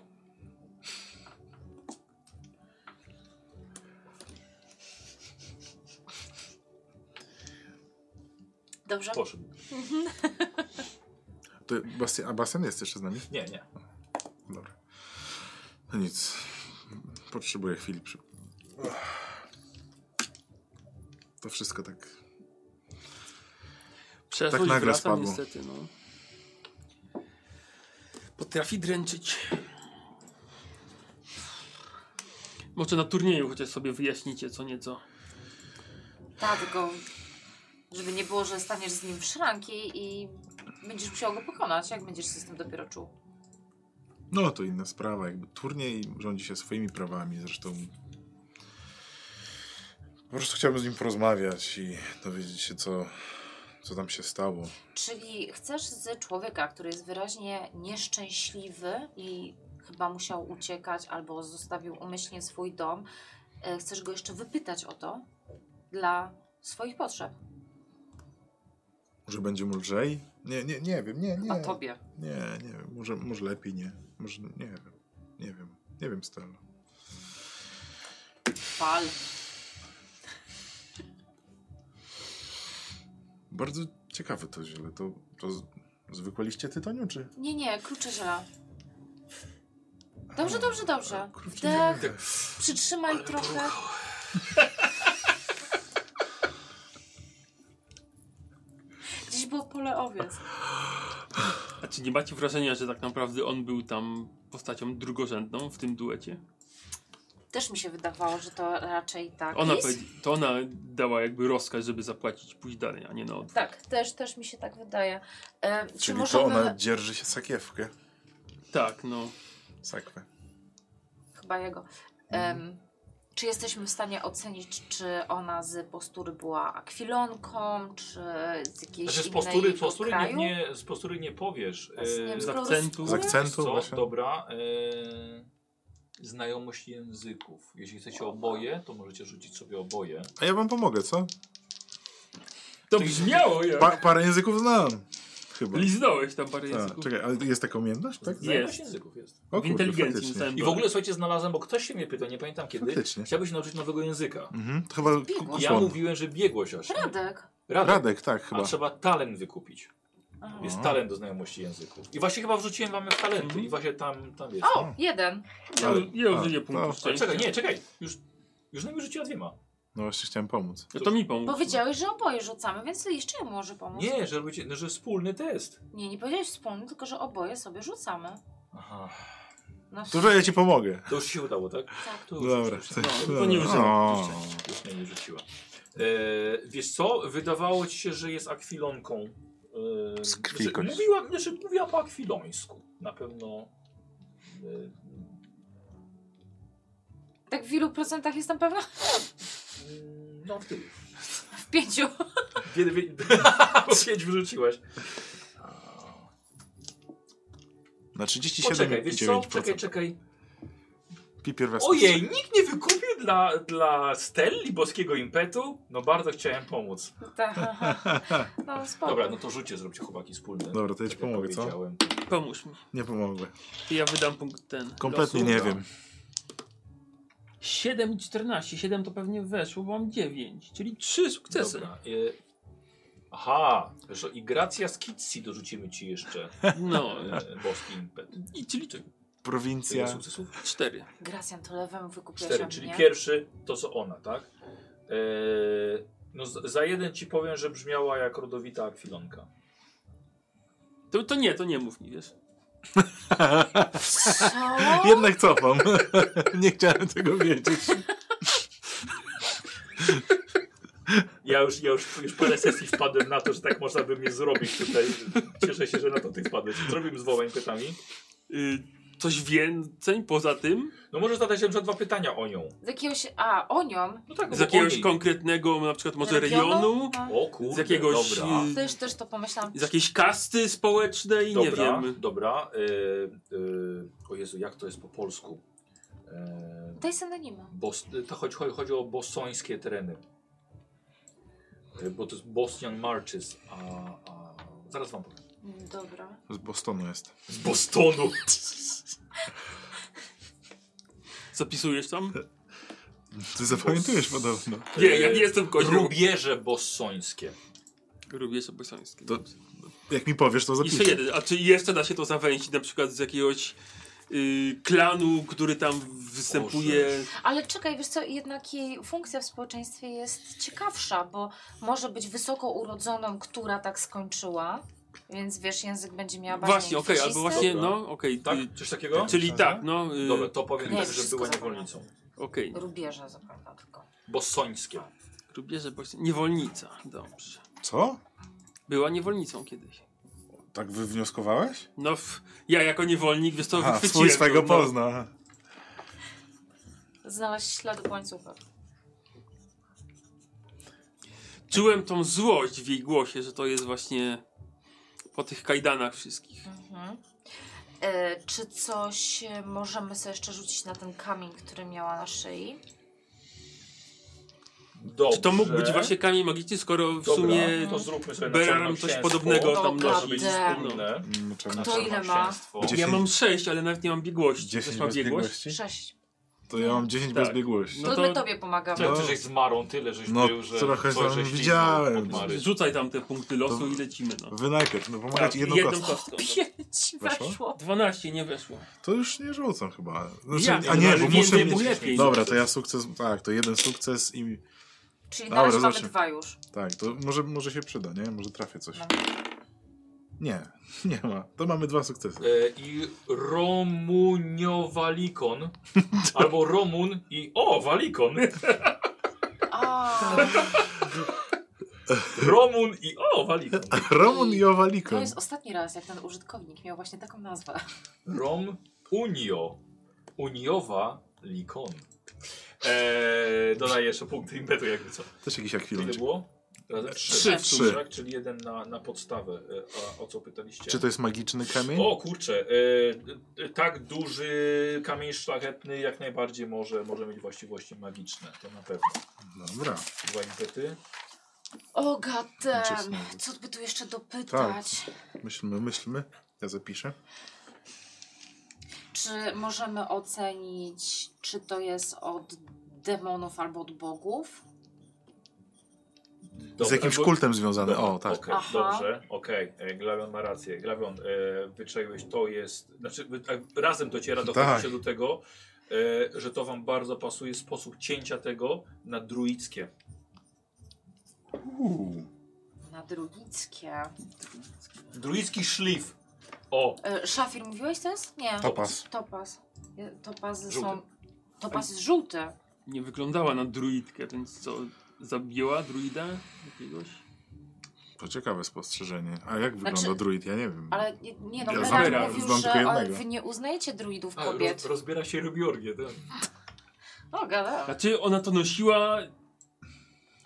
Speaker 6: Dobrze.
Speaker 1: Poszedł.
Speaker 3: To Bastian, a Bastian jest jeszcze z nami?
Speaker 1: Nie, nie.
Speaker 3: Dobra. No nic. Potrzebuję chwili przy... To wszystko tak...
Speaker 4: Przeszłość
Speaker 3: Tak
Speaker 4: tak
Speaker 3: nagle
Speaker 4: wraca
Speaker 3: spadło.
Speaker 4: niestety, no. Potrafi dręczyć. Może na turnieju chociaż sobie wyjaśnicie co nieco.
Speaker 6: Tak, go. Żeby nie było, że staniesz z nim w szranki i będziesz musiał go pokonać, jak będziesz się z tym dopiero czuł.
Speaker 3: No to inna sprawa, jakby turniej rządzi się swoimi prawami, zresztą po prostu chciałbym z nim porozmawiać i dowiedzieć się co, co tam się stało.
Speaker 6: Czyli chcesz z człowieka, który jest wyraźnie nieszczęśliwy i chyba musiał uciekać albo zostawił umyślnie swój dom, e, chcesz go jeszcze wypytać o to dla swoich potrzeb,
Speaker 3: Może będzie mu lżej? Nie, nie, nie wiem, nie, nie.
Speaker 6: a tobie.
Speaker 3: Nie, nie wiem, może, może lepiej nie, może nie wiem, nie wiem, nie wiem Stella.
Speaker 6: Fal.
Speaker 3: Bardzo ciekawe to źle, to, to z- zwykłe liście tytoniu, czy?
Speaker 6: Nie, nie, klucze ziela. Dobrze, dobrze, dobrze.
Speaker 3: Krówki
Speaker 6: Wdech,
Speaker 3: zielone.
Speaker 6: przytrzymaj trochę. Gdzieś było pole owiec.
Speaker 4: A czy nie macie wrażenia, że tak naprawdę on był tam postacią drugorzędną w tym duecie?
Speaker 6: Też mi się wydawało, że to raczej tak
Speaker 4: Ona
Speaker 6: jest.
Speaker 4: powie- to ona dała jakby rozkaz, żeby zapłacić pójść dalej, a nie na odwrót.
Speaker 6: Tak, też, też mi się tak wydaje. E, czy
Speaker 3: Czyli
Speaker 6: możemy...
Speaker 3: to ona dzierży się sakiewkę,
Speaker 4: Tak, no.
Speaker 3: sakwę.
Speaker 6: Chyba jego. Em, czy jesteśmy w stanie ocenić, czy ona z postury była akwilonką, czy z jakiejś
Speaker 1: Znaczy z
Speaker 6: innej
Speaker 1: postury, z postury, nie,
Speaker 6: kraju?
Speaker 1: nie, z postury nie powiesz.
Speaker 6: Z
Speaker 1: e,
Speaker 4: Z
Speaker 6: niemieckiego-
Speaker 4: akcentu.
Speaker 3: Z
Speaker 6: No,
Speaker 3: akcentu
Speaker 1: Co?
Speaker 3: właśnie.
Speaker 1: Dobra. e, znajomość języków. Jeśli chcecie oboje, to możecie rzucić sobie oboje.
Speaker 3: A ja wam pomogę, co?
Speaker 4: To brzmiało jak.
Speaker 3: Pa, parę języków znam, chyba.
Speaker 4: Liznąłeś tam parę
Speaker 3: A,
Speaker 4: języków.
Speaker 3: czekaj, ale jest taka umiejętność, tak?
Speaker 1: Znajomość
Speaker 4: Jest.
Speaker 1: języków jest.
Speaker 3: O
Speaker 4: W inteligencji
Speaker 3: faktycznie.
Speaker 4: dostałem
Speaker 1: I w ogóle słuchajcie, znalazłem, bo ktoś się mnie pytał, nie pamiętam kiedy.
Speaker 3: Faktycznie.
Speaker 1: Chciałbyś nauczyć nowego języka.
Speaker 3: Mhm, to chyba
Speaker 6: Biegło.
Speaker 1: Ja
Speaker 3: ku- kusłon.
Speaker 1: mówiłem, że biegłość aż.
Speaker 6: Radek.
Speaker 1: Radek.
Speaker 3: Radek, tak,
Speaker 1: A
Speaker 3: chyba.
Speaker 1: trzeba talent wykupić.
Speaker 6: Aha.
Speaker 1: Jest
Speaker 3: A.
Speaker 1: talent do znajomości języków. I właśnie chyba wrzuciłem wam w talenty
Speaker 4: Mhm.
Speaker 1: i właśnie tam, tam jest.
Speaker 6: O, jeden.
Speaker 4: Ja,
Speaker 3: A,
Speaker 4: ja
Speaker 3: no,
Speaker 4: użyję
Speaker 3: to-
Speaker 4: punktu
Speaker 1: Ale
Speaker 4: szczęścia.
Speaker 1: czekaj, nie, czekaj. Już, już najmniej rzuciła dwiema.
Speaker 3: No właśnie chciałem pomóc.
Speaker 4: No to mi pomóż.
Speaker 6: Bo wiedziałeś, że oboje rzucamy, więc jeszcze jemu może pomóc.
Speaker 1: Nie, że robicie, no, że wspólny test.
Speaker 6: nie, nie powiedziałeś wspólnie, tylko że oboje sobie rzucamy.
Speaker 1: Aha.
Speaker 6: No,
Speaker 3: Dużo ja ci pomogę.
Speaker 1: To już się udało, tak?
Speaker 6: Tak.
Speaker 1: To już,
Speaker 3: Dobra.
Speaker 1: Już,
Speaker 3: to-
Speaker 4: No, to nie używam.
Speaker 3: O.
Speaker 1: już mnie nie rzuciła. E, wiesz co, wydawało ci się, że jest akwilonką. E,
Speaker 3: Z krwi
Speaker 1: że-
Speaker 3: kości.
Speaker 1: mówiła, znaczy, mówiła po akwilońsku. Na pewno. e,
Speaker 6: Tak w ilu procentach jestem pewna? (laughs)
Speaker 1: E, no ty.
Speaker 6: W pięciu. (laughs)
Speaker 1: Kiedy wy... (laughs) bo pięć wrzuciłaś.
Speaker 3: Na 37
Speaker 1: Poczekaj, wiesz co? Czekaj,
Speaker 3: 9%.
Speaker 1: czekaj.
Speaker 3: Pipier Weskus.
Speaker 1: Ojej, nikt nie wykupił dla, dla Stelli boskiego impetu? No bardzo chciałem pomóc.
Speaker 6: Tak. No, spoko.
Speaker 1: Dobra, no to rzucie zrobcie chłopaki wspólne.
Speaker 3: Dobra, to ja ci
Speaker 1: jak
Speaker 3: pomogę, co?
Speaker 1: powiedziałem.
Speaker 4: Pomóż mi.
Speaker 3: Nie pomogę.
Speaker 4: To ja wydam punkt ten.
Speaker 3: Kompletnie
Speaker 1: Losu,
Speaker 3: nie
Speaker 1: no.
Speaker 3: wiem.
Speaker 4: 7 i 14. 7 to pewnie weszło, bo mam 9, czyli 3 sukcesy.
Speaker 1: Dobra. y, Aha, wiesz, co, i Gracja z Kitsi dorzucimy ci jeszcze
Speaker 4: No.
Speaker 1: e, boski impet.
Speaker 4: I czyli
Speaker 1: Tyle
Speaker 3: Prowincja.
Speaker 1: sukcesów?
Speaker 4: 4.
Speaker 6: Gracjan, to lewemu wykupiłaś
Speaker 1: Cztery,
Speaker 6: a
Speaker 1: czyli
Speaker 6: mnie?
Speaker 1: pierwszy to co ona, tak? E, no z- za jeden ci powiem, że brzmiała jak rodowita akwilonka.
Speaker 4: To, to nie, to nie mów mi, wiesz.
Speaker 6: Co?
Speaker 3: Jednak cofam. (laughs) nie chciałem tego wiedzieć.
Speaker 1: Ja już, ja już, już parę sesji wpadłem na to, że tak można by mnie zrobić tutaj. Cieszę się, że na to ty wpadłeś. Zrobimy z dwoma impetami.
Speaker 4: Y, coś więcej poza tym?
Speaker 1: No możesz zadać na przykład dwa pytania o nią.
Speaker 6: Z jakiegoś... A, o nią?
Speaker 1: No tak,
Speaker 4: Z
Speaker 1: bo
Speaker 4: jakiegoś
Speaker 1: oni-
Speaker 4: konkretnego, na przykład może
Speaker 6: Regionu?
Speaker 4: regionu?
Speaker 6: No.
Speaker 1: O kurde,
Speaker 4: Z jakiegoś...
Speaker 1: dobra.
Speaker 4: y,
Speaker 6: Też, też to pomyślałam.
Speaker 4: z jakiejś kasty społecznej? Nie
Speaker 1: Dobra,
Speaker 4: wiemy.
Speaker 1: dobra. E, e, o Jezu, jak to jest po polsku? E,
Speaker 2: Daj synonimem.
Speaker 1: Bos, to chodzi, chodzi, chodzi o bosońskie tereny. Y, Bo to jest Bosnian Marches, a, a... Zaraz wam powiem.
Speaker 2: Dobra.
Speaker 3: Z Bostonu jest.
Speaker 1: Z (laughs) Bostonu!
Speaker 4: Zapisujesz tam?
Speaker 3: Ty zapamiętujesz podobno.
Speaker 4: Nie, ja nie jestem kozioł.
Speaker 1: Rubieże bosońskie.
Speaker 4: Lubię sobie bosańskie.
Speaker 3: To- Jak mi powiesz, to
Speaker 4: Jeszcze
Speaker 3: zapiszę.
Speaker 4: jeden, a czy jeszcze da się to zawęzić na przykład z jakiegoś y, klanu, który tam występuje?
Speaker 6: Ale czekaj, wiesz co, jednak jej funkcja w społeczeństwie jest ciekawsza, bo może być wysoko urodzoną, która tak skończyła, więc wiesz, język będzie miała bardziej
Speaker 4: Właśnie, okej, albo
Speaker 6: kwiecisty.
Speaker 4: właśnie,
Speaker 1: Dobra.
Speaker 4: no, okej.
Speaker 1: Tak?
Speaker 4: y,
Speaker 1: Coś takiego?
Speaker 4: Czyli tak, no, y,
Speaker 1: Dobra, to powiem
Speaker 6: Nie,
Speaker 1: tak, że
Speaker 6: wszystko
Speaker 1: była
Speaker 6: zapomniałam.
Speaker 1: niewolnicą.
Speaker 4: okej.
Speaker 6: Rubieże zapewne tylko.
Speaker 1: Bosońskie.
Speaker 4: Rubieże bosańskie. Niewolnica, dobrze.
Speaker 3: Co?
Speaker 4: Była niewolnicą kiedyś.
Speaker 3: Tak wywnioskowałeś?
Speaker 4: No, f, ja jako niewolnik, wiesz to
Speaker 3: Aha,
Speaker 4: wychwyciłem.
Speaker 3: swój swego
Speaker 4: no,
Speaker 3: pozna. Aha.
Speaker 6: Znalazł ślady po łańcuchach.
Speaker 4: Czułem tą złość w jej głosie, że to jest właśnie po tych kajdanach wszystkich.
Speaker 6: Mhm. E, czy coś e, możemy sobie jeszcze rzucić na ten kamień, który miała na szyi?
Speaker 1: Dobrze.
Speaker 4: Czy to mógł być właśnie kamień magiczny, skoro w sumie
Speaker 1: Dobra, to zróbmy sobie na
Speaker 4: Beran
Speaker 1: czarno
Speaker 4: coś
Speaker 1: księstwo.
Speaker 4: podobnego tam
Speaker 1: Może
Speaker 6: nosi.
Speaker 1: być
Speaker 6: Dobra.
Speaker 1: wspólne.
Speaker 3: Mm, czemu-
Speaker 1: Na
Speaker 6: To ile
Speaker 1: czarno
Speaker 6: ma?
Speaker 1: księstwo.
Speaker 3: Gdzie-
Speaker 4: Ja
Speaker 3: 10.
Speaker 4: mam 6, ale nawet nie mam biegłości. Ktoś
Speaker 3: 10
Speaker 4: ma
Speaker 3: bez
Speaker 4: biegłość?
Speaker 3: biegłości?
Speaker 6: Sześć.
Speaker 3: To ja mam 10
Speaker 4: Tak.
Speaker 3: bez biegłości.
Speaker 4: No
Speaker 6: to,
Speaker 4: to-
Speaker 6: my tobie pomagamy.
Speaker 1: Tyle, ty żeś z Marą, tyle żeś
Speaker 3: No,
Speaker 1: był, że...
Speaker 3: trochę
Speaker 1: coś
Speaker 3: tam
Speaker 1: żeś
Speaker 3: widziałem.
Speaker 1: liznął od Mary.
Speaker 4: Rzucaj tam te punkty losu
Speaker 3: To-
Speaker 4: i lecimy. No.
Speaker 3: Wy najpierw, no pomagać jedną kostką.
Speaker 4: kostką.
Speaker 6: (laughs) Pięć
Speaker 3: Weszło?
Speaker 6: weszło.
Speaker 4: 12 nie weszło.
Speaker 3: To już nie rzucam chyba. Znaczy,
Speaker 4: Jak?
Speaker 3: a nie,
Speaker 4: Ale
Speaker 3: bo muszę
Speaker 4: więcej
Speaker 3: mieć...
Speaker 4: mu lepiej.
Speaker 3: Dobra, to ja sukces... Tak, to jeden sukces i...
Speaker 6: Czyli
Speaker 3: Dobra,
Speaker 6: na razie mamy
Speaker 3: zobaczymy.
Speaker 6: dwa
Speaker 3: (laughs)
Speaker 6: już.
Speaker 3: Tak, to może, może się przyda, nie? Może trafię coś. Nie, (laughs) nie ma. To mamy dwa sukcesy.
Speaker 1: E, I
Speaker 3: (laughs)
Speaker 1: Romuniowalikon. albo Romun i... O, Walikon!
Speaker 3: Tak.
Speaker 2: A,
Speaker 1: Romun i... O, Walikon.
Speaker 3: Romun i
Speaker 2: to
Speaker 3: Owalikon.
Speaker 2: jest ostatni raz, jak ten użytkownik miał właśnie taką nazwę.
Speaker 1: Rom Unio. Uniowa Likon. Eee, dodaję jeszcze punkty impetu, jakby co.
Speaker 3: Też jakiś
Speaker 1: Ile
Speaker 3: akwiloncik.
Speaker 1: było? Razem Trzy.
Speaker 4: Trzy.
Speaker 3: Trzy.
Speaker 1: Tak, czyli jeden na, na podstawę, e, a, o co pytaliście.
Speaker 3: Czy to jest magiczny kamień?
Speaker 1: O kurczę, e, e, tak duży kamień szlachetny jak najbardziej może, może mieć właściwości magiczne, to na pewno.
Speaker 3: Dobra.
Speaker 1: Dwa impety.
Speaker 6: O gatem,
Speaker 3: Nacisnę.
Speaker 6: co by tu jeszcze dopytać?
Speaker 3: Tak. Myślmy, myślmy. Ja zapiszę.
Speaker 6: Czy możemy ocenić, czy to jest od demonów albo od bogów?
Speaker 1: Dobra,
Speaker 3: Z jakimś
Speaker 1: bo-
Speaker 3: kultem związany. O, tak.
Speaker 1: Okej,
Speaker 6: Aha.
Speaker 1: dobrze, okej. E, Glawion ma rację. Glawion, e, wyczaiłeś, to jest... Znaczy, wy, e, razem dociera, dochodzi
Speaker 3: Tak.
Speaker 1: się do tego, e, że to wam bardzo pasuje sposób cięcia tego na druickie.
Speaker 3: Uuu.
Speaker 6: Na druickie.
Speaker 1: Druicki szlif. O,
Speaker 6: E, szafir mówiłeś to jest? Nie.
Speaker 3: Topas.
Speaker 6: Topas. Je- Topasy
Speaker 1: Żółty.
Speaker 6: są... Topas jest żółty.
Speaker 4: Nie wyglądała na druidkę, więc co? Zabiła druida jakiegoś?
Speaker 3: To ciekawe spostrzeżenie. A jak wygląda
Speaker 6: Znaczy-
Speaker 3: druid? Ja nie wiem.
Speaker 6: Ale nie, nie no,
Speaker 3: Ja
Speaker 6: Beran
Speaker 3: znam-
Speaker 6: mówił,
Speaker 3: znam tylko
Speaker 6: że on,
Speaker 3: jednego.
Speaker 6: wy nie uznajecie druidów
Speaker 1: a,
Speaker 6: kobiet. No,
Speaker 1: roz, rozbiera się rybiorgię, tak?
Speaker 6: O, gada.
Speaker 4: Znaczy ona to nosiła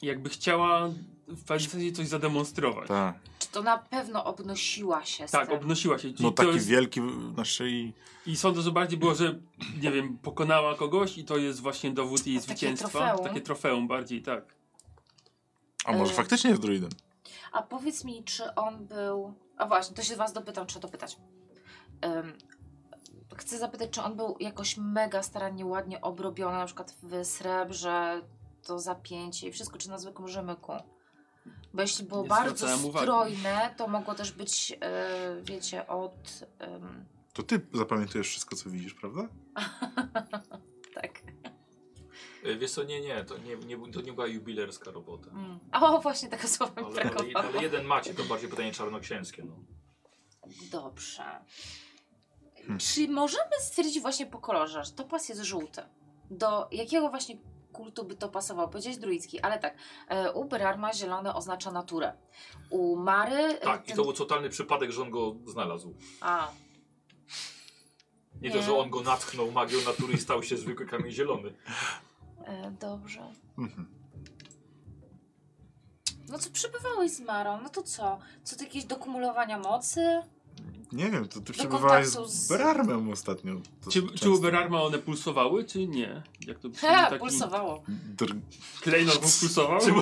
Speaker 4: jakby chciała w pewien coś zademonstrować. Tak,
Speaker 3: Tak.
Speaker 6: Czy to na pewno obnosiła się z tym?
Speaker 4: obnosiła się. Czyli
Speaker 3: No
Speaker 4: to
Speaker 3: taki
Speaker 4: jest,
Speaker 3: wielki na szyi.
Speaker 4: I sądzę, że bardziej było, że nie wiem, pokonała kogoś i to jest właśnie dowód jej
Speaker 6: Takie
Speaker 4: zwycięstwa.
Speaker 6: trofeum.
Speaker 4: Takie trofeum bardziej, tak.
Speaker 3: A może
Speaker 2: E,
Speaker 6: Y.
Speaker 3: faktycznie jest druidem?
Speaker 6: A powiedz mi, czy on był. A właśnie, to się was dopytam, trzeba dopytać. Ym, chcę zapytać, czy on był jakoś mega starannie, ładnie obrobiony, na przykład w srebrze, to zapięcie i wszystko, czy na zwykłym rzemyku. Bo jeśli było
Speaker 4: Nie
Speaker 6: bardzo
Speaker 4: zwracałem uwagi.
Speaker 6: strojne, to mogło też być, yy, wiecie, od. ym,
Speaker 3: To ty zapamiętujesz wszystko, co widzisz, prawda?
Speaker 6: tak.
Speaker 1: E, Wiesz co, nie, nie, to nie, nie, to nie była jubilerska robota.
Speaker 6: Mm. O, właśnie tego słowa mi
Speaker 1: Ale, ale,
Speaker 6: brakowało.
Speaker 1: ale jeden macie, to bardziej pytanie czarnoksięskie. No.
Speaker 6: Dobrze.
Speaker 3: Hmm.
Speaker 6: Czy możemy stwierdzić właśnie po kolorze, że topas jest żółty? Do jakiego właśnie kultu by to pasowało? Powiedziałeś druicki, ale tak. e, U Berarma zielony oznacza naturę. U Mary... e,
Speaker 1: Tak, i
Speaker 6: ten-
Speaker 1: to był totalny przypadek, że on go znalazł.
Speaker 6: A,
Speaker 1: Nie, to, że on go natchnął magią natury i stał się zwykły kamień zielony. (laughs)
Speaker 6: e, dobrze.
Speaker 3: Mhm.
Speaker 6: No co, przybywałeś z Marą, no to co? Co, to jakieś dokumulowania mocy?
Speaker 3: Nie wiem, to ty
Speaker 2: Do
Speaker 3: przebywałaś
Speaker 2: kontaktu
Speaker 3: z
Speaker 2: tak, z-
Speaker 3: Berarmem ostatnio. To
Speaker 4: Czy, czy
Speaker 3: często.
Speaker 4: u Berarma one pulsowały, czy nie? Jak to
Speaker 2: Ha,
Speaker 4: taki
Speaker 2: pulsowało.
Speaker 3: Dr...
Speaker 4: Klejnot mu pulsował?
Speaker 1: Czy-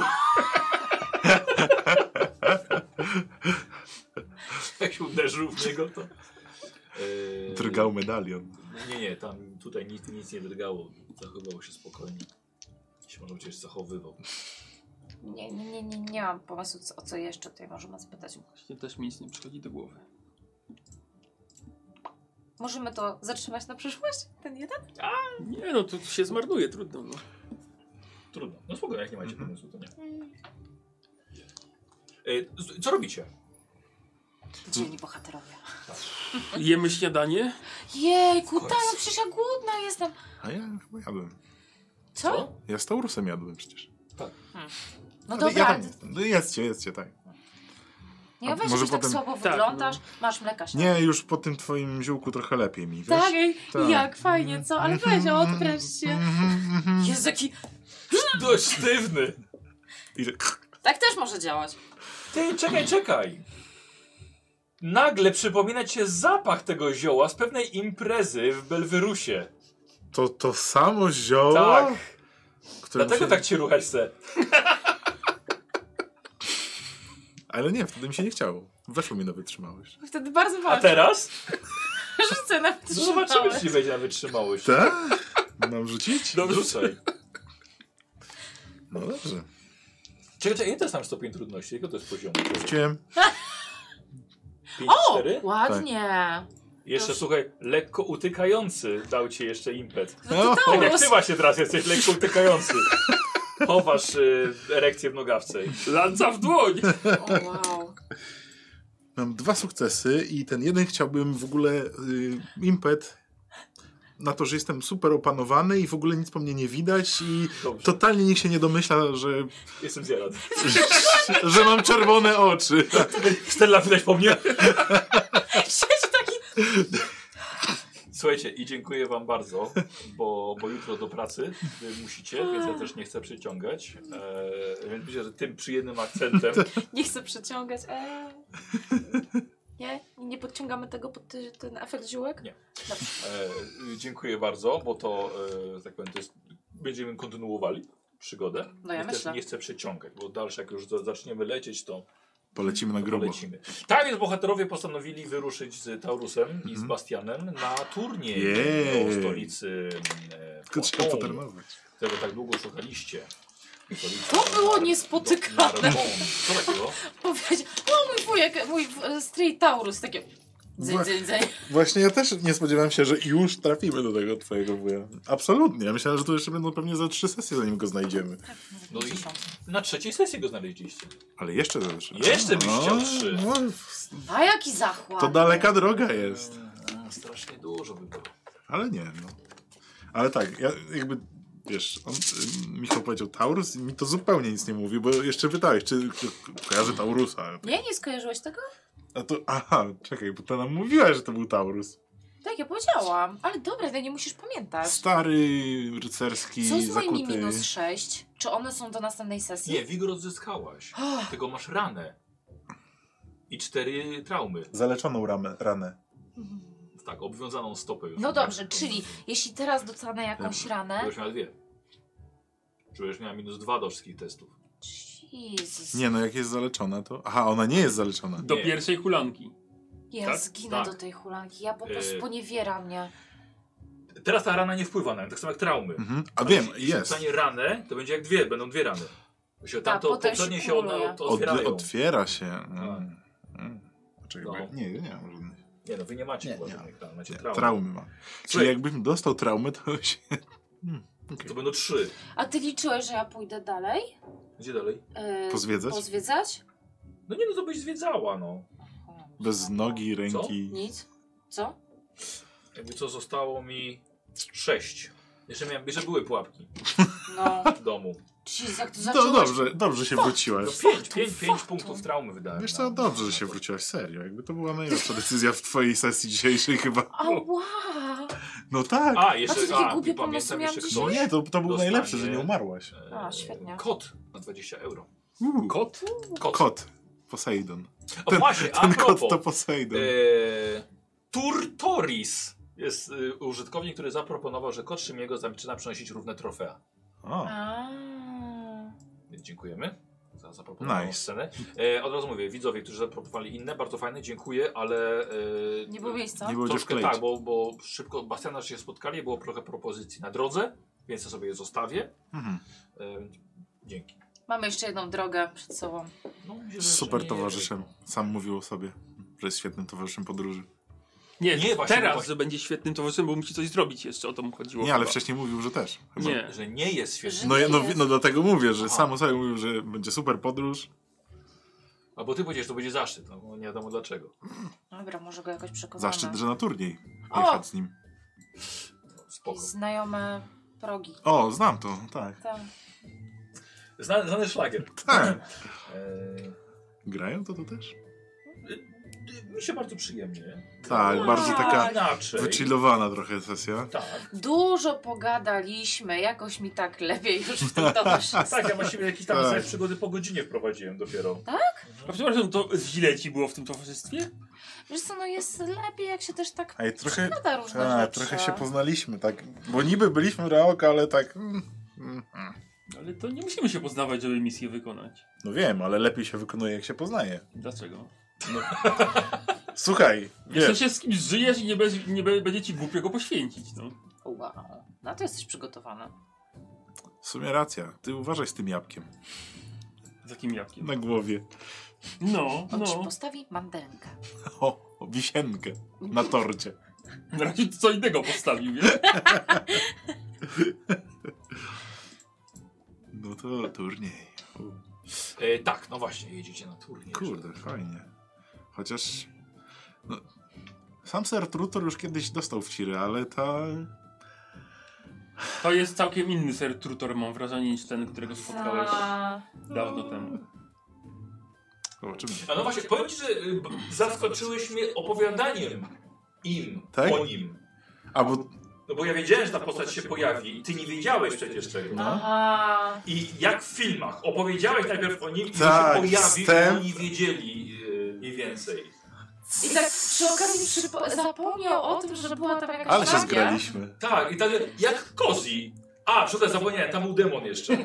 Speaker 1: Jak się uderzył w niego, to... Yy,
Speaker 3: Drgał medalion.
Speaker 1: No Nie, nie, tam tutaj nic, nic nie drgało. Zachowywał się spokojnie. Się może przecież zachowywał.
Speaker 6: Nie, nie, nie, nie, nie mam pomysłu co, o co jeszcze tutaj możemy zapytać.
Speaker 4: Właśnie też mi nic nie przychodzi do głowy.
Speaker 6: Możemy to zatrzymać na przyszłość? Ten jeden?
Speaker 4: Nie no, to się zmarnuje, trudno. No.
Speaker 1: Trudno. No spokojnie, jak nie macie
Speaker 3: Mhm.
Speaker 1: pomysłu, to nie. Yy, z- co robicie?
Speaker 2: Dzielni bohaterowie.
Speaker 4: Jemy śniadanie?
Speaker 2: Jejku, tak, no przecież ja głodna jestem.
Speaker 3: A ja chyba jadłem.
Speaker 2: Co?
Speaker 3: Ja z Taurusem jadłem przecież.
Speaker 2: No
Speaker 3: Ale
Speaker 2: dobra,
Speaker 3: ja tam... No jedzcie, jedzcie, tak.
Speaker 2: nie
Speaker 3: A
Speaker 2: weź,
Speaker 3: może
Speaker 2: że tak
Speaker 3: potem-
Speaker 2: słabo
Speaker 1: no.
Speaker 4: Tak,
Speaker 2: wyglądasz, masz mleka
Speaker 3: Nie, już po tym twoim ziółku trochę lepiej mi, wiesz?
Speaker 2: Tak, ej,
Speaker 3: Tak. Mm,
Speaker 2: jak fajnie, co? Ale weź, odpręż się.
Speaker 3: Mhm, mhm.
Speaker 2: Jezu, jaki...
Speaker 1: Dość sztywny!
Speaker 3: I tak-
Speaker 2: Tak też może działać.
Speaker 1: Ty, czekaj, czekaj! Nagle przypomina cię zapach tego zioła z pewnej imprezy w Belwyrusie.
Speaker 3: To to samo zioło?
Speaker 1: Tak.
Speaker 3: które
Speaker 1: Dlatego
Speaker 3: mi się-
Speaker 1: tak cię ruchać se.
Speaker 3: Ale nie, wtedy mi się nie chciało. Weszło mi na wytrzymałość.
Speaker 2: Wtedy bardzo
Speaker 6: Tak.
Speaker 1: A
Speaker 2: walczę.
Speaker 1: teraz?
Speaker 2: Rzucę na
Speaker 1: No zobaczymy, czy ci będzie na wytrzymałość.
Speaker 3: Tak? Mam rzucić?
Speaker 1: Rzucaj.
Speaker 3: No dobrze.
Speaker 1: Czekaj, czekaj, nie to jest tam stopień trudności, jego to jest poziom.
Speaker 3: Chciałem.
Speaker 1: 5,
Speaker 2: O!
Speaker 1: 4?
Speaker 2: Ładnie.
Speaker 3: Tak.
Speaker 1: Jeszcze słuchaj, lekko utykający dał ci jeszcze impet.
Speaker 3: No,
Speaker 1: Tak jak ty właśnie teraz jesteś lekko utykający. Chowasz y, erekcję w nogawce.
Speaker 4: Lanca
Speaker 1: (laughs)
Speaker 4: w dłoń!
Speaker 2: O, wow.
Speaker 3: mam dwa sukcesy i ten jeden chciałbym w ogóle y, impet na to, że jestem super opanowany i w ogóle nic po mnie nie widać i
Speaker 1: Dobrze,
Speaker 3: totalnie nikt się nie domyśla, że,
Speaker 1: jestem zjarad.
Speaker 3: że mam czerwone oczy.
Speaker 1: Stella, widać po mnie?
Speaker 2: Siedzi taki...
Speaker 1: Słuchajcie, i dziękuję wam bardzo, bo, bo jutro do pracy wy musicie, więc ja też nie chcę przyciągać. E, więc myślę, że tym przyjemnym akcentem
Speaker 6: Nie chcę przeciągać.
Speaker 2: e.
Speaker 6: Eee. Nie? Nie podciągamy tego pod ty, ten efekt ziółek?
Speaker 1: Nie. e, dziękuję bardzo, bo to, e, tak powiem, to jest, będziemy kontynuowali przygodę.
Speaker 2: No ja
Speaker 1: Więc też
Speaker 2: myślę.
Speaker 1: nie chcę przeciągać, bo dalsze jak już za- zaczniemy lecieć, to
Speaker 3: Polecimy na grubo.
Speaker 1: lecimy. Tak więc bohaterowie postanowili wyruszyć z Taurusem i z
Speaker 3: Mhm.
Speaker 1: Bastianem na turniej
Speaker 3: Jej.
Speaker 1: do stolicy e,
Speaker 3: Tylko trzeba
Speaker 1: Poitou,
Speaker 3: potrenować.
Speaker 1: którego tak długo szukaliście. Stolicy
Speaker 2: To było
Speaker 1: Nar-
Speaker 2: niespotykane.
Speaker 1: do- Narbonne. Co takiego?
Speaker 2: Powiedział, o mój wujek, mój w- stryj Taurus, takie... Dzyń, dzyń, dzyń.
Speaker 3: Właśnie ja też nie spodziewałem się, że już trafimy do tego twojego wuja. Absolutnie. Ja myślałem, że tu jeszcze będą pewnie za trzy sesje, zanim go znajdziemy.
Speaker 1: No i na trzeciej sesji go znaleźliście.
Speaker 3: Ale jeszcze za trzy.
Speaker 1: Jeszcze byś
Speaker 3: No,
Speaker 1: chciał trzy.
Speaker 3: no,
Speaker 2: A jaki zachłan.
Speaker 3: to daleka droga jest.
Speaker 1: Mm, Strasznie dużo by było.
Speaker 3: Ale nie, no. Ale tak, ja jakby, wiesz, on, y, Michał powiedział Taurus i mi to zupełnie nic nie mówi, bo jeszcze pytałeś, czy, czy kojarzy Taurusa.
Speaker 2: Nie, nie skojarzyłeś tego?
Speaker 3: A to, aha, czekaj, bo to nam mówiłaś, że to był Taurus.
Speaker 2: Tak, ja powiedziałam. Ale dobra, ty nie musisz pamiętać.
Speaker 3: Stary, rycerski,
Speaker 2: Tak. Co z moimi
Speaker 3: zakuty.
Speaker 2: minus 6? Czy one są do następnej sesji?
Speaker 1: Nie, Wigor
Speaker 2: (gasps)
Speaker 1: odzyskałaś.
Speaker 2: Oh,
Speaker 1: Tylko masz ranę. I cztery traumy.
Speaker 3: Zaleczoną ramę, ranę.
Speaker 1: Tak, obwiązaną stopę już.
Speaker 2: No dobrze, czyli jeśli teraz dostanę jakąś ranę...
Speaker 1: Już miała dwie. Czujesz, miała minus dwa do wszystkich testów.
Speaker 2: Jezus,
Speaker 3: Nie no, jak jest zaleczona to... Aha, ona nie jest zaleczona.
Speaker 4: Do
Speaker 1: Nie.
Speaker 4: pierwszej hulanki.
Speaker 2: ja
Speaker 1: tak?
Speaker 2: zginę
Speaker 1: Tak.
Speaker 2: do tej hulanki. Ja po prostu
Speaker 1: Yy.
Speaker 2: poniewiera mnie.
Speaker 1: Teraz ta rana nie wpływa na nią, tak samo jak traumy.
Speaker 3: Mhm. A
Speaker 1: Ale
Speaker 3: wiem,
Speaker 1: jeśli- Jeśli
Speaker 3: jest.
Speaker 1: dostanie ranę, to będzie jak dwie, będą dwie rany. Bo się
Speaker 2: Tak,
Speaker 1: tamto
Speaker 2: potem się
Speaker 1: poprzednie się one
Speaker 2: kumuluje.
Speaker 1: od,
Speaker 3: Od,
Speaker 1: otwierają. Tak.
Speaker 3: otwiera się. Mm. Mm. Czekaj, bo
Speaker 1: No.
Speaker 3: ja- nie, nie mam żadnych.
Speaker 1: Nie no, wy nie macie
Speaker 3: Nie,
Speaker 1: chyba
Speaker 3: nie.
Speaker 1: żadnych ran, macie
Speaker 3: Nie,
Speaker 1: traumy.
Speaker 3: traumy mam. Czyli
Speaker 1: Słuchaj.
Speaker 3: jakbym dostał traumę, to się... Hmm, okej.
Speaker 1: To będą trzy.
Speaker 2: A ty liczyłeś, że ja pójdę dalej?
Speaker 1: Gdzie dalej?
Speaker 2: Yy,
Speaker 3: Pozwiedzać?
Speaker 2: Pozwiedzać?
Speaker 1: No nie no, to byś zwiedzała, no.
Speaker 3: Bez nogi, ręki.
Speaker 2: Nic. Co?
Speaker 1: Jakby co, zostało mi sześć. Jeszcze, miałem, jeszcze były pułapki
Speaker 2: No.
Speaker 1: w domu.
Speaker 2: Jezus, jak to
Speaker 3: No
Speaker 2: zacząłeś...
Speaker 3: dobrze, dobrze się
Speaker 1: No
Speaker 3: wróciłaś.
Speaker 1: pięć, pięć, pięć punktów traumy wydałem. no.
Speaker 3: Wiesz
Speaker 1: na-
Speaker 3: co, dobrze, że się
Speaker 1: na-
Speaker 3: wróciłaś, serio. Jakby to była najlepsza decyzja w twojej sesji dzisiejszej chyba.
Speaker 2: Ała!
Speaker 3: No tak.
Speaker 1: A,
Speaker 2: A co,
Speaker 1: jeszcze,
Speaker 2: takie
Speaker 1: a,
Speaker 2: głupie
Speaker 1: i pamiętam
Speaker 2: pomysły
Speaker 1: jeszcze
Speaker 2: miałam
Speaker 1: ktoś.
Speaker 3: No Nie, to, to był
Speaker 1: Dostanie-
Speaker 3: najlepszy, że nie umarłaś.
Speaker 1: e,
Speaker 2: A, świetnie.
Speaker 1: Kot na 20 euro.
Speaker 3: Uuu,
Speaker 4: Kot?
Speaker 1: Kot.
Speaker 3: Kot. Poseidon.
Speaker 1: O
Speaker 3: Ten-
Speaker 1: właśnie, a
Speaker 3: Ten kot
Speaker 1: propos,
Speaker 3: to Poseidon.
Speaker 1: E, Turtoris jest e, użytkownik, który zaproponował, że kot Szymiego zaczyna przynosić równe trofea.
Speaker 3: O,
Speaker 1: Więc dziękujemy za zaproponowaną
Speaker 3: Nice.
Speaker 1: scenę. E, od razu mówię, widzowie, którzy zaproponowali inne, bardzo fajne, dziękuję, ale... E,
Speaker 2: Nie było miejsca.
Speaker 3: nie było gdzie
Speaker 1: Troszkę
Speaker 3: wkleić.
Speaker 1: tak, bo, bo szybko Bastiana się spotkali, było trochę propozycji na drodze, więc ja sobie je zostawię.
Speaker 3: Mhm.
Speaker 1: E, dzięki.
Speaker 2: Mamy jeszcze jedną drogę przed sobą.
Speaker 1: No, myślę, że
Speaker 3: Super
Speaker 1: nie-
Speaker 3: towarzyszem. Sam mówił o sobie, że jest świetnym towarzyszem podróży.
Speaker 4: Nie,
Speaker 1: Nie, właśnie,
Speaker 4: teraz,
Speaker 1: właśnie.
Speaker 4: że będzie świetnym towarzyszem, bo musi coś zrobić jeszcze, o to mu chodziło.
Speaker 3: Nie, ale
Speaker 4: chyba.
Speaker 3: wcześniej mówił, że też. Chyba.
Speaker 4: Nie.
Speaker 1: Że nie jest świetny.
Speaker 3: No, ja- no,
Speaker 2: Jest.
Speaker 3: no dlatego mówię, że
Speaker 1: Aha.
Speaker 3: sam o sobie mówił, że będzie super podróż.
Speaker 1: A bo ty powiedziesz, że to będzie zaszczyt. No, nie wiadomo dlaczego.
Speaker 2: Dobra, może go jakoś przekonamy.
Speaker 3: Zaszczyt, że na turniej
Speaker 2: O!
Speaker 3: jechać z nim.
Speaker 1: No, Spoko.
Speaker 2: Jakieś znajome progi.
Speaker 3: O, znam to, tak.
Speaker 2: Tak.
Speaker 1: Znany, znany szlagier.
Speaker 3: (laughs) Tak.
Speaker 1: E,
Speaker 3: Grają to, to też?
Speaker 1: Mi się bardzo przyjemnie. No,
Speaker 3: Tak, bardzo taka
Speaker 1: Inaczej.
Speaker 3: wychillowana trochę sesja.
Speaker 1: Tak,
Speaker 2: Dużo pogadaliśmy, jakoś mi tak lepiej już w tym
Speaker 3: (laughs)
Speaker 2: towarzystwie.
Speaker 1: tak, ja właściwie jakieś tam
Speaker 3: Tak.
Speaker 1: tak. przygody po godzinie wprowadziłem dopiero.
Speaker 4: A przepraszam, to źle ci było w tym towarzystwie?
Speaker 2: Wiesz co, no jest lepiej, jak się też tak
Speaker 3: Ej, trochę,
Speaker 2: gada różne
Speaker 3: ta,
Speaker 2: rzeczy.
Speaker 3: tak, trochę się poznaliśmy, tak. Bo niby byliśmy reok, ale tak. Mm, mm, mm.
Speaker 4: Ale to nie musimy się poznawać, żeby misję wykonać.
Speaker 3: No wiem, ale lepiej się wykonuje, jak się poznaje.
Speaker 4: Dlaczego?
Speaker 3: Słuchaj,
Speaker 4: Jeśli
Speaker 3: wiesz,
Speaker 4: się z kimś żyjesz i nie, bez, nie be- będzie ci głupio go poświęcić, no.
Speaker 2: Wow. No to jesteś przygotowana.
Speaker 3: w sumie racja. Ty uważaj z tym jabłkiem
Speaker 4: Z jakim jabłkiem?
Speaker 3: na głowie. (laughs)
Speaker 4: No,
Speaker 2: On ci
Speaker 4: no.
Speaker 2: postawi mandelkę.
Speaker 3: O, wisienkę na torcie.
Speaker 4: Na razie to co innego postawił, wiesz?
Speaker 3: No to turniej. U,
Speaker 1: E, tak, no właśnie, jedziecie na turniej. tak.
Speaker 3: Kurde, fajnie. Chociaż. No, sam ser Trutor już kiedyś dostał w Ciry, ale ta.
Speaker 4: To jest całkiem inny ser Trutor, mam wrażenie, niż ten, którego spotkałeś
Speaker 2: Za-
Speaker 4: dawno temu.
Speaker 3: Zobaczymy.
Speaker 1: A no właśnie, powiem ci, że y, b- zaskoczyłeś mnie opowiadaniem im,
Speaker 3: Tak?
Speaker 1: o nim.
Speaker 3: A bo.
Speaker 1: No bo ja wiedziałem, że ta postać się pojawi i ty nie wiedziałeś przecież tego.
Speaker 3: No.
Speaker 2: Aha.
Speaker 1: I jak w filmach, opowiedziałeś najpierw o nim i
Speaker 3: Tak,
Speaker 1: się pojawił
Speaker 3: wstęp.
Speaker 1: i oni wiedzieli y, mniej więcej.
Speaker 2: I tak przy okazji przypo- zapomniał o tym, że była tam jakaś
Speaker 3: Ale się
Speaker 2: magia.
Speaker 3: zgraliśmy.
Speaker 1: Tak, i tak jak Kozi. A, przepraszam, zapomniałem, tam był demon jeszcze.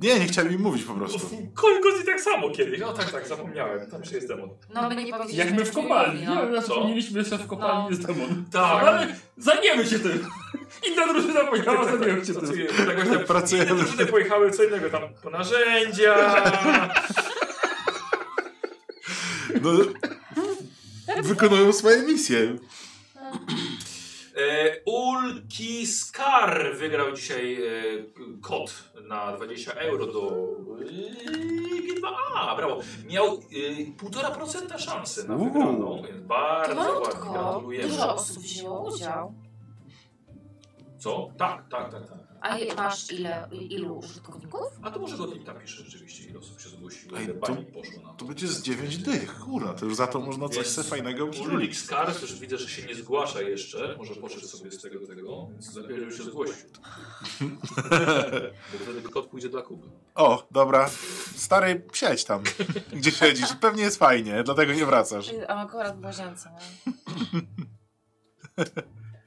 Speaker 3: Nie, nie chciałem im mówić po prostu.
Speaker 1: Ko- Kozi tak samo kiedyś. No tak, (laughs) tak, zapomniałem, tam jeszcze jest demon.
Speaker 2: No my nie powiedzieliśmy.
Speaker 4: Jak my w kopalni.
Speaker 2: no.
Speaker 4: No, no,
Speaker 1: Co?
Speaker 4: wspomnieliśmy, że w kopalni
Speaker 2: No.
Speaker 4: jest demon.
Speaker 1: Tak.
Speaker 4: Ale zajmiemy się tym. Inna drużyna
Speaker 1: (laughs)
Speaker 4: pojechała, zajmiemy się tym.
Speaker 1: Pracujemy. Tak (laughs) właśnie tam
Speaker 3: Pracujemy.
Speaker 1: inne drużyny pojechały co innego, tam po narzędzia.
Speaker 3: No, wykonują swoje misje.
Speaker 1: (laughs) E, Ulki Skar wygrał dzisiaj e, kod na 20 euro do e, G2A. Brawo. Miał e, 1,5% szansy na
Speaker 3: Uuu.
Speaker 1: wygraną, więc
Speaker 2: To
Speaker 1: bardzo ładnie
Speaker 2: malutko.
Speaker 1: gratulujemy.
Speaker 2: Dużo osób wzięło udział.
Speaker 1: Co? Tak, tak, tak. tak.
Speaker 2: A je- masz ile, ilu użytkowników?
Speaker 1: A to może go tam pisze rzeczywiście, ile osób się zgłosiło,
Speaker 3: Ej,
Speaker 1: ile
Speaker 3: to-
Speaker 1: pani poszło na
Speaker 3: To będzie z 9 dych, kurwa. To już za to można coś se fajnego
Speaker 1: Ulik
Speaker 3: użyć.
Speaker 1: Skars, już widzę, że się nie zgłasza jeszcze. Może poszedł sobie z tego tego, więc lepiej, żeby się
Speaker 3: (laughs)
Speaker 1: zgłosił. Bo wtedy kot pójdzie dla Kuby.
Speaker 3: O, dobra. Stary, siedź tam, (laughs) gdzie siedzisz. Pewnie jest fajnie, dlatego nie wracasz.
Speaker 2: A akurat w łazience. no.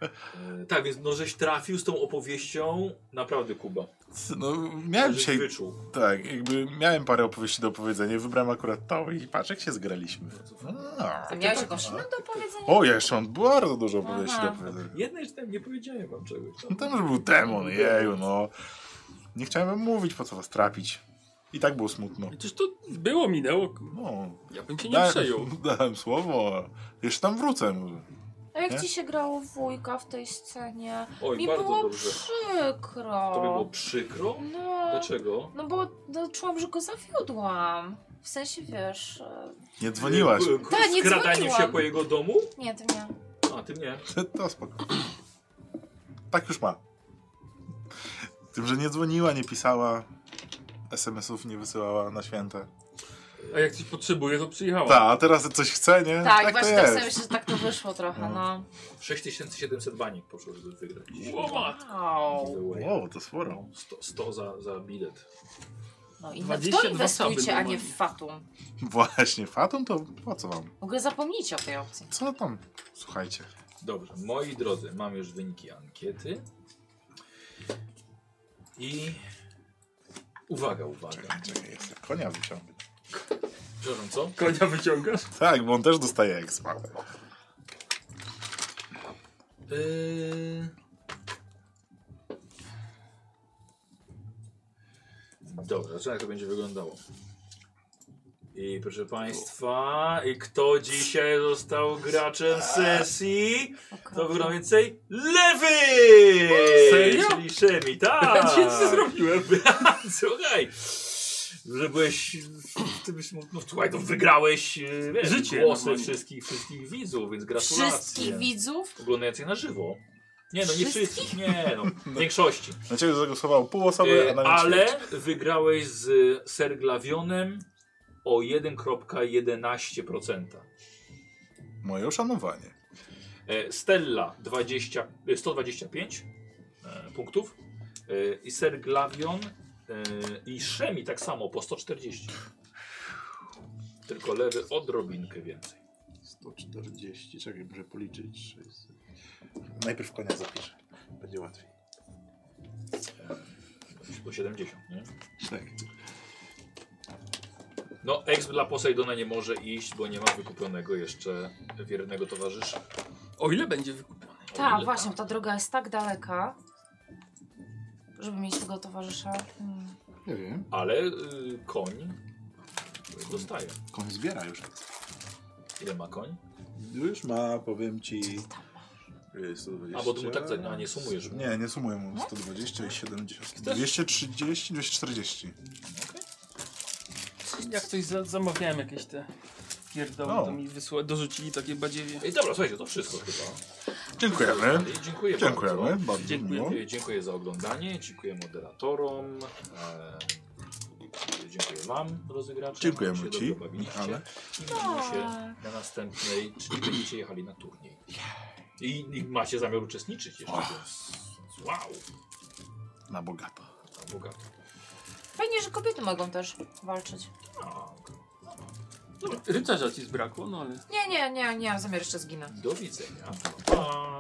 Speaker 1: E, tak, więc no żeś trafił z tą opowieścią naprawdę Kuba.
Speaker 3: No, miałem
Speaker 1: Żeś
Speaker 3: dzisiaj,
Speaker 1: wyczuł.
Speaker 3: tak, jakby miałem parę opowieści do opowiedzenia. Wybrałem akurat tą i patrz, jak się zgraliśmy. A.
Speaker 2: A miałeś
Speaker 1: Tak.
Speaker 2: jakąś inną do powiedzenia?
Speaker 3: O, ja jeszcze mam bardzo dużo opowieści
Speaker 2: Aha.
Speaker 3: do opowiedzenia.
Speaker 1: Jednej z tam nie powiedziałem wam czegoś.
Speaker 3: No tam już był demon, jeju, no. Nie chciałem wam mówić, po co was trapić. I tak było smutno.
Speaker 4: Przecież to było, minęło.
Speaker 3: No,
Speaker 4: Ja bym się nie
Speaker 3: dałem,
Speaker 4: przejął.
Speaker 3: (laughs) dałem słowo. Jeszcze tam wrócę. może.
Speaker 6: A jak
Speaker 3: Nie?
Speaker 6: ci się grało wujka w tej scenie?
Speaker 1: Oj,
Speaker 6: Mi
Speaker 1: bardzo
Speaker 6: było
Speaker 1: dobrze.
Speaker 6: przykro.
Speaker 1: To by było przykro?
Speaker 6: No,
Speaker 1: Dlaczego?
Speaker 6: no bo no, czułam, że go zawiodłam.
Speaker 1: Tak,
Speaker 6: W sensie, wiesz... e,
Speaker 3: Nie dzwoniłaś.
Speaker 1: K- k-
Speaker 6: Tak, nie
Speaker 1: Skradaniu
Speaker 6: dzwoniłam.
Speaker 1: się po jego domu?
Speaker 6: Nie, to nie.
Speaker 1: A, ty nie.
Speaker 3: (laughs) To spoko. Tak już ma. Tym, że nie dzwoniła, nie pisała, SMS-ów nie wysyłała na święta.
Speaker 4: A jak coś potrzebuje, to przyjechała.
Speaker 3: Ta, a teraz coś chce, nie?
Speaker 2: Tak,
Speaker 3: to
Speaker 2: właśnie tak sobie myślę, że tak to wyszło trochę, no.
Speaker 1: 6700 banik poszło, żeby wygrać.
Speaker 4: Łomat.
Speaker 2: Wow.
Speaker 1: Wow.
Speaker 3: Wow, to sporo.
Speaker 1: No, 100, 100 za, za bilet.
Speaker 2: No i w to
Speaker 4: 22
Speaker 2: inwestujcie,
Speaker 4: osoby
Speaker 2: a nie
Speaker 4: normalnie.
Speaker 2: w Fatum.
Speaker 3: Właśnie, Fatum to po co wam?
Speaker 2: W ogóle zapomnijcie o tej opcji.
Speaker 3: Co tam? Słuchajcie.
Speaker 1: Dobrze, moi drodzy, mam już wyniki ankiety. I uwaga, uwaga.
Speaker 3: Czekaj, czekaj, jeszcze konia wyciągnę.
Speaker 1: Przepraszam, co?
Speaker 4: Konia wyciągasz?
Speaker 3: Tak, bo on też dostaje expa.
Speaker 1: Yy... Dobra, zobaczymy jak to będzie wyglądało. I proszę Państwa, i kto dzisiaj został graczem sesji? To wygląda więcej lewy!
Speaker 4: Serio?
Speaker 1: Czyli Szemi, tak!
Speaker 4: Ja nic nie zrobiłem.
Speaker 1: (laughs) Słuchaj, że byłeś, ty byś, mógł- no słuchaj, to wygrałeś e, wiesz,
Speaker 4: Życie,
Speaker 1: głosy
Speaker 4: normalnie.
Speaker 1: wszystkich, wszystkich widzów, więc gratulacje.
Speaker 2: Wszystkich widzów?
Speaker 1: Oglądających na żywo. Nie no, nie
Speaker 2: Wszystkich?
Speaker 1: wszystkich,
Speaker 4: (laughs)
Speaker 1: nie no, w większości.
Speaker 3: Na ciebie zagłosowało pół osoby,
Speaker 1: E,
Speaker 3: a na mnie
Speaker 1: ale wygrałeś z Serglawionem o 1,11%.
Speaker 3: ćwierć. Moje uszanowanie.
Speaker 1: E, Stella 20, e, 125 e, punktów e, i Serglavion e, i Szemi tak samo po 140. Tylko lewy odrobinkę więcej.
Speaker 11: 140, czekaj, muszę policzyć. 600.
Speaker 3: Najpierw konia zapiszę. Będzie łatwiej.
Speaker 1: E, Po 70, nie?
Speaker 11: Tak.
Speaker 1: No, ex dla Posejdona nie może iść, bo nie ma wykupionego jeszcze wiernego towarzysza.
Speaker 4: O ile będzie wykupiony?
Speaker 2: Tak, właśnie, bo ta droga jest tak daleka, żeby mieć tego towarzysza. Hmm.
Speaker 11: Nie wiem.
Speaker 1: Ale y, koń dostaje.
Speaker 11: Koń zbiera już.
Speaker 1: Ile ma koń?
Speaker 11: Już ma, powiem ci. y, 120.
Speaker 1: A bo tu mu tak, a nie sumujesz. mu.
Speaker 3: Yy, Nie, nie sumuję mu 120 i 70. 230, 240.
Speaker 4: Jak coś za zamawiałem jakieś te pierdoły,
Speaker 3: No.
Speaker 4: to mi wysła dorzucili takie badziewie.
Speaker 1: Ej, dobra, słuchajcie, to wszystko chyba.
Speaker 3: Dziękujemy.
Speaker 1: Dziękuję
Speaker 3: Dziękujemy.
Speaker 1: bardzo.
Speaker 3: Bardzo
Speaker 4: Dziękuję.
Speaker 3: miło.
Speaker 1: E, Dziękuję za oglądanie, dziękuję moderatorom. E, dziękuję Wam, drodzy gracze.
Speaker 3: Dziękujemy
Speaker 1: Się
Speaker 3: Ci,
Speaker 1: dobrze bawiliście.
Speaker 3: Michale.
Speaker 1: I widzimy
Speaker 2: Tak.
Speaker 1: się na następnej, czyli będziecie jechali na turniej. I, i macie zamiar uczestniczyć jeszcze. więc- Wow,
Speaker 3: Na bogato.
Speaker 1: tam bogato.
Speaker 2: Fajnie, że kobiety mogą też walczyć.
Speaker 1: A,
Speaker 4: Rycerza ci zbrakło, no ale...
Speaker 2: Nie, nie, nie, nie, mam zamiar jeszcze zginąć.
Speaker 1: do widzenia. Pa.